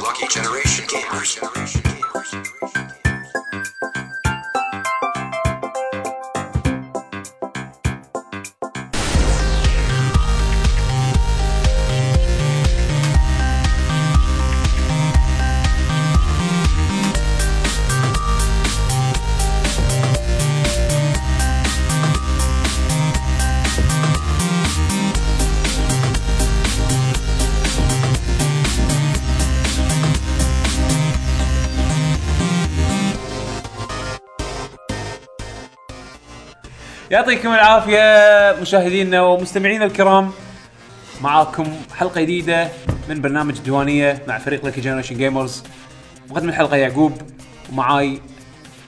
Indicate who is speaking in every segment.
Speaker 1: Lucky Generation Gamers.
Speaker 2: يعطيكم العافية مشاهدينا ومستمعينا الكرام معاكم حلقة جديدة من برنامج الديوانية مع فريق لكي جنريشن جيمرز مقدم الحلقة يعقوب ومعاي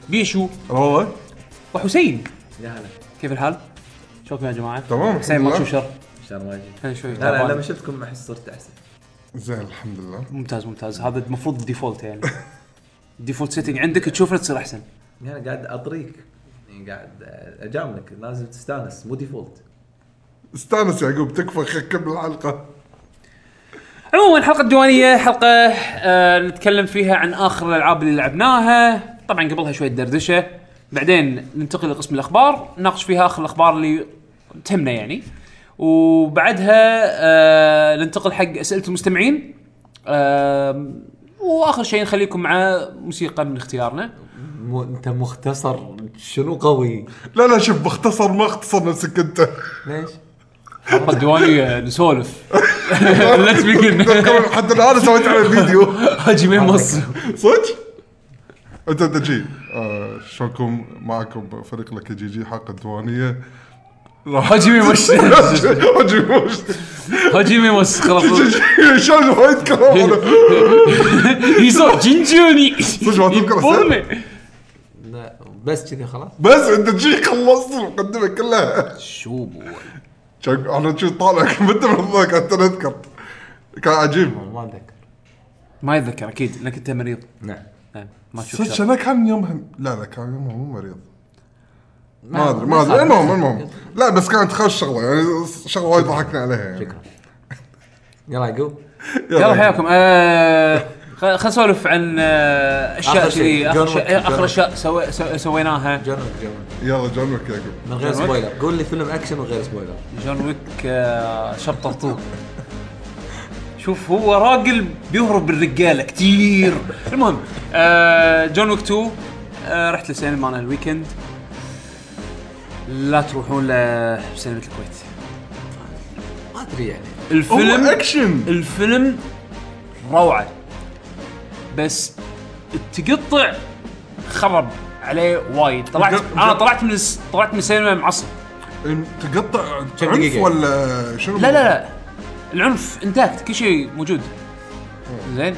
Speaker 2: بيشو
Speaker 3: والله
Speaker 2: وحسين كيف الحال؟ شلونكم يا جماعة؟
Speaker 3: تمام،
Speaker 2: حسين
Speaker 3: الحمد
Speaker 2: ما
Speaker 3: لله.
Speaker 2: تشوف شر
Speaker 4: شر ما يجي
Speaker 2: أنا شوي
Speaker 4: لا لا لما
Speaker 2: تعبان.
Speaker 4: شفتكم احس صرت احسن
Speaker 3: زين الحمد لله
Speaker 2: ممتاز ممتاز هذا المفروض الديفولت يعني الديفولت سيتنج عندك تشوفه تصير احسن
Speaker 4: يعني انا قاعد اطريك يعني قاعد اجاملك لازم تستانس مو ديفولت
Speaker 3: استانس يعقوب تكفى خلينا نكمل الحلقه
Speaker 2: عموما الحلقه الديوانيه حلقه آه نتكلم فيها عن اخر الالعاب اللي لعبناها طبعا قبلها شويه دردشه بعدين ننتقل لقسم الاخبار نناقش فيها اخر الاخبار اللي تهمنا يعني وبعدها آه ننتقل حق اسئله المستمعين آه واخر شيء نخليكم مع موسيقى من اختيارنا
Speaker 4: مو انت مختصر شنو قوي
Speaker 3: لا لا شوف باختصر ما اختصر نفسك انت
Speaker 4: ليش؟
Speaker 2: حلقه الديوانيه نسولف ليتس بيجن
Speaker 3: حتى الان سويت على الفيديو
Speaker 2: حاجي من مصر
Speaker 3: صدق؟ انت انت جي آه، شلونكم معكم فريق لك جي جي حلقه الديوانيه
Speaker 2: حجمي مش
Speaker 3: هجم وش-
Speaker 2: حجمي مش خلاص
Speaker 3: شلون وايد كلام أنا.
Speaker 2: 你说金九你，
Speaker 3: ما تذكر
Speaker 4: لا بس كذي خلاص
Speaker 3: بس انت جي خلصت المقدمه كلها
Speaker 2: شو
Speaker 3: شلون- انا شو طالع كنت من الضحك حتى اذكر كان عجيب
Speaker 4: ما اتذكر
Speaker 2: ما يتذكر اكيد انك انت مريض
Speaker 4: نعم
Speaker 2: نعم، ما تشوف
Speaker 3: صدق
Speaker 2: شر.
Speaker 3: انا كان يومها لا لا كان يومها مو مريض ما ادري ما ادري المهم المهم لا بس كانت خوش شغله يعني شغله وايد ضحكنا عليها يعني
Speaker 4: شكرا يلا عقوب
Speaker 2: يلا حياكم آه، خل خل نسولف عن آه، اشياء
Speaker 4: آخر شيء،
Speaker 2: كذي آخر
Speaker 4: جرب،
Speaker 2: شيء-
Speaker 4: جرب.
Speaker 2: اخر اشياء سوي- سو- سويناها
Speaker 4: جرب جرب
Speaker 3: يلا جون ويك يعقوب
Speaker 4: من غير
Speaker 2: جرب.
Speaker 4: سبويلر قول لي فيلم اكشن من غير سبويلر
Speaker 2: جون ويك آه، شرط طرطور شوف هو راجل بيهرب بالرجاله كتير المهم آه، جون ويك 2 آه، رحت للسينما انا الويكند لا تروحون لسينما الكويت
Speaker 4: ما ادري يعني
Speaker 2: الفيلم
Speaker 3: هو أكشن.
Speaker 2: الفيلم روعه بس التقطع خرب عليه وايد طلعت
Speaker 3: الج-
Speaker 2: انا
Speaker 3: الج-
Speaker 2: طلعت من الس- طلعت من السينما معصب
Speaker 3: تقطع عنف
Speaker 4: دقيقة.
Speaker 3: ولا شنو
Speaker 2: لا لا لا العنف انتاكت كل شيء موجود
Speaker 4: إيه.
Speaker 2: زين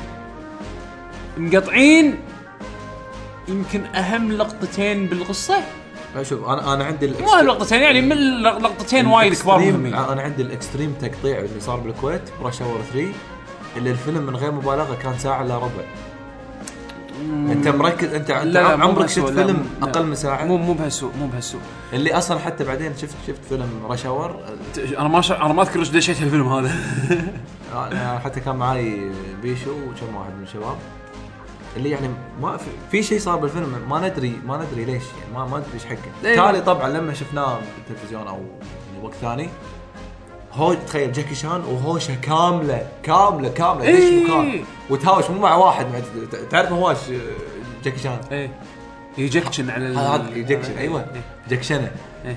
Speaker 2: مقطعين يمكن اهم لقطتين بالقصه
Speaker 4: لا شوف انا انا عندي
Speaker 2: مو اهم لقطتين يعني من اللق- لقطتين وايد كبار يعني.
Speaker 4: الإكستريم-
Speaker 2: مهمين
Speaker 4: انا عندي الاكستريم تقطيع اللي صار بالكويت برش اور 3 اللي الفيلم من غير مبالغه كان ساعه الا ربع انت مركز انت انت
Speaker 2: لا، مو
Speaker 4: آه، عمرك
Speaker 2: بهالسوء،
Speaker 4: شفت
Speaker 2: لا،
Speaker 4: فيلم
Speaker 2: لا.
Speaker 4: اقل من ساعه
Speaker 2: مو مو بهالسوء مو بهالسوء
Speaker 4: اللي اصلا حتى بعدين شفت شفت فيلم رش اور
Speaker 2: انا ما شا... انا ما اذكر ايش دشيت الفيلم هذا
Speaker 4: انا حتى كان معاي بيشو وكم واحد من الشباب اللي يعني ما في, في شيء صار بالفيلم ما ندري ما ندري ليش يعني ما ما ندري ايش حقه
Speaker 2: إيه.
Speaker 4: تالي طبعا لما شفناه بالتلفزيون او يعني وقت ثاني هو تخيل جاكي شان وهوشه كامله كامله كامله ليش
Speaker 2: إيه.
Speaker 4: مكان وتهاوش مو مع واحد مع تعرف هواش جاكي شان
Speaker 2: ايه يجكشن على ال-
Speaker 4: هذا جاكشن ايوه
Speaker 2: إيه.
Speaker 4: جاكشنه
Speaker 2: إيه.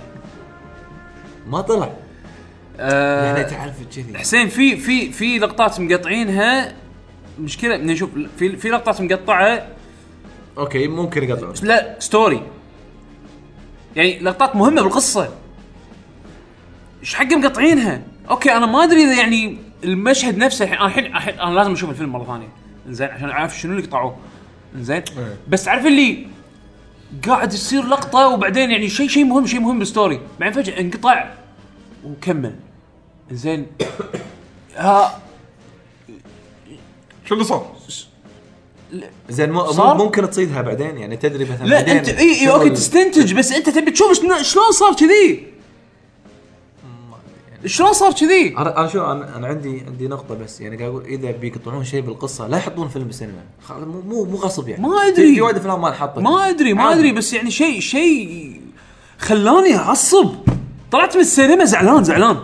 Speaker 4: ما طلع يعني
Speaker 2: آه
Speaker 4: تعرف كذي
Speaker 2: حسين في في في لقطات مقطعينها مشكله إن نشوف في في لقطات مقطعه
Speaker 4: اوكي ممكن يقطعون
Speaker 2: لا ستوري يعني لقطات مهمه بالقصه ايش حق مقطعينها اوكي انا ما ادري اذا يعني المشهد نفسه الحين أنا الحين الحين- انا لازم اشوف الفيلم مره ثانيه زين عشان اعرف شنو اللي قطعوه زين
Speaker 3: إيه.
Speaker 2: بس عارف اللي قاعد يصير لقطه وبعدين يعني شيء شيء مهم شيء مهم بالستوري بعدين فجاه انقطع وكمل زين ها
Speaker 3: شو اللي صار؟
Speaker 4: زين مو
Speaker 2: صار؟
Speaker 4: مو- ممكن تصيدها بعدين يعني تدري مثلا
Speaker 2: لا
Speaker 4: بعدين
Speaker 2: انت اي اي
Speaker 4: شنو
Speaker 2: اوكي
Speaker 4: ال-
Speaker 2: تستنتج بس انت تبي تشوف شنو- شلون صار كذي
Speaker 4: يعني
Speaker 2: شلون صار كذي؟
Speaker 4: انا أنا شو انا أنا عندي عندي نقطه بس يعني قاعد اقول اذا بيقطعون شيء بالقصه لا يحطون فيلم بالسينما خ- مو مو مو غصب يعني
Speaker 2: ما أدري.
Speaker 4: في- في وايد افلام ما انحطت
Speaker 2: ما ادري ما
Speaker 4: عادي.
Speaker 2: ادري بس يعني شيء شيء خلاني اعصب طلعت من السينما زعلان زعلان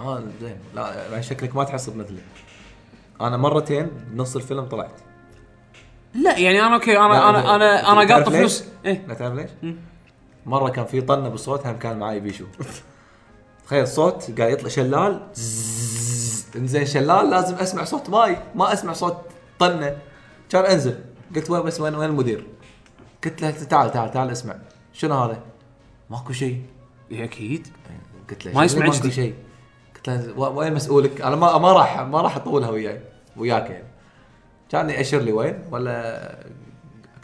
Speaker 4: اه زين لا يعني شكلك ما تحسب مثلي انا مرتين بنص الفيلم طلعت
Speaker 2: لا يعني انا اوكي
Speaker 4: لا،
Speaker 2: انا انا انا انا
Speaker 4: تعرف
Speaker 2: قاطه
Speaker 4: ليش؟
Speaker 2: فلوس ايه
Speaker 4: لا تعرف ليش؟ مره كان في طنه بالصوت هم كان معاي بيشو تخيل صوت قاعد يطلع شلال زززز. انزين شلال لازم اسمع صوت ماي ما اسمع صوت طنه كان انزل قلت وين بس وين وين المدير؟ قلت له تعال تعال تعال اسمع شنو هذا؟ ماكو شيء
Speaker 2: إيه، اكيد
Speaker 4: قلت له
Speaker 2: ما يسمع
Speaker 4: شنو
Speaker 2: جديد.
Speaker 4: ماكو شيء قلت له و- وين مسؤولك؟ انا ما ما راح ما راح اطولها وياي وياك يعني كان ياشر لي وين ولا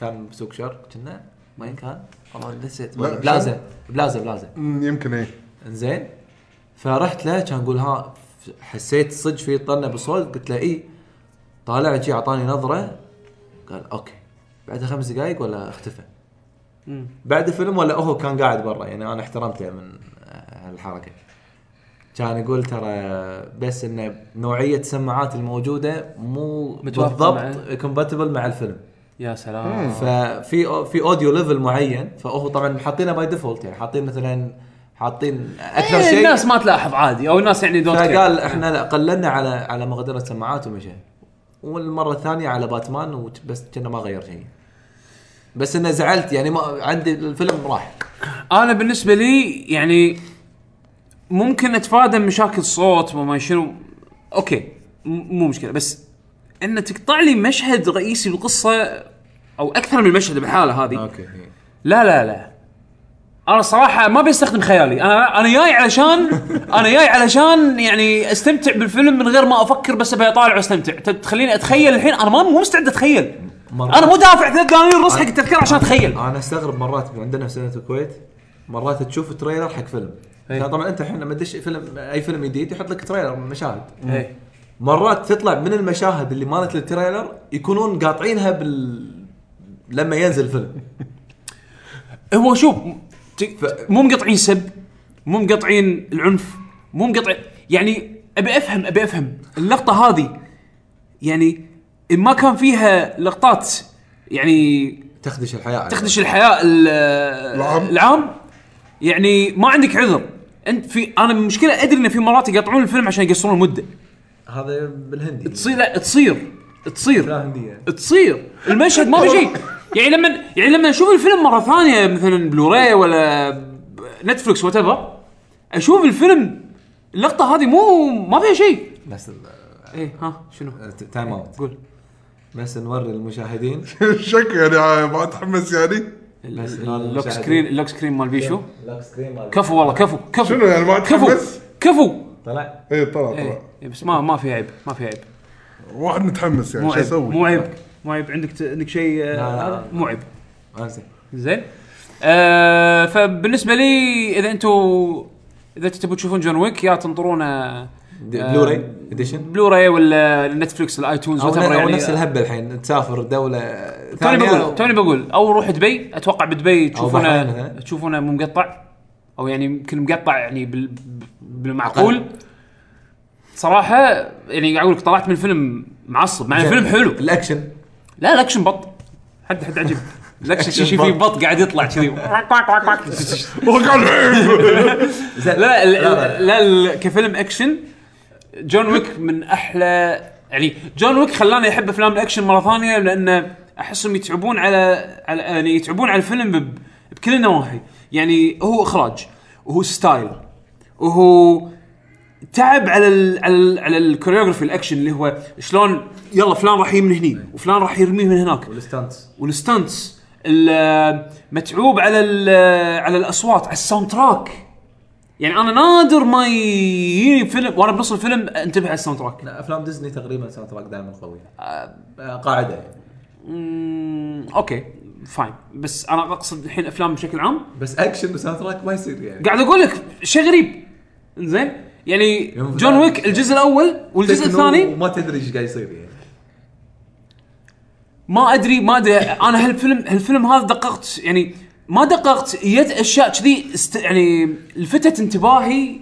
Speaker 4: كان بسوق شر كنا وين كان؟ والله نسيت
Speaker 3: لا،
Speaker 4: بلازا بلازا بلازا
Speaker 3: أمم، يمكن ايه
Speaker 4: انزين فرحت له كان اقول ها حسيت صدق في طنه بالصوت قلت له اي طالع جي اعطاني نظره قال اوكي بعدها خمس دقائق ولا اختفى
Speaker 2: مم.
Speaker 4: بعد الفيلم ولا هو كان قاعد برا يعني انا احترمته من الحركه كان يقول ترى بس ان نوعيه السماعات الموجوده مو
Speaker 2: متوافقة
Speaker 4: بالضبط كومباتبل مع الفيلم
Speaker 2: يا سلام
Speaker 4: ففي أو- في اوديو ليفل معين فهو طبعا حاطينه باي ديفولت يعني حاطين مثلا حاطين اكثر
Speaker 2: إيه،
Speaker 4: شيء
Speaker 2: الناس ما تلاحظ عادي او الناس يعني دونت
Speaker 4: فقال احنا لا قللنا على على مقدره سماعات ومشى والمره الثانيه على باتمان وت- بس كنا ما غير شيء بس انه زعلت يعني ما عندي الفيلم راح
Speaker 2: انا بالنسبه لي يعني ممكن اتفادى مشاكل صوت وما شنو اوكي م- مو مشكله بس ان تقطع لي مشهد رئيسي بالقصه او اكثر من مشهد بالحاله هذه
Speaker 4: اوكي
Speaker 2: لا لا لا انا صراحه ما بستخدم خيالي انا انا جاي علشان انا جاي علشان يعني استمتع بالفيلم من غير ما افكر بس ابي اطالع واستمتع ت- تخليني اتخيل الحين انا ما مو مستعد اتخيل
Speaker 4: مرة.
Speaker 2: انا مو دافع 3 دنانير راس حق التذكره عشان اتخيل
Speaker 4: انا استغرب مرات عندنا في سنه الكويت مرات تشوف تريلر حق فيلم
Speaker 2: إيه.
Speaker 4: يعني طبعا انت الحين لما تدش فيلم اي فيلم جديد يحط لك تريلر من مشاهد
Speaker 2: إيه.
Speaker 4: مرات تطلع من المشاهد اللي مالت التريلر يكونون قاطعينها بال لما ينزل الفيلم
Speaker 2: هو شوف م- ت- مو مقطعين سب مو مقطعين العنف مو مقطعين يعني ابي افهم ابي افهم اللقطه هذه يعني إن ما كان فيها لقطات يعني
Speaker 4: تخدش الحياه
Speaker 2: تخدش الحياه ال-
Speaker 3: العام.
Speaker 2: العام يعني ما عندك عذر انت في انا المشكله ادري ان في مرات يقطعون الفيلم عشان يقصرون المده
Speaker 4: هذا بالهندي
Speaker 2: تصير لا تصير تصير
Speaker 4: لا هنديه
Speaker 2: تصير المشهد ما في شيء يعني لما يعني لما اشوف الفيلم مره ثانيه مثلا بلوراي ولا ب- نتفلكس وات اشوف الفيلم اللقطه هذه مو ما فيها شيء
Speaker 4: بس
Speaker 2: ايه ها شنو
Speaker 4: تايم اوت
Speaker 2: قول
Speaker 4: بس نوري المشاهدين
Speaker 3: شكو يعني ما اتحمس يعني
Speaker 4: بس
Speaker 2: اللوك سكرين اللوك سكرين مال بيشو
Speaker 4: لوك سكرين مال-
Speaker 2: كفو والله كفو كفو
Speaker 3: شنو يعني ما
Speaker 2: كفو
Speaker 3: اتحمس؟
Speaker 2: كفو
Speaker 4: طلع
Speaker 3: اي طلع
Speaker 2: ايه
Speaker 3: طلع
Speaker 2: إيه، بس ما ما في عيب ما في عيب
Speaker 3: واحد متحمس يعني
Speaker 2: مو
Speaker 3: شو
Speaker 2: عيب
Speaker 3: اسوي؟
Speaker 2: مو عيب مو عيب عندك ت- عندك شيء آه،
Speaker 4: لا، لا،
Speaker 2: هذا؟ مو عيب
Speaker 4: انزين
Speaker 2: زين آه فبالنسبه لي اذا انتم اذا تبوا تشوفون جون ويك يا تنطرون آه،
Speaker 4: د-
Speaker 2: آه،
Speaker 4: بلوراي اديشن
Speaker 2: بلوراي ولا نتفلكس الايتونز
Speaker 4: او,
Speaker 2: whatever
Speaker 4: أو
Speaker 2: يعني.
Speaker 4: نفس الهبه الحين تسافر دوله
Speaker 2: توني
Speaker 4: ثانية
Speaker 2: بقول توني بقول او روح دبي اتوقع بدبي
Speaker 4: بحرين،
Speaker 2: تشوفونه
Speaker 4: ها؟
Speaker 2: تشوفونه مو مقطع او يعني يمكن مقطع يعني بال بالمعقول
Speaker 4: أقل.
Speaker 2: صراحه يعني قاعد اقول لك طلعت من الفيلم معصب مع
Speaker 4: زين.
Speaker 2: الفيلم يعني حلو
Speaker 4: الاكشن
Speaker 2: لا الاكشن بط حد حد عجيب الاكشن شي شي فيه بط قاعد يطلع كذي
Speaker 3: وقع الحين
Speaker 4: زين
Speaker 2: لا لا ال-
Speaker 4: لا،
Speaker 2: لا ال- كفيلم اكشن جون ويك من احلى يعني جون ويك خلاني احب افلام الاكشن مره ثانيه لانه احسهم يتعبون على على يعني يتعبون على الفيلم ب- بكل النواحي يعني هو اخراج وهو ستايل وهو تعب على ال على ال على الكوريوغرافي الاكشن اللي هو شلون يلا فلان راح يجي من هني وفلان راح يرميه من هناك
Speaker 4: والستانتس
Speaker 2: والستانتس ال- متعوب على ال- على الاصوات على الساوند تراك يعني انا نادر ما يجيني فيلم وانا بنص الفيلم انتبه على الساوند تراك
Speaker 4: لا، افلام ديزني تقريبا ساوند تراك دائما قوي آه، قاعده يعني
Speaker 2: أمم، اوكي فاين بس انا اقصد الحين افلام بشكل عام
Speaker 4: بس اكشن وساوند تراك ما يصير يعني
Speaker 2: قاعد اقول لك شيء غريب زين يعني
Speaker 4: يوم
Speaker 2: جون ويك الجزء الاول والجزء
Speaker 4: تكنو
Speaker 2: الثاني
Speaker 4: وما تدري ايش قاعد يصير يعني
Speaker 2: ما ادري ما ادري انا هالفيلم هالفيلم هذا دققت يعني ما دققت يد اشياء كذي است يعني لفتت انتباهي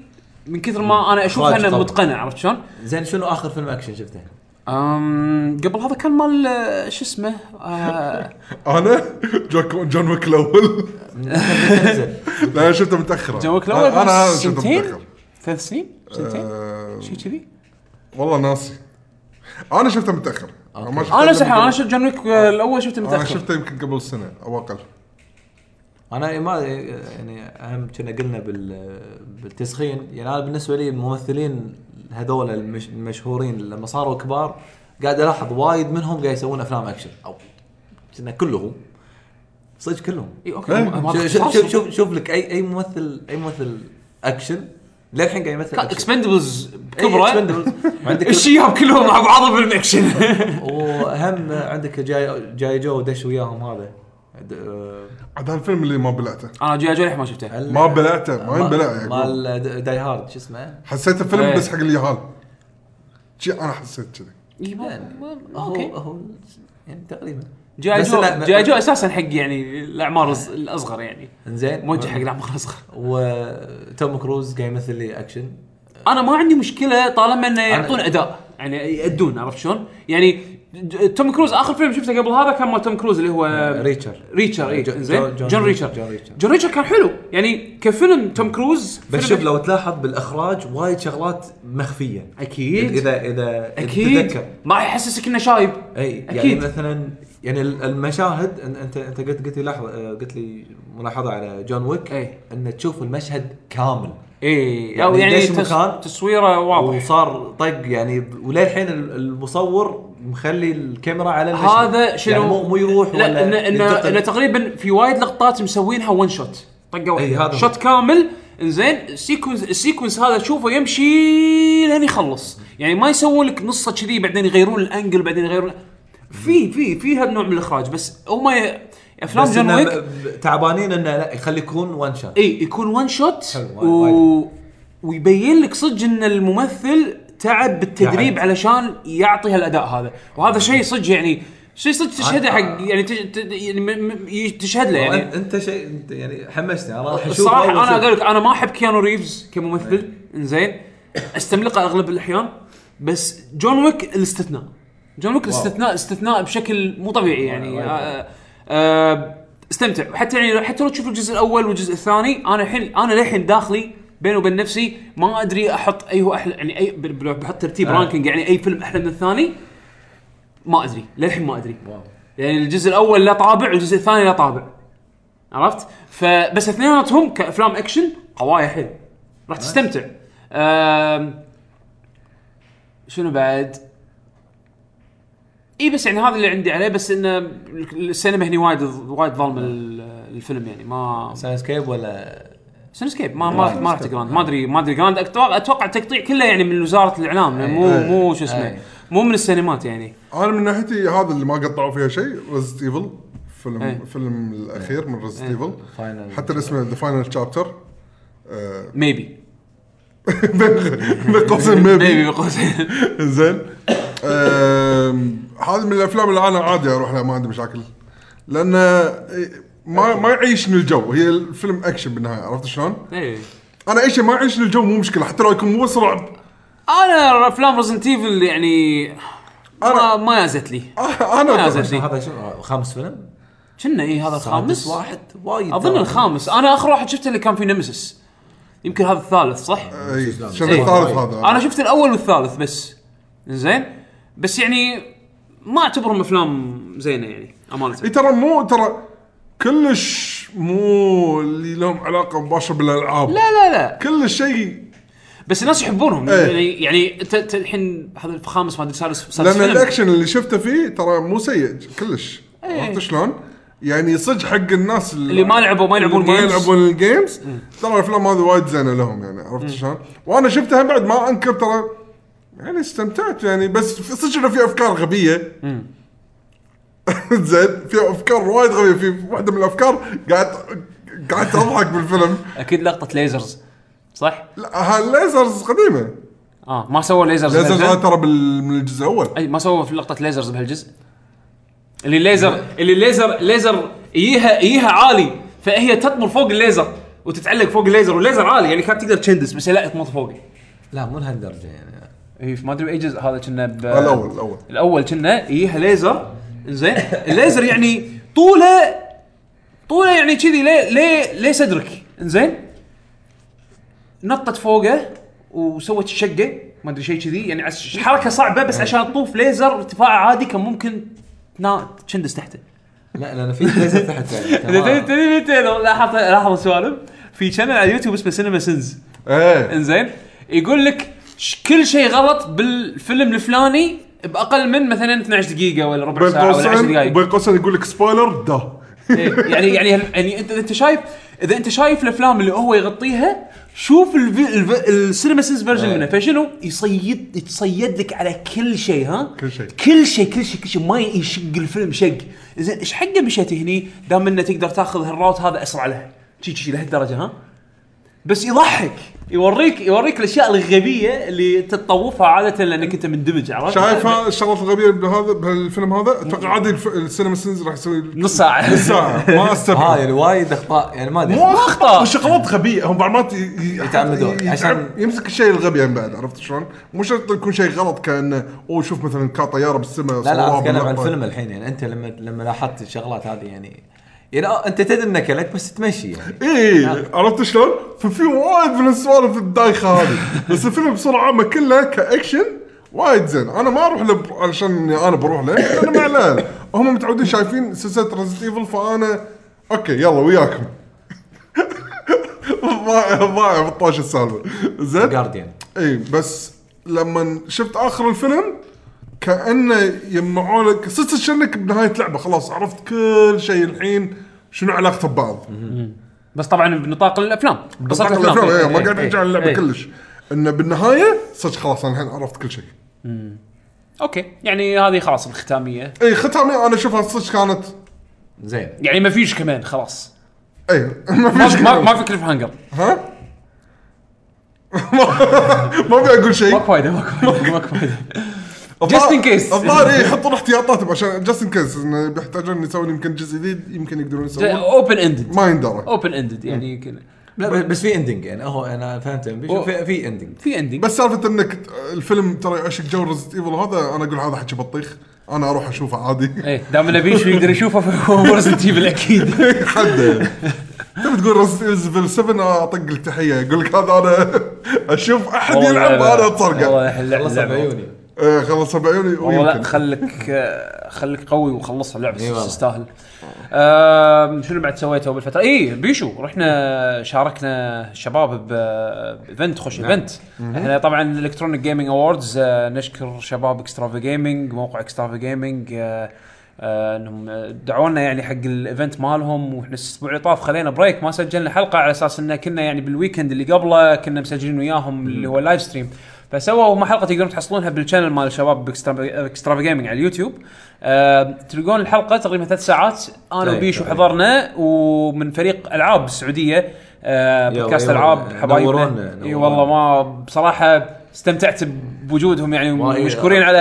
Speaker 2: من كثر ما انا اشوفها
Speaker 4: إخراج
Speaker 2: انها
Speaker 4: طبعاً.
Speaker 2: متقنه عرفت شلون؟
Speaker 4: زين شنو اخر فيلم اكشن شفته؟
Speaker 2: أم، قبل هذا كان مال آه، شو اسمه؟ آه،
Speaker 3: انا جون جون ويك الاول
Speaker 4: زين.
Speaker 3: لا انا شفته متاخر
Speaker 2: جون ويك الأول
Speaker 3: انا
Speaker 2: بس
Speaker 3: هذا شفته
Speaker 2: سنتين؟
Speaker 3: متاخر
Speaker 2: ثلاث سنين؟ سنتين؟
Speaker 3: آه،
Speaker 2: شيء كذي؟
Speaker 3: والله ناسي انا شفته متاخر أنا ما شفته
Speaker 2: انا
Speaker 3: إلا
Speaker 2: نفس الحال
Speaker 3: من
Speaker 2: انا
Speaker 3: قبل.
Speaker 2: شفت جون ويك آه، الاول شفته
Speaker 3: انا
Speaker 2: متاخر
Speaker 3: شفته يمكن قبل سنه او اقل
Speaker 4: انا إيه ما يعني اهم كنا قلنا بال بالتسخين يعني انا بالنسبه لي الممثلين هذول المش- المشهورين لما صاروا كبار قاعد الاحظ وايد منهم قاعد يسوون افلام اكشن او كنا كلهم صدق كلهم
Speaker 2: إي، اوكي
Speaker 3: إيه.
Speaker 2: ما- ما-
Speaker 4: شوف شوف- شوف شوف شوف لك اي اي ممثل اي ممثل اكشن للحين قاعد يمثل أكشن.
Speaker 2: اكسبندبلز
Speaker 3: إيه،
Speaker 4: أي
Speaker 2: بكبره
Speaker 4: Expendables. وعندك
Speaker 2: ايش ياهم كلهم مع بعضهم بالاكشن
Speaker 4: واهم عندك جاي جاي جو دش وياهم هذا عد- آه،
Speaker 3: عاد هالفيلم اللي ما بلعته
Speaker 2: انا جاي جريح ما شفته
Speaker 4: ال-
Speaker 3: ما بلعته ما ينبلع يعني. يا يعقوب.
Speaker 4: مال د- داي هارد شو اسمه؟
Speaker 3: حسيته فيلم
Speaker 2: إيه.
Speaker 3: بس حق اليهال شي انا حسيت كذي
Speaker 2: إي، إيه، ما-
Speaker 4: يعني
Speaker 2: ما-
Speaker 4: هو
Speaker 2: اوكي
Speaker 4: هو يعني تقريبا
Speaker 2: جاي
Speaker 4: بس
Speaker 2: جو
Speaker 4: لا-
Speaker 2: جاي جو اساسا حق يعني الاعمار الص- الاصغر يعني
Speaker 4: انزين
Speaker 2: موجه حق الاعمار الاصغر
Speaker 4: وتوم كروز قاعد يمثل لي اكشن
Speaker 2: انا ما عندي مشكله طالما انه يعطون
Speaker 4: أنا-
Speaker 2: اداء يعني يادون عرفت شلون؟ يعني ج- توم كروز اخر فيلم شفته قبل هذا كان مال توم كروز اللي هو
Speaker 4: ريتشر
Speaker 2: ريتشر اي
Speaker 4: آه، جون-
Speaker 2: زين
Speaker 4: جون-
Speaker 2: جون ريتشر
Speaker 4: جون ريتشر.
Speaker 2: جون ريتشر كان حلو يعني كفيلم توم كروز
Speaker 4: بس
Speaker 2: فيلم-
Speaker 4: شوف لو تلاحظ بالاخراج وايد شغلات مخفيه
Speaker 2: اكيد
Speaker 4: اذا اذا
Speaker 2: اكيد
Speaker 4: تتذكر
Speaker 2: ما يحسسك انه شايب
Speaker 4: اي يعني
Speaker 2: أكيد.
Speaker 4: مثلا يعني ال- المشاهد أن- انت انت قلت قلت لي لحظه آه، قلت لي ملاحظه على جون ويك
Speaker 2: أي.
Speaker 4: ان تشوف المشهد كامل
Speaker 2: اي
Speaker 4: يعني
Speaker 2: او يعني
Speaker 4: ليش
Speaker 2: تس-
Speaker 4: مكان؟
Speaker 2: تصويره واضح
Speaker 4: وصار طق يعني وللحين ال- المصور مخلي الكاميرا على المشهد
Speaker 2: هذا شنو
Speaker 4: يعني مو مو يروح
Speaker 2: لا
Speaker 4: ولا
Speaker 2: إنه- إنه
Speaker 4: ينتقل.
Speaker 2: إنه تقريبا في وايد لقطات مسوينها ون شوت طقه
Speaker 4: إي، إيه، هذا
Speaker 2: واحده
Speaker 4: هو.
Speaker 2: شوت كامل انزين السيكونس السيكونس هذا تشوفه يمشي لين يخلص يعني ما يسوون لك نصه كذي بعدين يغيرون الانجل بعدين يغيرون في في في هالنوع من الاخراج بس هم ي- افلام
Speaker 4: بس
Speaker 2: جون
Speaker 4: إنه
Speaker 2: ويك
Speaker 4: ب- تعبانين انه لا يخلي يكون وان شوت
Speaker 2: اي إيه، يكون ون شوت
Speaker 4: حلو، وايد-
Speaker 2: و... ويبين لك صدق ان الممثل تعب بالتدريب
Speaker 4: تعب.
Speaker 2: علشان يعطي هالاداء هذا وهذا شيء صدق يعني شيء صدق تشهده حق يعني تج... تج- يعني م- م- ي- تشهد له يعني
Speaker 4: يعني انت شيء انت يعني حمسني انا راح اشوف
Speaker 2: الصراحه
Speaker 4: أول
Speaker 2: انا
Speaker 4: شيء.
Speaker 2: اقول لك انا ما احب كيانو ريفز كممثل انزين استملقه اغلب الاحيان بس جون ويك الاستثناء جون ويك الاستثناء استثناء بشكل مو طبيعي يعني
Speaker 4: واو.
Speaker 2: آه، آه، استمتع وحتى يعني حتى لو تشوف الجزء الاول والجزء الثاني انا الحين انا للحين داخلي بيني وبين نفسي ما ادري احط اي هو احلى يعني اي بل- بل- بحط ترتيب
Speaker 4: آه.
Speaker 2: رانكينج يعني اي فيلم احلى من الثاني ما ادري للحين ما ادري
Speaker 4: واو.
Speaker 2: يعني الجزء الاول له طابع والجزء الثاني له طابع عرفت فبس اثنيناتهم كافلام اكشن قوايا حلو راح تستمتع أم... شنو بعد اي بس يعني هذا اللي عندي عليه بس انه السينما هني وايد وايد ظالمه ال- الفيلم يعني ما
Speaker 4: ساينسكيب ولا
Speaker 2: سينسكيب ما ما ما راح تقراند ما ادري ما ادري جراند اتوقع أتوقع التقطيع كله يعني من وزاره الاعلام لأن مو
Speaker 3: أي.
Speaker 2: مو شو
Speaker 4: أي.
Speaker 2: اسمه مو من السينمات يعني
Speaker 3: انا من ناحيتي هذا اللي ما قطعوا فيها شيء ريزد ايفل فيلم
Speaker 2: إيه.
Speaker 3: فيلم الاخير من ريزد ايفل
Speaker 4: Final-
Speaker 3: حتى اسمه ذا فاينل شابتر
Speaker 2: ميبي
Speaker 3: آه، بين قوسين
Speaker 2: ميبي
Speaker 3: ميبي
Speaker 2: بقوسين
Speaker 3: زين آم، هذا من الافلام اللي انا عادي اروح لها ما عندي مشاكل لان إيه، ما ما يعيشني الجو هي الفيلم اكشن بالنهايه عرفت شلون؟
Speaker 2: إي.
Speaker 3: انا اي شيء ما يعيشني الجو مو مشكله حتى لو يكون مو بس رعب
Speaker 2: انا افلام ريزنت ايفل يعني ما
Speaker 3: أنا-
Speaker 2: ما يازت لي
Speaker 3: آه،
Speaker 2: ما
Speaker 3: انا
Speaker 2: يازت لي
Speaker 4: هذا شنو خامس فيلم؟
Speaker 2: كنا اي هذا
Speaker 4: سادس
Speaker 2: الخامس
Speaker 4: واحد وايد
Speaker 2: اظن الخامس انا اخر واحد شفته اللي كان في نمسس يمكن هذا الثالث صح؟
Speaker 3: اي شنو
Speaker 2: إيه.
Speaker 3: آه، الثالث هذا
Speaker 2: انا شفت الاول والثالث بس زين بس يعني ما اعتبرهم افلام زينه يعني
Speaker 3: اي
Speaker 2: امانه
Speaker 3: إيه، ترى مو ترى كلش مو اللي لهم علاقه مباشره بالالعاب
Speaker 2: لا لا لا
Speaker 3: كل شيء
Speaker 2: بس الناس يحبونهم
Speaker 3: إيه.
Speaker 2: يعني يعني انت أنت الحين هذا الخامس ما ادري سادس سادس
Speaker 3: لان
Speaker 2: فيلم.
Speaker 3: الاكشن اللي شفته فيه ترى مو سيء كلش
Speaker 2: إيه.
Speaker 3: عرفت شلون؟ يعني صدق حق الناس
Speaker 2: اللي ما لعبوا ما يلعبون
Speaker 3: اللي ما
Speaker 2: games. إيه.
Speaker 3: يلعبون الجيمز ترى الافلام هذه وايد زينه لهم يعني عرفت شلون؟ وانا شفتها بعد ما انكر ترى يعني استمتعت يعني بس في- صدق انه في افكار غبيه
Speaker 2: إيه.
Speaker 3: زين في افكار وايد غبيه في واحده من الافكار قاعد قعدت اضحك بالفيلم
Speaker 2: اكيد لقطه ليزرز صح؟
Speaker 3: لا هالليزرز قديمه
Speaker 2: اه ما سووا ليزرز
Speaker 3: ليزرز
Speaker 2: بهالجزء؟
Speaker 3: هذا ترى بال- من الجزء الاول
Speaker 2: اي ما سووا في لقطه ليزرز بهالجزء اللي الليزر اللي الليزر ليزر يجيها يجيها عالي فهي تطمر فوق الليزر وتتعلق فوق الليزر والليزر عالي يعني كانت تقدر تشندس بس لا تموت فوقي
Speaker 4: لا مو لهالدرجه يعني
Speaker 2: اي ما ادري اي جزء هذا كنا ب...
Speaker 3: الاول الاول
Speaker 2: الاول كنا يجيها ليزر زين الليزر يعني طوله طوله يعني كذي ليه ليه ليه صدرك زين نطت فوقه وسوت الشقه ما ادري شيء كذي يعني عش- حركه صعبه بس عشان تطوف ليزر ارتفاعه عادي كان ممكن تنا- تشندس تحته
Speaker 4: لا لان في ليزر تحت يعني
Speaker 2: تدري
Speaker 4: تمام.
Speaker 2: تدري متى لو لاحظت لاحظ السوالف في شانل على اليوتيوب اسمه سينما سينز
Speaker 3: ايه
Speaker 2: انزين يقول لك ش- كل شيء غلط بالفيلم الفلاني باقل من مثلا 12 دقيقه ولا ربع
Speaker 3: بين
Speaker 2: ساعه ولا 10
Speaker 3: قوسين
Speaker 2: دقائق
Speaker 3: بين قوسين يقول لك سبويلر ده
Speaker 2: إيه، يعني يعني هل- يعني انت انت شايف اذا انت شايف الافلام اللي هو يغطيها شوف الفي- الف- السينما سينز فيرجن
Speaker 4: إيه.
Speaker 2: منه فشنو يصيد يتصيد لك على كل شيء ها
Speaker 3: كل شيء.
Speaker 2: كل شيء كل شيء كل شيء ما يشق الفيلم شق زين ايش حقه مشيت هني دام انه تقدر تاخذ هالراوت هذا اسرع له شي شي لهالدرجه ها بس يضحك يوريك يوريك الاشياء الغبيه اللي تتطوفها عاده لانك انت مندمج عرفت
Speaker 3: شايف ها الشغلات الغبيه بهذا بهالفيلم هذا اتوقع عادي الف- السينما سينز راح يسوي
Speaker 2: نص ساعه
Speaker 3: ساعه ما
Speaker 4: ها
Speaker 3: استبعد
Speaker 4: يعني وايد اخطاء يعني ما ادري
Speaker 2: مو اخطاء
Speaker 3: شغلات غبيه هم بعض مرات ي- ي-
Speaker 4: يتعمدون،
Speaker 3: يتعم-
Speaker 4: عشان-
Speaker 3: يمسك الشيء الغبي هم بعد عرفت شلون؟ مو شرط يكون شيء غلط كانه اوه شوف مثلا كان طياره بالسماء
Speaker 4: لا لا
Speaker 3: صوروها
Speaker 4: اتكلم عن
Speaker 3: باللقطة.
Speaker 4: الفيلم الحين يعني انت لما لما لاحظت الشغلات هذه يعني يعني آه، انت تدري انه كلك بس تمشي يعني
Speaker 3: ايه عرفت شلون؟ ففي وايد من السوالف الدايخه هذه بس الفيلم بصوره عامه كله كاكشن وايد زين انا ما اروح له ب- علشان إني انا بروح له انا مع العيال هم متعودين شايفين سلسله ريزنت ايفل فانا اوكي يلا وياكم ضايع ضايع بالطاش السالفه
Speaker 2: إيه.
Speaker 3: زين
Speaker 4: جارديان
Speaker 3: اي بس لما شفت اخر الفيلم كانه يجمعوا لك صرت شنك بنهايه لعبه خلاص عرفت كل شيء الحين شنو علاقته ببعض
Speaker 2: بس طبعا بنطاق الافلام قصه
Speaker 3: بطاقة الافلام إيه، ما قاعد
Speaker 2: إيه،
Speaker 3: احكي عن اللعبه
Speaker 2: إيه.
Speaker 3: كلش انه بالنهايه صدق خلاص انا الحين عرفت كل شيء
Speaker 2: اوكي يعني هذه خلاص الختاميه
Speaker 3: اي إيه، ختامي انا اشوفها صدق كانت
Speaker 4: زين
Speaker 2: يعني ما فيش كمان خلاص
Speaker 3: اي إيه. ما
Speaker 2: ما
Speaker 3: في
Speaker 2: ما ما في كليف هانجر
Speaker 3: ها ما ابي اقول
Speaker 2: ماكو
Speaker 3: شيء
Speaker 2: فايده ماكو فايده ماكو فايده just in case.
Speaker 3: الظاهر إيه، يحطون احتياطاتهم عشان جاست ان كيس انه بيحتاجون يسوون يمكن جزء جديد يمكن يقدرون يسوون
Speaker 2: اوبن اندد
Speaker 3: ما يندرى
Speaker 2: اوبن اندد يعني يمكن
Speaker 4: لا ب- بس في اندنج يعني هو انا فهمت بيشوف في, في اندنج
Speaker 2: في اندنج
Speaker 3: بس سالفه انك الفيلم ترى يعشق جو ريزنت ايفل هذا انا اقول هذا حكي بطيخ انا اروح اشوفه عادي
Speaker 2: ايه دام انه بيشو يقدر يشوفه فهو مرسل ايفل اكيد
Speaker 3: حد تبي تقول ريزنت ايفل 7 اطق لك تحيه اقول لك هذا انا اشوف احد يلعب انا اتصرقع
Speaker 2: والله اللعبة-
Speaker 4: خلص
Speaker 2: اللعبة.
Speaker 4: بعيوني
Speaker 3: إيه، خلص بعيوني
Speaker 2: والله لا
Speaker 3: ويمكن
Speaker 2: خلك آه، خلك قوي وخلصها اللعبه
Speaker 4: إي والله.
Speaker 2: تستاهل آم، شنو بعد سويته بالفتره اي بيشو رحنا شاركنا الشباب بايفنت خوش
Speaker 4: نعم.
Speaker 2: ايفنت احنا طبعا الكترونيك جيمنج اووردز آه، نشكر شباب اكسترافا جيمنج موقع اكسترافا جيمنج انهم آه، دعونا يعني حق الايفنت مالهم واحنا الاسبوع اللي طاف خلينا بريك ما سجلنا حلقه على اساس ان كنا يعني بالويكند اللي قبله كنا مسجلين وياهم اللي هو اللايف ستريم فسووا هم حلقه تقدرون تحصلونها بالشانل مال الشباب باكسترافا جيمنج على اليوتيوب أه تلقون الحلقه تقريبا ثلاث ساعات انا
Speaker 4: أي،
Speaker 2: وبيشو
Speaker 4: أي.
Speaker 2: حضرنا ومن فريق العاب السعوديه أه
Speaker 4: يلا،
Speaker 2: بودكاست
Speaker 4: يلا،
Speaker 2: العاب حبايبنا
Speaker 4: نورونا،
Speaker 2: اي والله
Speaker 4: نورونا.
Speaker 2: ما بصراحه استمتعت بوجودهم يعني
Speaker 4: والله.
Speaker 2: مشكورين على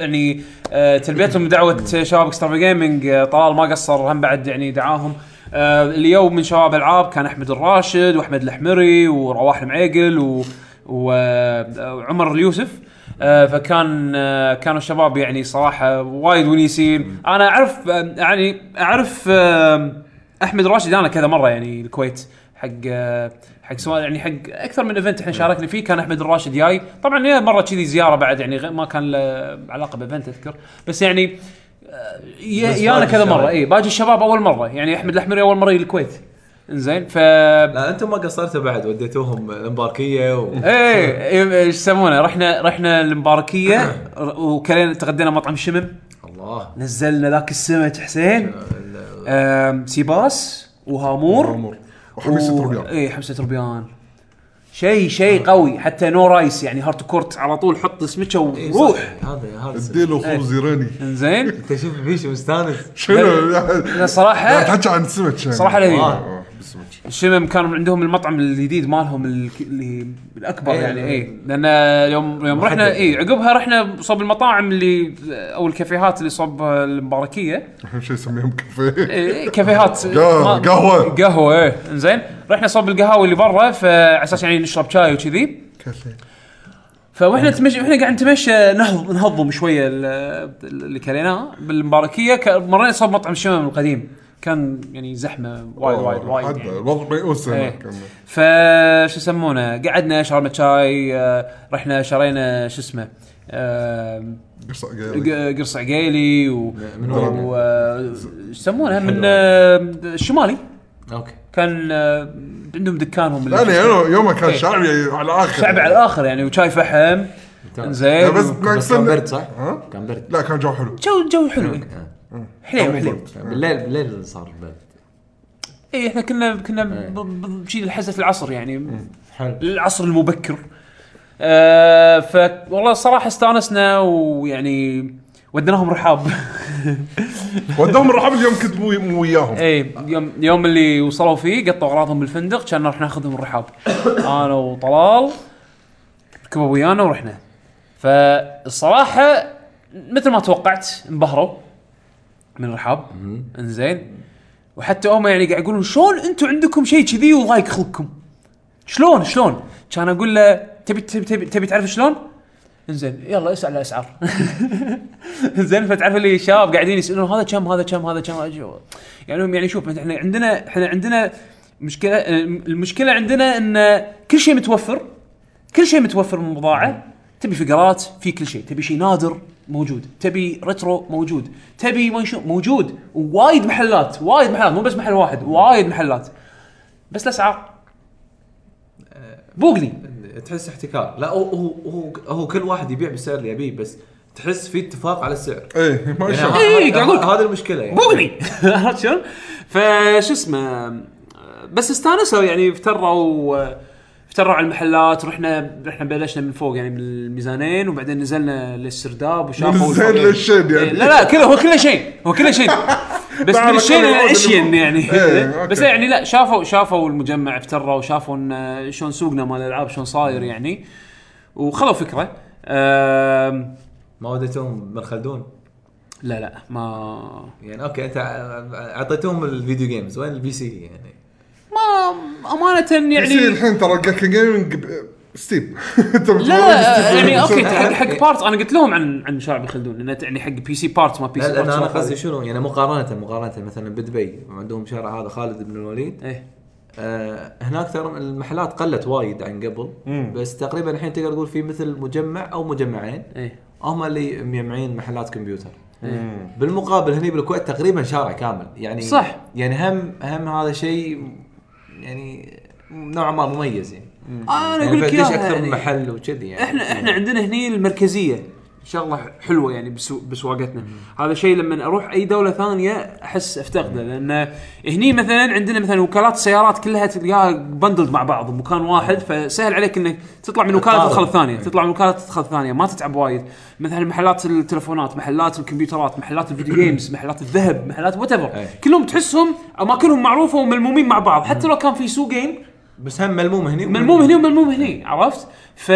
Speaker 2: يعني آه، تلبيتهم دعوه شباب اكسترافا جيمنج آه، طلال ما قصر هم بعد يعني دعاهم آه، اليوم من شباب العاب كان احمد الراشد واحمد الحمري ورواح المعيقل و- و- وعمر اليوسف آه، فكان آه، كانوا الشباب يعني صراحه وايد ونيسين انا اعرف آه، يعني اعرف آه، احمد راشد انا كذا مره يعني الكويت حق آه، حق سؤال يعني حق اكثر من ايفنت احنا شاركنا فيه كان احمد الراشد جاي طبعا هي مره كذي زياره بعد يعني غ- ما كان له علاقه بايفنت اذكر بس يعني آه، يا-
Speaker 4: بس
Speaker 2: يانا
Speaker 4: باقي
Speaker 2: كذا
Speaker 4: الشباب.
Speaker 2: مره اي باقي الشباب اول مره يعني احمد الاحمري اول مره يجي الكويت انزين ف ايه
Speaker 4: لا انتم ما قصرتوا بعد وديتوهم الامباركيه و...
Speaker 2: إيه، ايش يسمونه رحنا رحنا المباركيه وكلينا تغدينا مطعم شمم
Speaker 4: الله
Speaker 2: نزلنا ذاك السمك حسين
Speaker 4: ال-
Speaker 2: آم، سيباس وهامور
Speaker 3: عمر وحميسه ربيان
Speaker 2: اي حمسه ربيان شيء شيء
Speaker 4: آه.
Speaker 2: قوي حتى نو رايس يعني هارت كورت على طول حط سمكه
Speaker 4: إيه،
Speaker 2: وروح
Speaker 4: صح. هذا هذا السبب.
Speaker 3: اديله
Speaker 2: إيه.
Speaker 3: خبز يراني
Speaker 2: انزين
Speaker 4: انت شوف بيشو مستانس
Speaker 2: إيه.
Speaker 3: شنو
Speaker 2: لا
Speaker 3: لا
Speaker 2: صراحه
Speaker 3: تحكي عن السمك يعني.
Speaker 2: صراحه لذيذ
Speaker 4: آه.
Speaker 3: آه، بالسمك
Speaker 2: الشمم كانوا عندهم المطعم الجديد مالهم الك- اللي الاكبر
Speaker 4: إيه.
Speaker 2: يعني اي لان يوم يوم
Speaker 4: محدد.
Speaker 2: رحنا اي عقبها رحنا صوب المطاعم اللي او الكافيهات اللي صوب المباركيه
Speaker 3: اهم شيء يسميهم كافيه
Speaker 2: إيه، كافيهات
Speaker 3: قهوة.
Speaker 2: قهوه ايه زين رحنا صوب القهاوي اللي برا فعلى اساس يعني نشرب شاي وكذي
Speaker 3: كسل.
Speaker 2: فاحنا تمشي احنا قاعد نتمشى نهض نهضم شويه ال- اللي كليناه بالمباركيه ك- مرينا صوب مطعم الشمام القديم كان يعني زحمه وايد وايد وايد
Speaker 3: عدى،
Speaker 2: يعني.
Speaker 3: آه، الوضع ميؤوس هناك
Speaker 2: إيه.
Speaker 3: كان.
Speaker 2: فا شو يسمونه قعدنا شربنا شاي آه، رحنا شرينا شو اسمه آه،
Speaker 3: قص- قاعد-
Speaker 2: ق- قرص عقيلي و
Speaker 4: من
Speaker 2: و-
Speaker 3: وين؟
Speaker 2: آه، شو يسمونها من
Speaker 4: حلوة.
Speaker 2: آه، الشمالي
Speaker 4: اوكي كان
Speaker 2: كان آه، عندهم دكانهم اللي-
Speaker 3: لا انا يعني أنا يومها كان
Speaker 2: إيه.
Speaker 3: شعبي على الاخر
Speaker 2: شعب على الاخر يعني وشاي فحم
Speaker 4: تمام.
Speaker 2: زين
Speaker 3: بس
Speaker 4: بس كان برد صح؟
Speaker 3: ها؟
Speaker 4: كان برد
Speaker 3: لا كان جو حلو
Speaker 2: جو جو حلو
Speaker 4: آه.
Speaker 2: حليو حليو
Speaker 4: بالليل بالليل صار برد
Speaker 2: اي احنا كنا كنا
Speaker 4: إيه.
Speaker 2: ب- ب- بشيل حزه العصر يعني
Speaker 4: حلو
Speaker 2: العصر المبكر آه ف والله الصراحه استانسنا ويعني وديناهم رحاب
Speaker 3: ودهم الرحاب اليوم كنت مو مو وياهم
Speaker 2: اي يوم يوم اللي وصلوا فيه قطوا اغراضهم بالفندق كان راح ناخذهم الرحاب انا وطلال ركبوا ويانا ورحنا فالصراحه مثل ما توقعت انبهروا من الرحاب انزين وحتى هم يعني قاعد يقولون شلون انتم عندكم شيء كذي وضايق خلقكم شلون شلون كان اقول له تبي تبي تبي, تبي تعرف شلون انزين يلا اسال الاسعار زين فتعرف اللي الشباب قاعدين يسالون هذا كم هذا كم هذا كم أجي- يعني هم يعني شوف احنا عندنا احنا عندنا مشكله المشكله عندنا ان كل شيء متوفر كل شيء متوفر من بضاعه تبي فقرات في كل شيء تبي شيء نادر موجود تبي ريترو موجود تبي ما شو- موجود وايد محلات وايد محلات مو بس محل واحد وايد محلات بس الاسعار بوقني
Speaker 4: تحس احتكار لا هو هو هو, هو كل واحد يبيع بالسعر اللي يبيه بس تحس في اتفاق على السعر يعني
Speaker 3: ايه ما شاء الله
Speaker 2: إيه. قاعد
Speaker 4: ه-
Speaker 2: أقولك.
Speaker 4: هذه المشكله يعني
Speaker 2: بوقني عرفت شلون؟ فشو اسمه بس استانسوا يعني افتروا افتروا على المحلات رحنا رحنا بلشنا من فوق يعني من الميزانين وبعدين نزلنا للسرداب وشافوا
Speaker 3: نزلنا
Speaker 2: الفقير.
Speaker 3: للشين يعني.
Speaker 2: إيه، لا لا كله هو كله شيء هو كله شيء بس
Speaker 3: لا،
Speaker 2: من الشين
Speaker 3: لا، لا، لا،
Speaker 2: الاشين
Speaker 3: لا.
Speaker 2: يعني
Speaker 3: إيه،
Speaker 2: بس
Speaker 3: أوكي.
Speaker 2: يعني لا شافوا شافوا المجمع افتروا شافوا ان شلون سوقنا مال الالعاب شلون صاير يعني وخذوا فكره أم،
Speaker 4: ما وديتهم بن خلدون
Speaker 2: لا لا ما
Speaker 4: يعني اوكي انت ع- اعطيتهم الفيديو جيمز وين البي سي يعني
Speaker 2: ما امانه
Speaker 3: يعني
Speaker 2: يعني
Speaker 3: الحين ترى كان جيمنج ب- ستيم انت بتقول
Speaker 2: لا
Speaker 3: ستيم.
Speaker 2: يعني اوكي
Speaker 4: بس-
Speaker 2: حق حق بارت انا قلت لهم عن عن شارع بخلدون انه يعني حق بي سي بارت ما بي
Speaker 4: لا
Speaker 2: سي بارت
Speaker 4: لان انا
Speaker 2: شارع
Speaker 4: قصدي
Speaker 2: خالد.
Speaker 4: شنو يعني مقارنه مقارنه مثلا بدبي عندهم شارع هذا خالد بن الوليد
Speaker 2: ايه
Speaker 4: آه هناك ترى المحلات قلت وايد عن قبل
Speaker 3: مم.
Speaker 4: بس تقريبا الحين تقدر تقول في مثل مجمع او مجمعين
Speaker 2: ايه
Speaker 4: هم اللي مجمعين محلات كمبيوتر
Speaker 2: إيه.
Speaker 4: بالمقابل هني بالكويت تقريبا شارع كامل يعني
Speaker 2: صح.
Speaker 4: يعني هم هم هذا شيء يعني نوعا ما مميز يعني
Speaker 2: انا
Speaker 4: يعني
Speaker 2: اقول لك
Speaker 4: فدش
Speaker 2: اياها
Speaker 4: اكثر من
Speaker 2: يعني.
Speaker 4: محل وكذي يعني
Speaker 2: احنا احنا عندنا هني المركزيه شغله حلوه يعني بسو بسواقتنا هذا شيء لما اروح اي دوله ثانيه احس افتقده لان هني مثلا عندنا مثلا وكالات السيارات كلها تلقاها بندلد مع بعض بمكان واحد فسهل عليك انك تطلع من وكاله
Speaker 4: تقارب.
Speaker 2: تدخل الثانيه
Speaker 4: إيه.
Speaker 2: تطلع من وكاله تدخل الثانيه ما تتعب وايد مثلا محلات التلفونات محلات الكمبيوترات محلات الفيديو جيمز محلات الذهب محلات وات
Speaker 4: إيه.
Speaker 2: كلهم تحسهم اماكنهم معروفه وملمومين مع بعض حتى لو كان في سوقين
Speaker 4: بس هم ملموم هني
Speaker 2: ملموم هني وملموم هني عرفت؟ ف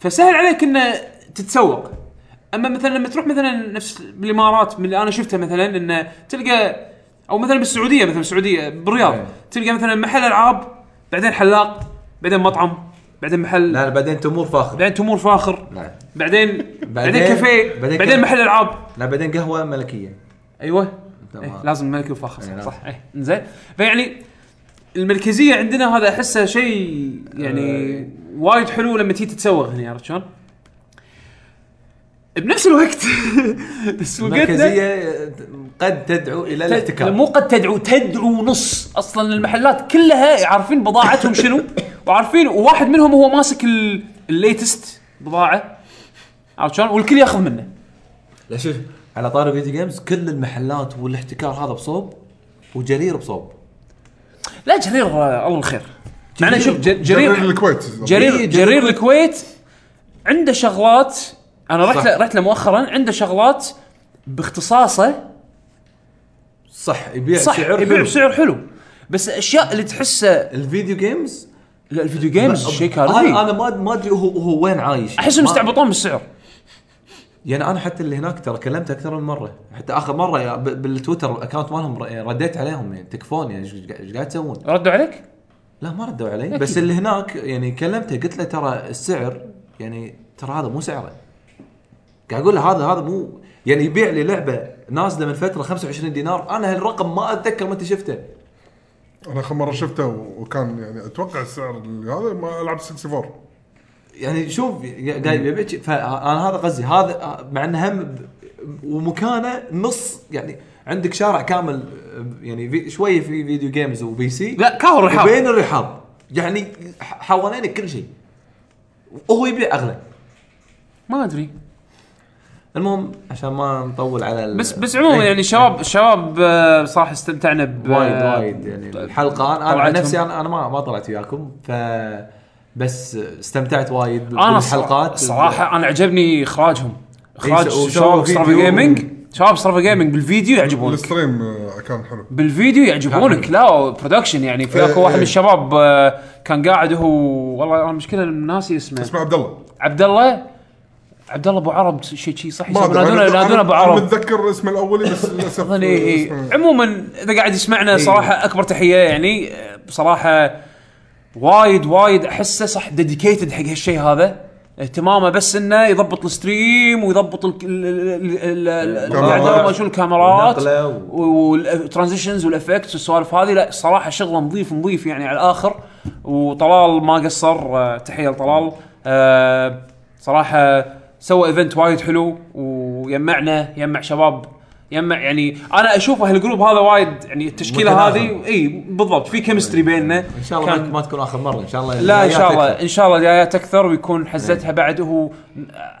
Speaker 2: فسهل عليك انه تتسوق اما مثلا لما تروح مثلا نفس بالامارات من اللي انا شفته مثلا انه تلقى او مثلا بالسعوديه مثلا السعوديه بالرياض
Speaker 4: إيه.
Speaker 2: تلقى مثلا محل العاب بعدين حلاق بعدين مطعم بعدين محل
Speaker 4: لا لا، بعدين تمور فاخر
Speaker 2: بعدين تمور فاخر
Speaker 4: نعم.
Speaker 2: بعدين بعدين
Speaker 4: بعدين-
Speaker 2: كافيه
Speaker 4: بعدين
Speaker 2: بعدين
Speaker 4: كافيه. أيوة.
Speaker 2: محل العاب
Speaker 4: لا بعدين قهوه ملكيه
Speaker 2: ايوه
Speaker 4: تمام.
Speaker 2: إيه لازم ملكي وفاخر
Speaker 4: إيه،
Speaker 2: صح,
Speaker 4: نعم.
Speaker 2: صح. إيه زين فيعني المركزيه عندنا هذا احسه شيء يعني
Speaker 4: آه.
Speaker 2: وايد حلو لما تيجي تتسوق هنا عرفت شلون؟ بنفس الوقت سوقتنا
Speaker 4: المركزيه قد تدعو الى الاحتكار
Speaker 2: مو قد تدعو تدعو نص اصلا المحلات كلها عارفين بضاعتهم شنو وعارفين وواحد منهم هو ماسك ال- الليتست بضاعه عرفت شلون؟ والكل ياخذ منه
Speaker 4: لا شوف على طاري فيديو جيمز كل المحلات والاحتكار هذا بصوب وجرير بصوب
Speaker 2: لا جرير آه، الله الخير معنا شوف ج-
Speaker 3: جرير
Speaker 2: جرير
Speaker 3: الكويت
Speaker 2: جرير جرير الكويت عنده شغلات انا رحت
Speaker 4: صح.
Speaker 2: له رحت له مؤخرا عنده شغلات باختصاصه
Speaker 4: صح يبيع
Speaker 2: صح
Speaker 4: سعر
Speaker 2: يبيع
Speaker 4: حلو.
Speaker 2: بسعر حلو بس الاشياء اللي تحسه
Speaker 4: الفيديو جيمز
Speaker 2: لا الفيديو جيمز شيء
Speaker 4: انا
Speaker 2: كارثي
Speaker 4: انا ما ما ادري هو هو وين عايش
Speaker 2: احسهم
Speaker 4: ما-
Speaker 2: يستعبطون بالسعر
Speaker 4: يعني انا حتى اللي هناك ترى كلمت اكثر من مره حتى اخر مره يا- ب- بالتويتر الاكونت مالهم ر- رديت عليهم يعني تكفون يعني ايش قاعد إيش قاعد تسوون؟
Speaker 2: ردوا عليك؟
Speaker 4: لا ما ردوا علي بس اللي هناك يعني كلمته قلت له ترى السعر يعني ترى هذا مو سعره قاعد اقول له هذا هذا مو يعني يبيع لي لعبه نازله من فتره 25 دينار انا هالرقم ما اتذكر متى شفته
Speaker 3: انا اخر مره شفته و- وكان يعني اتوقع السعر اللي هذا ما العب 64
Speaker 4: يعني شوف قاعد يبيعك فانا هذا قصدي هذا مع انه هم ب- ومكانه نص يعني عندك شارع كامل آه، يعني في شويه في فيديو جيمز وبي سي
Speaker 2: لا كاور رحاب
Speaker 4: بين الرحاب يعني ح- حوالينك كل شيء وهو يبيع اغلى
Speaker 2: ما ادري
Speaker 4: المهم عشان ما نطول على ال-
Speaker 2: بس بس عموما
Speaker 4: إيه.
Speaker 2: يعني الشباب الشباب آه، صراحه استمتعنا ب
Speaker 4: وايد وايد يعني الحلقه انا انا عن
Speaker 2: طيب. طلعتهم.
Speaker 4: نفسي انا انا ما ما طلعت وياكم ف بس استمتعت وايد
Speaker 2: انا
Speaker 4: بالحلقات
Speaker 2: الحلقات صراحه انا عجبني اخراجهم اخراج
Speaker 4: إيه، وسووا
Speaker 2: شباب
Speaker 4: فيديو.
Speaker 2: سترافا جيمنج شباب سترافا جيمنج بالفيديو يعجبونك
Speaker 3: الستريم آه، كان حلو
Speaker 2: بالفيديو يعجبونك لا برودكشن يعني في
Speaker 3: إيه،
Speaker 2: اكو واحد
Speaker 3: إيه.
Speaker 2: من الشباب آه، كان قاعد هو والله انا مشكله ناسي اسمه
Speaker 3: اسمع عبد الله
Speaker 2: عبد الله عبد الله ابو عرب شيء شيء صح
Speaker 3: ما
Speaker 2: يسمونه.
Speaker 3: أدري، أنا-
Speaker 2: نادونا نادونا
Speaker 3: أنا-
Speaker 2: ابو عرب
Speaker 3: أنا متذكر اسمه الاولي بس للاسف
Speaker 2: اظن إيه إيه.
Speaker 3: اسمه- إيه.
Speaker 2: عموما اذا قاعد يسمعنا صراحه اكبر تحيه يعني آه، بصراحه وايد وايد احسه صح ديديكيتد حق هالشيء هذا اهتمامه بس انه يضبط الستريم ويضبط ال- ال- ال- ال- ال-
Speaker 3: الكاميرات.
Speaker 2: الإعداد وما شنو الكاميرات
Speaker 4: إيه. والنقلة و-
Speaker 2: والترانزيشنز والافكتس والسوالف هذه لا الصراحه شغله نظيف نظيف يعني على الاخر وطلال ما قصر آه، تحيه لطلال آه، صراحه سوى ايفنت وايد حلو ويمعنا يمع شباب يمع يعني انا اشوف هالجروب هذا وايد يعني التشكيله
Speaker 4: متناغم.
Speaker 2: هذه اي بالضبط في كيمستري بيننا
Speaker 4: ان شاء الله ما- ما تكون اخر مره ان شاء الله
Speaker 2: لا ان شاء الله
Speaker 4: يعطيك. إيه.
Speaker 2: ان شاء الله دعايات اكثر ويكون حزتها بعد هو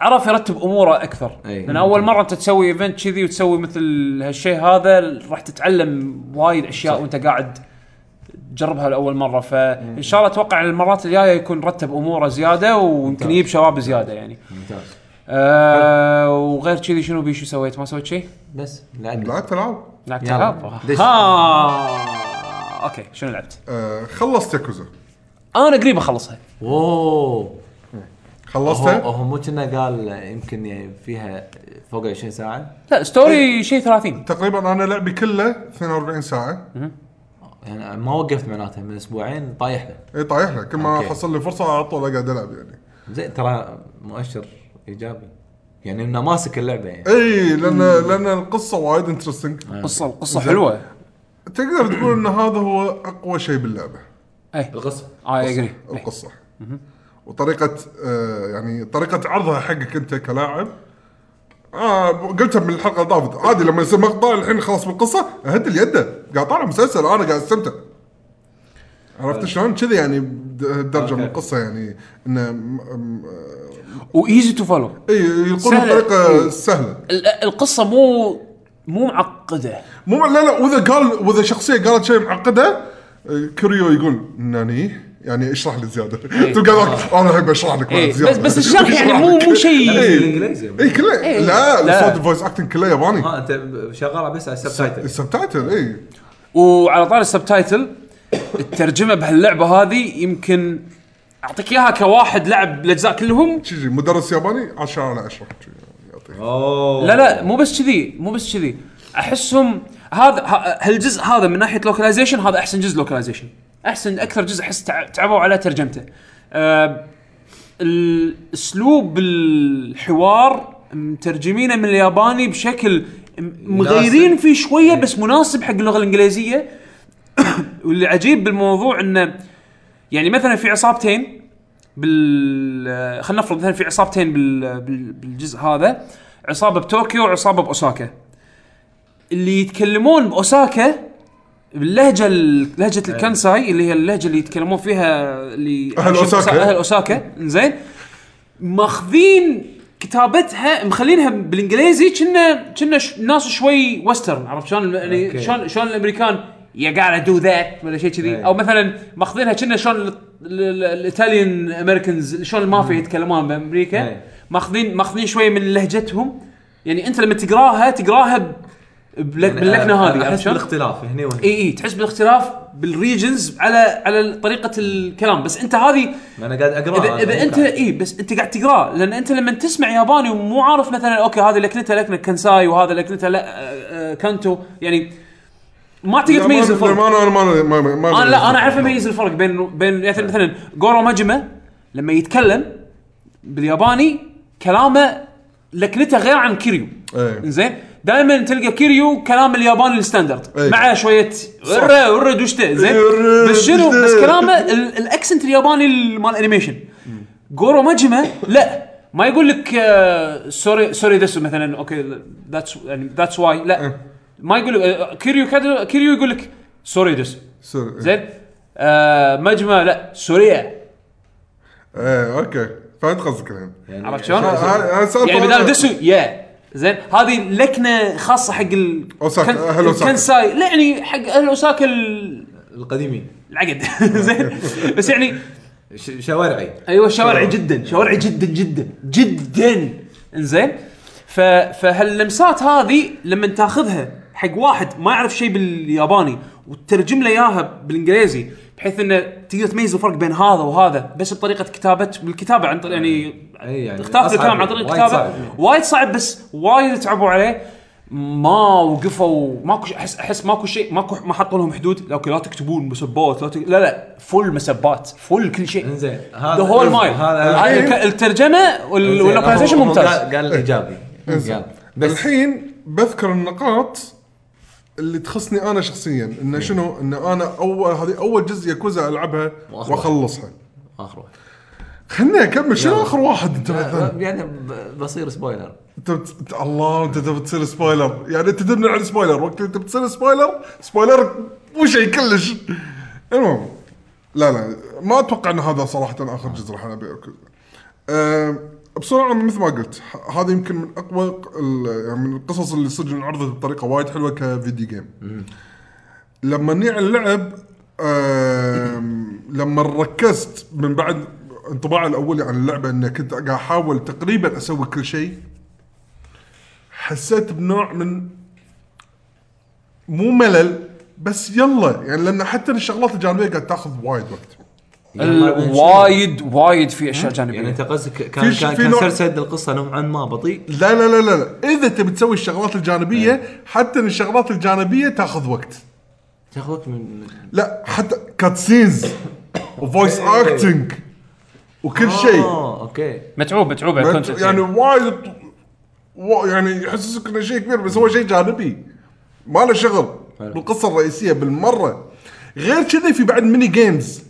Speaker 2: عرف يرتب اموره اكثر
Speaker 4: أي.
Speaker 2: لان اول مره انت تسوي ايفنت كذي وتسوي مثل هالشيء هذا راح تتعلم وايد اشياء
Speaker 4: صح. إيه.
Speaker 2: وانت قاعد تجربها لاول مره فان شاء الله اتوقع المرات الجايه يكون رتب اموره زياده ويمكن
Speaker 4: ممتاز.
Speaker 2: يجيب شباب زياده يعني
Speaker 4: ممتاز
Speaker 2: آه وغير كذي شنو بيشو سويت ما سويت شيء؟
Speaker 4: بس لعبنا
Speaker 3: لعبت العاب
Speaker 2: لعبت
Speaker 4: يلا.
Speaker 2: العاب
Speaker 4: دش.
Speaker 2: ها اوكي شنو لعبت؟
Speaker 3: آه، خلصت ياكوزا
Speaker 2: انا قريب اخلصها
Speaker 4: اوه هو
Speaker 3: خلصتها
Speaker 4: هو مو كنا قال يمكن يعني فيها فوق 20 ساعه
Speaker 2: لا
Speaker 4: طيب.
Speaker 2: ستوري شيء 30
Speaker 3: تقريبا انا لعبي كله 42 ساعه
Speaker 4: يعني ما وقفت معناته من اسبوعين طايح له
Speaker 3: اي إيه، طايح له كل ما
Speaker 4: أوكي.
Speaker 3: حصل لي فرصه على طول اقعد العب يعني
Speaker 4: زين ترى مؤشر ايجابي يعني انه ماسك اللعبه يعني
Speaker 3: اي لان لان القصه وايد انترستنج
Speaker 2: قصه القصه
Speaker 3: زين.
Speaker 2: حلوه
Speaker 3: تقدر تقول ان هذا هو اقوى شيء باللعبه
Speaker 2: اي
Speaker 4: القصه
Speaker 2: اي اجري
Speaker 3: القصه وطريقه آه يعني طريقه عرضها حقك انت كلاعب آه قلتها من الحلقه اللي طافت عادي لما يصير مقطع الحين خلاص بالقصه اهد اليد قاعد طالع مسلسل انا قاعد استمتع عرفت شلون كذي يعني درجه من
Speaker 4: أوكي.
Speaker 3: القصه يعني انه م- م- إيه،
Speaker 2: وايزي تو فولو
Speaker 3: اي يلقونها
Speaker 2: سهلة.
Speaker 3: بطريقه
Speaker 2: إي.
Speaker 3: سهله
Speaker 2: ال- القصه مو مو معقده
Speaker 3: مو لا لا واذا قال واذا شخصيه قالت شيء معقده آه، كوريو يقول ناني يعني اشرح لي زياده تلقى ذاك انا احب اشرح لك بعد
Speaker 2: إيه،
Speaker 3: زياده
Speaker 2: بس- بس الشرح يعني مو- مو شيء-
Speaker 4: بالانجليزي.
Speaker 3: اي إيه. كله
Speaker 2: إيه.
Speaker 3: لا
Speaker 2: لا. آه.
Speaker 3: لا صوت الفويس اكتنج كله ياباني إيه.
Speaker 4: ها انت شغاله بس على السبتايتل
Speaker 3: السبتايتل اي
Speaker 2: وعلى طار السبتايتل الترجمه بهاللعبه هذه يمكن اعطيك اياها كواحد لعب الاجزاء كلهم
Speaker 3: شي مدرس ياباني 10 على 10 شي، يعطيك.
Speaker 2: آه.
Speaker 4: اوه
Speaker 2: لا لا مو بس كذي مو بس كذي احسهم هذا ه- هالجزء هذا من ناحيه لوكلايزيشن هذا احسن جزء لوكلايزيشن احسن اكثر جزء احس تع- تعبوا على ترجمته أه الاسلوب الحوار مترجمينه من الياباني بشكل م- مغيرين
Speaker 4: يناسب.
Speaker 2: فيه شويه بس مناسب حق اللغه الانجليزيه واللي عجيب بالموضوع انه يعني مثلا في عصابتين بال خلينا نفرض مثلا في عصابتين بال... بال... بالجزء هذا عصابه بطوكيو وعصابه باوساكا اللي يتكلمون باوساكا باللهجه ال- لهجه الكانساي اللي هي اللهجه اللي يتكلمون فيها اللي
Speaker 3: أهل أوساكا.
Speaker 2: اهل اوساكا زين ماخذين كتابتها مخلينها بالانجليزي كنا كنا ش- ناس شوي ويسترن عرفت شلون يعني
Speaker 4: أوكي.
Speaker 2: شلون شلون الامريكان يا قاعد دو ذات ولا شيء كذي
Speaker 4: أي.
Speaker 2: او مثلا ماخذينها كنا شلون ال- ال- الايطاليان امريكانز شلون المافيا يتكلمون بامريكا
Speaker 4: أي.
Speaker 2: ماخذين ماخذين شوي من لهجتهم يعني انت لما تقراها تقراها ب- بلك- باللكنه هذه عرفت
Speaker 4: احس
Speaker 2: شلون؟
Speaker 4: بالاختلاف هني وهني
Speaker 2: اي اي تحس بالاختلاف بالريجنز على على طريقه الكلام بس انت هذه
Speaker 4: ما انا قاعد اقرا
Speaker 2: اذا اذا انت اي إيه، بس انت قاعد تقراه لان انت لما تسمع ياباني ومو عارف مثلا اوكي هذا لكنته لكنه كنساي وهذا لكنته لا آه، آه، كانتو يعني ما تقدر تميز الفرق
Speaker 3: ما انا ما انا ما- ما- ما
Speaker 2: انا آه، لا انا اعرف اميز الفرق بين بين مثلا
Speaker 3: إيه.
Speaker 2: مثلا جورو ماجما لما يتكلم بالياباني كلامه لكنته غير عن كيريو
Speaker 3: إيه.
Speaker 2: زين دائما تلقى كيريو كلام الياباني الستاندرد
Speaker 3: إيه.
Speaker 2: مع شويه ورا ورا دوشته زين
Speaker 3: ورا
Speaker 2: بس شنو
Speaker 3: دوشته.
Speaker 2: بس كلامه ال- الاكسنت الياباني ال- مال الانيميشن جورو ماجما لا ما يقول لك آه، سوري سوري دسو مثلا اوكي ذاتس يعني ذاتس واي لا
Speaker 3: أه.
Speaker 2: ما يقول آه، كيريو كادو- كيريو يقول لك سوري دسو
Speaker 3: سوري. أه.
Speaker 2: زين آه مجمع لا سوريا
Speaker 3: ايه اوكي فهمت قصدك الحين آه،
Speaker 2: عرفت شلون؟
Speaker 3: ه- ه- سؤال
Speaker 2: يعني
Speaker 3: طبعاً-
Speaker 2: بدال دسو يا زين هذه لكنه خاصه حق ال
Speaker 3: أوساكا،
Speaker 2: كان-
Speaker 3: أهل أوساكا.
Speaker 2: الكنساي لا يعني حق اهل اوساكا ال-
Speaker 4: القديمين
Speaker 2: العقد زين بس يعني
Speaker 4: ش- شوارعي
Speaker 2: ايوه شوارعي جدا شوارعي جدا جدا جدا انزين ف فهاللمسات هذه لما تاخذها حق واحد ما يعرف شيء بالياباني وتترجم له اياها بالانجليزي بحيث انه تقدر تميز الفرق بين هذا وهذا بس بطريقه كتابه بالكتابه عن طريق يعني
Speaker 4: اي يعني
Speaker 2: اختلاف
Speaker 4: أصعب،
Speaker 2: الكلام عن طريق
Speaker 4: وايد
Speaker 2: الكتابه
Speaker 4: صعب.
Speaker 2: وايد صعب بس وايد تعبوا عليه ما وقفوا ماكو ش- احس احس ماكو شيء ماكو ما حطوا لهم حدود لا اوكي لا تكتبون مسبات لا تك... لا لا فول مسبات فول كل شيء
Speaker 4: انزين إيه،
Speaker 2: ذا هول مايل هذا الك- الترجمه وال- واللوكاليزيشن ممتاز
Speaker 4: قال قال الايجابي
Speaker 3: إنزين.
Speaker 4: قال.
Speaker 3: بس
Speaker 4: بس
Speaker 3: الحين بذكر النقاط اللي تخصني انا شخصيا انه شنو انه انا اول هذه اول جزء ياكوزا العبها
Speaker 4: وآخر واحد.
Speaker 3: واخلصها
Speaker 4: اخر واحد
Speaker 3: خلنا نكمل شنو
Speaker 4: يلا.
Speaker 3: اخر واحد انت مثلا
Speaker 4: يعني ب- بصير سبويلر
Speaker 3: انت بت- الله انت تبي تصير سبويلر يعني انت تبني على سبويلر وقت انت بتصير سبويلر سبويلر مو شيء كلش المهم لا لا ما اتوقع ان هذا صراحه اخر جزء راح العب ياكوزا أم، بسرعه مثل ما قلت ه- هذه يمكن من اقوى ق- ال- يعني من القصص اللي صدق انعرضت بطريقه وايد حلوه كفيديو جيم لما نيع اللعب أم، لما ركزت من بعد انطباعي الاولي عن اللعبه ان كنت قاعد احاول تقريبا اسوي كل شيء حسيت بنوع من مو ملل بس يلا يعني لان حتى الشغلات الجانبيه قاعد تاخذ وايد وقت
Speaker 2: ال- وايد وايد في اشياء
Speaker 4: يعني
Speaker 2: جانبيه
Speaker 4: انت قصدك كان
Speaker 3: في-
Speaker 4: كان
Speaker 3: في
Speaker 4: كان
Speaker 3: نوع-
Speaker 4: سرسد القصه نوعا ما بطيء
Speaker 3: لا لا لا لا, لا. اذا تبي تسوي الشغلات الجانبيه حتى الشغلات الجانبيه تاخذ وقت
Speaker 4: تاخذ وقت من من-
Speaker 3: لا حتى كاتسينز وفويس اكتنج وكل شيء
Speaker 4: اه اوكي
Speaker 2: متعوب متعوب على الكونتنت
Speaker 3: يعني وايد و- يعني يحسسك انه شيء كبير بس هو شيء جانبي ما له شغل
Speaker 4: حلو.
Speaker 3: بالقصه الرئيسيه بالمره غير كذي في بعد ميني جيمز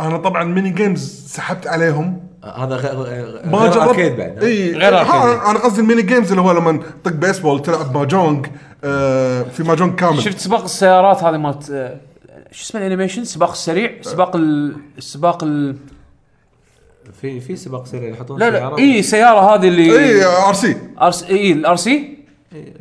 Speaker 3: انا طبعا ميني جيمز سحبت عليهم
Speaker 4: آه، هذا غ- غ-
Speaker 3: ما
Speaker 4: غير
Speaker 3: جربت
Speaker 4: أركيد بعد
Speaker 3: اي
Speaker 2: غير
Speaker 3: ها،
Speaker 2: أركيد.
Speaker 3: انا قصدي الميني جيمز اللي هو لما تطق بيسبول تلعب ماجونج آه في ماجونج كامل
Speaker 2: شفت سباق السيارات هذه مالت آه، شو اسمه الانيميشن سباق السريع سباق ال... السباق ال...
Speaker 4: في في سباق سريع يحطون
Speaker 2: لا لا
Speaker 4: سيارات.
Speaker 2: اي سياره هذه
Speaker 3: اي
Speaker 2: اللي
Speaker 3: ار سي
Speaker 2: ار سي اي الار سي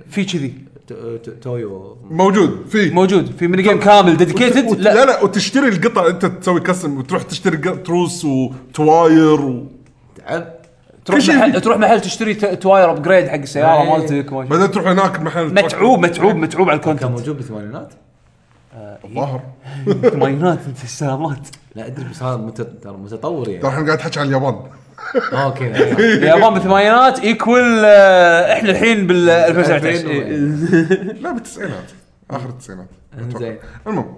Speaker 2: في كذي
Speaker 4: تو- تو- تويو
Speaker 3: موجود في
Speaker 2: موجود في ميني جيم كامل
Speaker 3: وت-
Speaker 2: ديديكيتد
Speaker 3: لا.
Speaker 2: لا
Speaker 3: لا لا وتشتري القطع انت تسوي كاستم وتروح تشتري قط- تروس وتواير و...
Speaker 4: تعب
Speaker 2: تروح
Speaker 3: كل شيء
Speaker 2: محل
Speaker 3: فيه.
Speaker 2: تروح محل تشتري ت- تواير ابجريد حق السياره
Speaker 4: إي.
Speaker 2: مالتك وما شابه.
Speaker 3: بعدين تروح هناك محل
Speaker 2: متعوب متعوب متعوب على
Speaker 4: كان
Speaker 2: الكونتنت
Speaker 4: موجود بالثمانينات
Speaker 3: الظاهر
Speaker 2: ثمانينات انت السلامات
Speaker 4: لا ادري بس هذا مت- ترى متطور يعني
Speaker 3: ترى الحين قاعد تحكي عن اليابان
Speaker 4: آه، اوكي
Speaker 2: اليابان بالثمانينات ايكول احنا آه، الحين بال 2019
Speaker 4: 2019.
Speaker 3: لا بالتسعينات اخر التسعينات أتوقع.
Speaker 4: إنزين.
Speaker 3: المهم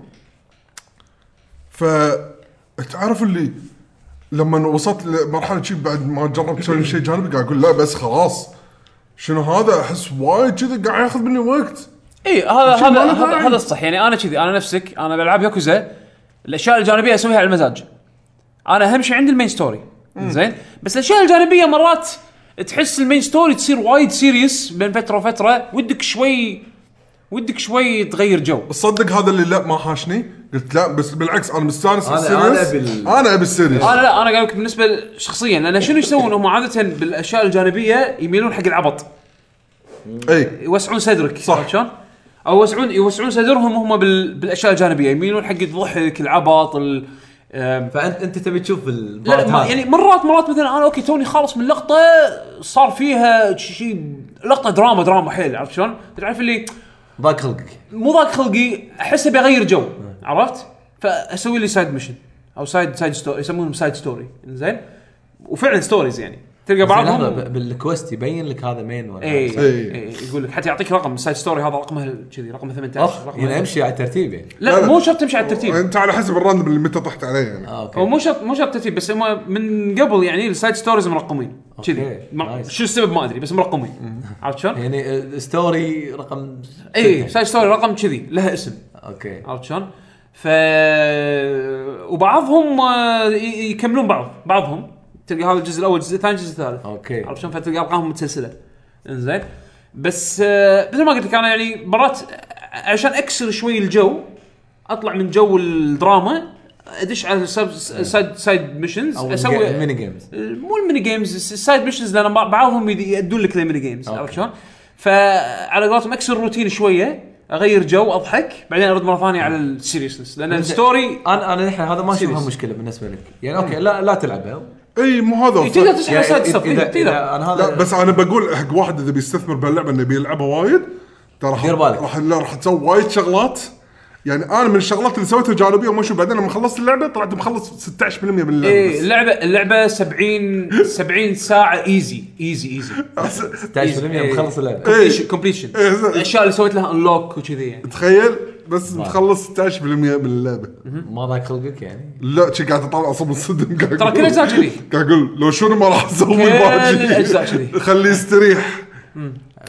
Speaker 3: ف تعرف اللي لما وصلت لمرحله شي بعد ما جربت اسوي شيء جانبي قاعد اقول لا بس خلاص شنو هذا احس وايد كذا قاعد ياخذ مني وقت
Speaker 2: اي إيه، هذا
Speaker 3: شيء ما
Speaker 2: هذا
Speaker 3: له
Speaker 2: هذا-
Speaker 3: داعي.
Speaker 2: هذا الصح يعني انا كذي انا نفسك انا بالعاب ياكوزا الاشياء الجانبيه اسويها على المزاج انا اهم شيء عندي المين ستوري زين بس الاشياء الجانبيه مرات تحس المين ستوري تصير وايد سيريس بين فتره وفتره ودك شوي ودك شوي تغير جو
Speaker 3: تصدق هذا اللي لا ما حاشني قلت لا بس بالعكس انا مستانس
Speaker 4: أنا-
Speaker 3: بالسيريس.
Speaker 4: أنا أبي ال-
Speaker 3: انا ابي السيريس
Speaker 2: انا لا انا قاعد لك بالنسبه شخصيا لان شنو يسوون هم عاده بالاشياء الجانبيه يميلون حق العبط
Speaker 3: اي
Speaker 2: يوسعون صدرك
Speaker 3: صح.
Speaker 2: عرفت شلون؟ او يوسعون يوسعون صدرهم هم بال... بالاشياء الجانبيه يميلون حق الضحك العبط ال... أم،
Speaker 4: فانت انت تبي تشوف
Speaker 2: لا
Speaker 4: البارت
Speaker 2: ما-
Speaker 4: هذا
Speaker 2: يعني مرات مرات مثلا انا اوكي توني خالص من لقطه صار فيها شيء لقطه دراما دراما حيل عرفت شلون؟ تعرف اللي
Speaker 4: ضاق خلقك
Speaker 2: مو ضاق خلقي احسه بيغير جو
Speaker 4: نعم.
Speaker 2: عرفت؟ فاسوي لي سايد ميشن او سايد سايد ستوري يسمونهم سايد ستوري زين وفعلا ستوريز يعني تلقى
Speaker 4: بس لحظة،
Speaker 2: بعضهم
Speaker 4: ب- إيه. بالكويست يبين لك هذا مين ولا
Speaker 2: اي
Speaker 4: لا.
Speaker 3: إي.
Speaker 2: اي يقول لك حتى يعطيك رقم سايد ستوري هذا رقمه كذي رقم 18
Speaker 4: اوف
Speaker 2: رقم
Speaker 4: يعني امشي على الترتيب يعني
Speaker 2: لا مو شرط تمشي على الترتيب
Speaker 3: انت على حسب الراندم اللي متى طحت عليه يعني
Speaker 4: اه
Speaker 2: هو
Speaker 4: اوكي
Speaker 2: مو شرط مو شرط ترتيب بس هم من قبل يعني السايد ستوريز مرقمين
Speaker 4: أوكي،
Speaker 2: كذي مر-
Speaker 4: نايس.
Speaker 2: شو السبب ما ادري بس مرقمين عرفت شلون؟
Speaker 4: يعني آه، ستوري رقم
Speaker 2: اي
Speaker 4: ستة.
Speaker 2: سايد ستوري رقم كذي لها اسم
Speaker 4: اوكي
Speaker 2: عرفت شلون؟ ف وبعضهم آه، ي- يكملون بعض بعضهم تلقى هذا الجزء الاول الجزء الثاني الجزء الثالث
Speaker 4: اوكي
Speaker 2: عرفت شلون فتلقى ارقامهم متسلسله انزين بس آه، مثل ما قلت لك انا يعني مرات عشان اكسر شوي الجو اطلع من جو الدراما ادش على سب- سايد سايد ميشنز
Speaker 4: او
Speaker 2: اسوي
Speaker 4: ميني جيمز
Speaker 2: مو الميني جيمز الس- السايد ميشنز لان بع- بعضهم يد- يأدون لك للميني جيمز
Speaker 4: أوكي.
Speaker 2: عرفت شلون؟ فعلى قولتهم اكسر الروتين شويه اغير جو اضحك بعدين ارد مره ثانيه على السيريسنس لان الستوري
Speaker 4: انا انا الحين هذا ما
Speaker 2: Serious.
Speaker 4: اشوفها مشكله بالنسبه لك يعني اوكي لا لا تلعبها
Speaker 3: اي مو هذا هو
Speaker 2: تقدر
Speaker 3: الفرق.
Speaker 2: تسحب على سايد ستاف
Speaker 4: يعني إذا-
Speaker 2: تقدر
Speaker 4: إذا انا هذا
Speaker 3: لا بس انا بقول حق واحد اذا بيستثمر بهاللعبه انه بيلعبها وايد ترى راح-
Speaker 4: دير بالك.
Speaker 3: راح لا راح تسوي وايد شغلات يعني انا من الشغلات اللي سويتها جانبيه وما شو بعدين لما خلصت اللعبه طلعت مخلص 16% من اللعبه
Speaker 2: ايه
Speaker 3: بس.
Speaker 2: اللعبه اللعبه 70 70 ساعه ايزي ايزي ايزي
Speaker 4: إيه. 16% مخلص اللعبه
Speaker 3: إيه.
Speaker 2: كومبليشن
Speaker 3: إيه، زين.
Speaker 2: الاشياء اللي سويت لها انلوك وكذي يعني
Speaker 3: تخيل بس مخلص 16% من اللعبه
Speaker 4: ما ضاق خلقك يعني
Speaker 3: لا شي قاعد اطالع اصلا منصدم قاعد
Speaker 2: ترى
Speaker 3: أقول-
Speaker 2: كل الاجزاء كذي
Speaker 3: قاعد اقول لو شنو ما راح
Speaker 2: كل
Speaker 3: اسوي باجي.
Speaker 2: الأجزاء كذي.
Speaker 3: خليه يستريح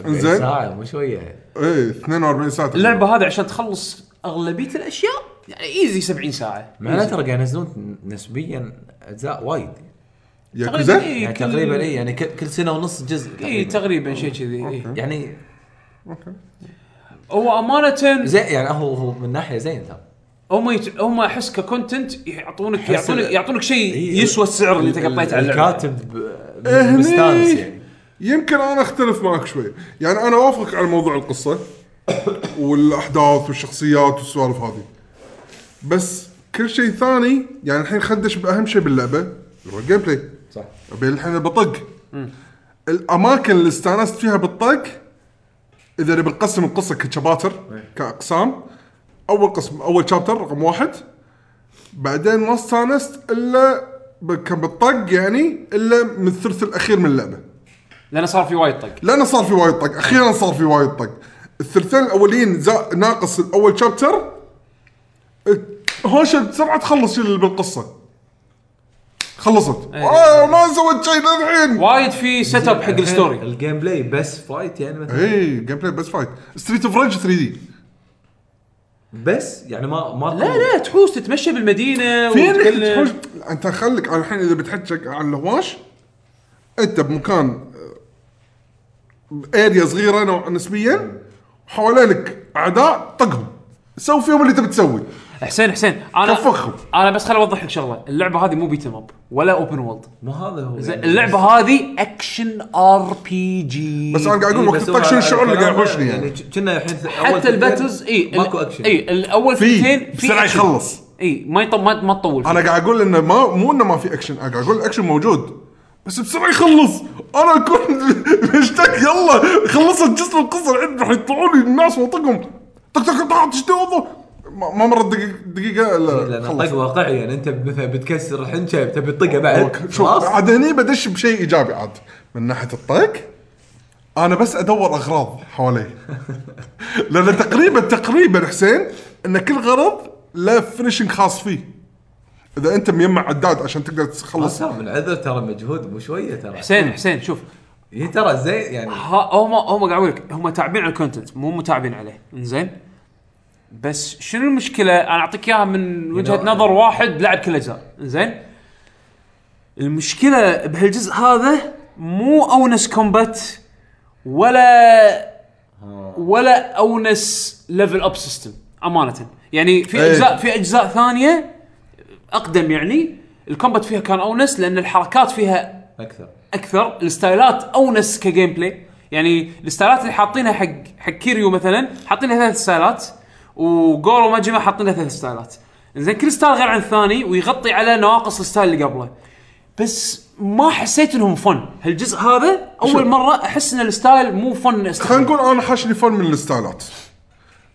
Speaker 3: إنزين.
Speaker 4: ساعه مو شويه
Speaker 3: ايه 42 ساعه
Speaker 2: اللعبه هذه عشان تخلص اغلبيه الاشياء يعني ايزي 70 ساعه
Speaker 4: معناته ترى قاعد ينزلون نسبيا اجزاء وايد
Speaker 3: ياكوزا
Speaker 2: إيه،
Speaker 4: يعني
Speaker 2: كل-
Speaker 4: تقريبا اي يعني كل كل سنه ونص جزء
Speaker 2: اي
Speaker 4: تقريبا
Speaker 2: تقريبا إيه، شيء كذي إيه.
Speaker 4: يعني
Speaker 2: هو امانه
Speaker 4: زين يعني هو هو من ناحيه زين ترى
Speaker 2: هم يت... هم احس ككونتنت يعطونك
Speaker 4: أحس
Speaker 2: يعطونك
Speaker 4: ال-
Speaker 2: يعطونك شيء
Speaker 4: إي،
Speaker 2: يسوى إيه، السعر اللي انت قطيته على اللعبة.
Speaker 4: إيه، الكاتب
Speaker 3: إيه، هني
Speaker 4: مستانس يعني
Speaker 3: يمكن انا اختلف معك شوي يعني انا اوافقك على موضوع القصه والاحداث والشخصيات والسوالف هذه بس كل شيء ثاني يعني الحين خدش باهم شيء باللعبه اللي هو الجيم بلاي
Speaker 4: صح
Speaker 3: أبي الحين بطق الاماكن اللي استانست فيها بالطق اذا نبي نقسم القصه كشباتر
Speaker 4: إيه.
Speaker 3: كاقسام اول قسم اول شابتر رقم واحد بعدين ما استانست الا ب- كان بالطق يعني الا من الثلث الاخير من اللعبه
Speaker 2: لانه صار في وايد طق
Speaker 3: لانه صار في وايد طق اخيرا صار في وايد طق الثلثين الاولين زا... ناقص الاول شابتر هوشه بسرعه تخلص اللي بالقصه خلصت آه ما سويت شيء للحين
Speaker 2: وايد في سيت اب حق
Speaker 4: الحين
Speaker 2: الستوري
Speaker 4: الجيم بلاي بس فايت يعني مثلا
Speaker 3: اي جيم بلاي إيه، بس فايت ستريت اوف ريج 3 دي
Speaker 4: بس يعني ما ما
Speaker 2: لا لا تحوس تتمشى بالمدينه
Speaker 3: فين
Speaker 2: وتتكلم.
Speaker 3: تحوش انت خليك على الحين اذا بتحكك عن الهواش انت بمكان آه، اريا صغيره نوعا نسبيا حوالينك اعداء طقهم سوي فيهم اللي تبي تسوي
Speaker 2: حسين حسين انا
Speaker 3: كفخهم.
Speaker 2: انا بس خليني اوضح لك شغله اللعبه هذه مو بيت اب ولا اوبن وولد
Speaker 4: ما هذا هو يعني
Speaker 2: اللعبه هذه اكشن ار بي جي
Speaker 3: بس انا قاعد اقول
Speaker 4: إيه،
Speaker 3: وقت
Speaker 4: بس هو
Speaker 3: الطق شنو الشعور اللي قاعد
Speaker 4: الكلام
Speaker 3: يحوشني يعني
Speaker 4: كنا الحين أول
Speaker 2: حتى إيه،
Speaker 4: فيلمين
Speaker 2: الباتلز اي
Speaker 4: ماكو اكشن
Speaker 2: اي الاول
Speaker 3: في
Speaker 2: فيلمين
Speaker 3: بسرعه يخلص
Speaker 2: اي إيه، ما يط- ما ما تطول
Speaker 3: انا قاعد اقول انه ما مو انه ما في اكشن انا قاعد اقول الاكشن موجود بس بسرعه يخلص انا كنت مشتاق يلا خلصت جزء من القصه الحين راح يطلعون لي الناس واطقهم طق طق طق طق، شتي وضو. ما ما مرت دقيقه دقيقه
Speaker 4: لان
Speaker 3: لا
Speaker 4: الطق
Speaker 3: خلص.
Speaker 4: واقعي يعني انت مثلا بتكسر الحين شايف تبي تطقه بعد
Speaker 3: شوف
Speaker 4: خلاص
Speaker 3: عاد هني بدش بشيء ايجابي عاد من ناحيه الطق انا بس ادور اغراض حوالي لان تقريبا تقريبا حسين ان كل غرض له فينشنج خاص فيه اذا انت مجمع عداد عشان تقدر تخلص
Speaker 4: ترى من عذر ترى مجهود مو شويه ترى
Speaker 2: حسين حسين شوف
Speaker 4: هي ترى زين يعني
Speaker 2: ها هم هم قاعد اقول لك هم تعبين على الكونتنت مو متعبين عليه انزين بس شنو المشكله انا اعطيك اياها من وجهه
Speaker 4: You know-
Speaker 2: نظر واحد لعب كل الاجزاء انزين المشكله بهالجزء هذا مو اونس كومبات ولا ولا اونس ليفل اب سيستم امانه يعني في
Speaker 3: إيه.
Speaker 2: اجزاء في اجزاء ثانيه اقدم يعني الكومبات فيها كان اونس لان الحركات فيها
Speaker 4: اكثر
Speaker 2: اكثر الستايلات اونس كجيم بلاي يعني الستايلات اللي حاطينها حق حق كيريو مثلا حاطينها ثلاث ستايلات وجورو ماجما حاطينها ثلاث ستايلات زين كل ستايل غير عن الثاني ويغطي على نواقص الستايل اللي قبله بس ما حسيت انهم فن هالجزء هذا اول مره احس ان الستايل مو فن
Speaker 3: خلينا نقول انا حاشني فن من الستايلات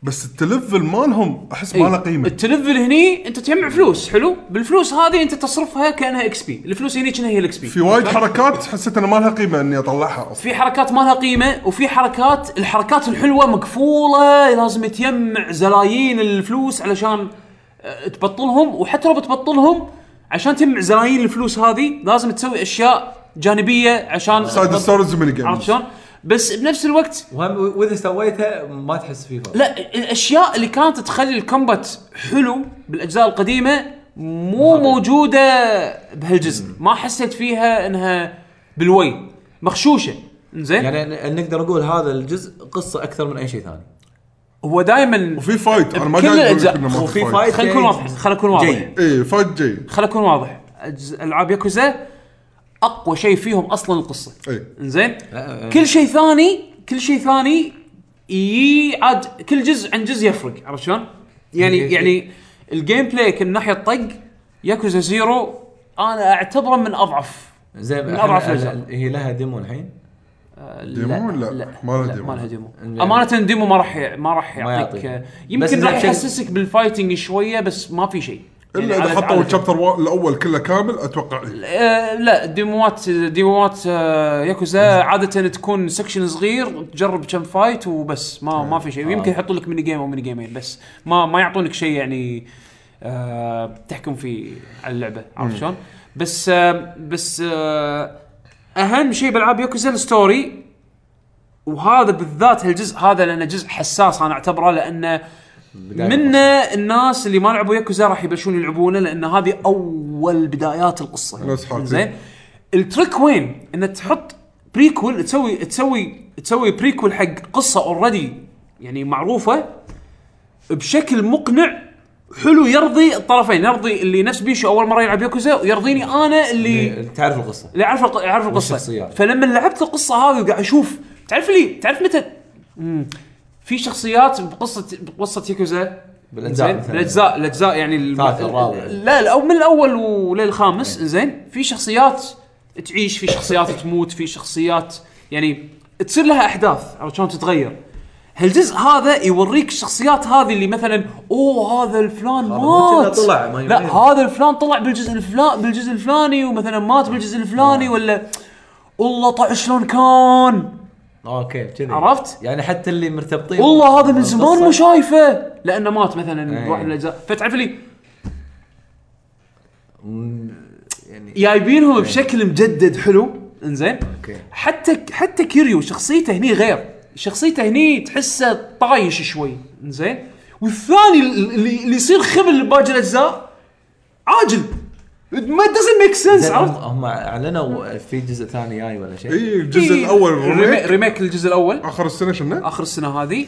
Speaker 3: بس التلفل مالهم احس
Speaker 2: إيه.
Speaker 3: ما له قيمه
Speaker 2: التلفل هني انت تجمع فلوس حلو بالفلوس هذه انت تصرفها كانها اكس بي الفلوس هني كانها هي الاكس بي
Speaker 3: في وايد حركات حسيت انه ما لها قيمه اني اطلعها اصلا
Speaker 2: في حركات ما لها قيمه وفي حركات الحركات الحلوه مقفوله لازم تجمع زلايين الفلوس علشان آه، تبطلهم وحتى لو بتبطلهم عشان تجمع زلايين الفلوس هذه لازم تسوي اشياء جانبيه عشان
Speaker 3: سايد ستوريز وميني
Speaker 2: عرفت
Speaker 3: جيمز
Speaker 2: شلون؟ بس بنفس الوقت
Speaker 4: وهم واذا سويتها ما تحس فيه فرق
Speaker 2: لا الاشياء اللي كانت تخلي الكومبات حلو بالاجزاء القديمه مو موجوده بهالجزء ما حسيت فيها انها بالوي مخشوشه زين يعني
Speaker 4: يعني ن- نقدر نقول هذا الجزء قصه اكثر من اي شيء ثاني
Speaker 2: هو دائما
Speaker 3: وفي فايت انا ما
Speaker 2: بكل
Speaker 3: قاعد اقول
Speaker 2: الأجزاء.
Speaker 3: لك انه ما
Speaker 4: وفي
Speaker 3: في
Speaker 4: فايت.
Speaker 3: فايت
Speaker 2: خلينا نكون
Speaker 4: جاي.
Speaker 2: واضح خلينا نكون واضح
Speaker 4: جاي.
Speaker 3: اي فايت جاي
Speaker 2: خلينا نكون واضح أجز- العاب ياكوزا اقوى شيء فيهم اصلا القصه
Speaker 3: اي
Speaker 2: زين
Speaker 4: أه.
Speaker 2: كل شيء ثاني كل شيء ثاني يي عاد كل جزء عن جزء يفرق عرفت شلون؟ يعني
Speaker 4: إيه.
Speaker 2: يعني الجيم بلاي كل ناحيه طق ياكوزا زيرو انا اعتبره من اضعف
Speaker 4: زين
Speaker 2: من
Speaker 4: إحنا-
Speaker 2: أضعف الأجزاء.
Speaker 4: هي لها ديمو الحين
Speaker 2: آه،
Speaker 3: ديمو؟ لا، ما له ديمو.
Speaker 2: ما لها ديمو
Speaker 4: يعني-
Speaker 2: امانه ديمو ما راح ي- ما راح
Speaker 4: ما
Speaker 2: يعطيك
Speaker 4: يعطيك.
Speaker 2: آه،
Speaker 4: بس
Speaker 2: يمكن
Speaker 4: إنه
Speaker 2: راح
Speaker 4: عشان-
Speaker 2: يحسسك بالفايتنج شويه بس ما في شيء يعني
Speaker 3: الا اذا
Speaker 2: على-
Speaker 3: حطوا
Speaker 2: على-
Speaker 3: الشابتر الاول كله كامل اتوقع إيه.
Speaker 2: آه، لا ديموات ديموات آه، ياكوزا عاده تكون سكشن صغير تجرب كم فايت وبس ما ما في شيء ويمكن يحطوا لك ميني جيم او ميني جيمين بس ما ما يعطونك شيء يعني آه، تحكم فيه على اللعبه عرفت شلون؟ بس آه، بس آه، اهم شيء بالعاب ياكوزا الستوري وهذا بالذات هالجزء هذا لانه جزء حساس انا اعتبره لانه
Speaker 4: بداية
Speaker 2: منه الناس اللي ما لعبوا ياكوزا راح يبلشون يلعبونه لان هذه اول بدايات القصه
Speaker 3: نفس حالتي.
Speaker 2: زين التريك وين ان تحط بريكول تسوي تسوي تسوي بريكول حق قصه اوريدي يعني معروفه بشكل مقنع حلو يرضي الطرفين يرضي اللي نفس بيشو اول مره يلعب ياكوزا ويرضيني انا اللي
Speaker 4: يعني تعرف القصه
Speaker 2: اللي يعرف الق- يعرف القصه
Speaker 4: والشخصيات.
Speaker 2: فلما لعبت القصه هذه وقاعد اشوف تعرف لي تعرف متى مم. في شخصيات بقصه بقصه ياكوزا
Speaker 4: بالأجزاء
Speaker 2: زين؟
Speaker 4: مثلاً.
Speaker 2: بالاجزاء الاجزاء يعني الم-
Speaker 4: الثالث، الرابع. إيه.
Speaker 2: لا الأو من الاول وللخامس زين في شخصيات تعيش في شخصيات تموت في شخصيات يعني تصير لها احداث عرفت شلون تتغير هالجزء هذا يوريك الشخصيات هذه اللي مثلا اوه هذا الفلان
Speaker 4: مو كذا
Speaker 2: مات
Speaker 4: طلع، ما
Speaker 2: لا
Speaker 4: يميز.
Speaker 2: هذا الفلان طلع بالجزء الفلان بالجزء الفلاني ومثلا مات بالجزء
Speaker 4: آه.
Speaker 2: الفلاني ولا والله طلع شلون كان
Speaker 4: اوكي كذي
Speaker 2: عرفت؟
Speaker 4: يعني حتى اللي مرتبطين
Speaker 2: والله هذا من
Speaker 4: بالقصة.
Speaker 2: زمان مو شايفه لانه مات مثلا
Speaker 4: أي.
Speaker 2: بواحد من الاجزاء فتعرف لي
Speaker 4: يعني
Speaker 2: جايبينهم بشكل مجدد حلو انزين
Speaker 4: اوكي
Speaker 2: حتى حتى كيريو شخصيته هني غير شخصيته هني تحسه طايش شوي انزين والثاني اللي, اللي يصير خبل باقي الاجزاء عاجل ما doesn't ميك سنس
Speaker 4: زين،
Speaker 2: عرفت؟
Speaker 4: هم هم اعلنوا في جزء ثاني جاي ولا شيء
Speaker 3: اي الجزء
Speaker 2: إيه،
Speaker 3: الاول
Speaker 2: ريميك
Speaker 3: ريميك
Speaker 2: ريميك الجزء الاول
Speaker 3: اخر السنه شنو؟
Speaker 2: اخر السنه هذه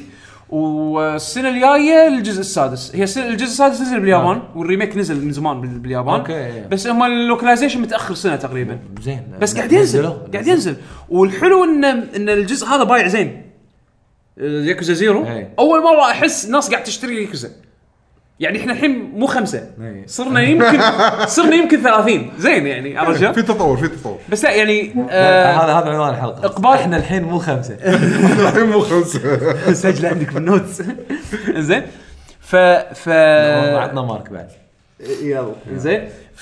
Speaker 2: والسنه الجايه الجزء السادس هي السنة الجزء السادس نزل باليابان آه. والريميك نزل من زمان بال- باليابان
Speaker 4: أوكي.
Speaker 2: بس هم اللوكلايزيشن متاخر سنه تقريبا
Speaker 4: زين
Speaker 2: بس قاعد ينزل
Speaker 4: نزلوه.
Speaker 2: قاعد ينزل والحلو ان ان الجزء هذا بايع زين ياكوزا زيرو
Speaker 4: إيه.
Speaker 2: اول مره احس ناس قاعد تشتري ياكوزا يعني احنا الحين مو خمسه
Speaker 4: إيه.
Speaker 2: صرنا يمكن صرنا يمكن 30 زين يعني عرفت شلون؟
Speaker 3: في تطور في تطور
Speaker 2: بس لا يعني آه،
Speaker 4: هذا هذا عنوان الحلقه
Speaker 2: إقبال.
Speaker 4: احنا الحين مو خمسه
Speaker 3: الحين مو خمسه
Speaker 2: سجله عندك بالنوتس زين ف ف
Speaker 4: عطنا مارك بعد
Speaker 2: يلا زين ف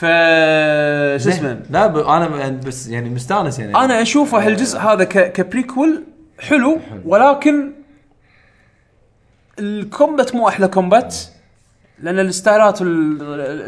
Speaker 2: شو اسمه
Speaker 4: لا ب... انا م- بس يعني مستانس يعني
Speaker 2: انا اشوفه هالجزء هذا ك... كبريكول حلو ولكن الكومبات مو احلى كومبات لان الستايلات ال-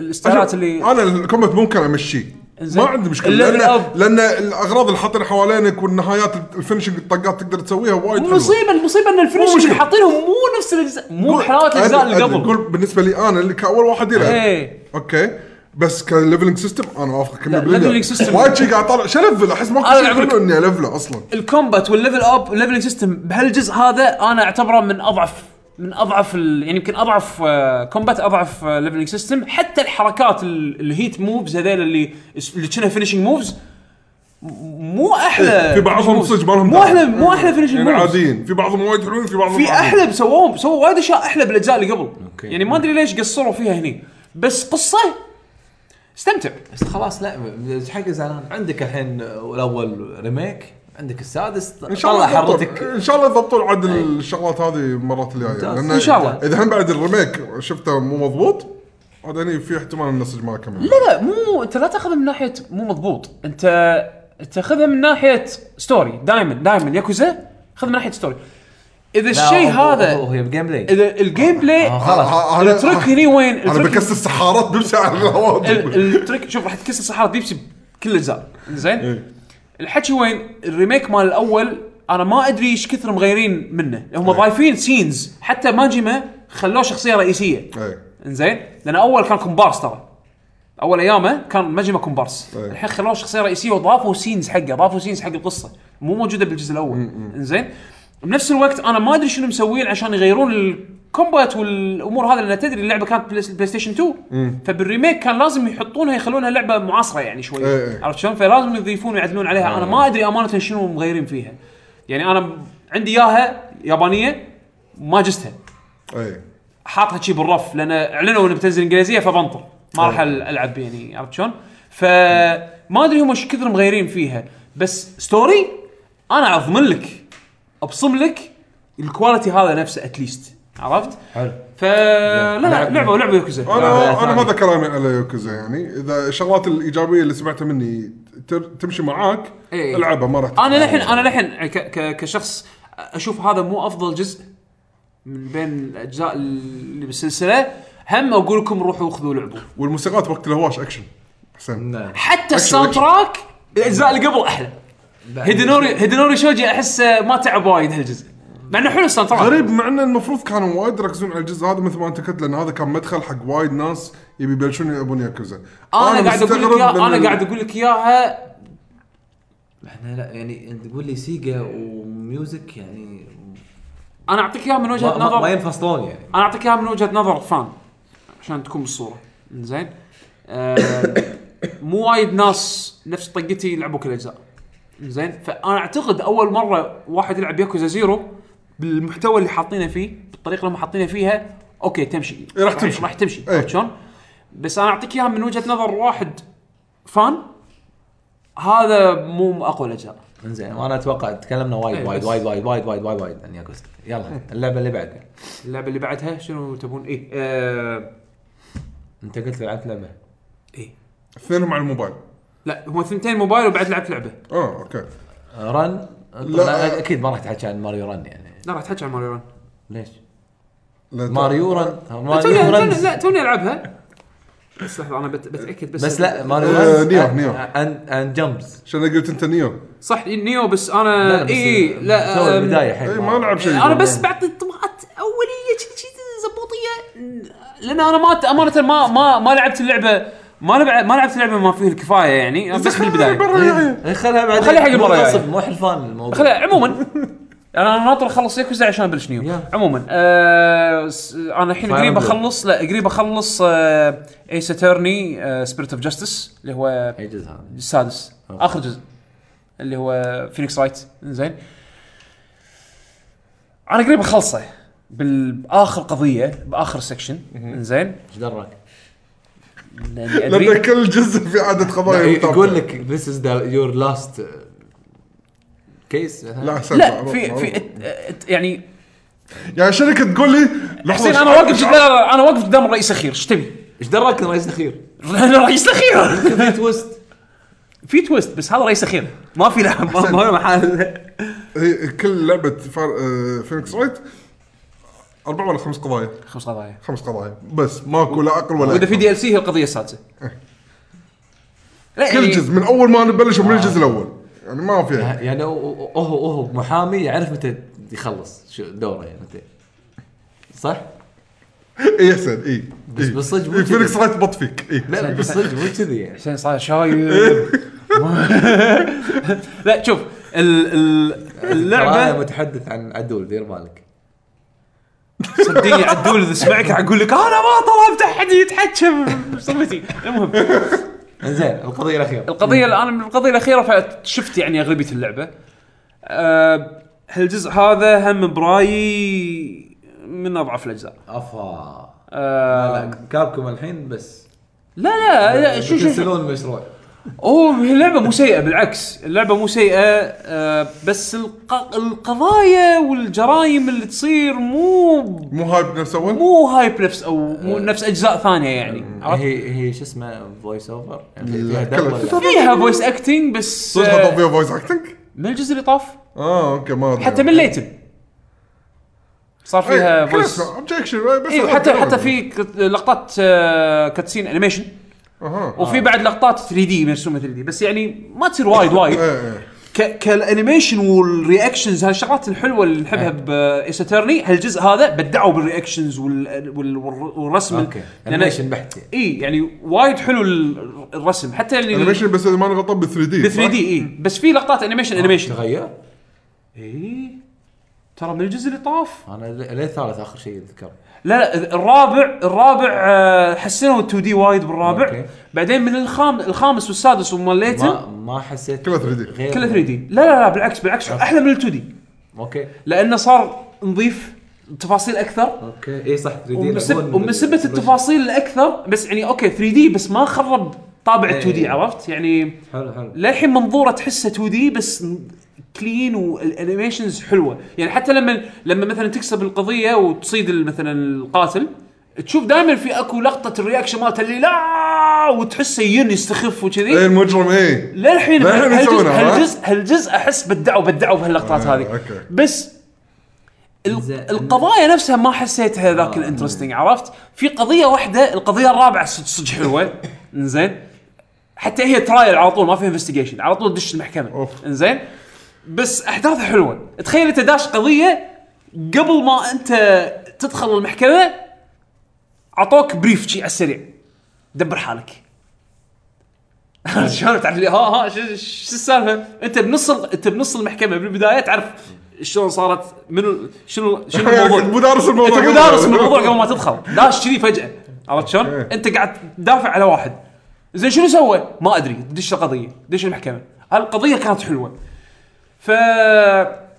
Speaker 2: الستايلات اللي
Speaker 3: انا الكومبات ممكن امشيه
Speaker 2: زين.
Speaker 3: ما عندي مشكله
Speaker 2: الليفل
Speaker 3: لان
Speaker 2: أب.
Speaker 3: لان الاغراض اللي حاطينها حوالينك والنهايات الفينشنج الطقات تقدر تسويها وايد حلوة.
Speaker 2: المصيبه المصيبه ان الفينش اللي
Speaker 3: مشكلة.
Speaker 2: حاطينهم مو نفس الاجزاء مو حلاوه الاجزاء
Speaker 3: أدري-
Speaker 2: اللي
Speaker 3: أدري.
Speaker 2: قبل
Speaker 3: قول بالنسبه لي انا اللي كاول واحد يلعب
Speaker 2: ايه
Speaker 3: اوكي بس كليفلنج سيستم انا اوافقك 100%
Speaker 2: leveling system.
Speaker 3: وايد شي قاعد طالع شو لفل احس ماكو
Speaker 2: أنا
Speaker 3: شيء
Speaker 2: أقول لك.
Speaker 3: حلو اني الفله اصلا
Speaker 2: الكومبات والليفل اب والليفلنج سيستم بهالجزء هذا انا اعتبره من اضعف من اضعف ال... يعني يمكن اضعف آه، كومبات اضعف آه، ليفلنج سيستم حتى الحركات ال- الهيت موفز هذيل اللي اللي كنا فينشنج موفز مو احلى
Speaker 3: إيه، في بعضهم
Speaker 2: finishing moves.
Speaker 3: صدق ما لهم
Speaker 2: مو
Speaker 3: داعي.
Speaker 2: احلى مو احلى فينشنج
Speaker 3: يعني
Speaker 2: موفز
Speaker 3: عاديين في بعضهم وايد حلوين في بعضهم
Speaker 2: في
Speaker 3: عاديين.
Speaker 2: احلى سووهم سووا وايد اشياء احلى بالاجزاء اللي قبل
Speaker 4: أوكي.
Speaker 2: يعني ما ادري ليش قصروا فيها هني بس قصه استمتع
Speaker 4: بس خلاص لا حق زعلان عندك الحين الاول ريميك عندك السادس
Speaker 3: ان شاء الله
Speaker 4: طلع
Speaker 3: يضبطون.
Speaker 4: حرتك
Speaker 3: ان شاء الله يضبطون عاد الشغلات هذه المرات الجايه
Speaker 4: ممتاز.
Speaker 3: لأن
Speaker 2: إيه. إن شاء الله.
Speaker 3: اذا هم بعد الريميك شفته مو مضبوط عاد هني في احتمال ان النسج ما كمل
Speaker 2: لا لا مو مو انت لا تاخذها من ناحيه مو مضبوط انت تاخذها من ناحيه ستوري دائما دائما ياكوزا خذها من ناحيه ستوري اذا الشيء هذا
Speaker 4: هي بجيم بلاي
Speaker 2: اذا الجيم بلاي
Speaker 4: آه، خلاص.
Speaker 3: آه، أنا-
Speaker 2: الترك هني وين
Speaker 3: انا
Speaker 2: الترك-
Speaker 3: بكسر السحارات بمشي على
Speaker 2: ال-
Speaker 3: الهواء
Speaker 2: الترك شوف راح تكسر صحارة بيبسي بكل الاجزاء زين
Speaker 3: إيه.
Speaker 2: الحكي وين الريميك مال الاول انا ما ادري ايش كثر مغيرين منه
Speaker 3: إيه.
Speaker 2: هم ضايفين سينز حتى ماجما خلوه شخصيه رئيسيه
Speaker 3: إيه.
Speaker 2: انزين لان اول كان كومبارس ترى اول ايامه كان ماجما كومبارس
Speaker 3: أي.
Speaker 2: الحين خلوه شخصيه رئيسيه وضافوا سينز حقه ضافوا سينز حق القصه مو موجوده بالجزء الاول انزين بنفس الوقت انا ما ادري شنو مسوين عشان يغيرون الكومبات والامور هذه لان تدري اللعبه كانت بلاي- بلاي ستيشن 2 فبالريميك كان لازم يحطونها يخلونها لعبه معاصره يعني شوي
Speaker 3: أي، أي.
Speaker 2: عرفت شلون فلازم يضيفون ويعدلون عليها انا ما ادري امانه شنو مغيرين فيها يعني انا عندي اياها يابانيه ما جستها
Speaker 3: اي
Speaker 2: حاطها شي بالرف لان اعلنوا انه بتنزل انجليزيه فبنطر ما راح ال- العب يعني عرفت شلون؟ فما ادري هم ايش كثر مغيرين فيها بس ستوري انا اضمن لك ابصم لك الكواليتي هذا نفسه اتليست عرفت؟
Speaker 4: حلو
Speaker 2: فلا لا لعبه ولعبه يوكوزا
Speaker 3: انا
Speaker 4: لا،
Speaker 3: انا
Speaker 4: ثاني.
Speaker 3: ما ذا كلامي على يوكوزا يعني اذا الشغلات الايجابيه اللي سمعتها مني تر- تمشي معاك
Speaker 2: إيه.
Speaker 3: العبها ما راح
Speaker 2: انا للحين انا للحين ك- ك- كشخص اشوف هذا مو افضل جزء من بين الاجزاء اللي بالسلسله هم اقول لكم روحوا خذوا لعبوا
Speaker 3: والموسيقات وقت الهواش اكشن حسين
Speaker 4: نعم.
Speaker 2: حتى الساوند تراك الاجزاء اللي قبل احلى هيدنوري هيدنوري شوجي احس ما تعب وايد هالجزء مع انه حلو الساوند تراك
Speaker 3: غريب مع انه المفروض كانوا وايد يركزون على الجزء هذا مثل ما انت قلت لان هذا كان مدخل حق وايد ناس يبي يبلشون يلعبون ياكوزا
Speaker 2: انا قاعد اقول لك
Speaker 3: مستغرب
Speaker 2: إياه-
Speaker 3: لأن-
Speaker 2: انا قاعد اقول لك اياها
Speaker 4: احنا لا يعني انت تقول لي سيجا وميوزك يعني
Speaker 2: انا اعطيك اياها من وجهه
Speaker 4: ما, ما, ما
Speaker 2: نظر
Speaker 4: ينفصلون يعني
Speaker 2: انا اعطيك اياها من وجهه نظر فان عشان تكون بالصوره زين مو وايد ناس نفس طقتي يلعبوا كل الاجزاء زين فانا اعتقد اول مره واحد يلعب ياكوزا زيرو بالمحتوى اللي حاطينه فيه بالطريقه اللي هم حاطينه فيها اوكي تمشي
Speaker 3: إيه، راح تمشي.
Speaker 2: راح تمشي
Speaker 3: إيه.
Speaker 2: عرفت شلون؟ بس انا اعطيك اياها من وجهه نظر واحد فان هذا مو من اقوى الاجزاء
Speaker 4: زين وانا اتوقع تكلمنا
Speaker 2: إيه،
Speaker 4: وايد وايد
Speaker 2: بس. إيه.
Speaker 4: وايد وايد وايد وايد وايد وايد عن ياكوزا يلا اللعبه اللي بعدها
Speaker 2: اللعبه اللي بعدها شنو تبون ايه آه
Speaker 4: انت قلت لعبت لعبه
Speaker 2: ايه
Speaker 3: اثنينهم على الموبايل
Speaker 2: لا هم ثنتين موبايل وبعد لعبت لعبه
Speaker 3: اه اوكي
Speaker 4: رن لا اكيد ما راح تحكي عن ماريو رن يعني
Speaker 2: لا راح تحكي عن ماريو ران
Speaker 4: ليش؟
Speaker 3: لا ت-
Speaker 4: ماريو رن
Speaker 2: لا، توني
Speaker 4: ماريو
Speaker 2: توني-
Speaker 4: رن
Speaker 2: لا توني العبها بس لحظه انا بت- بتاكد بس
Speaker 4: بس لا ماريو
Speaker 3: آه،
Speaker 4: رن
Speaker 3: نيو، نيو.
Speaker 4: اند اند جمبز
Speaker 3: عشان أنا قلت انت نيو
Speaker 2: صح نيو بس انا اي إيه لا
Speaker 4: تو إيه،
Speaker 2: أم،
Speaker 4: البدايه حيل
Speaker 3: اي إيه، ما العب شيء
Speaker 2: انا بس بعطي طبقات اوليه شي شي زبوطيه لان انا ما امانه ما ما ما لعبت اللعبه ما لعب ما لعبت اللعبه ما فيه الكفايه يعني أنا بس بالبدايه
Speaker 3: بالبدايه
Speaker 4: إيه، خلها بعدين
Speaker 2: خليها حق
Speaker 4: مو
Speaker 2: المرة
Speaker 4: غصب،
Speaker 2: الجاية.
Speaker 4: مو حلفان الموضوع
Speaker 2: خلا عموما انا أنا ناطر اخلص ياكوزا عشان ابلش نيو
Speaker 4: يلا.
Speaker 2: عموما آه س- انا الحين
Speaker 4: Fire
Speaker 2: قريب
Speaker 4: Emblem.
Speaker 2: اخلص لا قريب اخلص آه ايس اترني آه سبيريت اوف جاستس اللي هو
Speaker 4: اي جزء هذا
Speaker 2: السادس
Speaker 4: أوكي.
Speaker 2: اخر جزء اللي هو فينيكس رايت زين انا قريب اخلصه بال- باخر قضيه باخر سكشن زين
Speaker 4: ايش دراك؟
Speaker 2: لاني
Speaker 3: لان
Speaker 2: ادري
Speaker 3: كل جزء في عدد قضايا متابعة.
Speaker 4: يقول لك ذيس از يور لاست كيس
Speaker 3: لا حسين
Speaker 2: لا
Speaker 3: معروف،
Speaker 2: في
Speaker 3: معروف.
Speaker 2: في ات- ات- يعني
Speaker 3: يعني شركه تقول لي لحظه
Speaker 2: حسين انا واقف لا لا لا، انا واقف قدام الرئيس الاخير ايش تبي؟
Speaker 4: ايش دراك الرئيس الاخير؟
Speaker 2: الرئيس الاخير
Speaker 4: في تويست
Speaker 2: في تويست بس هذا رئيس اخير ما في لعب ما ما له محل
Speaker 3: هي كل لعبه فار... آه، فينيكس رايت اربع ولا خمس قضايا
Speaker 2: خمس قضايا
Speaker 3: خمس قضايا بس ماكو لا اقل ولا
Speaker 2: واذا في
Speaker 3: أكثر.
Speaker 2: دي ال سي هي القضيه السادسه لا
Speaker 3: كل
Speaker 2: يعني-
Speaker 3: إيه. جزء من اول ما نبلش من
Speaker 2: آه.
Speaker 3: الجزء الاول يعني ما فيها
Speaker 4: يعني هو هو هو محامي يعرف متى يخلص شو دوره يعني متى صح؟
Speaker 3: اي احسن اي
Speaker 4: بس بالصدق مو
Speaker 3: اي
Speaker 4: كذي.
Speaker 3: فينيكس رايت بط فيك اي
Speaker 4: لا بس صدق مو كذي يعني
Speaker 2: حسين صار شايب لا شوف ال ال
Speaker 4: انا
Speaker 2: اللعبه
Speaker 4: متحدث عن عدول دير بالك
Speaker 2: صدقني عدول اذا سمعك راح اقول لك انا ما طلبت احد يتحكم بصمتي المهم
Speaker 4: انزين القضيه الاخيره
Speaker 2: القضيه الان من القضيه الاخيره فشفت يعني اغلبيه اللعبه أه هالجزء هذا هم برايي من اضعف الاجزاء
Speaker 4: افا
Speaker 2: آه،
Speaker 4: لا كابكم الحين بس
Speaker 2: لا آه، لا لا شو شو- شو
Speaker 4: يسلون المشروع
Speaker 2: اوه هي اللعبه مو سيئه بالعكس اللعبه مو سيئه آه، بس الق- القضايا والجرايم اللي تصير مو
Speaker 3: مو هايب نفس اول؟
Speaker 2: مو هايب نفس او
Speaker 3: آه.
Speaker 2: مو نفس اجزاء ثانيه يعني عرفت؟
Speaker 4: هي هي شو اسمه فويس اوفر
Speaker 3: لا،
Speaker 4: فيها يعني. دم
Speaker 3: آه.
Speaker 4: ولا؟
Speaker 2: فيها فويس اكتنج بس
Speaker 3: صدق
Speaker 2: آه،
Speaker 3: حطوا فيها فويس اكتنج؟
Speaker 2: من الجزء اللي طاف
Speaker 3: اه اوكي ما أدري.
Speaker 2: حتى من ليتن صار
Speaker 3: إيه،
Speaker 2: فيها
Speaker 3: كلها
Speaker 2: فويس
Speaker 3: اسمع، objection، بس
Speaker 2: اي وحتى حتى في كت- لقطات آه، كاتسين انيميشن
Speaker 3: اها
Speaker 2: وفي بعد لقطات 3 دي مرسومه 3 دي بس يعني ما تصير وايد وايد
Speaker 3: إيه، إيه.
Speaker 2: ك- كالانيميشن والرياكشنز هالشغلات الحلوه اللي نحبها
Speaker 4: إيه.
Speaker 2: بايس اترني هالجزء هذا بدعوا بالرياكشنز وال- وال- وال- والرسم
Speaker 4: اوكي
Speaker 2: لأن-
Speaker 4: انيميشن بحت يعني.
Speaker 2: اي يعني وايد حلو ال- الرسم حتى يعني اللي
Speaker 3: انيميشن بس اذا ماني غلطان ب 3 دي
Speaker 2: ب 3 دي اي بس في لقطات انيميشن انيميشن
Speaker 4: آه. تغير
Speaker 2: اي ترى من الجزء اللي طاف
Speaker 4: انا ل- ليه الثالث اخر شيء اذكر
Speaker 2: لا لا الرابع الرابع آه، حسنوا ال 2 دي وايد بالرابع
Speaker 4: أوكي.
Speaker 2: بعدين من الخام الخامس والسادس ومال ليتن
Speaker 4: ما ما حسيت
Speaker 3: كلها 3D.
Speaker 4: غير-
Speaker 2: كله 3 دي لا لا لا بالعكس بالعكس احلى من ال 2 دي
Speaker 4: اوكي
Speaker 2: لانه صار نظيف تفاصيل اكثر
Speaker 4: اوكي اي صح 3
Speaker 2: ومن سب- ومن سبه التفاصيل الاكثر بس يعني اوكي 3 دي بس ما خرب طابع ال 2 دي
Speaker 4: إيه.
Speaker 2: عرفت يعني
Speaker 4: حلو حلو
Speaker 2: للحين منظوره تحسه 2 دي بس كلين والانيميشنز حلوه يعني حتى لما لما مثلا تكسب القضيه وتصيد ال- مثلا القاتل تشوف دائما في اكو لقطه الرياكشن مالته اللي لا وتحسه ين يستخف
Speaker 3: اي
Speaker 2: وكذي
Speaker 3: إيه، المجرم اي
Speaker 2: للحين
Speaker 3: للحين
Speaker 2: هالجزء-
Speaker 3: يسوونها، ها؟
Speaker 2: هالجزء هالجزء احس بدعوا بدعوا بهاللقطات
Speaker 3: آه،
Speaker 2: هذه
Speaker 3: أوكي.
Speaker 2: بس
Speaker 4: زين.
Speaker 2: ال- القضايا نفسها ما حسيتها ذاك الانترستنج عرفت؟ في قضيه واحده القضيه الرابعه صدق صدق حلوه انزين حتى هي ترايل على طول ما في انفستيجيشن على طول دش المحكمه
Speaker 3: أوف.
Speaker 2: انزين بس احداثها حلوه تخيل انت داش قضيه قبل ما انت تدخل المحكمه عطوك بريف شي على السريع دبر حالك شلون تعرف لي ها ها شو شو السالفه؟ انت بنص ال- انت بنص المحكمه بالبدايه تعرف شلون صارت منو شنو شنو
Speaker 3: مو
Speaker 2: الموضوع
Speaker 3: دارس الموضوع
Speaker 2: انت مو دارس من الموضوع قبل ما تدخل داش كذي فجاه عرفت شلون؟
Speaker 3: إيه.
Speaker 2: انت قاعد تدافع على واحد زين شنو سوى؟ ما ادري دش القضيه دش المحكمه القضيه كانت حلوه ف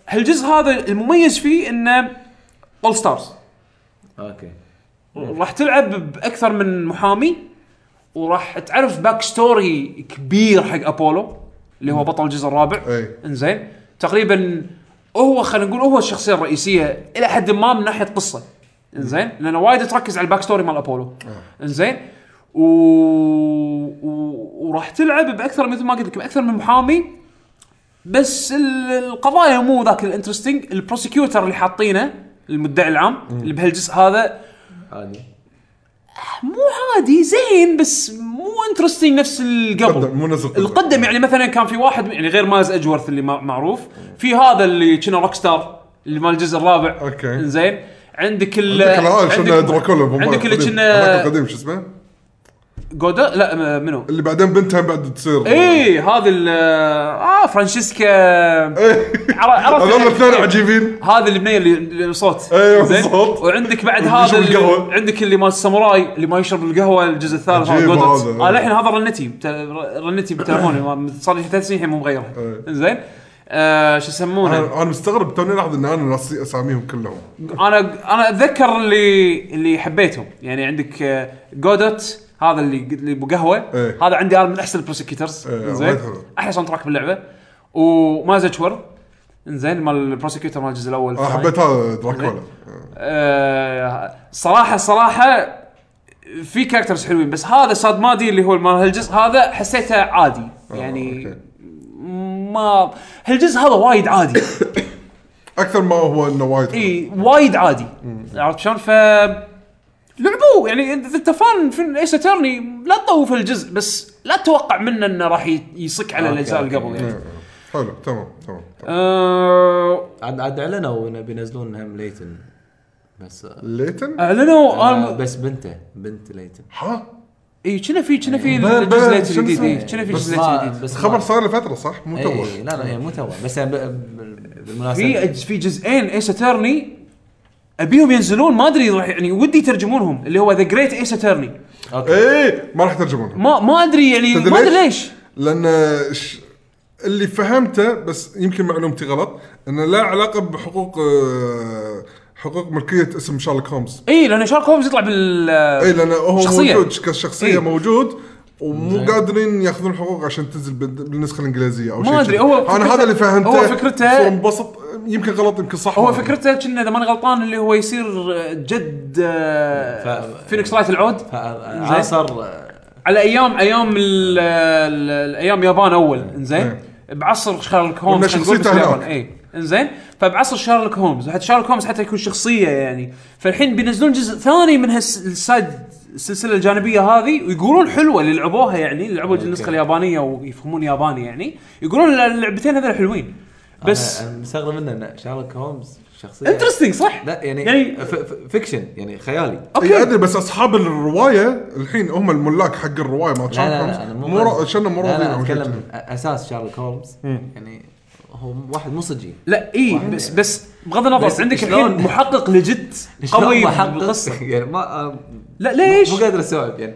Speaker 2: هالجزء هذا المميز فيه انه اول ستارز
Speaker 4: اوكي
Speaker 2: راح تلعب باكثر من محامي وراح تعرف باك ستوري كبير حق ابولو اللي هو بطل الجزء الرابع
Speaker 3: إي.
Speaker 2: انزين تقريبا هو خلينا نقول هو الشخصيه الرئيسيه الى حد ما من ناحيه قصه انزين لانه وايد تركز على الباك ستوري مال ابولو انزين و... و... وراح تلعب باكثر مثل ما قلت لك باكثر من محامي بس ال- القضايا مو ذاك الانترستنج البروسيكيوتر اللي حاطينه المدعي العام اللي بهالجزء هذا
Speaker 4: عادي
Speaker 2: مو عادي زين بس مو انترستنج نفس
Speaker 3: قدم، مو
Speaker 2: القبل
Speaker 3: نفس القبل.
Speaker 2: القدم يعني مثلا كان في واحد يعني غير ماز اجورث اللي ما- معروف في هذا اللي كنا روك ستار اللي مال الجزء الرابع
Speaker 3: أوكي.
Speaker 2: زين عندك ال
Speaker 3: عندك العالم شفنا دراكولا بمبارح
Speaker 2: عندك اللي
Speaker 3: قديم.
Speaker 2: كنا-
Speaker 3: هذاك القديم شو اسمه؟
Speaker 2: جودا لا م- منو
Speaker 3: اللي بعدين بنتها بعد تصير
Speaker 2: اي هذا ال اه فرانشيسكا
Speaker 3: إيه،
Speaker 2: عر- عرفت
Speaker 3: هذول الاثنين
Speaker 2: إيه.
Speaker 3: عجيبين
Speaker 2: هذا البنيه اللي- اللي صوت
Speaker 3: أيوة،
Speaker 2: زين؟
Speaker 3: صوت.
Speaker 2: وعندك بعد
Speaker 3: اللي
Speaker 2: هذا
Speaker 3: يشرب
Speaker 2: اللي
Speaker 3: القهوة.
Speaker 2: عندك اللي مال الساموراي اللي ما يشرب القهوه الجزء الثالث هذا
Speaker 3: عجيب
Speaker 2: جودوتس.
Speaker 3: هذا. أيوة.
Speaker 2: اه للحين هذا رنتي بت- رنتي بتليفوني ما- صار لي ثلاث سنين الحين مو مغيرها
Speaker 3: أي.
Speaker 2: زين آه شو يسمونه
Speaker 3: انا أنا مستغرب توني لاحظ ان انا ناسي اساميهم كلهم
Speaker 2: انا انا اتذكر اللي اللي حبيتهم يعني عندك آه، جودوت هذا اللي اللي ابو قهوه
Speaker 3: إيه.
Speaker 2: هذا عندي انا من احسن البروسكيوترز
Speaker 3: إيه،
Speaker 2: زين
Speaker 3: وايد حلو.
Speaker 2: احلى ساوند تراك باللعبه ومازج ور زين مال البروسكيوتر مال الجزء الاول
Speaker 3: انا
Speaker 2: الثاني.
Speaker 3: حبيت هذا دراكولا
Speaker 2: آه، صراحه صراحه في كاركترز حلوين بس هذا ساد مادي اللي هو مال هالجزء هذا حسيته عادي يعني
Speaker 3: آه، أوكي.
Speaker 2: ما هالجزء هذا وايد عادي
Speaker 3: اكثر ما هو انه وايد حلو.
Speaker 2: اي وايد عادي عرفت شلون ف لعبوه يعني اذا انت فان في ايس اترني لا تطوف الجزء بس لا تتوقع منه انه راح ي- يصك على
Speaker 4: أوكي،
Speaker 2: الاجزاء
Speaker 4: أوكي.
Speaker 2: اللي قبل يعني
Speaker 3: حلو تمام تمام تمام.
Speaker 2: آه،
Speaker 4: عاد عاد اعلنوا انه بينزلون هم ليتن بس آه،
Speaker 3: ليتن
Speaker 2: اعلنوا
Speaker 4: آه،
Speaker 2: آم-
Speaker 4: بس بنته بنت ليتن
Speaker 3: ها
Speaker 2: اي كنا في كنا في
Speaker 3: بل- بل-
Speaker 2: الجزء
Speaker 3: شنو
Speaker 2: الجديد إي،
Speaker 3: اسمه؟
Speaker 2: كنا في
Speaker 3: بس
Speaker 2: الجزء
Speaker 4: ما-
Speaker 2: الجديد
Speaker 4: بس ما-
Speaker 3: خبر صار لفتره صح
Speaker 2: إيه.
Speaker 3: مو تو
Speaker 4: اي لا لا يعني مو توا بس يعني ب- ب- بالمناسبه
Speaker 2: في في جزئين ايس اترني ابيهم ينزلون ما ادري راح يعني ودي يترجمونهم اللي هو ذا جريت ايس اترني
Speaker 3: إيه.
Speaker 4: اوكي
Speaker 3: اي ما راح ترجمونها
Speaker 2: ما ما ادري يعني
Speaker 3: تدري
Speaker 2: ما ادري
Speaker 3: ليش؟
Speaker 2: ليش
Speaker 3: لان ش... اللي فهمته بس يمكن معلومتي غلط انه لا علاقه بحقوق آه، حقوق ملكيه اسم شارلوك هومز
Speaker 2: اي لان شارك هومز يطلع بال
Speaker 3: اي لان هو
Speaker 2: شخصية. إيه.
Speaker 3: موجود كشخصيه
Speaker 2: إي.
Speaker 3: موجود ومو قادرين ياخذون الحقوق عشان تنزل بال- بالنسخه الانجليزيه او شيء
Speaker 2: أدري،
Speaker 3: كذا.
Speaker 2: هو
Speaker 3: انا
Speaker 2: فكرته-
Speaker 3: هذا اللي فهمته
Speaker 2: هو فكرته-
Speaker 3: صار انبسط يمكن غلط يمكن صح ما
Speaker 2: هو
Speaker 3: أدري.
Speaker 2: فكرته كنا اذا ماني غلطان اللي هو يصير جد آه،
Speaker 4: ف-
Speaker 2: فينيكس رايت العود زين.
Speaker 4: عصر آه،
Speaker 2: على ايام ايام ال- ال- الايام يابان اول انزين بعصر شارلوك هومز خلينا
Speaker 3: وإنه
Speaker 2: نقول بس
Speaker 3: إيه. شخصيته
Speaker 2: اليابان،
Speaker 3: هناك.
Speaker 2: اي انزين فبعصر شارلوك هومز حتى شارلوك هومز حتى يكون شخصيه يعني فالحين بينزلون جزء ثاني من هالسايد السلسله الجانبيه هذه ويقولون حلوه اللي لعبوها يعني اللي لعبوا النسخه اليابانيه ويفهمون ياباني يعني يقولون اللعبتين هذول حلوين بس
Speaker 4: أنا- أنا مستغرب منه ان شارلوك هومز شخصيه
Speaker 2: انترستنج صح؟
Speaker 4: لا يعني,
Speaker 2: يعني-
Speaker 4: يعني فيكشن يعني خيالي
Speaker 3: اي
Speaker 2: اوكي
Speaker 3: ادري بس اصحاب الروايه الحين هم الملاك حق الروايه مال
Speaker 4: لا لا
Speaker 3: شارلوك
Speaker 4: لا
Speaker 3: هومز
Speaker 4: انا
Speaker 3: مو را- شنو مو
Speaker 4: لا
Speaker 3: راضيين
Speaker 4: لا
Speaker 3: أو شيء
Speaker 4: اتكلم
Speaker 3: كذا.
Speaker 4: اساس شارلوك هومز يعني هو واحد مو صجي
Speaker 2: لا اي بس بس بغض النظر
Speaker 4: يعني. بس
Speaker 2: عندك
Speaker 4: شلون-
Speaker 2: الحين محقق لجت
Speaker 4: شلون
Speaker 2: قوي
Speaker 4: محقق؟
Speaker 2: بالقصه
Speaker 4: يعني ما آه،
Speaker 2: لا ليش؟
Speaker 4: مو قادر استوعب يعني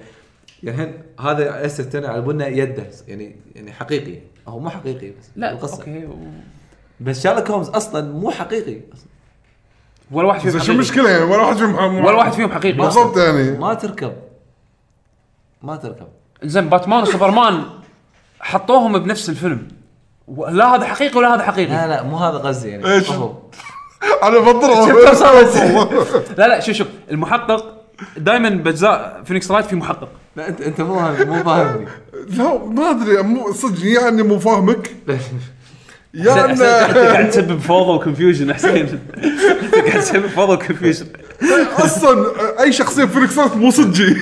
Speaker 4: يعني الحين هذا اسيت انا على بنا يده يعني يعني حقيقي هو مو حقيقي بس
Speaker 2: لا
Speaker 4: القصه
Speaker 2: اوكي و-
Speaker 4: بس شارلوك هومز اصلا مو حقيقي أصلاً.
Speaker 2: ولا واحد فيهم
Speaker 3: زين شو
Speaker 2: حقيقي
Speaker 3: المشكله يعني ولا واحد فيهم
Speaker 2: ولا واحد فيهم حقيقي أصلاً.
Speaker 3: بالضبط يعني
Speaker 4: ما تركب ما تركب
Speaker 2: زين باتمان وسوبرمان حطوهم بنفس الفيلم و- لا هذا حقيقي ولا هذا حقيقي
Speaker 4: لا لا مو هذا غزي يعني
Speaker 3: إيش؟
Speaker 4: أهو.
Speaker 3: انا بضرب
Speaker 2: شفت كم صارت؟ لا لا شوف شوف المحقق دائما باجزاء فينيكس رايت في محقق
Speaker 4: لا انت انت مو هذا- مو فاهمني
Speaker 3: لا ما ادري مو صدق يا اني مو فاهمك يعني يا
Speaker 2: حسين انت
Speaker 3: انه
Speaker 2: قاعد تسبب فوضى وكونفيوجن حسين انت قاعد تسبب فوضى وكونفيوجن
Speaker 3: اصلا اي شخصيه فينيكس رايت مو صدقي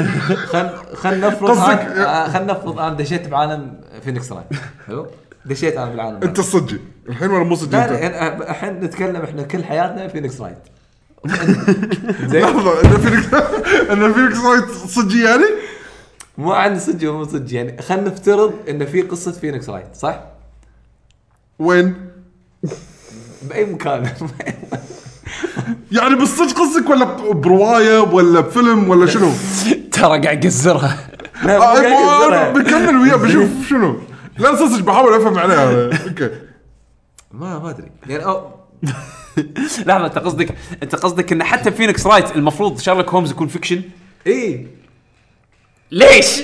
Speaker 4: خل خل نفرض
Speaker 3: قصدك-
Speaker 4: أنا- خل نفرض انا دشيت بعالم فينيكس رايت حلو دشيت انا بالعالم
Speaker 3: انت صدقي الحين ولا مو صدقي
Speaker 4: لا، لا،
Speaker 3: انت؟
Speaker 4: يعني أ- الحين نتكلم احنا كل حياتنا فينيكس رايت زين
Speaker 3: لحظه ان فينيكس ان فينيكس رايت صدقي يعني؟
Speaker 4: مو عن صدق ومو صدق يعني خلينا نفترض ان في قصه فينيكس رايت صح؟
Speaker 3: وين؟
Speaker 4: باي مكان
Speaker 3: يعني بالصدق قصدك ولا بروايه ولا بفيلم ولا شنو؟
Speaker 2: ترى قاعد يقزرها
Speaker 4: لا، مو
Speaker 3: آه،
Speaker 4: قاعد
Speaker 3: ما- أنا
Speaker 4: يقدرها.
Speaker 3: بكمل وياه بشوف شنو لا صدق بحاول افهم عليها أنا. اوكي
Speaker 4: ما ما ادري يعني أو
Speaker 2: لحظه انت قصدك انت قصدك ان حتى فينيكس رايت المفروض شارلوك هومز يكون فيكشن
Speaker 4: اي
Speaker 2: ليش؟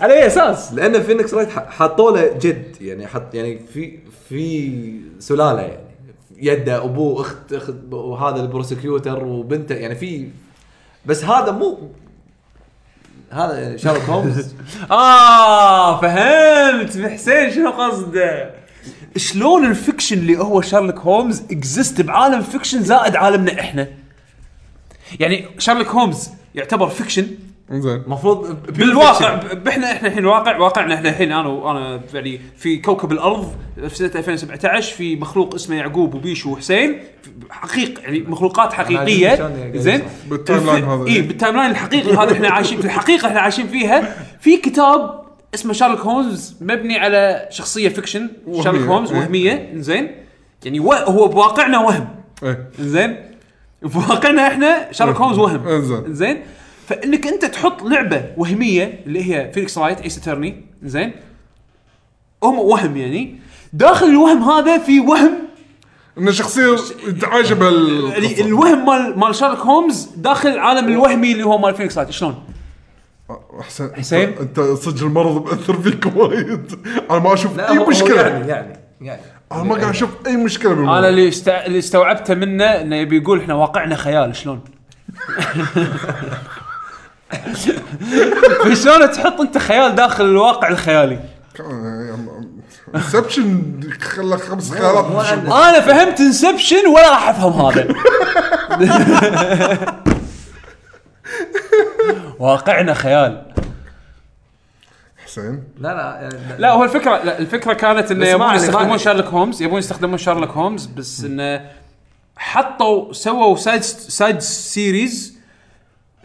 Speaker 4: على اي اساس؟ لان فينيكس رايت ح- حطوا له جد يعني حط يعني في في سلاله يعني يده ابوه اخت اخت وهذا البروسكيوتر وبنته يعني في بس هذا مو هذا يعني شارلوك هومز
Speaker 2: اه فهمت حسين شنو قصده شلون الفكشن اللي هو شارلوك هومز اكزيست بعالم فكشن زائد عالمنا احنا يعني شارلوك هومز يعتبر فكشن
Speaker 3: زين
Speaker 4: المفروض ب-
Speaker 2: بالواقع ب- احنا احنا الحين واقع واقعنا احنا الحين انا وانا يعني في كوكب الارض في سنه 2017 في مخلوق اسمه يعقوب وبيشو وحسين حقيق يعني مخلوقات حقيقيه
Speaker 4: عاجبني شلون
Speaker 2: زين
Speaker 4: قاعد
Speaker 3: بالتايم لاين هذا.
Speaker 2: اي بالتايم لاين الحقيقي هذا احنا عايشين في الحقيقه احنا عايشين فيها في كتاب اسمه شارلوك هومز مبني على شخصيه فيكشن
Speaker 3: وهمية.
Speaker 2: شارلوك هومز
Speaker 3: إيه.
Speaker 2: وهميه زين يعني و- هو بواقعنا وهم
Speaker 3: ايه
Speaker 2: زين في واقعنا احنا شارلوك هومز وهم
Speaker 3: إنزين.
Speaker 2: زين فانك انت تحط لعبه وهميه اللي هي فينيكس رايت ايس اترني زين هم وهم يعني داخل الوهم هذا في وهم
Speaker 3: انه شخصيه عايشه
Speaker 2: يعني
Speaker 3: بال
Speaker 2: الوهم مال مال شارلوك هومز داخل العالم الوهمي اللي هو مال فينيكس رايت شلون؟
Speaker 3: حسين
Speaker 2: حسين؟
Speaker 3: انت صدق المرض مأثر فيك وايد انا ما اشوف
Speaker 4: لا
Speaker 3: اي
Speaker 4: هو- هو
Speaker 3: مشكله
Speaker 4: يعني يعني يعني
Speaker 3: انا ما قاعد اشوف اي مشكله بالموضوع
Speaker 2: انا اللي است... اللي استوعبته منه انه يبي يقول احنا واقعنا خيال شلون؟ شلون تحط انت خيال داخل الواقع الخيالي؟
Speaker 3: انسبشن خلى خمس
Speaker 4: مو
Speaker 3: خيارات
Speaker 4: عنه.
Speaker 2: انا فهمت انسبشن ولا راح افهم هذا واقعنا خيال
Speaker 3: حسين
Speaker 4: لا لا يعني
Speaker 2: لا هو الفكره لا الفكره كانت انه
Speaker 4: بس ما
Speaker 2: يبون
Speaker 4: عليك، ما
Speaker 2: يستخدمون
Speaker 4: عليك.
Speaker 2: شارلوك هومز يبون يستخدمون شارلوك هومز بس انه حطوا سووا سايد سايد سيريز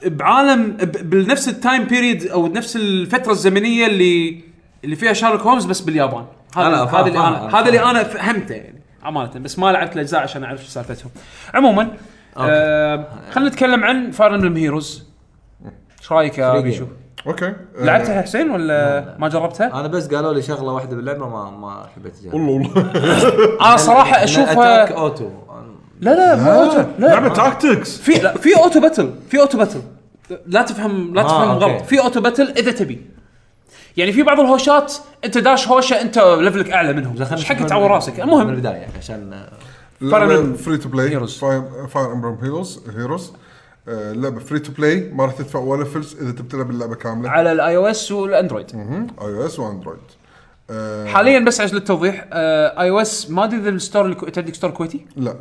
Speaker 2: بعالم ب- بنفس التايم بيريد او نفس الفتره الزمنيه اللي اللي فيها شارلوك هومز بس باليابان هذا
Speaker 4: أنا فاهم-
Speaker 2: هذا اللي
Speaker 4: فاهم-
Speaker 2: انا
Speaker 4: فاهم.
Speaker 2: هذا اللي انا فهمته يعني امانه بس ما لعبت الاجزاء عشان اعرف شو سالفتهم عموما آه خلينا نتكلم عن فاير امبلم هيروز ايش رايك يا
Speaker 4: Free game.
Speaker 2: بيشو؟
Speaker 3: اوكي
Speaker 2: لعبتها حسين ولا ما جربتها؟
Speaker 4: انا بس قالوا لي شغله
Speaker 3: إيه.
Speaker 4: واحده باللعبه ما ما حبيت اجربها
Speaker 2: آه،
Speaker 3: والله والله
Speaker 2: انا صراحه
Speaker 4: اتاك
Speaker 2: اشوفها
Speaker 4: اوتو
Speaker 2: آه، لا لا مو
Speaker 3: آه،
Speaker 2: اوتو لا
Speaker 3: لعبه تاكتكس
Speaker 2: في لا في اوتو باتل في اوتو باتل لا تفهم لا
Speaker 4: آه،
Speaker 2: تفهم
Speaker 4: أوكي.
Speaker 2: غلط في اوتو باتل اذا تبي يعني في بعض الهوشات انت داش هوشه انت ليفلك اعلى منهم ايش حقك تعور راسك
Speaker 4: من
Speaker 2: المهم
Speaker 4: البدايه يعني عشان
Speaker 2: Emblem
Speaker 3: لعبه فري تو بلاي
Speaker 2: Heroes.
Speaker 3: فاير امبرم هيروز هيروز لعبه فري تو بلاي ما راح تدفع ولا فلس اذا تبي تلعب اللعبه كامله
Speaker 2: على الاي او اس والاندرويد
Speaker 3: اي او اس واندرويد آه،
Speaker 2: حاليا بس عشان للتوضيح اي او اس ما ادري اذا الستور الكو- انت عندك ستور كويتي
Speaker 3: لا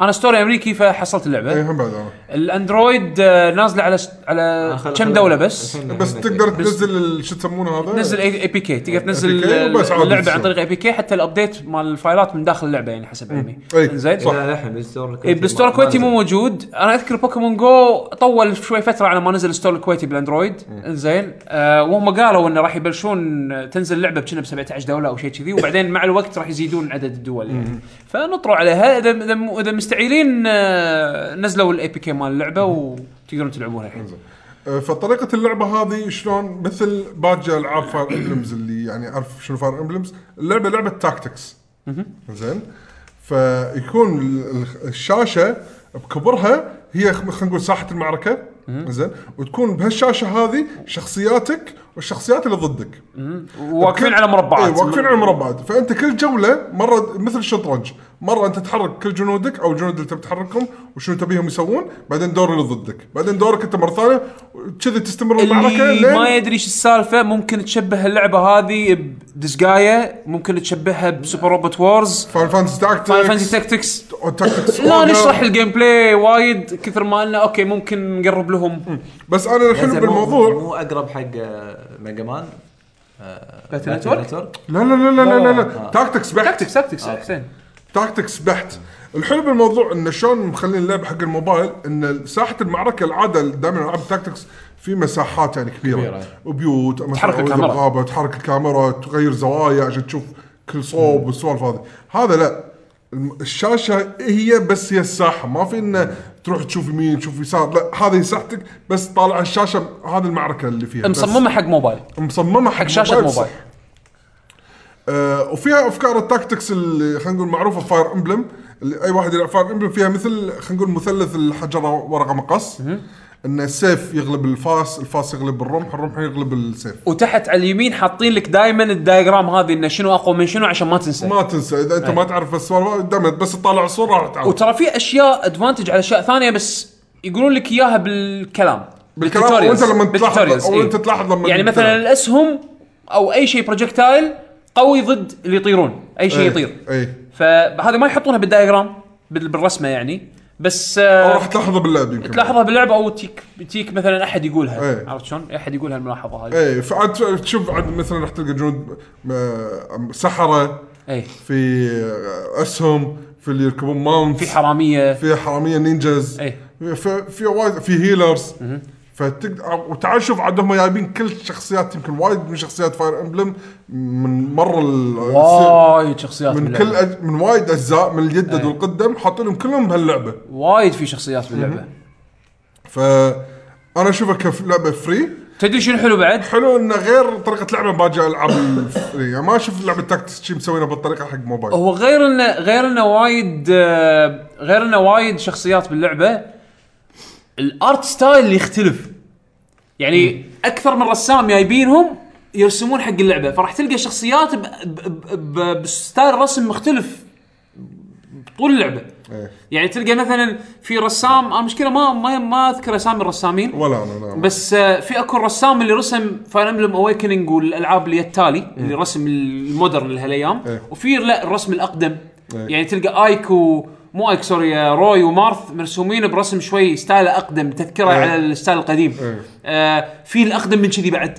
Speaker 2: انا ستور امريكي فحصلت
Speaker 3: اي
Speaker 4: إيه.
Speaker 2: اللعبه
Speaker 3: هم بعد انا
Speaker 2: الاندرويد آه، نازله على س-
Speaker 4: آه،
Speaker 2: على أه، كم دوله بس
Speaker 3: بس تقدر تنزل ال- شو يسمونه هذا
Speaker 2: تنزل اي بي كي تقدر تنزل
Speaker 3: APK وبس عادي
Speaker 2: اللعبه عن
Speaker 3: تصير.
Speaker 2: طريق اي بي كي حتى الابديت مال الفايلات من داخل اللعبه يعني حسب علمي
Speaker 3: إي،
Speaker 2: زين
Speaker 3: صح.
Speaker 4: الحين بالستور
Speaker 2: إي،
Speaker 4: الكويتي
Speaker 2: بالستور
Speaker 4: ما- ما
Speaker 2: الكويتي
Speaker 4: نزل.
Speaker 2: مو موجود انا اذكر بوكيمون جو طول شوي فتره على ما نزل الستور الكويتي بالاندرويد انزين آه وهم قالوا انه راح يبلشون تنزل اللعبه بكنا ب 17 دوله او شيء كذي وبعدين مع الوقت راح يزيدون عدد الدول يعني فنطروا عليها اذا اذا اذا مستعيلين آه نزلوا الاي بي كي مال اللعبه وتقدرون تلعبونها الحين
Speaker 3: آه، فطريقه اللعبه هذه شلون مثل باقي العاب فاير امبلمز اللي يعني اعرف شنو فاير امبلمز اللعبه لعبه تاكتكس زين فيكون ال- ال- الشاشه بكبرها هي خ- خلينا نقول ساحه المعركه زين وتكون بهالشاشه هذه شخصياتك والشخصيات اللي ضدك
Speaker 2: واقفين على
Speaker 3: اي
Speaker 2: مربعات
Speaker 3: إيه، واقفين على مربعات فانت كل جوله مره مثل الشطرنج مره انت تحرك كل جنودك او الجنود اللي تبي تحركهم وشنو تبيهم يسوون بعدين دور اللي ضدك بعدين دورك انت مره ثانيه كذا تستمر المعركه
Speaker 2: اللي ما
Speaker 3: لين
Speaker 2: يدري ايش السالفه ممكن تشبه اللعبه هذه بدسقايه ممكن تشبهها بسوبر روبوت وورز
Speaker 3: فاين فانتسي
Speaker 2: فاينل فانتسي
Speaker 3: تاكتكس
Speaker 2: تكتكس
Speaker 3: تاكتكس
Speaker 2: لا نشرح الجيم بلاي وايد كثر ما انه اوكي ممكن نقرب لهم
Speaker 3: بس انا الحلو
Speaker 4: يعني مو-
Speaker 3: بالموضوع
Speaker 4: مو اقرب حق آه، ميجا مان
Speaker 2: باتل
Speaker 4: باتل
Speaker 2: نتورك
Speaker 4: نتورك
Speaker 3: لا لا لا لا لا لا, لا. تاكتكس بحت
Speaker 2: تكتكس تكتكس حسين
Speaker 3: تاكتكس بحت الحلو بالموضوع انه شلون مخلين اللعبه حق الموبايل ان ساحه المعركه العاده دائما العاب التاكتكس في مساحات يعني كبيره,
Speaker 4: كبيرة.
Speaker 3: وبيوت مثلاً
Speaker 2: تحرك
Speaker 3: أو إذا
Speaker 2: الكاميرا.
Speaker 3: بغابه تحرك الكاميرا تغير زوايا عشان تشوف كل صوب والسوالف هذه هذا لا الم- الشاشه هي بس هي الساحه ما في انه تروح تشوف يمين تشوف يسار لا هذه ساحتك بس طالع الشاشه هذه المعركه اللي فيها بس.
Speaker 2: مصممه حق موبايل
Speaker 3: مصممه حق,
Speaker 2: حق شاشه موبايل
Speaker 3: آه، وفيها افكار التاكتكس اللي خلينا نقول معروفه فاير امبلم اللي اي واحد يلعب فاير امبلم فيها مثل خلينا نقول مثلث الحجره ورقه مقص ان السيف يغلب الفاس، الفاس يغلب الرمح، الرمح يغلب السيف.
Speaker 2: وتحت على اليمين حاطين لك دائما الدايجرام هذه انه شنو اقوى من شنو عشان ما تنسى
Speaker 3: ما تنسى اذا
Speaker 2: إيه.
Speaker 3: انت ما تعرف السوالف دائما بس تطالع الصوره راح تعرف.
Speaker 2: وترى في اشياء ادفانتج على اشياء ثانيه بس يقولون لك اياها بالكلام
Speaker 3: بالكلام،
Speaker 2: بالtutorials.
Speaker 3: وأنت لما تلاحظ-
Speaker 2: بالtutorials،
Speaker 3: أو
Speaker 2: إيه.
Speaker 3: أنت تلاحظ لما
Speaker 2: يعني
Speaker 3: تلعب.
Speaker 2: مثلا الاسهم او اي شيء بروجكتايل قوي ضد اللي يطيرون اي شيء
Speaker 3: إيه،
Speaker 2: يطير
Speaker 3: إيه.
Speaker 2: فهذه ما يحطونها بالدايجرام بال- بالرسمه يعني بس آه،
Speaker 3: او راح تلاحظه باللعب يمكن.
Speaker 2: تلاحظها باللعبه او تيك تيك مثلا احد يقولها
Speaker 3: إيه.
Speaker 2: عرفت شلون؟ احد يقول هالملاحظه هذه
Speaker 3: ايه فعاد تشوف عاد مثلا راح تلقى جنود آه، سحره
Speaker 2: اي
Speaker 3: في آه، اسهم في اللي يركبون ماونت
Speaker 2: في حراميه
Speaker 3: في حراميه نينجاز
Speaker 2: إيه.
Speaker 3: في في وايد في هيلرز فتقدر وتعال شوف عاد هم جايبين كل الشخصيات يمكن وايد من شخصيات فاير امبلم من مره ال-
Speaker 2: وايد إيه. شخصيات
Speaker 3: من
Speaker 2: باللعبة.
Speaker 3: كل أج... من وايد اجزاء من اليد والقدم حاطين لهم كلهم بهاللعبه
Speaker 2: وايد في شخصيات باللعبه
Speaker 3: ف انا اشوفها كلعبه فري
Speaker 2: تدري شنو حلو بعد؟
Speaker 3: حلو انه غير طريقه لعبه باجي العاب الفري يعني ما اشوف لعبه تاكتس شي مسوينها بالطريقه حق موبايل
Speaker 2: هو غير انه غير انه وايد آه، غير انه وايد شخصيات باللعبه الارت ستايل يختلف يعني اكثر من رسام جايبينهم يرسمون حق اللعبه فراح تلقى شخصيات ب- ب- ب- بستايل رسم مختلف طول اللعبه
Speaker 3: إيه.
Speaker 2: يعني تلقى مثلا في رسام انا المشكله ما ما ما اذكر اسامي الرسامين
Speaker 3: ولا انا لا
Speaker 2: بس آه، في اكو رسام اللي رسم فاير امبلم اويكننج والالعاب اللي التالي اللي رسم المودرن لهالايام
Speaker 3: إيه.
Speaker 2: وفي لا الرسم الاقدم
Speaker 3: إيه.
Speaker 2: يعني تلقى ايك و مو ايك سوري آه، روي ومارث مرسومين برسم شوي ستايل اقدم تذكره
Speaker 3: إيه.
Speaker 2: على الستايل القديم
Speaker 3: إيه.
Speaker 2: آه في الاقدم من كذي بعد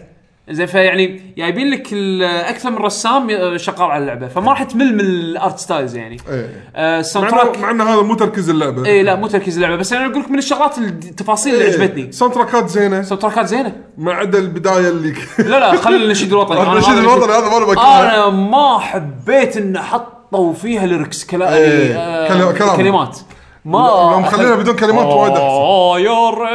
Speaker 2: زين فيعني جايبين لك ال- اكثر من رسام آه، شغال على اللعبه فما راح تمل من الارت ستايلز يعني
Speaker 3: ايه
Speaker 2: آه الساوند
Speaker 3: مع إنه-
Speaker 2: تراك
Speaker 3: مع ان هذا مو تركيز اللعبه
Speaker 2: اي لا مو تركيز اللعبه بس انا اقول لك من الشغلات التفاصيل
Speaker 3: إيه.
Speaker 2: اللي عجبتني
Speaker 3: ساوند تراكات زينه
Speaker 2: الساوند تراكات زينه
Speaker 3: ما عدا البدايه اللي
Speaker 2: لا لا خلي النشيد الوطني أنا
Speaker 3: النشيد
Speaker 2: هذا
Speaker 3: الوطني هذا ما أنا بكرهه.
Speaker 2: انا ما حبيت ان حطوا فيها ليركس كلا...
Speaker 3: إيه، كلا- كلام.
Speaker 2: كلام كلمات ما
Speaker 3: لو مخلينا بدون كلمات وايد أحسن.
Speaker 2: يار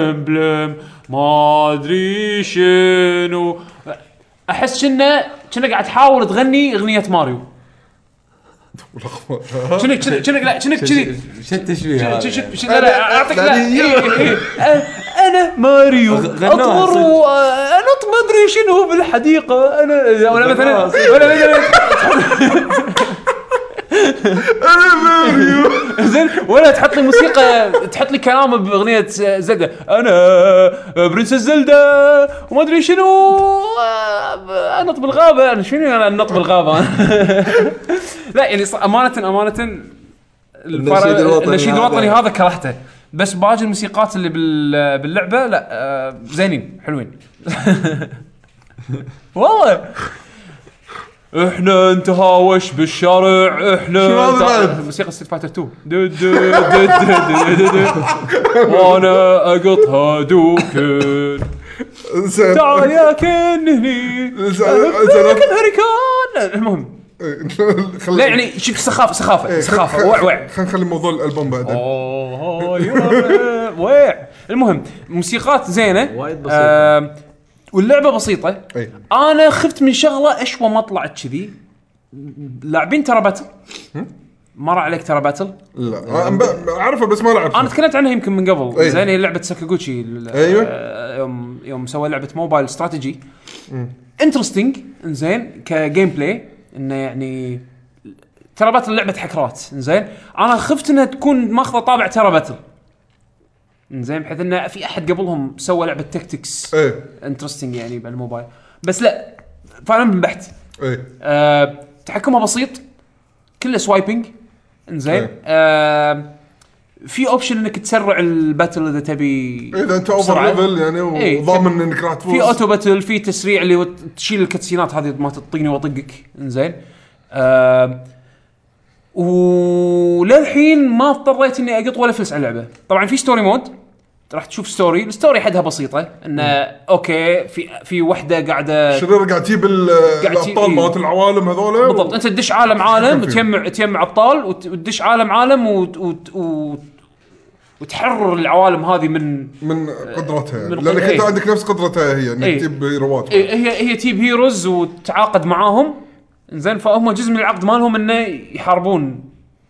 Speaker 2: امبلم ما ادري شنو احس كنا كنا قاعد تحاول تغني اغنيه ماريو
Speaker 3: والأخبار.
Speaker 2: شنك شنك شنك لا شنك كذي
Speaker 4: شو التشبيه
Speaker 2: شنك-
Speaker 4: هذا؟ يعني؟
Speaker 3: يعني.
Speaker 2: شنك- شنك- لا لا اعطيك لا إيه، إيه، إيه. انا ماريو
Speaker 4: غناها
Speaker 2: اطور
Speaker 4: صدق.
Speaker 2: وانط ما ادري شنو بالحديقه انا ولا مثلا
Speaker 4: غناها صدق.
Speaker 2: ولا مثلا
Speaker 3: أنا ماريو
Speaker 2: زين ولا تحط لي موسيقى تحط لي كلامه باغنيه زلدة انا برنسس زلدة وما ادري شنو انط بالغابه انا شنو انا انط بالغابه لا يعني ص- امانه امانه الفار-
Speaker 4: النشيد الوطني
Speaker 2: النشيد
Speaker 4: هذا.
Speaker 2: الوطني هذا كرهته بس باقي الموسيقات اللي بال- باللعبه لا آه، زينين حلوين والله احنا نتهاوش بالشارع احنا
Speaker 3: شنو هذا
Speaker 2: نتع-
Speaker 3: بعد؟
Speaker 2: موسيقى ستريت فايتر 2 دو دو دو دو دو دو. وانا اقطها دوكن
Speaker 3: زين
Speaker 2: تعال يا كن هني
Speaker 3: زين-
Speaker 2: أهبك
Speaker 3: زين.
Speaker 2: الهريكان المهم
Speaker 3: إيه،
Speaker 2: لا
Speaker 3: طيب.
Speaker 2: يعني شوف سخافه سخافه سخافه وع وع
Speaker 3: خلينا نخلي موضوع الالبوم بعدين
Speaker 2: اوه يا ويع المهم موسيقات آه، زينه
Speaker 4: وايد بسيطة.
Speaker 2: آم، واللعبه بسيطه
Speaker 3: إي.
Speaker 2: انا خفت من شغله اشوى ما طلعت كذي لاعبين ترى باتل مر عليك ترى باتل
Speaker 3: لا أنا ب- اعرفه بس ما لعبت
Speaker 2: انا تكلمت عنها يمكن من قبل
Speaker 3: أي.
Speaker 2: زين هي لعبه ساكاغوتشي ال-
Speaker 3: أيوة.
Speaker 2: آه، يوم يوم سوى لعبه موبايل استراتيجي انترستنج زين كجيم بلاي انه يعني ترى باتل لعبه حكرات زين انا خفت انها تكون ماخذه طابع ترى باتل زين بحيث انه في احد قبلهم سوى لعبه تكتكس
Speaker 3: ايه
Speaker 2: انترستنج يعني بالموبايل بس لا فعلا بحت
Speaker 3: ايه
Speaker 2: آه، تحكمها بسيط كله سوايبنج انزين
Speaker 3: إيه.
Speaker 2: آه، في اوبشن انك تسرع الباتل اذا تبي
Speaker 3: اذا انت اوفر
Speaker 2: بسرعة.
Speaker 3: ليفل يعني
Speaker 2: إيه.
Speaker 3: وضامن انك راح تفوز
Speaker 2: في اوتو باتل في تسريع اللي وت- تشيل الكتسينات هذه ما تطقني واطقك انزين آه، وللحين ما اضطريت اني اقط ولا فلس على اللعبه طبعا في ستوري مود راح تشوف ستوري الستوري حدها بسيطه انه اوكي في في وحده قاعده
Speaker 3: شرير قاعد تجيب ال-
Speaker 2: قاعد تجيب-
Speaker 3: الابطال
Speaker 2: إيه.
Speaker 3: مالت العوالم هذول
Speaker 2: بالضبط انت تدش عالم عالم
Speaker 3: تتحكم فيه.
Speaker 2: تجمع تجمع ابطال وت- وتدش عالم عالم وت... وت... وت... وتحرر العوالم هذه من
Speaker 3: من
Speaker 2: من
Speaker 3: قدرتها لانك
Speaker 2: قدرتها.
Speaker 3: انت
Speaker 2: إيه.
Speaker 3: عندك نفس قدرتها هي انك
Speaker 2: إيه.
Speaker 3: تجيب رواتب
Speaker 2: إيه، هي هي تيب هيروز وتعاقد معاهم زين فهم جزء من العقد مالهم انه يحاربون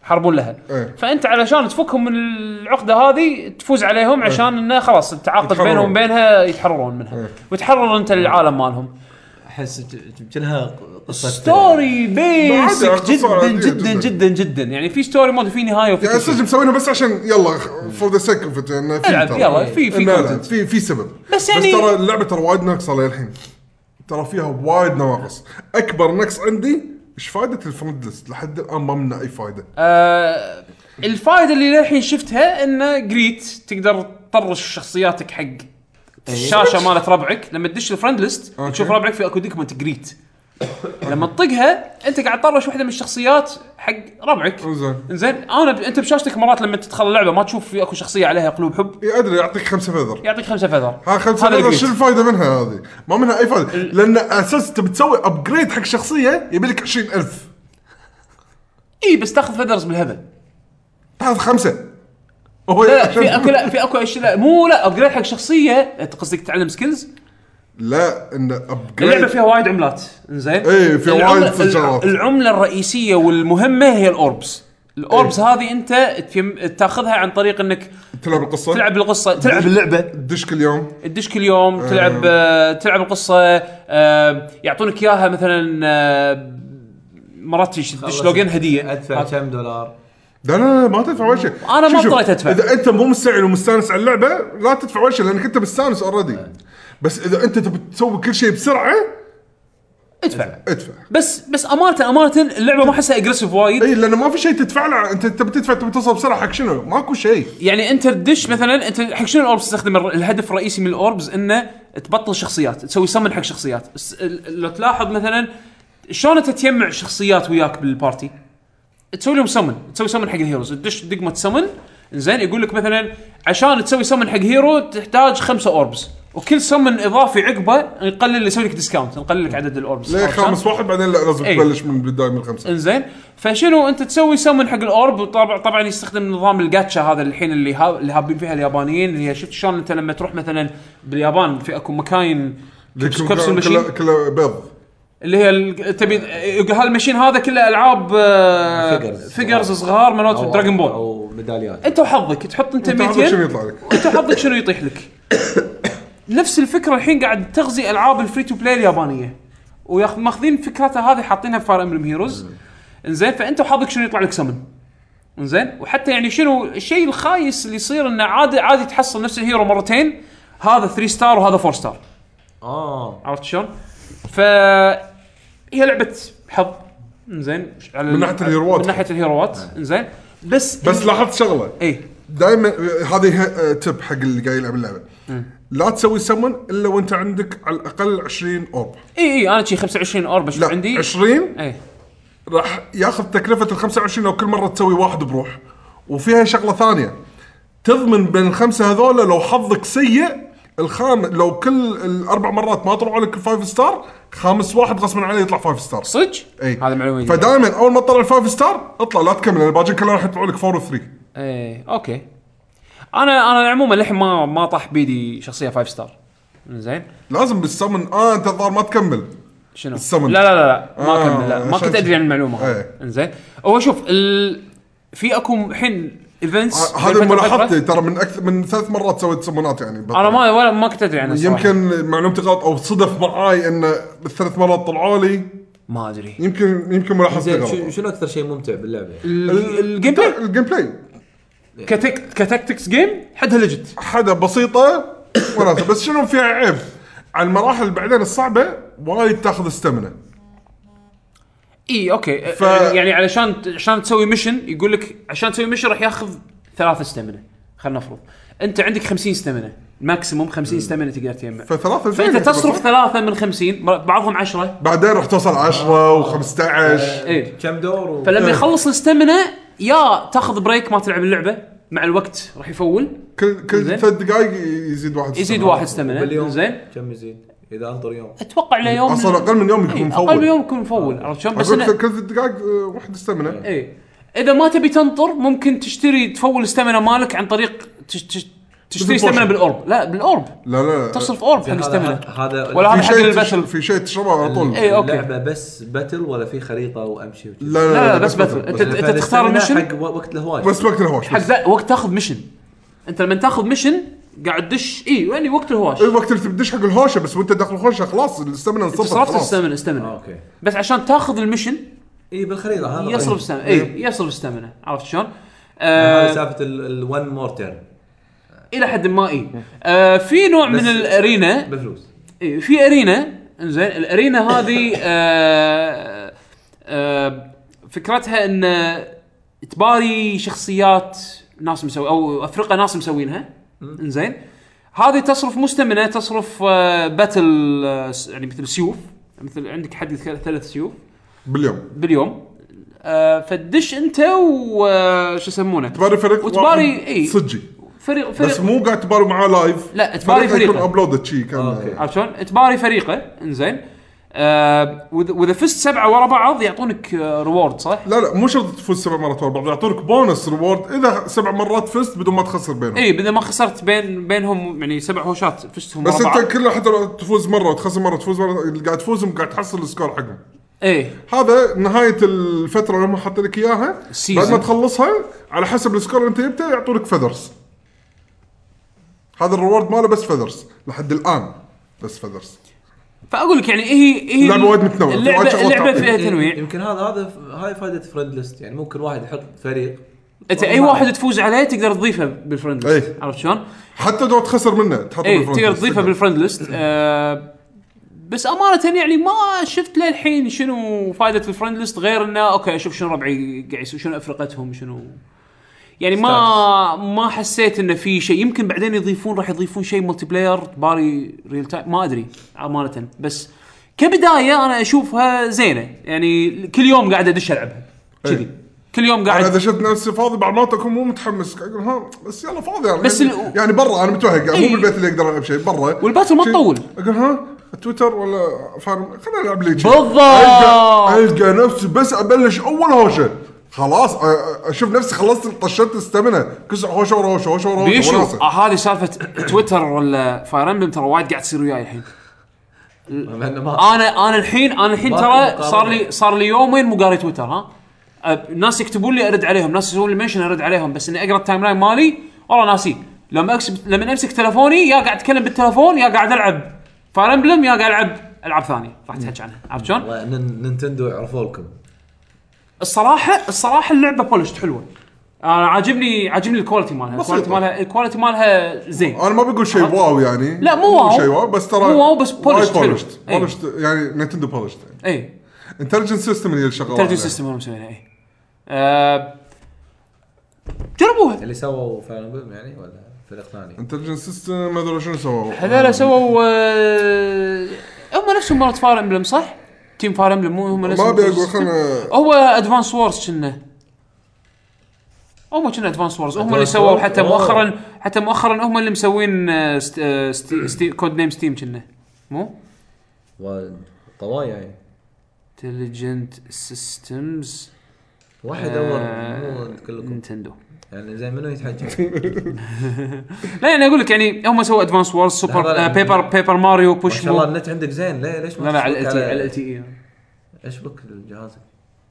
Speaker 2: يحاربون لها
Speaker 3: إيه.
Speaker 2: فانت علشان تفكهم من العقده هذه تفوز عليهم عشان انه خلاص التعاقد
Speaker 3: إيه. يتحررون.
Speaker 2: بينهم وبينها يتحررون منها
Speaker 3: إيه.
Speaker 2: وتحرر انت العالم مالهم
Speaker 4: احس كانها قصه
Speaker 2: ستوري بيسك
Speaker 3: قصة
Speaker 2: جدا
Speaker 3: عادية
Speaker 2: جدا
Speaker 3: جدا.
Speaker 2: جدا جدا يعني في ستوري مود وفي نهايه وفي
Speaker 3: يعني
Speaker 2: كل شيء.
Speaker 3: السجن مسوينه بس عشان يلا فور ذا سيك اوف انه في
Speaker 2: العب
Speaker 3: ترى.
Speaker 2: يلا في في
Speaker 3: لا لا
Speaker 2: كونتنت
Speaker 3: في في سبب
Speaker 2: بس يعني-
Speaker 3: بس ترى اللعبه ترى وايد ناقصه للحين ترى فيها وايد نواقص اكبر نقص عندي ايش فائده الفرند ليست لحد الان ما منه اي فائده
Speaker 2: آه الفائده اللي للحين شفتها انه جريت تقدر تطرش شخصياتك حق الشاشه مالت ربعك لما تدش الفرند ليست
Speaker 3: إيه. أوكي.
Speaker 2: تشوف ربعك في اكو دوكمنت جريت لما تطقها انت قاعد تطرش واحده من الشخصيات حق ربعك
Speaker 3: زين
Speaker 2: زين انا ب... انت بشاشتك مرات لما تدخل اللعبه ما تشوف في اكو شخصيه عليها قلوب حب
Speaker 3: إي ادري يعطيك خمسه فيذر
Speaker 2: يعطيك خمسه فذر
Speaker 3: ها خمسه
Speaker 2: هذا
Speaker 3: فيذر
Speaker 2: الجريت.
Speaker 3: شو الفائده منها هذه؟ ما منها اي فائده لان اساس انت بتسوي ابجريد حق شخصيه يبي لك 20000
Speaker 2: اي بس تاخذ فذرز بالهبل
Speaker 3: تاخذ خمسه هو
Speaker 2: لا لا في اكو لا في اكو اشياء لا، مو لا ابجريد حق شخصيه انت قصدك تتعلم سكيلز
Speaker 3: لا ان ابجريد
Speaker 2: اللعبه فيها وايد عملات زين
Speaker 3: يعني إيه، فيها
Speaker 2: العملة-
Speaker 3: وايد شغلات.
Speaker 2: العمله الرئيسيه والمهمه هي الاوربس الاوربس
Speaker 3: إيه.
Speaker 2: هذه انت تيم- تاخذها عن طريق انك
Speaker 3: تلعب القصه
Speaker 2: تلعب القصه تلعب اللعبه
Speaker 3: تدش كل يوم
Speaker 2: تدش كل
Speaker 3: إيه.
Speaker 2: يوم تلعب آه، تلعب القصه آه، يعطونك اياها مثلا آه، مرات تش- تدش لوجين هديه
Speaker 4: ادفع كم دولار
Speaker 3: لا لا لا ما تدفع ولا شيء
Speaker 2: أنا ما
Speaker 3: شوف- شوف،
Speaker 2: اضطريت أدفع.
Speaker 3: اذا انت مو مستعجل ومستانس على اللعبه لا تدفع ولا شيء لانك انت مستانس اوريدي بس اذا انت تبي تسوي كل شيء بسرعه
Speaker 2: ادفع
Speaker 3: ادفع
Speaker 2: بس بس امانه امانه اللعبه ما احسها اجريسيف وايد
Speaker 3: اي لان ما في شيء تدفع له انت تبي تدفع تبي توصل بسرعه حق شنو ماكو شيء
Speaker 2: يعني انت تدش مثلا انت حق شنو الاوربس تستخدم الر- الهدف الرئيسي من الاوربس انه تبطل شخصيات تسوي سمن حق شخصيات الس- ال- لو تلاحظ مثلا شلون انت تجمع شخصيات وياك بالبارتي تسوي لهم سمن تسوي سمن حق الهيروز تدش دقمه سمن زين يقول لك مثلا عشان تسوي سمن حق هيرو تحتاج خمسة اوربس وكل سمن اضافي عقبه يقلل يسوي لك ديسكاونت نقلل لك عدد الاوربس
Speaker 3: ليه
Speaker 2: عرفت
Speaker 3: خامس واحد بعدين لا لازم
Speaker 2: إي.
Speaker 3: تبلش من البدايه من الخمسه
Speaker 2: انزين فشنو انت تسوي سمن حق الاورب وطبعا طبعا يستخدم نظام الجاتشا هذا الحين اللي ها اللي هابين فيها اليابانيين اللي هي شفت شلون انت لما تروح مثلا باليابان في اكو مكاين كبس- كبسول ماشين
Speaker 3: كله بيض
Speaker 2: اللي هي ال- تبي هالمشين هذا كله العاب
Speaker 4: Figures.
Speaker 2: فيجرز صغار
Speaker 4: أو-
Speaker 2: مالت دراجون بول
Speaker 4: او ميداليات
Speaker 2: انت وحظك تحط انت
Speaker 3: انت عارف شنو
Speaker 2: 200
Speaker 3: يطلع لك
Speaker 2: انت حظك شنو يطيح لك نفس الفكره الحين قاعد تغزي العاب الفري تو بلاي اليابانيه وماخذين فكرتها هذه حاطينها في فار امبلم هيروز انزين فانت وحظك شنو يطلع لك سمن انزين وحتى يعني شنو الشيء الخايس اللي يصير انه عادي عادي تحصل نفس الهيرو مرتين هذا 3 ستار وهذا 4 ستار
Speaker 4: اه
Speaker 2: عرفت شلون؟ ف هي لعبه حظ انزين على
Speaker 3: من ناحية الهيروات.
Speaker 2: من ناحيه الهيروات انزين بس إيه.
Speaker 3: بس لاحظت شغله
Speaker 2: اي
Speaker 3: دائما هذه آه، تب حق اللي قاعد يلعب اللعبه لا تسوي سمن الا وانت عندك على الاقل 20 اورب
Speaker 2: اي اي انا إيه، شي 25 اورب
Speaker 3: لا
Speaker 2: شوف عندي إيه.
Speaker 3: 20
Speaker 2: اي
Speaker 3: راح ياخذ تكلفه ال 25 لو كل مره تسوي واحد بروح وفيها شغله ثانيه تضمن بين الخمسه هذول لو حظك سيء الخام لو كل الاربع مرات ما طلعوا لك الفايف ستار خامس واحد غصبا عليه يطلع فايف ستار
Speaker 2: صدق؟
Speaker 3: اي
Speaker 2: هذا معلومه جديدة.
Speaker 3: فدائما اول ما تطلع الفايف ستار اطلع لا تكمل الباقيين كلهم راح يطلعوا لك فور وثري
Speaker 2: ايه اوكي انا انا عموما للحين ما ما طاح بيدي شخصيه 5 ستار زين
Speaker 3: لازم بالسمن اه انت الظاهر ما تكمل
Speaker 2: شنو؟
Speaker 3: السمن.
Speaker 2: لا لا لا, لا. ما
Speaker 3: آه،
Speaker 2: كمل لا ما
Speaker 3: عشان
Speaker 2: كنت ادري عن المعلومه
Speaker 3: إيه.
Speaker 2: هذه انزين هو شوف ال... في اكو الحين ايفنتس
Speaker 3: ه- آه، هذه ملاحظتي ترى من اكثر من ثلاث مرات سويت سمونات يعني بطلع.
Speaker 2: انا ما ولا ما كنت ادري عنها الصراحة.
Speaker 3: يمكن معلومتي غلط او صدف معاي ان الثلاث مرات طلعوا لي
Speaker 2: ما ادري
Speaker 3: يمكن يمكن ملاحظتي
Speaker 4: زين شو-
Speaker 3: غلط
Speaker 4: شنو اكثر شيء ممتع باللعبه؟
Speaker 2: ال- الجيم بلاي
Speaker 3: الجيم بلاي
Speaker 2: كتك... كتكتكس جيم حدها لجت
Speaker 3: حدا بسيطه وناسه بس شنو فيها عيب على المراحل بعدين الصعبه وايد تاخذ استمنه
Speaker 2: اي اوكي
Speaker 3: ف-
Speaker 2: ف... يعني علشان ت- عشان تسوي ميشن يقول لك عشان تسوي ميشن راح ياخذ ثلاثة ستامينا خلينا نفرض انت عندك 50 ستامينا ماكسيموم 50 ستامينا تقدر تجمع
Speaker 3: فثلاثه زين
Speaker 2: فانت تصرف
Speaker 3: بس-
Speaker 2: ثلاثة من 50 مر- بعضهم 10
Speaker 3: بعدين راح توصل 10 و15
Speaker 2: ايه
Speaker 4: كم دور و...
Speaker 2: فلما
Speaker 3: إيه.
Speaker 2: يخلص الستامينا يا تاخذ بريك ما تلعب اللعبه مع الوقت راح يفول
Speaker 3: كل كل
Speaker 2: زين.
Speaker 3: ثلاث دقائق يزيد واحد
Speaker 2: يزيد
Speaker 3: استمنة.
Speaker 2: واحد ستامينا
Speaker 4: باليوم
Speaker 2: زين
Speaker 4: كم يزيد؟ اذا انطر يوم
Speaker 2: اتوقع ليوم
Speaker 3: اصلا اقل من يوم يكون
Speaker 2: إيه،
Speaker 3: مفول
Speaker 2: اقل من يوم يكون مفول عرفت شلون بس
Speaker 3: بس
Speaker 2: أنا...
Speaker 3: كل ثلاث دقائق آه، واحد استمنه
Speaker 2: اي اذا إيه. ما تبي تنطر ممكن تشتري تفول استمنة مالك عن طريق تش تش تشتري
Speaker 3: بالبوشن.
Speaker 2: استمنة بالاورب لا بالاورب
Speaker 3: لا لا لا.
Speaker 2: تصرف اورب حق
Speaker 4: هذا-
Speaker 2: استمنة
Speaker 4: هذا
Speaker 2: ولا
Speaker 3: في
Speaker 2: هذا حق
Speaker 3: شيء تش-
Speaker 2: الباتل
Speaker 3: في شيء تشربه على طول
Speaker 2: إيه، أوكي.
Speaker 4: اللعبه بس باتل ولا في خريطه وامشي وكذا؟
Speaker 3: لا لا
Speaker 2: لا،
Speaker 3: لا
Speaker 2: لا، بس باتل. أنت-
Speaker 3: بس-
Speaker 2: أنت تختار
Speaker 4: المشن
Speaker 2: المشن؟
Speaker 4: حق و- وقت الهواش
Speaker 3: بس وقت الهواش
Speaker 2: حق
Speaker 3: بس.
Speaker 2: ذا وقت تاخذ ميشن انت لما تاخذ ميشن قاعد تدش اي يعني وقت الهواش
Speaker 3: إيه، وقت اللي تبدش حق الهوشه بس وانت داخل الهوشه خلاص الاستمنه انصفت
Speaker 2: صرفت
Speaker 3: خلاص
Speaker 2: استمنة
Speaker 4: آه،
Speaker 2: استمنة
Speaker 4: اوكي
Speaker 2: بس عشان تاخذ الميشن
Speaker 4: اي بالخريطه
Speaker 3: آه،
Speaker 4: هذا
Speaker 3: إيه.
Speaker 2: يصرف
Speaker 4: يصرف
Speaker 2: استمنة اي يصرف استمنة عرفت شلون؟
Speaker 4: هذا
Speaker 2: آه
Speaker 4: سالفه الون مور تيرن
Speaker 2: الى حد ما اي آه في نوع
Speaker 4: بس-
Speaker 2: من الارينا
Speaker 4: بفلوس
Speaker 2: إيه، في ارينا انزين الارينا هذه آه آه فكرتها ان تباري شخصيات ناس مسوي او افرقه ناس مسوينها انزين هذه تصرف مستمنه تصرف آه باتل آه س- يعني مثل سيوف مثل عندك حد يتك- ثلاث سيوف
Speaker 3: باليوم
Speaker 2: باليوم آه فتدش انت وشو آه، يسمونه
Speaker 3: تباري فريق
Speaker 2: وتباري-
Speaker 3: واحد
Speaker 2: إي.
Speaker 3: صجي
Speaker 2: فريق
Speaker 3: بس
Speaker 2: فريق
Speaker 3: مو قاعد تباري معاه لايف
Speaker 2: لا، آه، تباري
Speaker 3: يكون
Speaker 2: فريقه.
Speaker 3: ابلودد شي كان
Speaker 4: أوكي.
Speaker 2: عرفت شلون؟ تباري فريقه انزين آه واذا وإذا فزت سبعه ورا بعض يعطونك آه ريورد صح؟
Speaker 3: لا لا مو شرط تفوز سبع مرات ورا بعض يعطونك بونس ريورد اذا سبع مرات فزت بدون ما تخسر بينهم
Speaker 2: اي بدل إيه، ما خسرت بين بينهم يعني سبع هوشات فزتهم
Speaker 3: بس
Speaker 2: ورا بعض
Speaker 3: انت كل حتى لو تفوز مره وتخسر مره تفوز مره اللي قاعد تفوزهم قاعد تحصل السكور حقهم
Speaker 2: اي
Speaker 3: هذا نهايه الفتره اللي هم حاطين لك اياها
Speaker 2: Season.
Speaker 3: بعد ما تخلصها على حسب السكور اللي انت جبته يعطونك فذرز هذا الريورد ماله بس فذرز لحد الان بس فذرز
Speaker 2: فاقول لك يعني هي هي
Speaker 3: اللعبة وايد متنوعة. وايد
Speaker 2: اللعبه
Speaker 3: شغلات
Speaker 2: اللعبه
Speaker 3: تعطيك.
Speaker 2: فيها
Speaker 4: يم-
Speaker 3: أمم.
Speaker 2: تنويع
Speaker 4: يمكن هذا هذا ف- هاي فائده فريند ليست يعني ممكن واحد يحط فريق
Speaker 2: انت
Speaker 3: أمم.
Speaker 2: اي واحد تفوز عليه تقدر تضيفه بالفرند ليست
Speaker 3: إي.
Speaker 2: عرفت شلون؟
Speaker 3: حتى لو تخسر منه تحطه
Speaker 2: اي
Speaker 3: بالفرونت
Speaker 2: إيه، تقدر
Speaker 3: ليست.
Speaker 2: تضيفه بالفرند ليست آه بس امانه يعني ما شفت للحين شنو فائده الفرند ليست غير انه اوكي اشوف شنو ربعي قاعد يسوي شنو افرقتهم شنو يعني ما ما حسيت انه في شيء يمكن بعدين يضيفون راح يضيفون شيء ملتي بلاير باري ريل تايم ما ادري امانه بس كبدايه انا اشوفها زينه يعني كل يوم قاعد ادش العبها كذي كل يوم
Speaker 3: انا اذا
Speaker 2: قاعد
Speaker 3: شفت نفسي فاضي بعد ما اكون مو متحمس اقول ها بس يلا فاضي يعني
Speaker 2: بس ال-
Speaker 3: يعني برا انا متوهق يعني مو
Speaker 2: إي.
Speaker 3: بالبيت اللي اقدر العب شيء برا
Speaker 2: والباتل ما
Speaker 3: شي-
Speaker 2: تطول.
Speaker 3: اقول ها تويتر ولا فارم خلينا العب لي شي.
Speaker 2: بالضبط.
Speaker 3: القى القى نفسي بس ابلش اول هوشه خلاص أ- أ- اشوف نفسي خلصت طشت السtamina كسر هوشه ورا هوشه هوشه ورا هوشه
Speaker 2: بيشو
Speaker 3: وناسة.
Speaker 2: آه هذه سالفه تويتر ولا فاير امبلم ترى وايد قاعد تصير وياي الحين
Speaker 4: مع انه ما
Speaker 2: انا انا الحين انا الحين
Speaker 4: ما في
Speaker 2: ترى
Speaker 4: مقارنة.
Speaker 2: صار لي صار لي يومين مو قاري تويتر ها أب- ناس يكتبون لي ارد عليهم ناس يسوون لي منشن ارد عليهم بس اني اقرا التايم لاين مالي والله ناسي لما اكسب لما امسك تلفوني يا قاعد اتكلم بالتلفون يا قاعد العب فاير امبلم يا قاعد العب العاب ثانيه راح تحكي عنها عرفت شلون؟
Speaker 4: والله نن- نينتندو يعرفوا لكم
Speaker 2: الصراحه الصراحه اللعبه بولشت حلوه انا أه، عاجبني عاجبني الكواليتي مالها
Speaker 3: بسيطة.
Speaker 2: الكواليتي مالها الكواليتي مالها زين
Speaker 3: انا ما بقول شيء واو يعني
Speaker 2: لا، مو واو.
Speaker 3: شيء واو بس ترى
Speaker 2: مو واو، بس
Speaker 3: وايد
Speaker 2: polished حلو. إيه.
Speaker 3: polished.
Speaker 2: أي.
Speaker 3: polished يعني نتندو بولشت
Speaker 2: اي
Speaker 3: انتلجنت سيستم هي الشغله
Speaker 2: ترجم سيستم هم مسوينها اي آه، جربوها
Speaker 4: اللي سووا فاير امبلم يعني ولا فريق ثاني؟
Speaker 3: انتلجنت سيستم ما ادري شنو سووا
Speaker 2: هذول سووا آه، هم نفسهم مرات فاير امبلم صح؟ تيم فاير امبلم مو هم نفسهم
Speaker 3: ما ابي
Speaker 2: نفس
Speaker 3: اقول
Speaker 2: السيستم؟
Speaker 3: خلنا
Speaker 2: هو ادفانس وورز كنا هم كنا ادفانس وورز هم اللي
Speaker 4: Advance
Speaker 2: سووا
Speaker 4: Wars؟ آه.
Speaker 2: حتى
Speaker 4: أوه.
Speaker 2: مؤخرا حتى مؤخرا هم اللي مسوين آه، ست- آه، ستي- ستي- كود نيم ستيم كنا مو؟
Speaker 4: طوايا يعني
Speaker 2: انتليجنت سيستمز
Speaker 4: واحد
Speaker 2: آه.
Speaker 4: اول مو كلكم
Speaker 2: نينتندو
Speaker 4: يعني زي منو يتحجب
Speaker 2: لا يعني اقول لك يعني هم سووا ادفانس وورز
Speaker 4: لحظة،
Speaker 2: سوبر
Speaker 4: لا.
Speaker 2: بيبر بيبر ماريو
Speaker 4: ما
Speaker 2: بوش
Speaker 4: شاء الله
Speaker 2: مو
Speaker 4: النت عندك زين ليه ليش ما
Speaker 2: لا لا على ال
Speaker 4: تشبك
Speaker 2: تي على ال تي
Speaker 4: ايش بك جهازك؟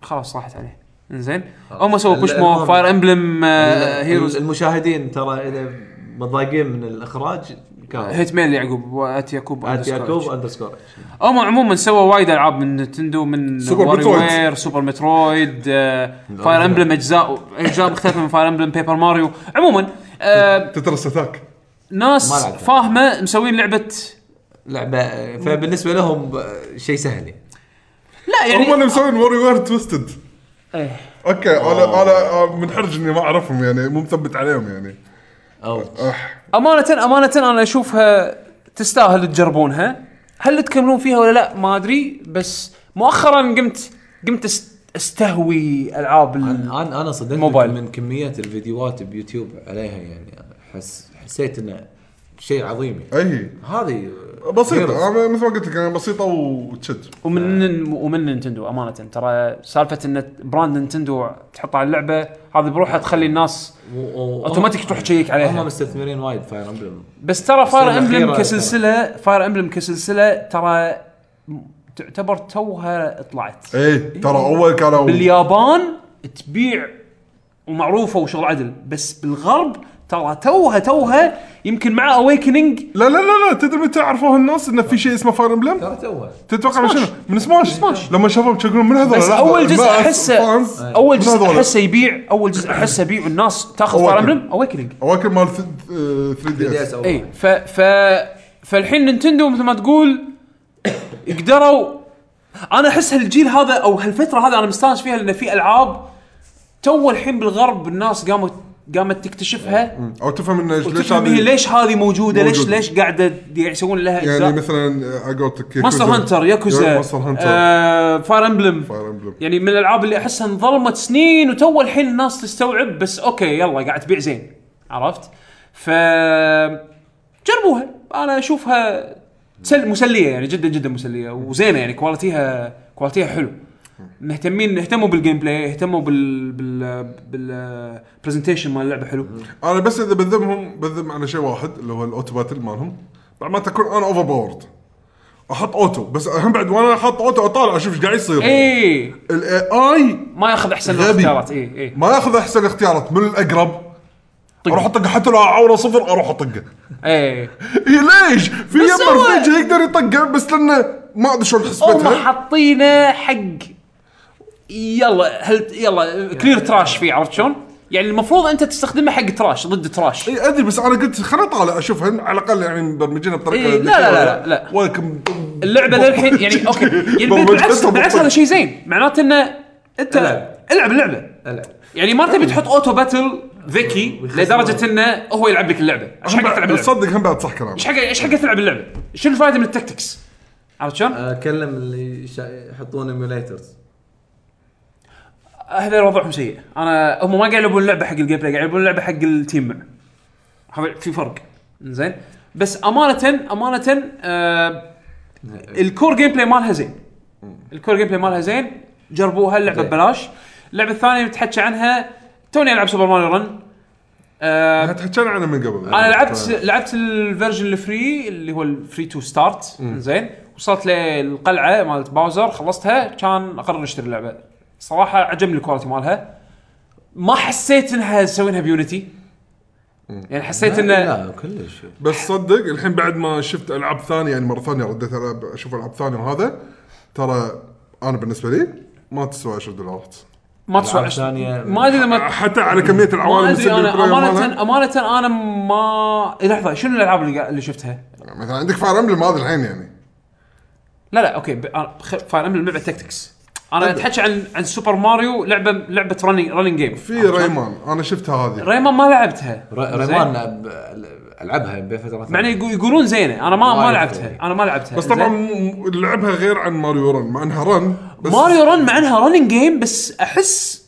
Speaker 2: خلاص راحت عليه انزين
Speaker 4: خلاص.
Speaker 2: هم سووا
Speaker 4: ال-
Speaker 2: بوش مو آه،
Speaker 4: المهم.
Speaker 2: فاير امبلم
Speaker 4: هيروز
Speaker 2: هيروز
Speaker 4: المشاهدين ترى اذا متضايقين من الاخراج كان
Speaker 2: هيت ميل يعقوب وات يعقوب
Speaker 4: ات
Speaker 2: underscore
Speaker 4: يعقوب
Speaker 2: H.
Speaker 4: اندرسكور
Speaker 2: هم عموما سووا وايد العاب من نتندو من
Speaker 3: سوبر
Speaker 2: واري
Speaker 3: مترويد.
Speaker 2: وير سوبر مترويد فاير امبلم اجزاء اجزاء مختلفه من فاير امبلم بيبر ماريو عموما آه،
Speaker 3: تترس اتاك
Speaker 2: ناس
Speaker 4: ما لعبتها.
Speaker 2: فاهمه مسوين لعبه
Speaker 4: لعبه فبالنسبه لهم آه، شيء سهل يعني.
Speaker 2: لا
Speaker 3: هم
Speaker 2: يعني
Speaker 3: اللي مسوين ووري وير توستد
Speaker 2: إيه.
Speaker 3: اوكي انا انا منحرج اني ما اعرفهم يعني مو مثبت عليهم يعني
Speaker 4: او
Speaker 3: أح.
Speaker 2: امانه امانه انا اشوفها تستاهل تجربونها هل تكملون فيها ولا لا ما ادري بس مؤخرا قمت قمت أس- استهوي العاب ال-
Speaker 4: انا انا أنا صدمت
Speaker 2: موبايل.
Speaker 4: من كميه الفيديوهات بيوتيوب عليها يعني حس حسيت انه شيء عظيم يعني.
Speaker 3: اي
Speaker 4: هذه
Speaker 3: بسيطه أنا مثل ما قلت لك يعني بسيطه وتشد
Speaker 2: ومن ومن نينتندو امانه ترى سالفه ان براند نينتندو تحطها على اللعبه هذه بروحها تخلي الناس اوتوماتيك تروح تشيك
Speaker 4: هم
Speaker 2: عليها
Speaker 4: مستثمرين وايد فاير امبلم
Speaker 2: بس ترى فاير
Speaker 4: السنة
Speaker 2: امبلم
Speaker 4: الأخيرة
Speaker 2: كسلسله فاير امبلم كسلسله ترى م- تعتبر توها طلعت
Speaker 3: اي ترى اول كانوا
Speaker 2: إيه. باليابان تبيع ومعروفه وشغل عدل بس بالغرب ترى توها توها يمكن مع اويكننج
Speaker 3: لا لا لا لا تدري متى عرفوه الناس انه في شيء اسمه فاير امبلم؟
Speaker 4: ترى توه
Speaker 3: تتوقع من شنو؟ من سماش
Speaker 2: سماش.
Speaker 3: لما شافهم يشقون من هذول
Speaker 2: بس
Speaker 3: لحظة،
Speaker 2: اول جزء
Speaker 3: الناس،
Speaker 2: احسه
Speaker 3: فانز،
Speaker 2: اول
Speaker 3: من
Speaker 2: جزء
Speaker 3: هذول.
Speaker 2: احسه يبيع اول جزء احسه يبيع والناس تاخذ فاير
Speaker 3: Awakening.
Speaker 2: امبلم اويكننج
Speaker 3: اواكب مال آه، 3 دي اس
Speaker 2: اي ف إيه، ف فالحين نينتندو مثل ما تقول قدروا انا احس هالجيل هذا او هالفتره هذا انا مستانس فيها لان في العاب تو الحين بالغرب الناس قامت قامت تكتشفها
Speaker 3: او تفهم انه ليش
Speaker 2: وتفهم هي
Speaker 3: هذه
Speaker 2: ليش هذه موجوده ليش
Speaker 3: موجودة.
Speaker 2: ليش قاعده يسوون لها
Speaker 3: يعني
Speaker 2: اجزاء
Speaker 3: مثلا على قولتك
Speaker 2: ماستر هانتر ياكوزا
Speaker 3: ماستر هانتر
Speaker 2: آه، فاير امبلم
Speaker 3: فاير امبلم
Speaker 2: يعني من الالعاب اللي احسها انظلمت سنين وتو الحين الناس تستوعب بس اوكي يلا قاعد تبيع زين عرفت؟ ف جربوها انا اشوفها تسل مسليه يعني جدا جدا مسليه وزينه يعني كواليتيها كواليتيها حلو مهتمين اهتموا بالجيم بلاي اهتموا بال بال بالبرزنتيشن مال اللعبه حلو
Speaker 3: انا بس اذا بذمهم بذم على شيء واحد اللي هو الاوتو باتل مالهم بعد ما تكون انا اوفر باورد احط اوتو بس اهم بعد وانا احط اوتو اطالع اشوف ايش قاعد يصير
Speaker 2: اي
Speaker 3: الاي اي
Speaker 2: إيه، ما ياخذ احسن
Speaker 3: غبي.
Speaker 2: الاختيارات اي اي
Speaker 3: ما ياخذ احسن اختيارات من الاقرب
Speaker 2: إيه، طق.
Speaker 3: اروح اطق حتى لو عوره صفر اروح اطقه
Speaker 2: اي
Speaker 3: إيه ليش؟ في
Speaker 2: بس
Speaker 3: يمر
Speaker 2: هو-
Speaker 3: فيجي يقدر يطقه بس لانه ما ادري شلون
Speaker 2: هم
Speaker 3: حسبتها
Speaker 2: حاطينه حق يلا هل يلا كلير تراش فيه عرفت شلون؟ يعني المفروض انت تستخدمه حق تراش ضد تراش
Speaker 3: اي ادري إيه، بس انا قلت خليني اطالع اشوفها على الاقل يعني مبرمجينها بطريقه
Speaker 2: إيه، لا،
Speaker 3: ذكية.
Speaker 2: لا، لا، لا.
Speaker 3: ولكم
Speaker 2: اللعبه للحين يعني اوكي يعني بالعكس بالعكس هذا شيء زين معناته انه انت
Speaker 4: العب.
Speaker 2: العب اللعبه
Speaker 4: العب
Speaker 2: يعني ما تبي تحط اوتو باتل ذكي لدرجه انه هو يلعب لك اللعبه ايش حق تلعب اللعبه؟
Speaker 3: تصدق هم بعد صح كلام
Speaker 2: ايش حق ايش حق تلعب اللعبه؟ شنو الفائده من التكتكس؟ عرفت شلون؟
Speaker 4: اكلم اللي شا- يحطون ايميوليترز
Speaker 2: هذول وضعهم سيء انا هم ما قاعد يلعبون لعبه حق الجيم بلاي قاعد يلعبون لعبه حق التيم مع هذا في فرق زين بس امانه امانه آه الكور جيم بلاي مالها زين الكور جيم بلاي مالها زين جربوها اللعبه
Speaker 4: زين.
Speaker 2: ببلاش اللعبه الثانيه بتحكي عنها توني العب سوبر ماريو رن آه
Speaker 3: تحكينا عنه من قبل
Speaker 4: طيب،
Speaker 3: طيب.
Speaker 2: انا لعبت لعبت الفيرجن الفري اللي هو الفري تو ستارت زين وصلت للقلعه مالت باوزر خلصتها كان اقرر اشتري اللعبه صراحه عجبني الكواليتي مالها ما حسيت انها مسوينها بيونتي يعني حسيت انه
Speaker 4: لا كلش
Speaker 3: بس صدق الحين بعد ما شفت العاب ثانيه يعني مره ثانيه رديت العب اشوف العاب ثانيه وهذا ترى انا بالنسبه لي ما تسوى 10 دولارات
Speaker 2: ما تسوى
Speaker 4: ألعاب
Speaker 2: عشرة.
Speaker 4: ثانية-
Speaker 2: ما ادري اذا ما
Speaker 3: حتى على كميه العوالم
Speaker 2: ما
Speaker 3: اللي
Speaker 2: ادري
Speaker 3: تصير
Speaker 2: انا
Speaker 3: بالبلاير مالها.
Speaker 2: امانه امانه انا ما لحظه شنو الالعاب اللي قا- اللي شفتها؟
Speaker 3: مثلا عندك فاير امبلم هذا الحين يعني
Speaker 2: لا لا اوكي ب... فاير امبلم لعبه تكتكس انا اتحكي عن عن سوبر ماريو لعبه لعبه رننج رننج جيم
Speaker 3: في ريمان انا شفتها هذه
Speaker 2: ريمان ما لعبتها
Speaker 4: ريمان العبها بفتره
Speaker 2: معنى يقولون زينه انا ما ما
Speaker 4: وايد
Speaker 2: لعبتها
Speaker 4: زينة.
Speaker 2: انا ما لعبتها
Speaker 3: بس طبعا
Speaker 2: زين؟
Speaker 3: م- لعبها غير عن ماريو رن مع انها رن بس
Speaker 2: ماريو رن مع انها رننج جيم بس احس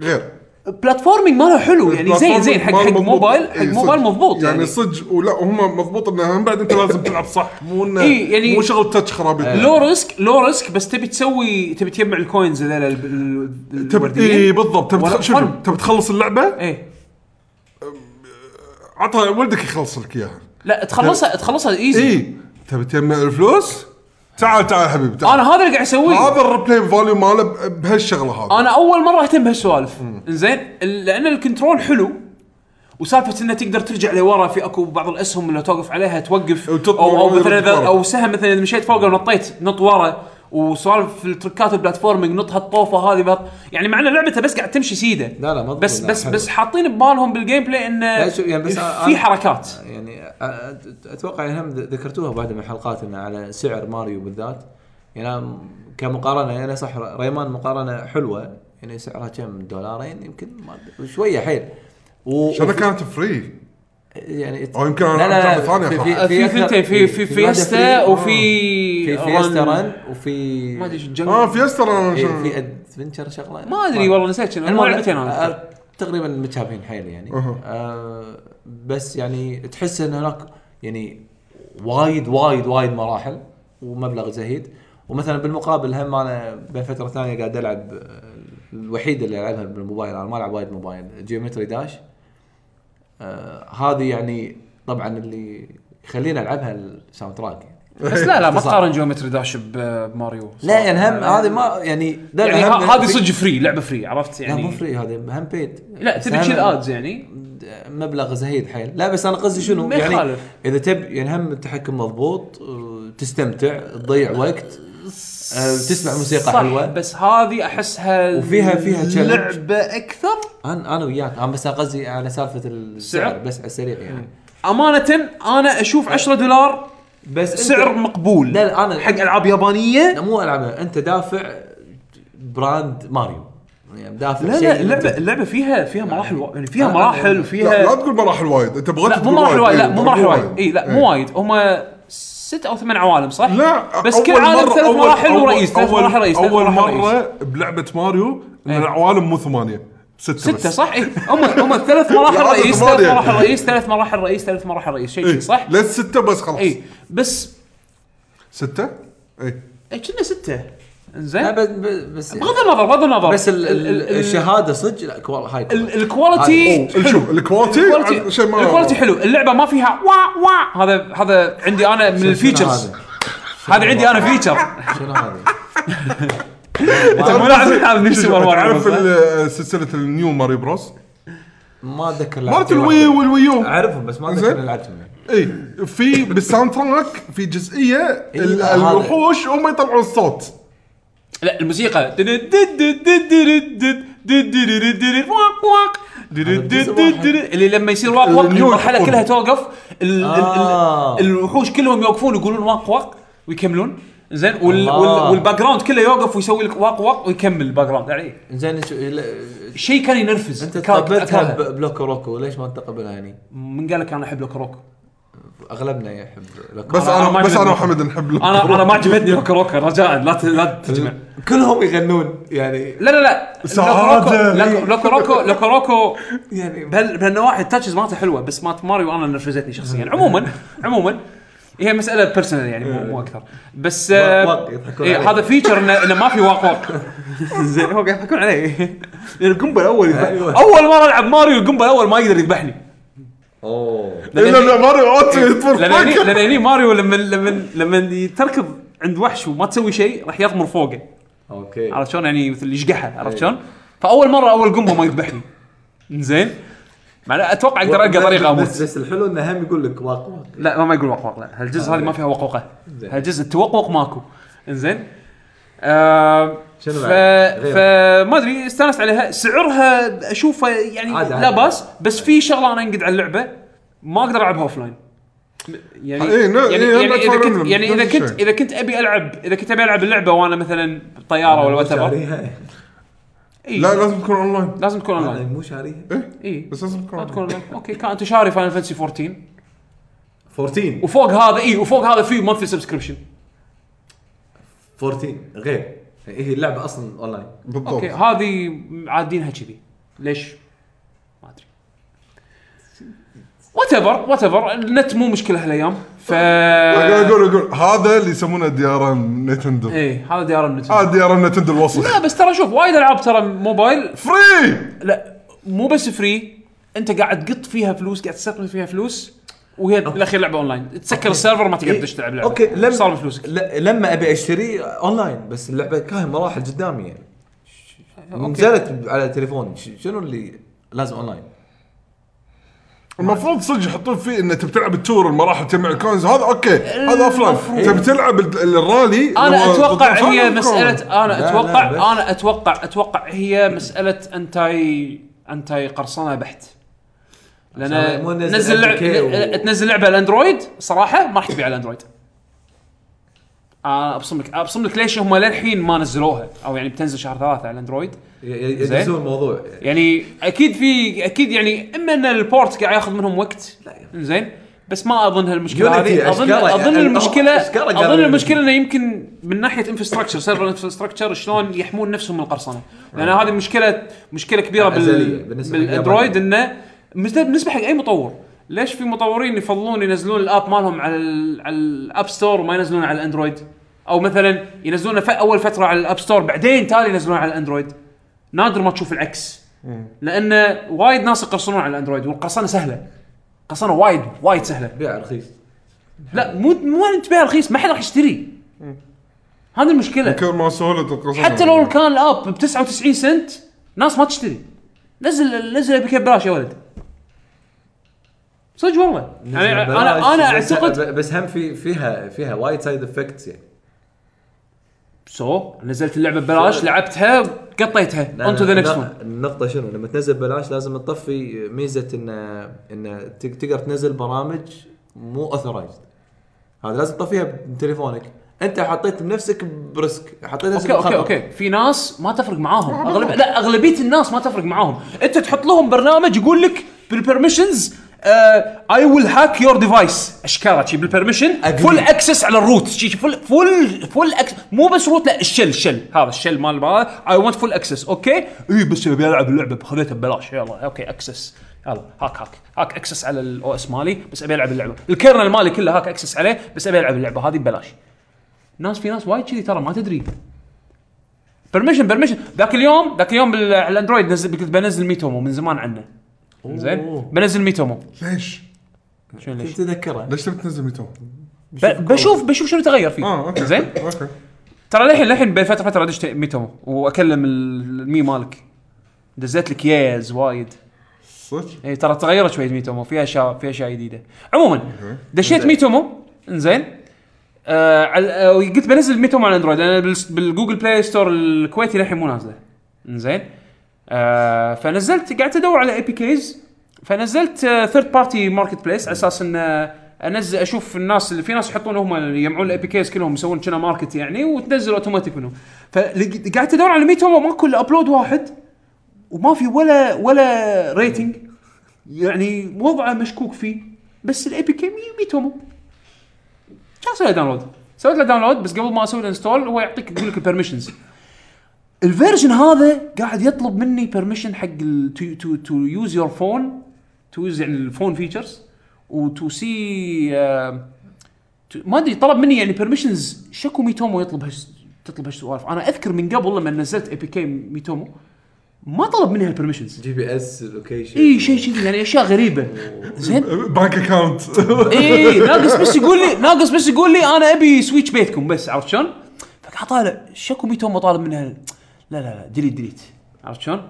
Speaker 3: غير
Speaker 2: البلاتفورمينج ماله حلو يعني زين زين حق حق
Speaker 3: مال مضبوط.
Speaker 2: موبايل حق
Speaker 3: إي،
Speaker 2: موبايل
Speaker 3: صدق.
Speaker 2: مضبوط
Speaker 3: يعني
Speaker 2: يعني
Speaker 3: صدق ولا هم مضبوط انه من بعد انت لازم تلعب صح مو انه
Speaker 2: إي، يعني-
Speaker 3: مو شغل تاتش خرابيط
Speaker 2: لو ريسك لو ريسك بس تبي تسوي تبي تجمع الكوينز هذول ال- ال-
Speaker 3: تب...
Speaker 2: الورديين
Speaker 3: اي إيه، بالضبط تبي
Speaker 2: ولا
Speaker 3: تخ- شوف
Speaker 2: فن.
Speaker 3: تبي تخلص اللعبه
Speaker 2: ايه
Speaker 3: عطها ولدك يخلص لك اياها
Speaker 2: لا
Speaker 3: إيه.
Speaker 2: تخلصها تخلصها ايزي
Speaker 3: اي تبي تجمع الفلوس تعال تعال حبيبي تعال
Speaker 2: انا هذا اللي قاعد اسويه
Speaker 3: هذا الريبلاي فاليو ماله ب- بهالشغله هذه
Speaker 2: انا اول مره اهتم بهالسوالف زين لان الكنترول حلو وسالفه انه تقدر ترجع لورا في اكو بعض الاسهم اللي توقف عليها توقف
Speaker 3: أو تطلع
Speaker 2: او, أو
Speaker 3: ورا
Speaker 2: مثلا اذا
Speaker 3: ورا.
Speaker 2: او سهم مثلا اذا مشيت فوقه ونطيت نط ورا وسوالف في التركات البلاتفورمينج نط هالطوفه هذه بهط- يعني مع ان لعبته بس قاعد تمشي سيده
Speaker 4: لا لا مضبوط
Speaker 2: بس
Speaker 4: لا،
Speaker 2: بس
Speaker 4: حلو.
Speaker 2: بس حاطين ببالهم بالجيم بلاي انه
Speaker 4: لا، شوف، يعني بس أنا-
Speaker 2: في
Speaker 4: أنا-
Speaker 2: حركات
Speaker 4: يعني أ- أ- اتوقع يعني هم ذكرتوها بعد من الحلقات انه على سعر ماريو بالذات يعني أنا م- كمقارنه يعني صح ر- ريمان مقارنه حلوه يعني سعرها كم دولارين يمكن ما أدري، شويه حيل و
Speaker 3: شنو كانت فري
Speaker 4: يعني
Speaker 3: أو يمكن أنا لعبت لعبة ثانية
Speaker 2: في في
Speaker 4: أكثر-
Speaker 2: ثنتين في في
Speaker 4: واحدة آه.
Speaker 2: فيستا
Speaker 4: فري،
Speaker 2: وفي
Speaker 4: في فيستا رن وفي
Speaker 2: ما ادري شو الجنة.
Speaker 3: اه فيستا انا
Speaker 4: إيه،
Speaker 3: شنو-
Speaker 4: في ادفنشر شغله
Speaker 2: ما ادري والله نسيت شنو ما
Speaker 4: المهم،
Speaker 2: لعبتين
Speaker 4: آه،
Speaker 2: انا
Speaker 4: تقريبا متشابهين حيل يعني
Speaker 3: أها.
Speaker 4: آه بس يعني تحس ان هناك يعني وايد وايد وايد مراحل ومبلغ زهيد ومثلا بالمقابل هم انا بين فتره ثانيه قاعد العب آه، الوحيد اللي العبها بالموبايل انا ما العب وايد موبايل جيومتري داش آه هذه يعني طبعا اللي يخليني العبها الساوند تراك يعني.
Speaker 2: بس لا لا ما
Speaker 4: اختصار.
Speaker 2: تقارن جيومتري داش ب- بماريو
Speaker 4: لا يعني هم هذه ما يعني ده
Speaker 2: يعني
Speaker 4: هم-
Speaker 2: ه- هذه صدق فري لعبه فري عرفت
Speaker 4: لا
Speaker 2: يعني
Speaker 4: مو فري هذه هم بيد
Speaker 2: لا تبي تشيل ادز يعني
Speaker 4: مبلغ زهيد حيل لا بس انا قصدي شنو
Speaker 2: ما
Speaker 4: يعني
Speaker 2: يخالف.
Speaker 4: اذا تب يعني هم التحكم مضبوط آه، تستمتع تضيع وقت آه، تسمع موسيقى
Speaker 2: صح،
Speaker 4: حلوه
Speaker 2: بس هذه احسها
Speaker 4: وفيها- فيها challenge.
Speaker 2: لعبه اكثر
Speaker 4: انا انا وياك انا بس أنا قصدي على سالفه السعر
Speaker 2: سعر؟
Speaker 4: بس على السريع يعني
Speaker 2: امانه انا اشوف 10 دولار
Speaker 4: بس أنت-
Speaker 2: سعر مقبول
Speaker 4: لا لا انا
Speaker 2: حق العاب يابانيه
Speaker 4: لا مو العبها انت دافع براند ماريو يعني دافع
Speaker 2: لا
Speaker 4: شيء
Speaker 2: لا اللعبه اللعبه فيها فيها مراحل و- يعني فيها
Speaker 4: لا،
Speaker 2: مراحل
Speaker 4: لا،
Speaker 3: لا, لا
Speaker 2: وفيها
Speaker 3: تقول مراحل وايد انت بغيت
Speaker 2: لا مو
Speaker 3: تقول
Speaker 2: مراحل وايد لا
Speaker 4: يعني
Speaker 3: إيه،
Speaker 2: مو مراحل وايد اي
Speaker 4: إيه.
Speaker 2: لا مو وايد هم ست او ثمان عوالم صح؟
Speaker 3: لا
Speaker 2: بس
Speaker 3: أول
Speaker 2: كل عالم
Speaker 3: مرة-
Speaker 2: ثلاث
Speaker 3: أول-
Speaker 2: مراحل
Speaker 3: أول-
Speaker 2: ورئيس ثلاث
Speaker 3: أول-
Speaker 2: مراحل رئيس ثلاث
Speaker 3: اول
Speaker 2: مراحل رئيس.
Speaker 3: مره بلعبه ماريو ان العوالم مو ثمانيه سته
Speaker 2: ستة
Speaker 3: بس.
Speaker 2: صح؟ إيه هم هم ثلاث
Speaker 3: يا
Speaker 2: مراحل
Speaker 3: عدد
Speaker 2: رئيس
Speaker 3: ثمانية.
Speaker 2: ثلاث مراحل رئيس ثلاث مراحل رئيس ثلاث مراحل رئيس شيء
Speaker 3: إيه،
Speaker 2: كذي صح؟ إيه.
Speaker 3: لا سته بس خلاص
Speaker 2: اي بس
Speaker 3: سته اي
Speaker 2: إيه، كنا ستة
Speaker 4: لا
Speaker 2: زين
Speaker 4: بس بس يعني-
Speaker 2: بغض النظر بغض النظر
Speaker 4: بس ال- ال-
Speaker 2: ال- ال-
Speaker 4: الشهاده صدق لا كوال- هاي كوال.
Speaker 2: ال- الكواليتي
Speaker 3: اللي شوف الكواليتي عن-
Speaker 2: الكواليتي
Speaker 3: شيء ما
Speaker 2: الكواليتي حلو اللعبه ما فيها وا وا هذا هذا عندي انا من الفيتشرز
Speaker 4: شنو هذا؟
Speaker 2: هذا عندي انا فيتشر
Speaker 4: شنو هذا؟
Speaker 2: مو لاعب العاب نفس سوبر ماريو
Speaker 3: تعرف
Speaker 2: بس.
Speaker 3: ال- سلسله النيو ماري بروس
Speaker 4: ما اتذكر
Speaker 3: مالت
Speaker 4: لعبت
Speaker 3: الوي
Speaker 4: واحدة.
Speaker 3: والويو
Speaker 4: اعرفهم بس ما
Speaker 3: زين.
Speaker 4: اتذكر إني لعبتهم يعني.
Speaker 3: اي في بالساوند تراك في جزئيه ال-
Speaker 4: هذا.
Speaker 3: الوحوش هم يطلعون الصوت
Speaker 2: لا الموسيقى واق واق اللي لما يصير واق واق
Speaker 3: النيو
Speaker 2: المرحله
Speaker 3: يوقفون.
Speaker 2: كلها توقف ال- ال-
Speaker 4: آه.
Speaker 2: ال- الوحوش كلهم يوقفون يقولون واق واق ويكملون زين وال-
Speaker 4: الله.
Speaker 2: وال- والباك جراوند كله يوقف ويسوي لك واق واق ويكمل الباك جراوند يعني
Speaker 4: زين شو- لا-
Speaker 2: شيء كان ينرفز
Speaker 4: انت
Speaker 2: كان-
Speaker 4: تقبلتها
Speaker 2: كان-
Speaker 4: بلوك روكو ليش ما تقبلها يعني؟
Speaker 2: من قال لك انا احب لوكروكو
Speaker 4: اغلبنا يحب لوك
Speaker 3: بس
Speaker 2: أنا- أنا
Speaker 3: انا
Speaker 2: ما
Speaker 3: بس
Speaker 2: عجبني.
Speaker 3: انا وحمد نحب له.
Speaker 2: انا انا ما عجبتني لوكروكو رجاء لا ت- لا تجمع
Speaker 4: كلهم يغنون يعني
Speaker 2: لا لا لا
Speaker 3: سعادة.
Speaker 2: لوكروكو- لوكروكو لوكروكو
Speaker 4: يعني
Speaker 2: بهال بهالنواحي التاتشز مالته حلوه بس مالت ماريو انا نرفزتني شخصيا عموما عموما هي مساله بيرسونال يعني مو, مو اكثر بس آه،
Speaker 4: واق واق إيه. يضحكون
Speaker 2: إيه
Speaker 4: عليه.
Speaker 2: هذا فيتشر انه إنه ما في واق واق زين هو قاعد يضحكون علي
Speaker 4: يعني
Speaker 2: لان القنبله الاول يذبح-
Speaker 4: أيوة.
Speaker 2: اول مره العب ماريو القنبله الاول ما يقدر يذبحني
Speaker 4: اوه
Speaker 3: الا ماريو اوتو يطفر
Speaker 2: لان هني-
Speaker 3: فاكر.
Speaker 2: يعني لان هني ماريو لما لما لما تركض عند وحش وما تسوي شيء راح يغمر فوقه
Speaker 4: اوكي
Speaker 2: عرفت شلون يعني مثل يشقحه
Speaker 3: إيه.
Speaker 2: عرفت شلون؟ فاول مره اول قمه ما يذبحني زين مع اتوقع اقدر القى طريقه اموت
Speaker 4: بس بس الحلو انه هم يقول لك واق واق
Speaker 2: لا ما ما يقول وقوق لا هالجزء هذه ما فيها وقوقه
Speaker 4: زين.
Speaker 2: هالجزء التوقوق ماكو انزين آه
Speaker 4: شنو
Speaker 2: ف...
Speaker 4: بعد؟ غير.
Speaker 2: فما ادري استانست عليها سعرها اشوفه يعني
Speaker 4: عادي، عادي.
Speaker 2: لا باس بس في شغله انا انقد على اللعبه ما اقدر العبها اوف لاين يعني
Speaker 3: إيه، لا،
Speaker 2: يعني,
Speaker 3: إيه،
Speaker 2: يعني
Speaker 3: أنا
Speaker 2: اذا
Speaker 3: أتفاهم
Speaker 2: كنت
Speaker 3: منهم،
Speaker 2: يعني اذا
Speaker 3: نفس
Speaker 2: كنت
Speaker 3: الشيء.
Speaker 2: اذا كنت ابي العب اذا كنت ابي العب اللعبه وانا مثلا بطياره ولا إيه. وات ايفر
Speaker 4: شاريها
Speaker 3: لا لازم تكون اونلاين
Speaker 2: لازم تكون
Speaker 4: انا
Speaker 2: اونلاين
Speaker 4: مو شاريها
Speaker 2: اي
Speaker 3: بس لازم تكون
Speaker 2: ما تكون
Speaker 3: اونلاين
Speaker 2: اونلاين اوكي كان انت شاري فاينل فانسي 14
Speaker 4: 14
Speaker 2: وفوق هذا اي وفوق هذا في مونثلي سبسكريبشن
Speaker 4: 14 غير هي اللعبه اصلا اونلاين
Speaker 2: اوكي
Speaker 3: بالضبط
Speaker 2: هذه عادينها كذي ليش؟ ما ادري وات ايفر وات ايفر النت مو مشكله هالايام ف
Speaker 3: اقول
Speaker 2: آه.
Speaker 3: اقول اقول هذا اللي يسمونه ديار نتندو
Speaker 2: ايه هذا ديار النت
Speaker 3: هذا ديار نتندو الوسخ
Speaker 2: لا بس ترى شوف وايد العاب ترى موبايل
Speaker 3: فري
Speaker 2: لا مو بس فري انت قاعد تقط فيها فلوس قاعد تستثمر فيها فلوس وهي بالاخير لعبه اونلاين تسكر السيرفر ما تقدر
Speaker 4: إيه.
Speaker 2: تدش تلعب لعبه
Speaker 4: اوكي لما
Speaker 2: صار بفلوسك
Speaker 4: ل- لما ابي اشتري اونلاين بس اللعبه كاهي مراحل قدامي يعني
Speaker 2: أوكي.
Speaker 4: نزلت على تليفون ش- شنو اللي لازم اونلاين؟
Speaker 3: المفروض صدق يحطون فيه انه تبي تلعب التور المراحل تجمع الكوينز هذا اوكي
Speaker 2: إيه،
Speaker 3: هذا اوف لاين تبي تلعب ال- ال- الرالي
Speaker 2: انا
Speaker 3: لما
Speaker 2: اتوقع
Speaker 3: تطلع
Speaker 2: هي
Speaker 3: فاهم الكون.
Speaker 2: مساله
Speaker 4: لا،
Speaker 2: انا
Speaker 4: لا،
Speaker 2: اتوقع
Speaker 4: بس.
Speaker 2: انا اتوقع اتوقع هي مساله انتاي انتاي قرصنه بحت
Speaker 4: عشان
Speaker 2: لان
Speaker 4: مو ننزل
Speaker 2: تنزل لعب
Speaker 4: 10K و-
Speaker 2: تنزل لعبه على الاندرويد صراحه ما راح تبيع على الاندرويد آه، ابصم لك ابصم لك ليش هم للحين ما نزلوها او يعني بتنزل شهر ثلاثه على الاندرويد
Speaker 4: ي- ي- يدرسون الموضوع
Speaker 2: يعني اكيد في اكيد يعني اما ان البورت قاعد ياخذ منهم وقت زين بس ما اظن هالمشكله
Speaker 4: Unity
Speaker 2: هذه اظن
Speaker 4: أشكاله
Speaker 2: اظن
Speaker 4: يعني
Speaker 2: المشكله
Speaker 4: أشكاله قالوا
Speaker 2: اظن
Speaker 4: Unity.
Speaker 2: المشكله انه يمكن من ناحيه انفراستراكشر سيرفر انفراستراكشر شلون يحمون نفسهم من القرصنه لان هذه مشكله مشكله كبيره
Speaker 4: أزلية
Speaker 2: بال
Speaker 4: بالنسبة حق
Speaker 2: بالاندرويد
Speaker 4: اليابان.
Speaker 2: انه بالنسبة- بالنسبه حق اي مطور ليش في مطورين يفضلون ينزلون الاب مالهم على ال على الاب ستور وما ينزلون على الاندرويد او مثلا ينزلونه ف- اول فتره على الاب ستور بعدين تالي ينزلونه على الاندرويد نادر ما تشوف العكس لان وايد ناس يقرصنون على الاندرويد والقرصنه سهله قرصنه وايد وايد سهله
Speaker 4: بيع رخيص
Speaker 2: لا مو مو انت بيع رخيص ما حد راح يشتري هذه المشكله
Speaker 3: كثر ما سهولة القصة
Speaker 2: حتى لو كان الاب ب 99 سنت ناس ما تشتري نزل نزل بك ببلاش يا ولد صدق والله يعني انا انا
Speaker 4: بس-
Speaker 2: اعتقد
Speaker 4: بس هم في فيها فيها وايد سايد افكتس يعني
Speaker 2: سو نزلت اللعبه ببلاش لعبتها قطيتها اونتو ذا نكست ون
Speaker 4: النقطة شنو لما تنزل ببلاش لازم تطفي ميزة ان ان ت- تقدر تنزل برامج مو اوثرايزد هذا لازم تطفيها بتليفونك انت حطيت بنفسك بريسك حطيت نفسك
Speaker 2: اوكي اوكي
Speaker 4: بخطر.
Speaker 2: اوكي في ناس ما تفرق معاهم أغلب... لا اغلبيه الناس ما تفرق معاهم انت تحط لهم برنامج يقول لك آه، بالبرميشنز اي ويل هاك يور ديفايس اشكاله شي بالبرميشن
Speaker 4: Agree.
Speaker 2: فول اكسس على الروت شي شي فول فول فول اكس مو بس روت لا الشل الشل هذا الشل مال مال اي ونت فول اكسس اوكي اي بس ابي العب اللعبه خذيتها ببلاش يلا اوكي اكسس يلا هاك هاك هاك اكسس على الاو اس مالي بس ابي العب اللعبه الكيرنل مالي كله هاك اكسس عليه بس ابي العب اللعبه هذه ببلاش ناس في ناس وايد كذي ترى ما تدري برميشن برميشن ذاك اليوم ذاك اليوم بال- على الاندرويد نزل كنت بنزل ميتومو من زمان عنه زين بنزل ميتومو
Speaker 3: ليش؟
Speaker 2: شنو ليش؟
Speaker 4: كنت اتذكره
Speaker 3: ليش تبي تنزل ميتو؟
Speaker 2: ب- بشوف بشوف شنو تغير
Speaker 3: اه
Speaker 2: فيه
Speaker 3: اوكي
Speaker 2: زين
Speaker 3: اوكي
Speaker 2: ترى للحين للحين بين فتره فتره ادش ميتومو واكلم ال- المي مالك دزيت لك ياز وايد
Speaker 3: صدق؟
Speaker 2: اي يعني ترى تغيرت شويه ميتومو فيها اشياء فيها اشياء جديده عموما دشيت ميتومو انزين آه على آه قلت بنزل ميتومو على اندرويد لان بالس- بالجوجل بلاي ستور الكويتي للحين مو نازله انزين آه فنزلت قعدت ادور على اي بي كيز فنزلت آه، ثيرد بارتي ماركت بليس على اساس ان آه، انزل اشوف الناس اللي في ناس يحطون هم اللي يجمعون الاي بي كيز كلهم يسوون كنا ماركت يعني وتنزل اوتوماتيك منهم فقعدت ادور على ميتومو ماكو الا ابلود واحد وما في ولا ولا ريتنج يعني وضعه مشكوك فيه بس الاي بي كي ميتومو كان اسوي له داونلود سويت له داونلود بس قبل ما اسوي له انستول هو يعطيك يقول لك البرميشنز الفيرجن هذا قاعد يطلب مني بيرميشن حق تو تو تو يوز يور فون تو يوز يعني الفون فيتشرز وتو سي آه، ما ادري طلب مني يعني بيرميشنز شكو ميتومو يطلب هالس- تطلب هالسوالف انا اذكر من قبل لما نزلت اي بي كي ميتومو ما طلب منها البرميشنز
Speaker 4: جي بي اس لوكيشن
Speaker 2: اي شيء كذي يعني اشياء غريبه زين
Speaker 3: بانك اكاونت
Speaker 2: اي ناقص بس يقول لي ناقص بس يقول لي انا ابي سويتش بيتكم بس عرفت شلون؟ فقاعد طالع شكو ميتو ما طالب منها لا لا لا ديليت ديليت عرفت شلون؟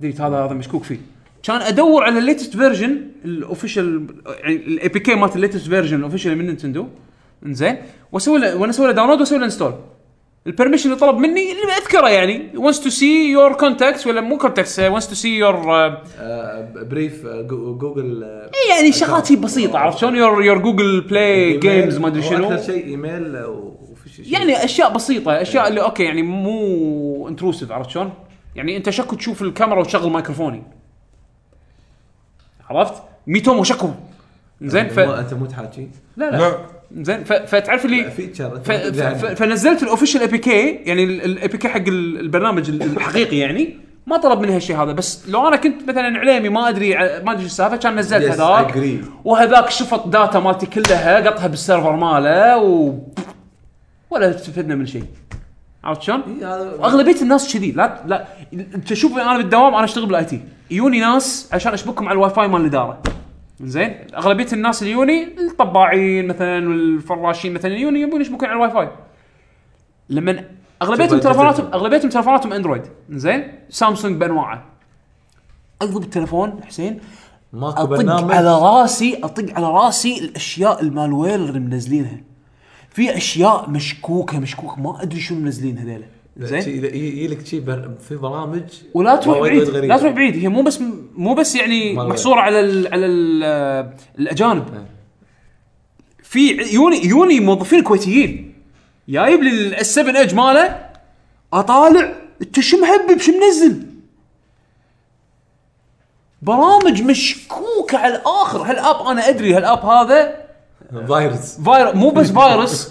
Speaker 2: ديليت هذا هذا مشكوك فيه كان ادور على الليتست فيرجن الاوفيشال يعني الاي بي كي مالت الليتست فيرجن الاوفيشال من نينتندو انزين واسوي له وانا اسوي له داونلود واسوي له انستول البرميشن اللي طلب مني اللي اذكره يعني wants to see your contacts ولا مو contacts uh, wants to see your uh,
Speaker 4: آه، بريف جوجل آه،
Speaker 2: إيه يعني شغلات شي بسيطه عرفت شلون يور يور جوجل بلاي
Speaker 4: إيميل.
Speaker 2: جيمز ما ادري
Speaker 4: هو
Speaker 2: شنو
Speaker 4: اكثر شيء ايميل وفي شيء
Speaker 2: يعني اشياء بسيطه اشياء اللي اوكي يعني مو انتروسيف عرفت شلون؟ يعني انت شكو تشوف الكاميرا وتشغل مايكروفوني عرفت؟ ميتومو شكو زين يعني ف
Speaker 4: مو- انت مو تحاكي
Speaker 2: لا لا
Speaker 3: لا
Speaker 2: زين ف... فتعرف اللي
Speaker 4: فيتشر
Speaker 2: ف... ف...
Speaker 4: يعني
Speaker 2: ف... فنزلت الاوفيشال اي بي كي يعني الاي بي كي حق ال- البرنامج ال- الحقيقي يعني ما طلب منها الشيء هذا بس لو انا كنت مثلا عليمي ما ادري ع- ما ادري شو السالفه كان نزلت
Speaker 4: Yes,
Speaker 2: هذاك
Speaker 4: agree.
Speaker 2: وهذاك شفط داتا مالتي كلها قطها بالسيرفر ماله و ولا استفدنا من شيء عرفت شلون؟ واغلبيه الناس كذي لا لا انت شوف انا بالدوام انا اشتغل بالاي تي يجوني ناس عشان اشبكهم على الواي فاي مال الاداره زين اغلبيه الناس اللي يوني الطباعين مثلا والفراشين مثلا يوني يبون يشبكون على الواي فاي لما اغلبيتهم
Speaker 4: تبغى
Speaker 2: تلفوناتهم
Speaker 4: تلتزم.
Speaker 2: اغلبيتهم تلفوناتهم اندرويد زين سامسونج بانواعه اقلب التلفون حسين
Speaker 4: ماكو
Speaker 2: اطق
Speaker 4: برنامج
Speaker 2: على راسي اطق على راسي الاشياء المالوير اللي منزلينها في اشياء مشكوكه مشكوكه ما ادري شو منزلين هذيلا
Speaker 4: زين
Speaker 2: زين
Speaker 4: يجي لك شيء بر- في برامج
Speaker 2: ولا تروح
Speaker 4: وايد
Speaker 2: بعيد
Speaker 4: غريبة.
Speaker 2: لا تروح بعيد هي مو بس مو بس يعني
Speaker 4: مالوير.
Speaker 2: محصوره على ال على ال الاجانب في يوني يوني موظفين كويتيين جايب لي الاس 7 اج ماله اطالع انت شو مهبب شو منزل برامج مشكوكه على الاخر هالاب انا ادري هالاب هذا
Speaker 4: فايروس
Speaker 2: فاير مو بس فايروس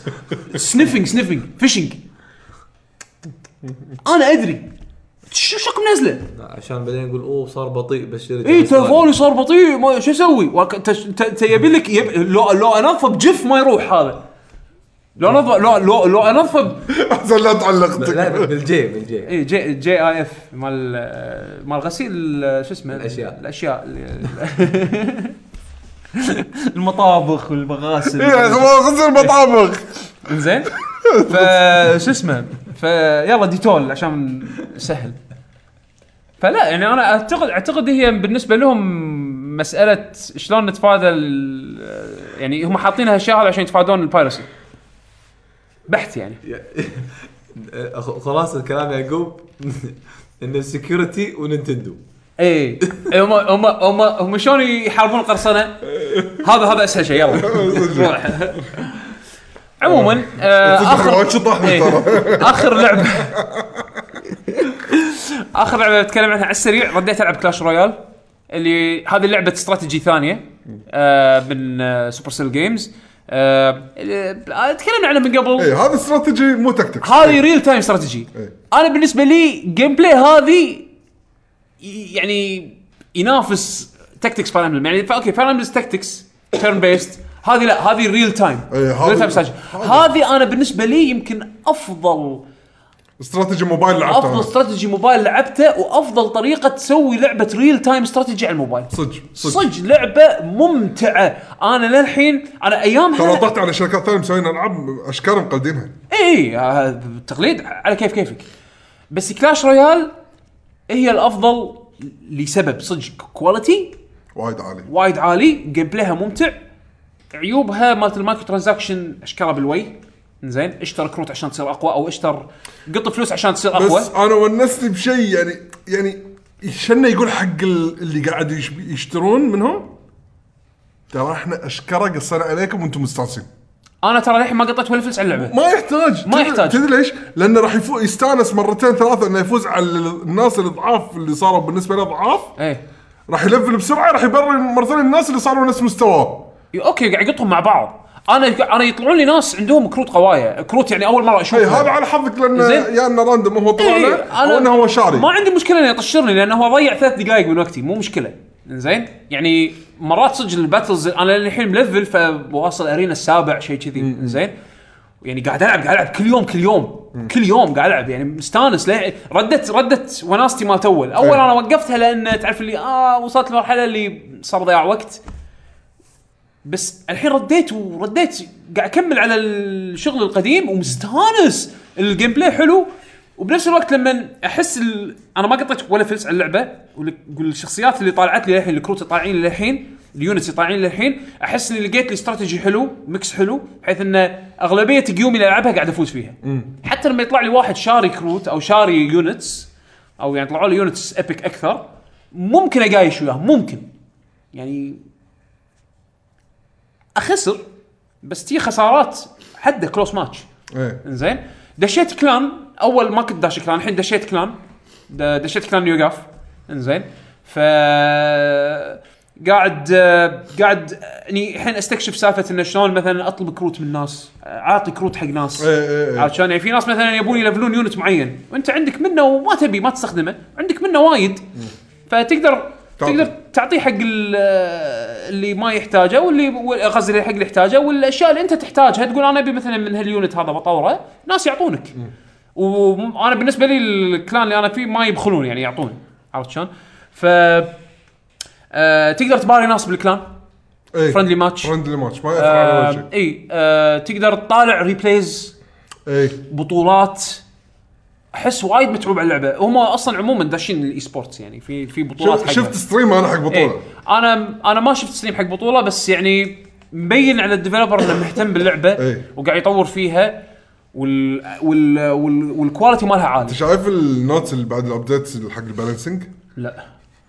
Speaker 2: سنيفنج سنيفنج فيشنج انا ادري شو شك منزله
Speaker 4: عشان بعدين يقول اوه صار بطيء بالشركه
Speaker 2: اي إيه، تلفوني صار بطيء ما شو اسوي وك- انت- انت أنت يبي لك يب... لو لو انظف بجف ما يروح هذا لو انظف لو لو, لو انظف
Speaker 3: احسن لا تعلقتك
Speaker 4: لا بالجي بالجي
Speaker 2: اي إيه، جي جي اي اف مال آه، مال غسيل آه، شو اسمه
Speaker 4: الأشياء.
Speaker 2: الاشياء ال- المطابخ والمغاسل
Speaker 3: إيه، غسل مطابخ
Speaker 2: زين ف شو اسمه فيلا ديتول عشان سهل فلا يعني انا اعتقد اعتقد هي بالنسبه لهم مساله شلون نتفادى ال- يعني هم حاطين هالاشياء هذه عشان يتفادون البايرسي بحث يعني
Speaker 4: خلاصه كلام يعقوب ان السكيورتي وننتندو
Speaker 2: اي إيه. هم هم هم هم شلون يحاربون القرصنه؟ هذا هذا اسهل شيء يلا روح. عموما آه،
Speaker 3: صدق
Speaker 2: اخر
Speaker 3: وايد شطحني
Speaker 2: إيه.
Speaker 3: ترى
Speaker 2: اخر لعبه اخر لعبه بتكلم عنها على السريع رديت العب كلاش رويال اللي هذه لعبه استراتيجي ثانيه آه من آه سوبر سيل جيمز آه آه، تكلمنا عنها من قبل
Speaker 3: إيه، هذا استراتيجي مو تكتيك
Speaker 2: هذه ريل تايم استراتيجي
Speaker 3: إيه.
Speaker 2: انا بالنسبه لي جيم بلاي هذه ي- يعني ينافس تكتكس فاير امبلم يعني فا- اوكي فاير امبلم تكتكس تيرن بيست هذه لا هذه ريل تايم
Speaker 3: إيه، هذه-
Speaker 2: هذه انا بالنسبه لي يمكن افضل
Speaker 3: استراتيجي موبايل لعبته
Speaker 2: افضل
Speaker 3: أنا.
Speaker 2: استراتيجي موبايل لعبته وافضل طريقه تسوي لعبه ريل تايم استراتيجي على الموبايل
Speaker 3: صدق صدق
Speaker 2: صدق لعبه ممتعه انا للحين انا
Speaker 3: ترى
Speaker 2: ايامها
Speaker 3: طحت على شركات ثانيه مسوين العاب اشكال مقلدينها
Speaker 2: اي آه، تقليد على كيف كيفك بس كلاش رويال هي الافضل لسبب صدق كواليتي
Speaker 3: وايد عالي
Speaker 2: وايد عالي جيم بلايها ممتع عيوبها مالت المايكرو ترانزاكشن اشكالها بالوي زين اشتر كروت عشان تصير اقوى او اشتر قط فلوس عشان تصير اقوى
Speaker 3: بس انا ونستني بشيء يعني يعني شنو يقول حق ال- اللي قاعد يش- يشترون منهم ترى احنا اشكره قصينا عليكم وانتم مستانسين
Speaker 2: انا ترى للحين ما قطيت ولا فلس على اللعبه
Speaker 3: ما يحتاج
Speaker 2: ما
Speaker 3: تدري-
Speaker 2: يحتاج.
Speaker 3: تدري ليش؟ لانه راح يفو يستانس مرتين ثلاثه انه يفوز على ال- الناس الاضعاف اللي صاروا بالنسبه له ضعاف
Speaker 2: ايه
Speaker 3: راح يلفل بسرعه راح يبرر مره ثانيه الناس اللي صاروا نفس مستواه
Speaker 2: اوكي قاعد يقطهم مع بعض انا انا يطلعون لي ناس عندهم كروت قوايا كروت يعني اول مره
Speaker 3: اي إيه، هذا
Speaker 2: اشوفها
Speaker 3: على حظك لانه
Speaker 2: زين.
Speaker 3: يا انه راندوم هو طلع
Speaker 2: إي،
Speaker 3: له او انه هو شاري
Speaker 2: إيه، ما عندي مشكله انه يطشرني لانه هو ضيع ثلاث دقائق من وقتي مو مشكله زين يعني مرات صدق الباتلز انا للحين ملفل فواصل ارينا السابع شيء كذي زين يعني قاعد العب قاعد العب كل يوم كل يوم كل يوم قاعد العب يعني مستانس لا- ردت ردت وناستي ما اول اول
Speaker 3: إيه.
Speaker 2: انا وقفتها لان تعرف اللي اه وصلت لمرحله اللي صار ضياع وقت بس الحين رديت ورديت قاعد اكمل على الشغل القديم ومستانس الجيم بلاي حلو وبنفس الوقت لما احس ال... انا ما قطيت ولا فلس على اللعبه وال- والشخصيات اللي طالعت لي للحين الكروت اللي طالعين للحين اليونتس اللي طالعين للحين احس اني لقيت لي استراتيجي حلو ميكس حلو بحيث ان اغلبيه الجيوم اللي العبها قاعد افوز فيها حتى لما يطلع لي واحد شاري كروت او شاري يونتس او يعني طلعوا لي يونتس ايبك اكثر ممكن اقايش وياه ممكن يعني اخسر بس تي خسارات حده كلوس ماتش
Speaker 3: ايه
Speaker 2: انزين دشيت كلان اول ما كنت داش كلان الحين دشيت كلان د- دشيت كلان يوقف انزين ف قاعد آه، قاعد آه، يعني الحين استكشف سالفه انه شلون مثلا اطلب كروت من ناس آه، اعطي كروت حق ناس
Speaker 3: إيه، إيه، إيه.
Speaker 2: عرفت شلون يعني في ناس مثلا يبون يلفلون يونت معين وانت عندك منه وما تبي ما تستخدمه عندك منه وايد فتقدر
Speaker 3: تعطي.
Speaker 2: تقدر تعطيه حق ال- اللي ما يحتاجه واللي وال- قصدي اللي حق اللي يحتاجه والاشياء اللي انت تحتاجها تقول انا ابي مثلا من هاليونت هذا بطوره ناس يعطونك وانا بالنسبه لي الكلان اللي انا فيه ما يبخلون يعني يعطون عرفت شلون؟ ف آه، تقدر تباري ناس بالكلان
Speaker 3: ايه
Speaker 2: فرندلي ماتش
Speaker 3: فرندلي ماتش ما ياثر على وجهك
Speaker 2: اي آه، تقدر تطالع ريبليز
Speaker 3: ايه
Speaker 2: بطولات احس وايد متعوب على اللعبه هم اصلا عموما داشين الاي سبورتس يعني في في بطولات
Speaker 3: شف-
Speaker 2: حقها.
Speaker 3: شفت ستريم انا حق
Speaker 2: ايه
Speaker 3: بطوله
Speaker 2: انا انا ما شفت ستريم حق بطوله بس يعني مبين على الديفلوبر انه مهتم باللعبه
Speaker 3: إيه.
Speaker 2: وقاعد يطور فيها وال وال, وال... والكواليتي مالها عالي
Speaker 3: انت شايف النوتس اللي بعد الابديت حق البالانسنج
Speaker 2: لا